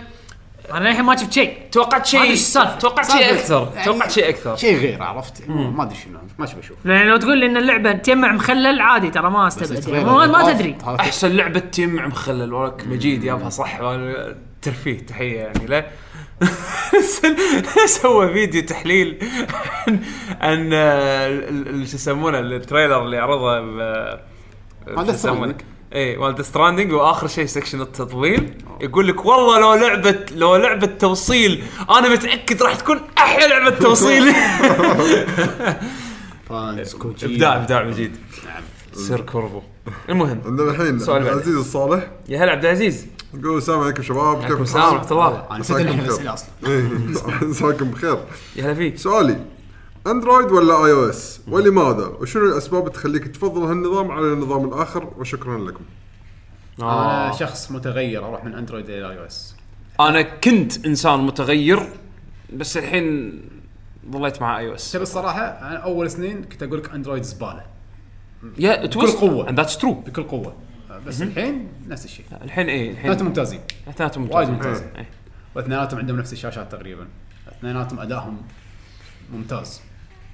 انا للحين ما شفت شيء توقعت هذه شيء السالفة. توقعت شيء يعني اكثر توقعت شيء اكثر شيء غير عرفت ما ادري شنو ما شو بشوف لان لو تقول لي ان اللعبه تجمع مخلل عادي ترى ما استبعد يعني. ما, ما تدري هذا احسن لعبه تيم مع مخلل وراك مجيد يابها صح وأنا- ترفيه تحيه يعني لا سوى فيديو تحليل عن- عن آه، ال- ال- شو يسمونه التريلر اللي عرضه ب- شو Death يسمونه؟ إيه، Stranding. اي مال ستراندنج واخر شيء سكشن التطويل يقول لك والله لو لعبه لو لعبه توصيل انا متاكد راح تكون احلى لعبه توصيل فانز كوجي ابداع ابداع مجيد سير كوربو المهم عندنا الحين سؤال عبد بعد. العزيز الصالح يا هلا عبد العزيز يقول السلام عليكم شباب كيف السلام ورحمه الله انا نسيت إن الاسئله اصلا إيه، مساكم بخير يا هلا فيك سؤالي اندرويد ولا اي او اس ولماذا وشنو الاسباب تخليك تفضل هالنظام على النظام الاخر وشكرا لكم انا شخص متغير اروح من اندرويد الى اي او اس انا كنت انسان متغير بس الحين ظليت مع اي او اس تبي الصراحه انا اول سنين كنت اقول لك اندرويد زباله يا بكل قوة. ذاتس ترو بكل قوه آه، بس الحين نفس الشيء الحين ايه الحين إيه. اثنيناتهم ممتازين اثنيناتهم وايد ممتازين ممتازين واثنيناتهم عندهم نفس الشاشات تقريبا اثنيناتهم ادائهم ممتاز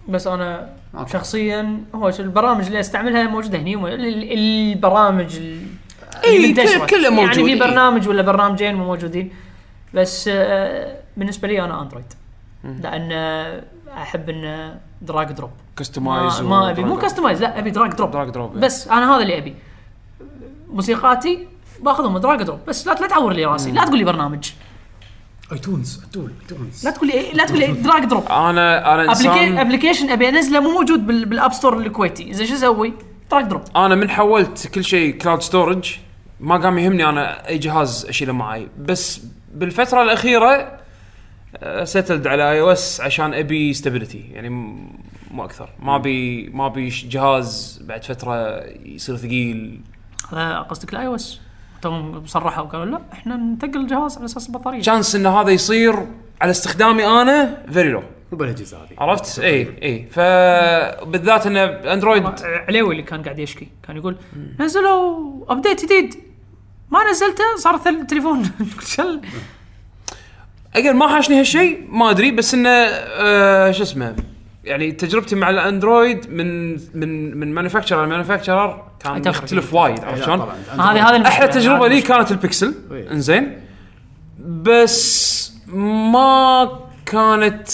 بس انا أوكي. شخصيا هو شو البرامج اللي استعملها موجوده هني وم- ال- ال- البرامج ال- إي، كل- المنتشرة. كله موجود، يعني في إي. برنامج ولا برنامجين مو موجودين بس آه، بالنسبه لي انا اندرويد لان آه، احب ان دراج دروب كستمايز ما, ما ابي مو كستمايز لا ابي دراج دروب دراج دروب بس بس انا هذا اللي ابي موسيقاتي باخذهم دراج دروب بس لا لا تعور لي راسي لا تقول لي برنامج ايتونز ايتونز ايتونز لا تقول لي إيه؟ لا تقول لي دراج دروب انا انا انسان ابلكيشن ابي انزله مو موجود بال- بالاب ستور الكويتي زين شو اسوي؟ تراك دروب انا من حولت كل شيء كلاود ستورج ما قام يهمني انا اي جهاز اشيله معي بس بالفتره الاخيره آه، سيتلد على اي او اس عشان ابي ستابيليتي يعني م- مو اكثر ما ابي ما ابي ش- جهاز بعد فتره يصير ثقيل هذا قصدك الاي او اس توهم صرحوا وقالوا لا احنا ننتقل الجهاز على اساس البطاريه شانس ان هذا يصير على استخدامي انا فيري لو مو بالاجهزه هذه عرفت؟ اي اي فبالذات ان اندرويد عليوي اللي كان قاعد يشكي كان يقول نزلوا ابديت جديد ما نزلته صار ثل- تليفون شل- اجين ما حاشني هالشيء ما ادري بس انه آه شو اسمه يعني تجربتي مع الاندرويد من من من مانيفاكتشرر لمانيفاكتشرر كان تفرق. يختلف وايد لا، عرفت شلون؟ إيه، طبعاً. أنت- هذه هذه احلى المشكلة. تجربه هذه لي كانت البكسل إيه. انزين بس ما كانت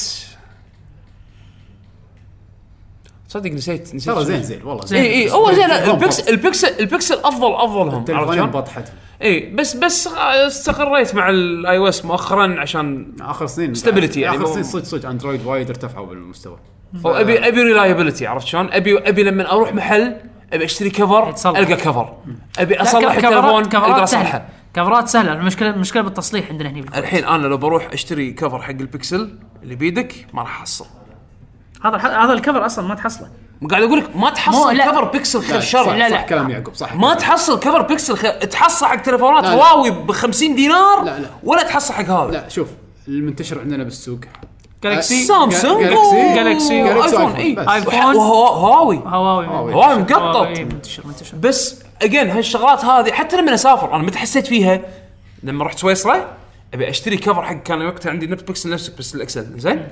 صدق نسيت نسيت ترى شنو. زين زين والله اي اي هو زين لا، زين. البكسل البكسل البكسل افضل افضلهم عرفت تليفونين شلون؟ بطحتهم اي بس بس استقريت مع الاي او اس مؤخرا عشان اخر سنين Stability يعني اخر مو- سنين صدق صدق اندرويد وايد ارتفعوا بالمستوى أو آه. ابي ابي ريلايبيلتي عرفت شلون؟ ابي ابي لما اروح محل ابي اشتري كفر يتصلح. القى كفر ابي لا، اصلح ك- كفرات- التليفون اقدر كفرات سهله اصلحه كفرات سهله المشكله المشكله بالتصليح عندنا هنا بالكويت. الحين انا لو بروح اشتري كفر حق البكسل اللي بيدك ما راح احصل هذا الح- هذا الكفر اصلا ما تحصله قاعد اقول لك ما مو- تحصل لا. كفر بكسل خير صح- شر لا، لا. صح كلام يعقوب صح ما تحصل كفر بكسل خير تحصل حق تليفونات لا، لا. هواوي ب 50 دينار لا، لا. ولا تحصل حق هذا لا شوف المنتشر عندنا بالسوق يعني جالكسي سامسونج جالكسي. و- جالكسي. وايفون جالكسي اي وآيفون. بس. وح- وهوا- هواوي هواوي هواوي مقطط هواوي منتشر منتشر بس اجين هالشغلات هذه حتى لما اسافر انا متى حسيت فيها لما رحت سويسرا ابي اشتري كفر حق كان وقتها عندي نفس بيكسل نفسك بس الاكسل زين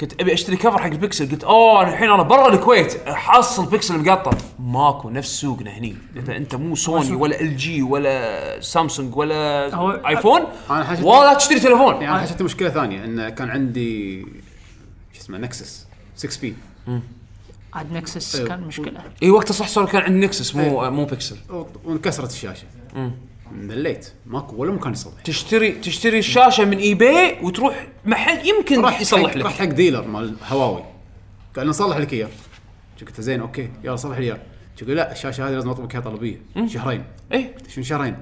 كنت ابي اشتري كفر حق البيكسل قلت اوه أنا الحين انا برا الكويت احصل بيكسل مقطع ماكو نفس سوقنا هني اذا انت مو سوني ولا ال جي ولا سامسونج ولا هو- ايفون أنا حاجة- ولا تشتري تليفون يعني انا حسيت مشكله ثانيه ان كان عندي شو اسمه نكسس 6 بي عاد نكسس كان مشكله اي إيه, وقتها صح صار كان عندي نكسس إيه. مو مو بيكسل وانكسرت الشاشه مليت ماكو ولا مكان يصلح تشتري تشتري الشاشه من اي بي وتروح محل يمكن يصلح حق- لك رحت حق ديلر مال هواوي قال لي نصلح لك اياه قلت له زين اوكي يلا صلح لي اياه يقول لا الشاشه هذه لازم اطلب لك اياها طلبيه شهرين ايه قلت شنو شهرين؟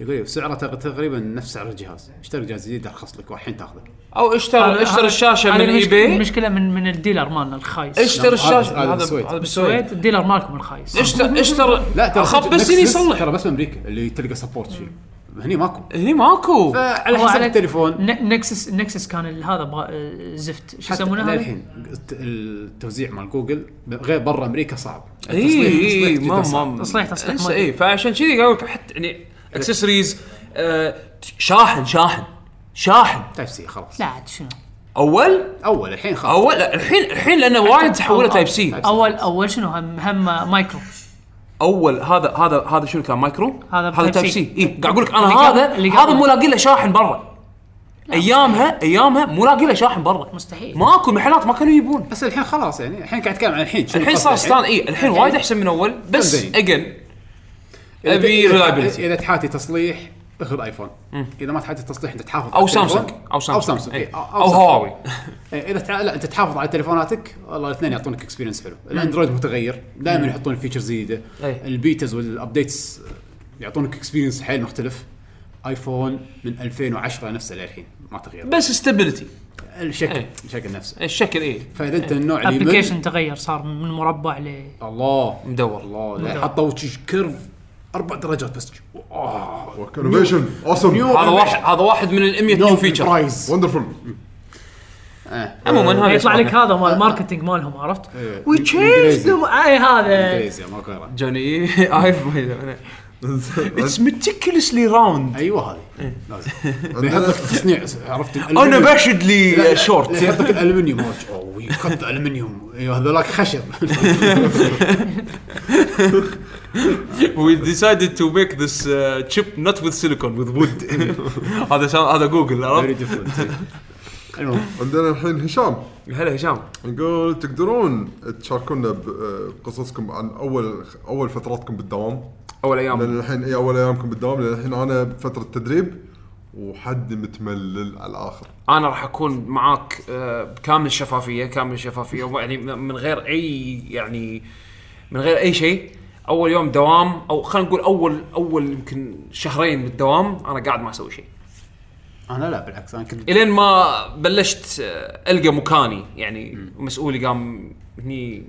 يقول لي سعره تق- تقريبا نفس سعر الجهاز اشتري جهاز جديد ارخص لك والحين تاخذه او اشتري هذا- اشتري هذا- الشاشه هذه من اي المشكلة- بي المشكله من من الديلر مالنا الخايس اشتري هذا- الشاشه هذا هذا بالسويد. هذا بالسويد السويد الديلر مالكم الخايس اشتري اشتري خبسين نكسس يصلح ترى بس بامريكا اللي تلقى سبورت شيء هني ماكو هني ماكو إيه، على حسب التليفون ن- نكسس نكسس كان ال- هذا بغ- آه، زفت شو حتى يسمونه هذا؟ للحين الت- التوزيع مال جوجل ب- غير برا امريكا صعب اي التصليح- التصليح اي جداً إيه، ما صعب. ما تصليح- تصليح انسى، ما- اي فعشان كذي قالوا لك حتى يعني اكسسوارز آه، شاحن شاحن شاحن تايب سي خلاص لا عاد شنو اول اول الحين خلاص اول لا، الحين الحين لانه وايد تحولوا أو- تايب سي Type C. اول اول شنو هم هم مايكرو اول هذا هذا هذا شنو كان مايكرو هذا هذا Type تايب C. سي اي قاعد اقول لك انا اللي قبل- هذا اللي هذا قبل. مو لاقي له شاحن برا ايامها ايامها مو لاقي له شاحن برا مستحيل. ماكو محلات ما كانوا يبون بس الحين خلاص يعني الحين قاعد اتكلم عن الحين شنو الحين صار الخطة الحين؟ ستان اي الحين إيه. وايد احسن من اول بس زين. اجن إذا- أبي إذا- reliability. اذا تحاتي تصليح اخذ ايفون اذا ما تحاتي تصليح انت تحافظ على او التليفون. سامسونج او او سامسونج سامسونج إي. إي، أو- او هواوي إيه، اذا تع... لا انت تحافظ على تليفوناتك والله الاثنين يعطونك اكسبيرينس حلو الاندرويد متغير دائما يحطون فيتشرز جديده إيه. البيتز والابديتس يعطونك اكسبيرينس حيل مختلف ايفون من 2010 نفسه للحين ما تغير بس استابيليتي الشكل إيه. الشكل نفسه الشكل إيه، اي فاذا انت النوع اللي يمل ابلكيشن تغير صار من مربع ل الله مدور الله لا، حطوا شي كيرف اربع درجات بس انوفيشن اوسم هذا واحد هذا واحد من ال 100 نيو فيتشر برايز وندرفول عموما هذا آه، يطلع شغلة. لك هذا مال الماركتينج مالهم عرفت؟ إيه. وي تشينج بالإنجليزي. اي إيه، هذا إيه، انجليزي ما غيره جوني ايف اتس ميتيكلسلي راوند ايوه هذه لازم يحط لك تصنيع Oh, عرفت انا بشد لي شورت يحط لك الالمنيوم واج. اوه يكت الالمنيوم ايوه هذولاك خشب Oh. We decided to make this uh, chip not with silicon with wood هذا شا... هذا جوجل Very عرفت different. المهم عندنا الحين هشام هلا هشام يقول تقدرون تشاركونا ب- آه، بقصصكم عن اول اول فتراتكم بالدوام اول ايام لان الحين اي اول ايامكم بالدوام لان الحين انا بفتره تدريب وحد متملل على الاخر انا راح اكون معاك آه، بكامل شفافيه كامل شفافيه يعني من غير اي يعني من غير اي شيء اول يوم دوام او خلينا نقول اول اول يمكن شهرين من الدوام انا قاعد ما اسوي شيء انا لا بالعكس انا كنت الين ما بلشت آه، القى مكاني يعني مسؤولي قام هني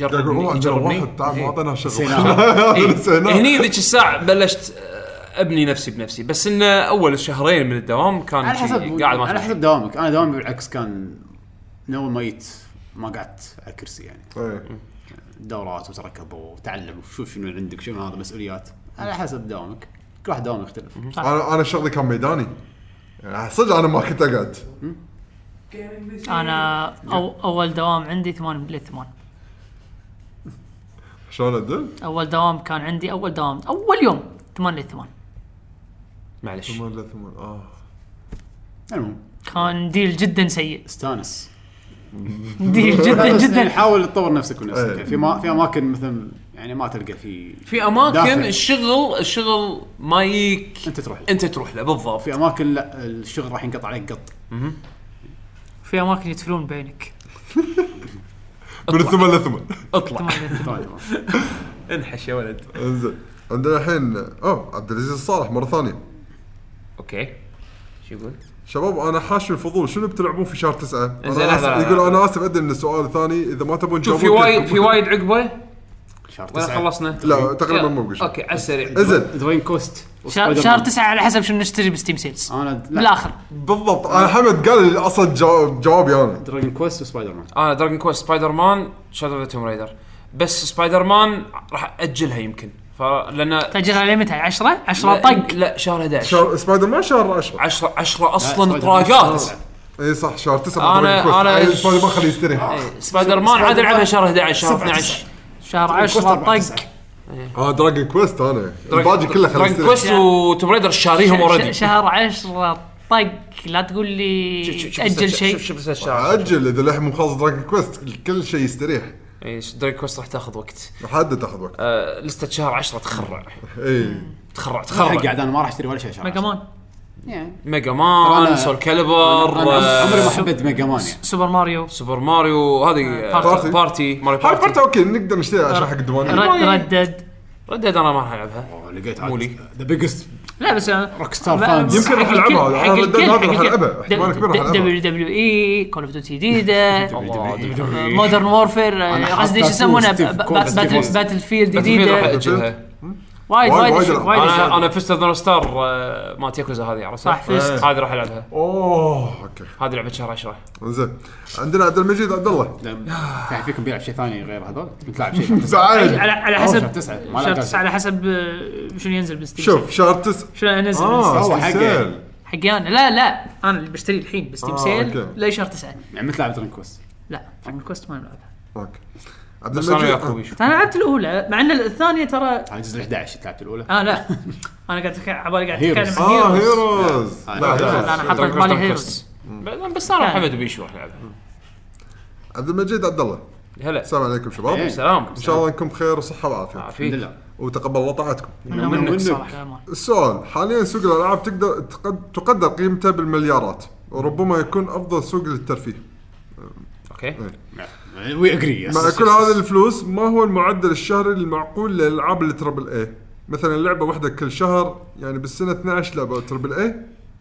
قاعد اقول يجرب والله عندنا يجربني واحد تعب ما اعطينا شغل إيه. نسيناه. هني ذيك الساعه بلشت آه، ابني نفسي بنفسي بس انه اول شهرين من الدوام كان على شيء حسب قاعد ما أسوي على حسب دوامك انا دوامي بالعكس كان من اول ما جيت ما قعدت على كرسي يعني إيه. دورات وتركض وتعلم وشوف شنو عندك شنو هذا مسؤوليات على حسب دوامك كل واحد دوامه يختلف انا انا شغلي كان ميداني يعني صدق انا ما كنت اقعد انا أو اول دوام عندي 8 للثمان 8 شلون ادل؟ اول دوام كان عندي اول دوام اول يوم 8 للثمان 8 معلش ثمان لثمان اه المهم كان ديل جدا سيء استانس ديل جدا جدا حاول تطور نفسك ونفسك إيه. في ما في اماكن مثلا يعني ما تلقى في في اماكن داخل. الشغل الشغل ما يجيك انت تروح له. انت تروح له بالضبط في اماكن لا الشغل راح ينقطع عليك قط في اماكن يتفلون بعينك من الثمان لثمان اطلع 8 للثمان. طيب. انحش يا ولد انزين عندنا الحين اه عبد العزيز الصالح مره ثانيه اوكي شو يقول؟ شباب انا حاشي الفضول شنو بتلعبون في شهر تسعة؟ إنزين، انا لحظة، آسف لحظة. يقول انا اسف ادري ان السؤال ثاني اذا ما تبون شوف في تجاوبون وايد كيفكم. في وايد عقبه شهر ولا تسعة خلصنا؟ لا تقريبا ما بقى شيء. اوكي على السريع انزين درين كوست شهر شهر 9 على حسب شنو نشتري بستيم سيلز انا آه، لا بالاخر بالضبط انا حمد قال لي اصلا جواب جوابي انا دراجون كويست وسبايدر مان انا دراجون كويست سبايدر مان شادو اوف توم رايدر بس سبايدر مان راح اجلها يمكن فلان تاجلها على متى 10 10 طق لا شهر 11 شهر سبايدر مان شهر 10 10 10 اصلا سبايدر مان طراقات شهر اي صح شهر 9 أنا- أنا- إيه. سبايدر مان خليه يستريح سبايدر مان عاد العبها شهر 11 شهر 12 شهر 10 أربعة طق تسعة. اه دراجون كويست انا الباقي كله خليه دراجون يستريح كويست وتوم رايدر شاريهم ش- اوريدي ش- شهر 10 طق لا تقول لي تاجل شيء شوف شوف الشهر اجل اذا الحين مو خلص دراجون كويست كل شيء يستريح اي إيه، دراجون كويست راح تاخذ وقت حد تاخذ وقت آه، لستة شهر 10 تخرع اي تخرع حق تخرع قاعد انا ما راح اشتري ولا شيء شهر ميجا مان ميجا أنا- مان سول أنا- كاليبر أنا عمري ما آه، حبيت ميجا مان يعني سوبر ماريو سوبر ماريو هذه آه، بارتي. بارتي ماريو هاي بارت بارتي اوكي نقدر نشتريها عشان حق الديوانيه رد ردد ردد انا ما راح العبها أوه، لقيت مولي. ذا بيجست لا بس روك ستار فانز يمكن راح ألعبها، أنا ردد هذا راح ألعبها، احتمال كبير راح ألعبها. دبليو دبليو اي كول اوف ديوتي جديده الله مودرن وورفير أنا قصدي شو حاطة يسمونها ستيف كولز جديد. باتل فيلد جديدة راح جديده اجلها وايد وايد- وايد أشياء- وايد ألعب. وايد انا أشياء. انا فيست اوف ستار آه، مالت ياكوزا هذه عرفتها؟ صح، فيست. هذه راح العبها اوه اوكي هذه لعبه شهر 10 زين عندنا عبد المجيد عبد الله تعرف فيكم بيلعب شيء ثاني غير هذول بتلعب شيء زعل على على أوه، شهر حسب Oh, تسعة. ما له شهر دخل. 9 على حسب آه، شنو ينزل بالستيم شوف شهر 9 شنو انزل اه بالستيم هو هو حقه. حقه حقي انا لا لا انا اللي بشتري الحين بستيم آه، سيل أوكي. لا شهر 9 يعني مثل لعبه درين كويست لا فاينل كويست ما نلعبها اوكي عبد بس انا وياك المجيد وبيشو. انا لعبت الاولى مع ان الثانيه ترى هذا الجزء 11 لعبت الاولى اه لا انا قاعد أتك- على بالي قاعد Heroes. اتكلم عن اه Heroes. هيروز لا، لا لا، لا لا انا حاطط Dragon بالي Quest هيروز ب- بس نعم. انا يعني حمد وبيشو راح العبها عبد المجيد عبد الله هلا السلام عليكم شباب إيه. ان سلام شاء الله انكم بخير وصحه وعافيه إيه. الحمد عافيك لله وتقبل الله طاعتكم منو منك صراحه السؤال حاليا سوق الالعاب تقدر تقد- تقدر قيمته بالمليارات وربما يكون افضل سوق للترفيه اوكي وي اجري مع كل هذه الفلوس ما هو المعدل الشهري المعقول للالعاب التربل اي مثلا لعبه واحده كل شهر يعني بالسنه 12 لعبه تربل اي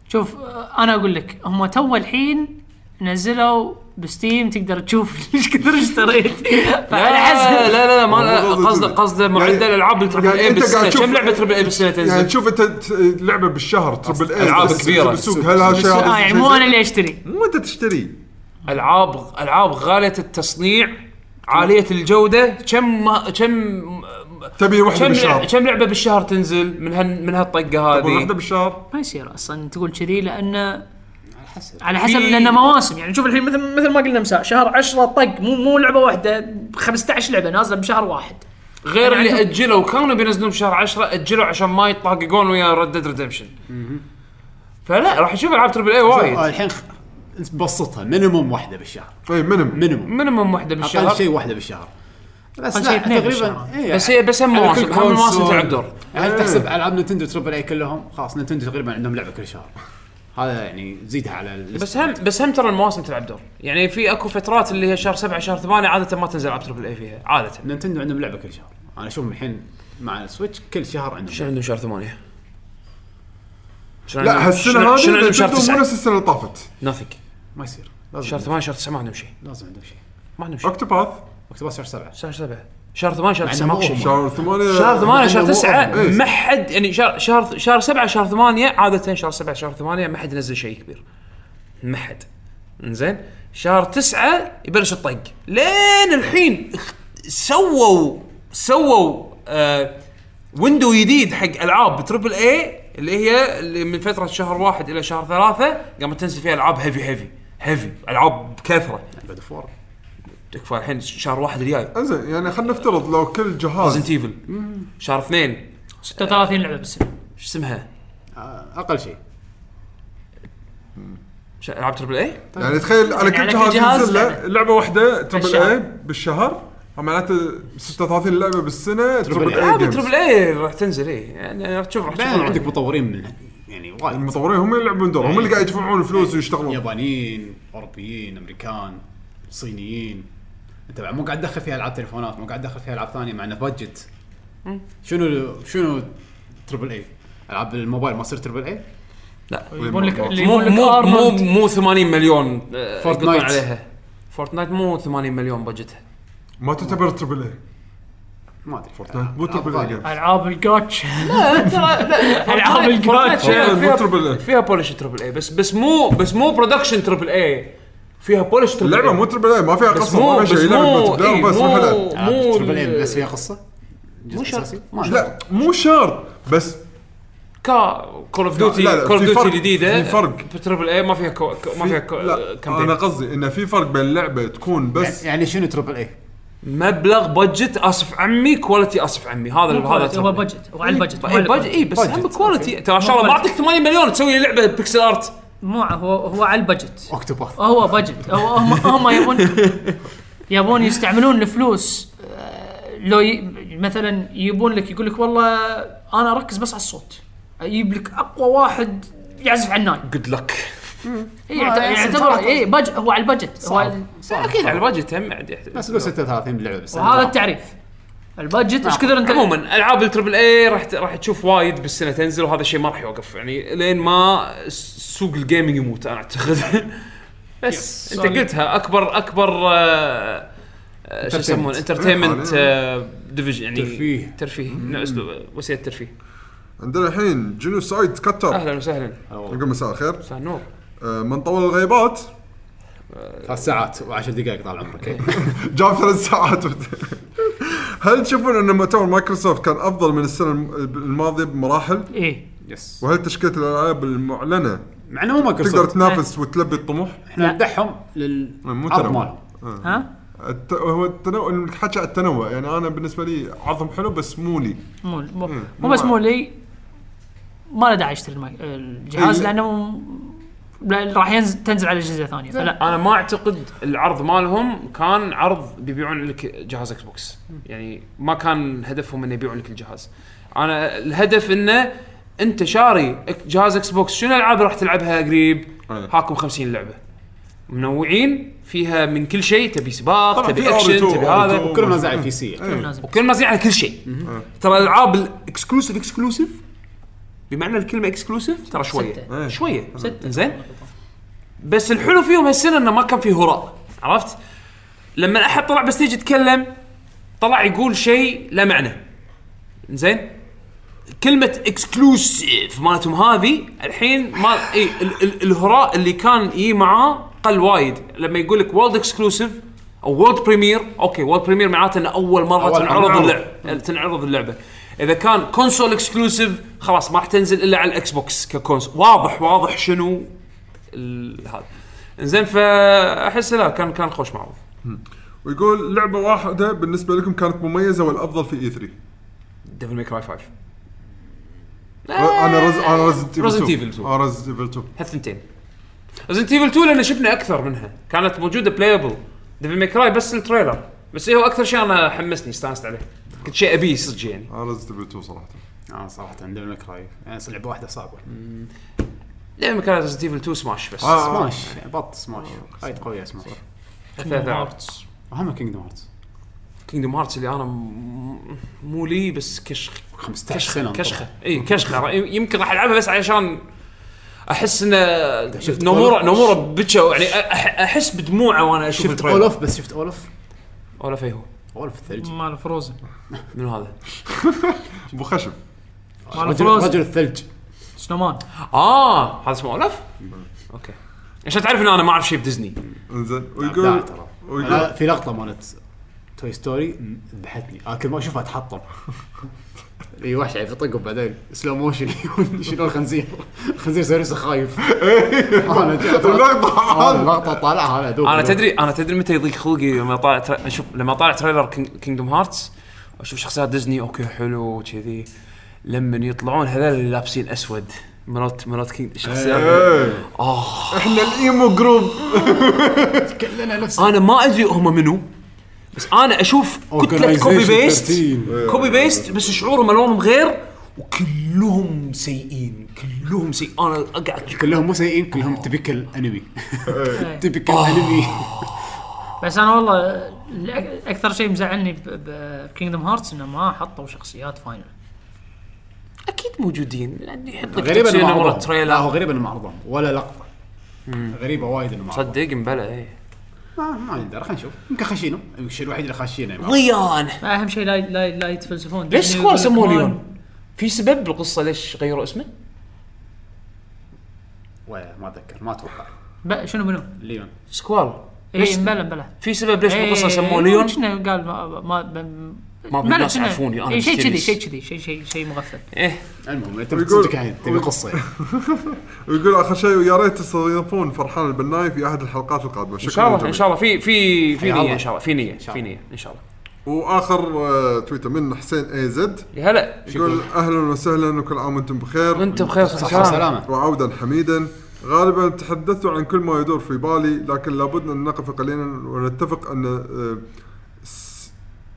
شوف آه، انا اقول لك هم تو الحين نزلوا بستيم تقدر تشوف ايش كثر اشتريت فعلى لا حسب لا لا ما هو قصده قصده كذا. قصده يعني- معدل العاب التربل يعني اي أنت قاعد بالسنه تشوف- كم لعبه تربل اي بالسنه يعني تنزل؟ تشوف انت ت- لعبه بالشهر تربل اي ألعاب بس- كبيرة. بالسوق هل هالشيء هذا آه يعني شيء مو زين؟ انا اللي اشتري مو انت تشتري العاب العاب غاليه التصنيع عاليه الجوده كم ما- كم تبي واحدة كم بالشهر. لعبة- كم لعبه بالشهر تنزل من هال من هالطقه تبون واحده هذه بالشهر ما يصير اصلا تقول كذي لان على حسب لان مواسم يعني شوف الحين مثل مثل ما قلنا مساء شهر 10 طق مو مو لعبه واحده 15 لعبه نازله بشهر واحد غير أنا اللي عندهم- اجلوا كانوا بينزلون بشهر 10 اجلوا عشان ما يطاققون ويا ريد ديد ريدمشن فلا راح نشوف العاب تربل اي شوف، إيه. آه، وايد الحين خ- بسطها مينيموم واحده بالشهر اي منهم مينيموم مينيموم واحده اقل بالشهر شيء واحده بالشهر بس أقل شيء لا اثنين تقريبا بالشهر. إيه، بس هي بس هم على كل مواسم هم المواسم كونسول. تلعب دور إيه. هل تحسب العاب نينتندو تربل اي كلهم خلاص نينتندو تقريبا عندهم لعبه كل شهر هذا يعني زيدها على الليست. بس هم بس هم ترى المواسم تلعب دور يعني في اكو فترات اللي هي شهر 7 شهر 8 عاده ما تنزل العاب تربل اي فيها عاده نينتندو عندهم لعبه كل شهر انا اشوفهم الحين مع السويتش كل شهر عندهم شنو عندهم شهر 8 لا هالسنه هذه شنو عندهم شهر نتندو مو 9 نفس السنه اللي طافت ناثينج ما يصير شهر لازم 8 شهر 9 ما عندهم شيء لازم عندهم شيء ما عندهم شيء اوكتوباث اكتوبر شهر سبعه شهر 7 شهر 8 شهر مع 9 إنه ماكو مو شيء شهر ثمانية شهر 8 شهر مو 9 أربعة. إيه. ما حد يعني شهر شهر شهر 7 شهر 8 عاده شهر 7 شهر 8 ما حد ينزل شيء كبير ما حد زين شهر 9 يبلش الطق لين الحين اخ- سووا سووا آه ويندو جديد حق العاب تربل اي اللي هي اللي من فتره شهر واحد الى شهر ثلاثه قامت تنزل فيها العاب هيفي هيفي هيفي العاب بكثره بعد فور تكفى الحين شهر واحد الجاي انزين يعني خلينا نفترض لو كل جهاز ريزنت ايفل شهر اثنين 36 لعبه بالسنه شو اسمها؟ آه، اقل شيء ش- العاب تربل اي؟ يعني تخيل على كل على كل جهاز جهاز ينزل له لعبة. لعبه واحده تربل بالشهر. اي بالشهر معناته 36 لعبه بالسنه تربل اي العاب جيمز. تربل اي راح تنزل اي يعني راح تشوف راح بعدين تشوف عندك مطورين من يعني وايد المطورين هم اللي يلعبون دور هم اللي قاعد يدفعون الفلوس ويشتغلون يابانيين اوروبيين امريكان صينيين انت بعد مو قاعد تدخل فيها العاب تليفونات مو قاعد تدخل فيها العاب ثانيه مع انه بادجت شنو شنو تربل اي العاب الموبايل ما تصير تربل اي يقول لك اللي مو يقول لك مو مو Armored- مو 80 مليون آه، فورتنايت. يقطون عليها فورتنايت مو 80 مليون بجتها ما تعتبر تربل اي ما ادري مو تربل اي جيمز. العاب الجاتش يعني العاب الجراتش فورتنايت مو فيها, تربل اي فيها بولش تربل اي بس بس مو بس مو برودكشن تربل اي فيها بولش تربل اللعبه اي مو تربل اي ما فيها بس قصه مو ما فيها بس شيء لعبه مو ملتي إي، بلاير بس ما فيها لعب. مو تربل اي آه، بس مو فيها قصه جزء مو شرط. أساسي؟ ما لا مو شرط بس كا كول اوف ديوتي لا، لا، كول اوف في ديوتي فرق، الجديده في فرق. تربل اي آه، ما فيها كو كو- ما فيها آه، كو- لا انا كامبين قصدي انه في فرق بين لعبه تكون يعني- بس يعني شنو تربل اي؟ مبلغ بادجت اسف عمي كواليتي اسف عمي هذا هذا هو تربل إي. بجت هو على البجت مو اي على بادجت اي إيه، بس بادجت، هم كواليتي ترى ان شاء الله ما اعطيك 8 مليون تسوي لي لعبه بيكسل ارت مو هو هو على البجت اوكتوباث هو بجت هو هم هم يبون يبون يستعملون الفلوس آه، لو ي... مثلا يبون لك يقول لك والله انا اركز بس على الصوت اجيب لك اقوى واحد يعزف على الناي جود لك إي، يعت- يعتبر اي بج... هو على البجت هو على... اكيد على البادجت هم عاد بس يحتاج. قول 36 لعبه بس وهذا التعريف البجت ايش كثر انت عموما العاب التربل اي راح ت- راح تشوف وايد بالسنه تنزل وهذا الشيء ما راح يوقف يعني لين ما س- سوق الجيمنج يموت انا اعتقد بس Yes. انت قلتها اكبر اكبر آه، آه، شو يسمونه انترتينمنت ديفيجن يعني ترفيه. ترفيه نوع اسلوب وسيله ترفيه عندنا الحين جنو سايد كتر اهلا وسهلا نقول مساء الخير مساء النور آه، من طول الغيبات ثلاث ساعات و10 دقائق طال عمرك جاب ثلاث ساعات هل تشوفون ان مؤتمر مايكروسوفت كان افضل من السنه الم- الماضيه بمراحل؟ ايه يس وهل تشكيله الالعاب المعلنه مع انه مو تقدر مايكروسوفت تنافس وتلبي الطموح؟ احنا ندعهم مو للعرض تنوع. مالهم ها الت... هو التنوع حكى على التنوع يعني انا بالنسبه لي عظم حلو بس مو لي مو مو, مو بس مو لي ما له داعي اشتري المايك- الجهاز إيه. لانه لا- راح ينزل تنزل على اجهزه ثانيه فلا انا ما اعتقد العرض مالهم كان عرض بيبيعون لك جهاز اكس بوكس يعني ما كان هدفهم انه يبيعون لك الجهاز انا الهدف انه انت شاري إك- جهاز اكس بوكس شنو الالعاب راح تلعبها قريب أي. هاكم 50 لعبه منوعين فيها من كل شيء تبي سباق طبعاً تبي في اكشن R2 تبي هذا R2. كلهم نازل على البي سي وكل ما زين على كل شيء ترى الالعاب الاكسكلوسيف اكسكلوسيف بمعنى الكلمه اكسكلوسيف ترى شويه ستة. إيه. شويه زين بس الحلو فيهم هالسنه انه ما كان في هراء عرفت؟ لما احد طلع بستيج يتكلم طلع يقول شيء له معنى زين كلمة اكسكلوسيف مالتهم هذه الحين ما إيه، اي ال- ال- الهراء اللي كان يجي معاه قل وايد لما يقول لك وولد اكسكلوسيف او وورد بريمير اوكي وورد بريمير معناته انه اول مره أول تنعرض مرة. اللعبه تنعرض اللعبه اذا كان كونسول اكسكلوسيف خلاص ما راح تنزل الا على الاكس بوكس ككونسول واضح واضح شنو ال- هذا زين فاحس لا كان كان خوش معروض ويقول لعبه واحده بالنسبه لكم كانت مميزه والافضل في اي 3 ديفل ميك راي 5 انا رز انا رزنت Resident Evil 2. انا رزنت ايفل 2 هالثنتين ريزنت ايفل 2 لان شفنا اكثر منها كانت موجوده بلايبل ديفل ميك راي بس التريلر بس إيه هو اكثر شيء انا حمسني استانست عليه كنت شيء ابيه صدق يعني انا رزنت ايفل 2 صراحه اه صراحه عندنا يعني كراي لعبه واحده صعبه ديفل ميك راي ريزنت ايفل 2 سماش بس آه. سماش بط سماش وايد قويه سماش ثلاث هارتس اهم كينجدم هارتس كينجدم هارتس اللي انا م- مو لي بس كشخ 15 سنه كشخه كشخه اي كشخه رأي- يمكن راح العبها بس علشان احس ان شفت نومورا Call of- نومورا بكى يعني أح- احس بدموعه وانا اشوف شفت التريلر اولف بس شفت اولف اولف اي هو اولف الثلج مال فروزن منو هذا؟ ابو خشب مال رجل, فروزن رجل الثلج سنومان اه هذا اسمه اولف؟ اوكي عشان تعرف ان انا ما اعرف شيء بديزني انزين لا ويقول ترى ويقول أنا في لقطه مالت توي ستوري ذبحتني انا كل ما اشوفها اتحطم اي وحش يعرف يطقه يعني بعدين سلو موشن يشيلون الخنزير الخنزير سيريس خايف انا جاي- اللقطة أنا اللقطه طالعها انا ادوب انا تدري انا تدري متى يضيق خلقي لما طالع تر- اشوف لما طالع تريلر كينجدوم هارتس اشوف شخصيات ديزني اوكي حلو وكذي لما يطلعون هذول اللي لابسين اسود مرات مرات كينج شخصيات آه. إيه. احنا الايمو جروب كلنا نفس انا ما ادري هم منو بس انا اشوف كتله كوبي بيست كوبي بيست بس شعورهم الوانهم غير وكلهم سيئين كلهم سيئين انا اقعد كلهم مو سيئين كلهم تبكل انمي تبكل انمي بس انا والله الأك- اكثر شيء مزعلني بكينجدم هارتس انه ما حطوا شخصيات فاينل اكيد موجودين لأن يحط لك غريبة تفسير انه مرة معرض تريلر لا هو غريبة انه معرض ولا لقطة غريبة وايد انه معرض صدق مبلى إيه. اي ما ما ندري خلينا نشوف يمكن خشينه يمكن الشيء الوحيد اللي خشينه يعني. ضيان اهم شيء لا لا لا يتفلسفون ليش ديزني سكوال يقول لك سموه مان- ليون؟ في سبب بالقصه ليش غيروا اسمه؟ ولا ما اتذكر ما اتوقع ب- شنو منو؟ ليون سكوال اي بلا بلا في سبب ليش بالقصه سموه ليون؟ شنو قال ما ما ما بلا بالناس شنو؟ عرفوني، أنا إي، شيء كذي ميستيريس. شيء كذي شيء شيء شيء مغفل ايه المهم انت ويقول- صدق يعني تبي قصة يعني. ويقول اخر شيء ويا ريت تستضيفون فرحان البناي في احد الحلقات القادمه شكرا ان شاء الله ان شاء الله في في في حيا نيه الله. ان شاء الله في نيه شاء في الله. نيه ان شاء الله واخر آه، تويتر من حسين اي زد يا هلا يقول اهلا وسهلا وكل عام وانتم بخير وانت بخير صحة سلام وسلامة وعودا حميدا غالبا تحدثت عن كل ما يدور في بالي لكن لابد ان نقف قليلا ونتفق ان آه، س-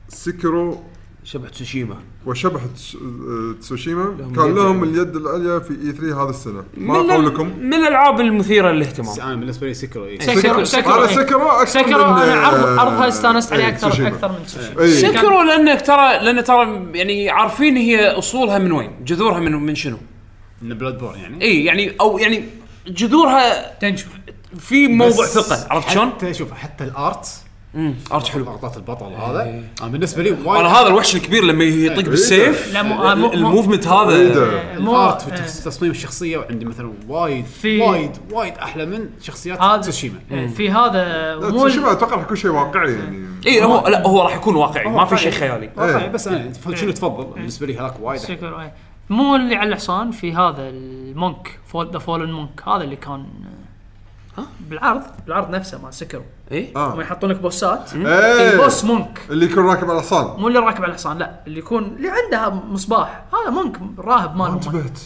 سيكرو شبح تسوشيما وشبح تس- آه، تسوشيما يد كان لهم العليا. اليد العليا في E اي 3 هذا السنه ما يعني. من ال- قولكم من الالعاب المثيره للاهتمام انا بالنسبة لي سكرو إيه. اي سكرو- سكرو- سكرو- هذا إي. سكرو اكثر سكرو من، انا آه، عرض- عرضها استانست عليه إي، اكثر إيه، تسوشيما. إيه. اكثر من سوشي إي. سكروا لانك ترى لان ترى يعني عارفين هي اصولها من وين جذورها من من شنو من بلاد بورن يعني اي يعني او يعني جذورها تنشو في موضوع بس ثقه عرفت شلون؟ حتى شوف حتى الارت امم ارت حلو لقطات البطل هذا انا بالنسبة لي وايد انا هذا الوحش الكبير لما يطق بالسيف لا مو- آه، مو- إيه، مو- الموفمنت إيده. هذا آه، الارت في إيه. تس- تصميم الشخصيه وعندي مثلا وايد في- وايد وايد احلى من شخصيات هذا- إيه، تسوشيما إيه. في هذا لا، مو تسوشيما اتوقع راح يكون شيء واقعي يعني اي إيه، هو لا هو راح يكون واقعي ما في واقعي. شيء خيالي واقعي بس انا ف- شنو تفضل بالنسبه لي هذاك وايد أحلى. سكرو إي. إيه. مو اللي على الحصان في هذا المونك فول ذا فولن مونك هذا اللي كان ها بالعرض بالعرض نفسه مع سكرو اي آه. هم يحطون لك بوسات إيه. البوس آه. مونك اللي يكون راكب على حصان مو اللي راكب على الحصان لا اللي يكون اللي عنده مصباح هذا مونك راهب ما مالهم انتبهت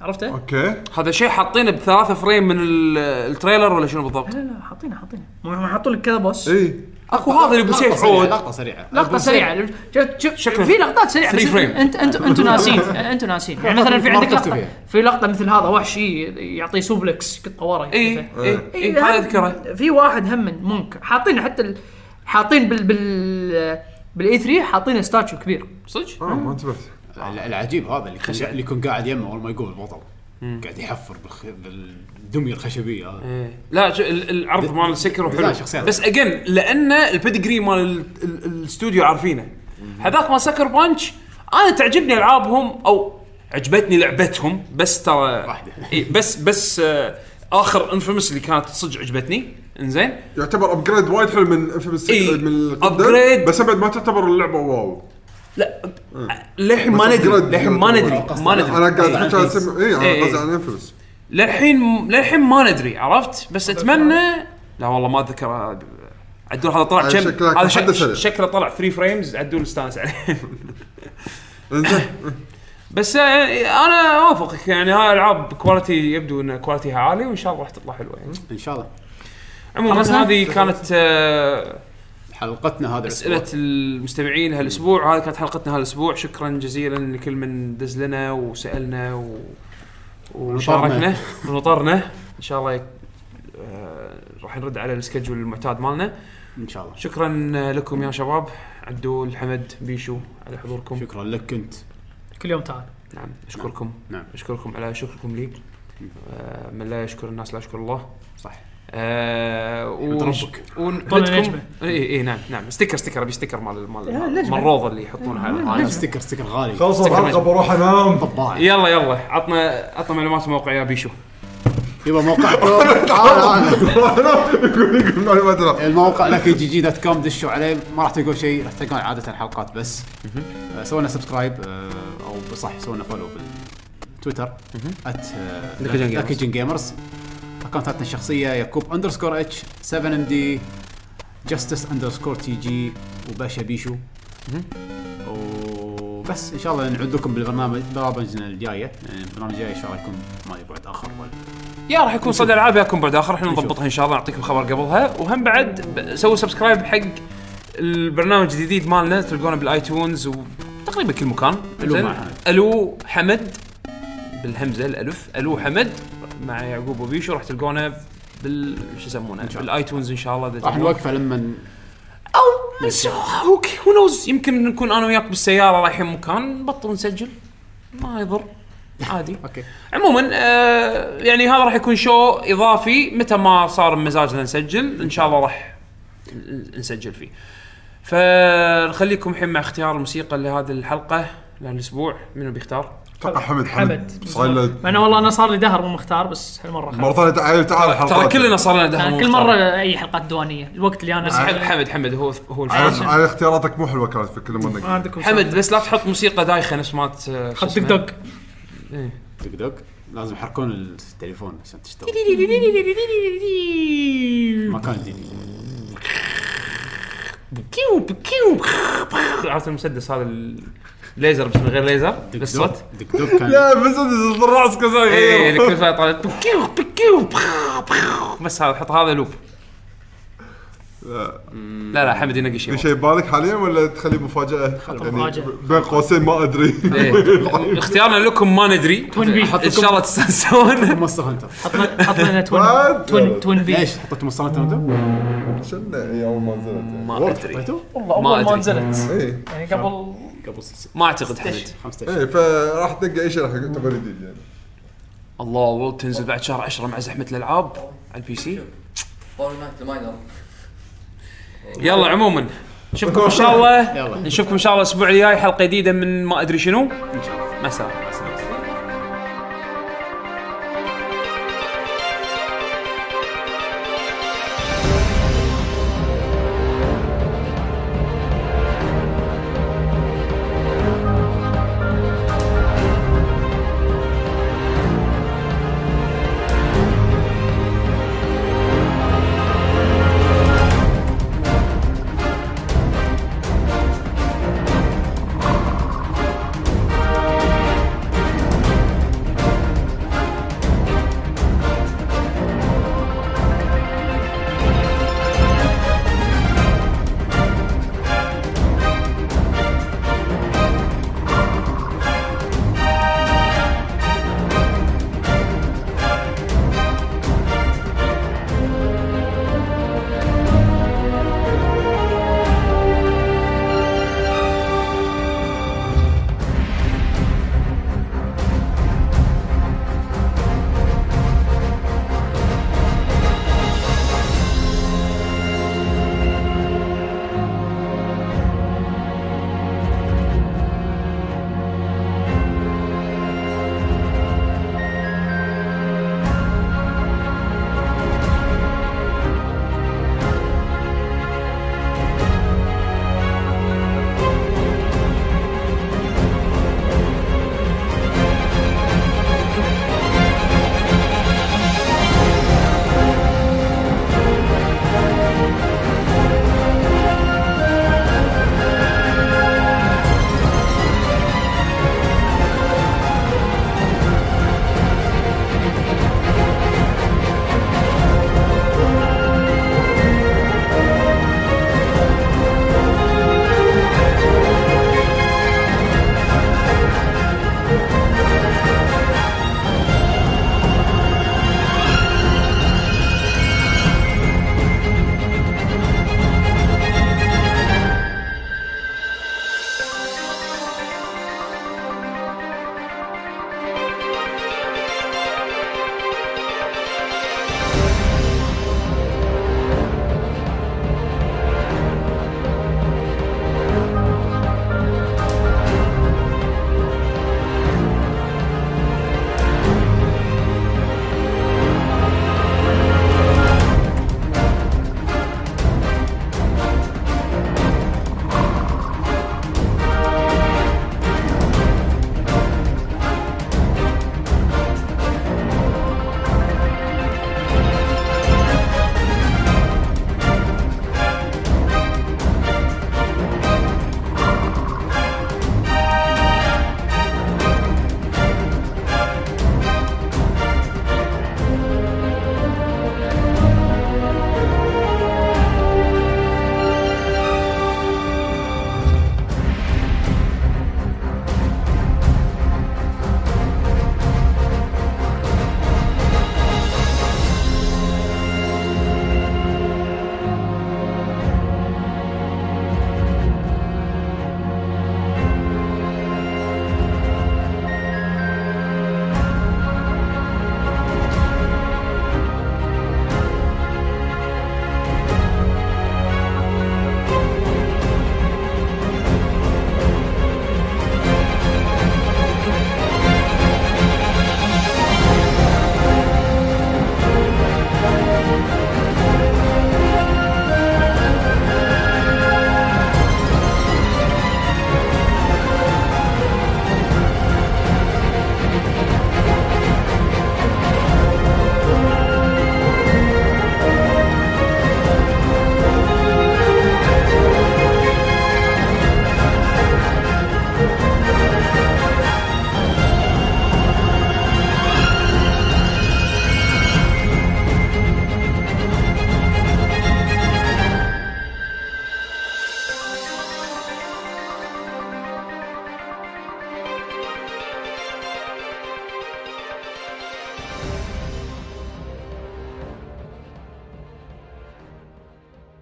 عرفته؟ اوكي هذا شيء حاطينه بثلاثة فريم من ال- التريلر ولا شنو بالضبط؟ لا لا حاطينه حاطينه هم حاطوا لك كذا بوس اي اكو هذا اللي لقطة بسيف سريعة، عود لقطه سريعه لقطه سريعه شفت شفت في لقطات سريعه three بس frame. انت انت انتوا ناسين انتوا ناسين يعني مثلا في ما عندك ركزت لقطه فيها. في لقطه مثل هذا وحش ي- يعطيه سوبلكس يقطه ورا اي كذا. اي إي، اي إيه، هذا هم- اذكره إيه، في واحد هم من مونك حاطين حتى ال- حاطين بال بال بالاي 3 حاطين ستاتشو كبير صدق؟ اه ما انتبهت ال- العجيب هذا اللي يكون- اللي يكون قاعد يمه اول ما يقول البطل قاعد يحفر بالخ... بالدميه الخشبيه هذا إيه. لا شو- ال- العرض مال سكر لا، حلو شخصيات. بس اجين لان البيدجري مال ال- ال- الاستوديو عارفينه هذاك مال سكر بانش انا تعجبني العابهم او عجبتني لعبتهم بس ترى واحدة. إي بس بس آه اخر انفيمس اللي كانت صدق عجبتني انزين يعتبر ابجريد وايد حلو من اف ام إي، من القدم، upgrade. بس ابد ما تعتبر اللعبه واو لا للحين ما بس ندري upgrade للحين ما يعتبر. ندري ما ندري انا قاعد إي. احكي على سم... اي إي، انا إي. قصدي عن انفلس للحين للحين ما ندري عرفت بس اتمنى لا والله ما اتذكر عدول هذا طلع هذا كم شكله هذا حدث شك- هذا. شكله طلع 3 فريمز عدول استانس عليه انزين بس يعني انا اوافقك يعني هاي العاب كواليتي يبدو ان كواليتيها عالي وان شاء الله راح تطلع حلوه يعني ان شاء الله عموما خلصنا؟ هذه كانت آه، حلقتنا هذا اسئله الأسبوع. المستمعين هالاسبوع هذه كانت حلقتنا هالاسبوع شكرا جزيلا لكل من دز لنا وسالنا و... وشاركنا ونطرنا ان شاء الله يك... آه، راح نرد على السكجول المعتاد مالنا ان شاء الله شكرا لكم يا شباب عدول حمد بيشو على حضوركم شكرا لك انت كل يوم تعال نعم اشكركم نعم. اشكركم على شكركم لي آه، من لا يشكر الناس لا يشكر الله صح آه ونش... ربك. طلع ونحطكم نجمة. اي اي نعم نعم ستيكر ستيكر ابي ستيكر مال مال مال الروضه اللي يحطونها على هذا القناة. ستيكر ستيكر غالي خلصوا الحلقه بروح انام طباعه يلا يلا عطنا عطنا معلومات موقعيه بيشو يبا موقعكم تعال انا بروح انام يقول يقول ما أدري. الموقع لك جي جي دوت كوم دشوا عليه ما راح تلقون شيء راح تلقون عاده حلقات بس آه، سووا لنا سبسكرايب آه، او صح سووا لنا فولو بالتويتر آه، ات Lucky Jin Gamers. لكيجن جيمرز اكونتاتنا الشخصيه يعقوب اندرسكور اتش 7 ام دي جاستس اندرسكور تي جي وباشا بيشو وبس ان شاء الله نعود لكم بالبرنامج برامجنا الجايه يعني البرنامج الجاي ان شاء الله يكون ما يبعد اخر ولا يا راح يكون صدى العاب ياكم بعد اخر احنا نضبطها ان شاء الله نعطيكم خبر قبلها وهم بعد ب- سووا سبسكرايب حق البرنامج الجديد مالنا تلقونه بالايتونز وتقريبا كل مكان ألو زين. مع حمد. الو حمد بالهمزه الالف الو حمد مع يعقوب وبيشو راح تلقونه بال شو يسمونه شاء الله. بالايتونز ان شاء الله إذا راح تبون. نوقفه لما او بس اوكي هو نوز يمكن نكون انا وياك بالسياره رايحين مكان نبطل نسجل ما يضر عادي اوكي عموما آه يعني هذا راح يكون شو اضافي متى ما صار مزاجنا نسجل ان شاء الله راح ن- نسجل فيه فنخليكم الحين مع اختيار الموسيقى لهذه الحلقه لهالاسبوع منو بيختار؟ اتوقع حمد حمد حمد صايله مع انه والله انا صار لي دهر مو مختار بس هالمره خلاص. مره ثانيه تعال تعال ترى حلقات كلنا صار لنا دهر أنا مو كل مختار. آه. مره اي حلقات دوانيه الوقت اللي انا حمد حمد حمد هو هو الفارس. على اختياراتك مو حلوه كانت في كل ما مره عندكم حمد بس لا تحط موسيقى دايخه نفس مالت آه، شو خط دق اسمه. دق دق دق لازم يحركون التليفون عشان تشتغل ما كان جديد كيو كيو عرفت المسدس هذا الليزر بس من غير ليزر دق بس صوت دق دق دق كان لا إيه، بس أنت الراس كذا اي إيه، كل شوي طالع بكيو بكيو بخ، بخ. بس هذا حط هذا لوب لا لا حمد ينقي في شيء شيء ببالك حاليا ولا تخليه مفاجاه؟ يعني مفاجأة. بين قوسين ما ادري إيه. اختيارنا لكم ما ندري توين بي. ان شاء الله تستانسون مونستر هانتر حطنا حطنا توين بعد؟ توين توين بي ليش حطيت مونستر هانتر طيب. انت؟ شلنا هي اول ما نزلت إيه، ما ادري حطيته؟ والله ما اول أدري. ما نزلت اي يعني قبل قبل إيه. س- ما اعتقد حمد 15 اي إيه، فراح تلقى اي شيء راح يعتبر جديد يعني الله والله تنزل بعد شهر 10 مع زحمه الالعاب على البي سي فول نايت الماينر يلا عموما نشوفكم ان شاء الله يلا. نشوفكم ان شاء الله الاسبوع الجاي حلقه جديده من ما ادري شنو ان شاء الله مع السلامه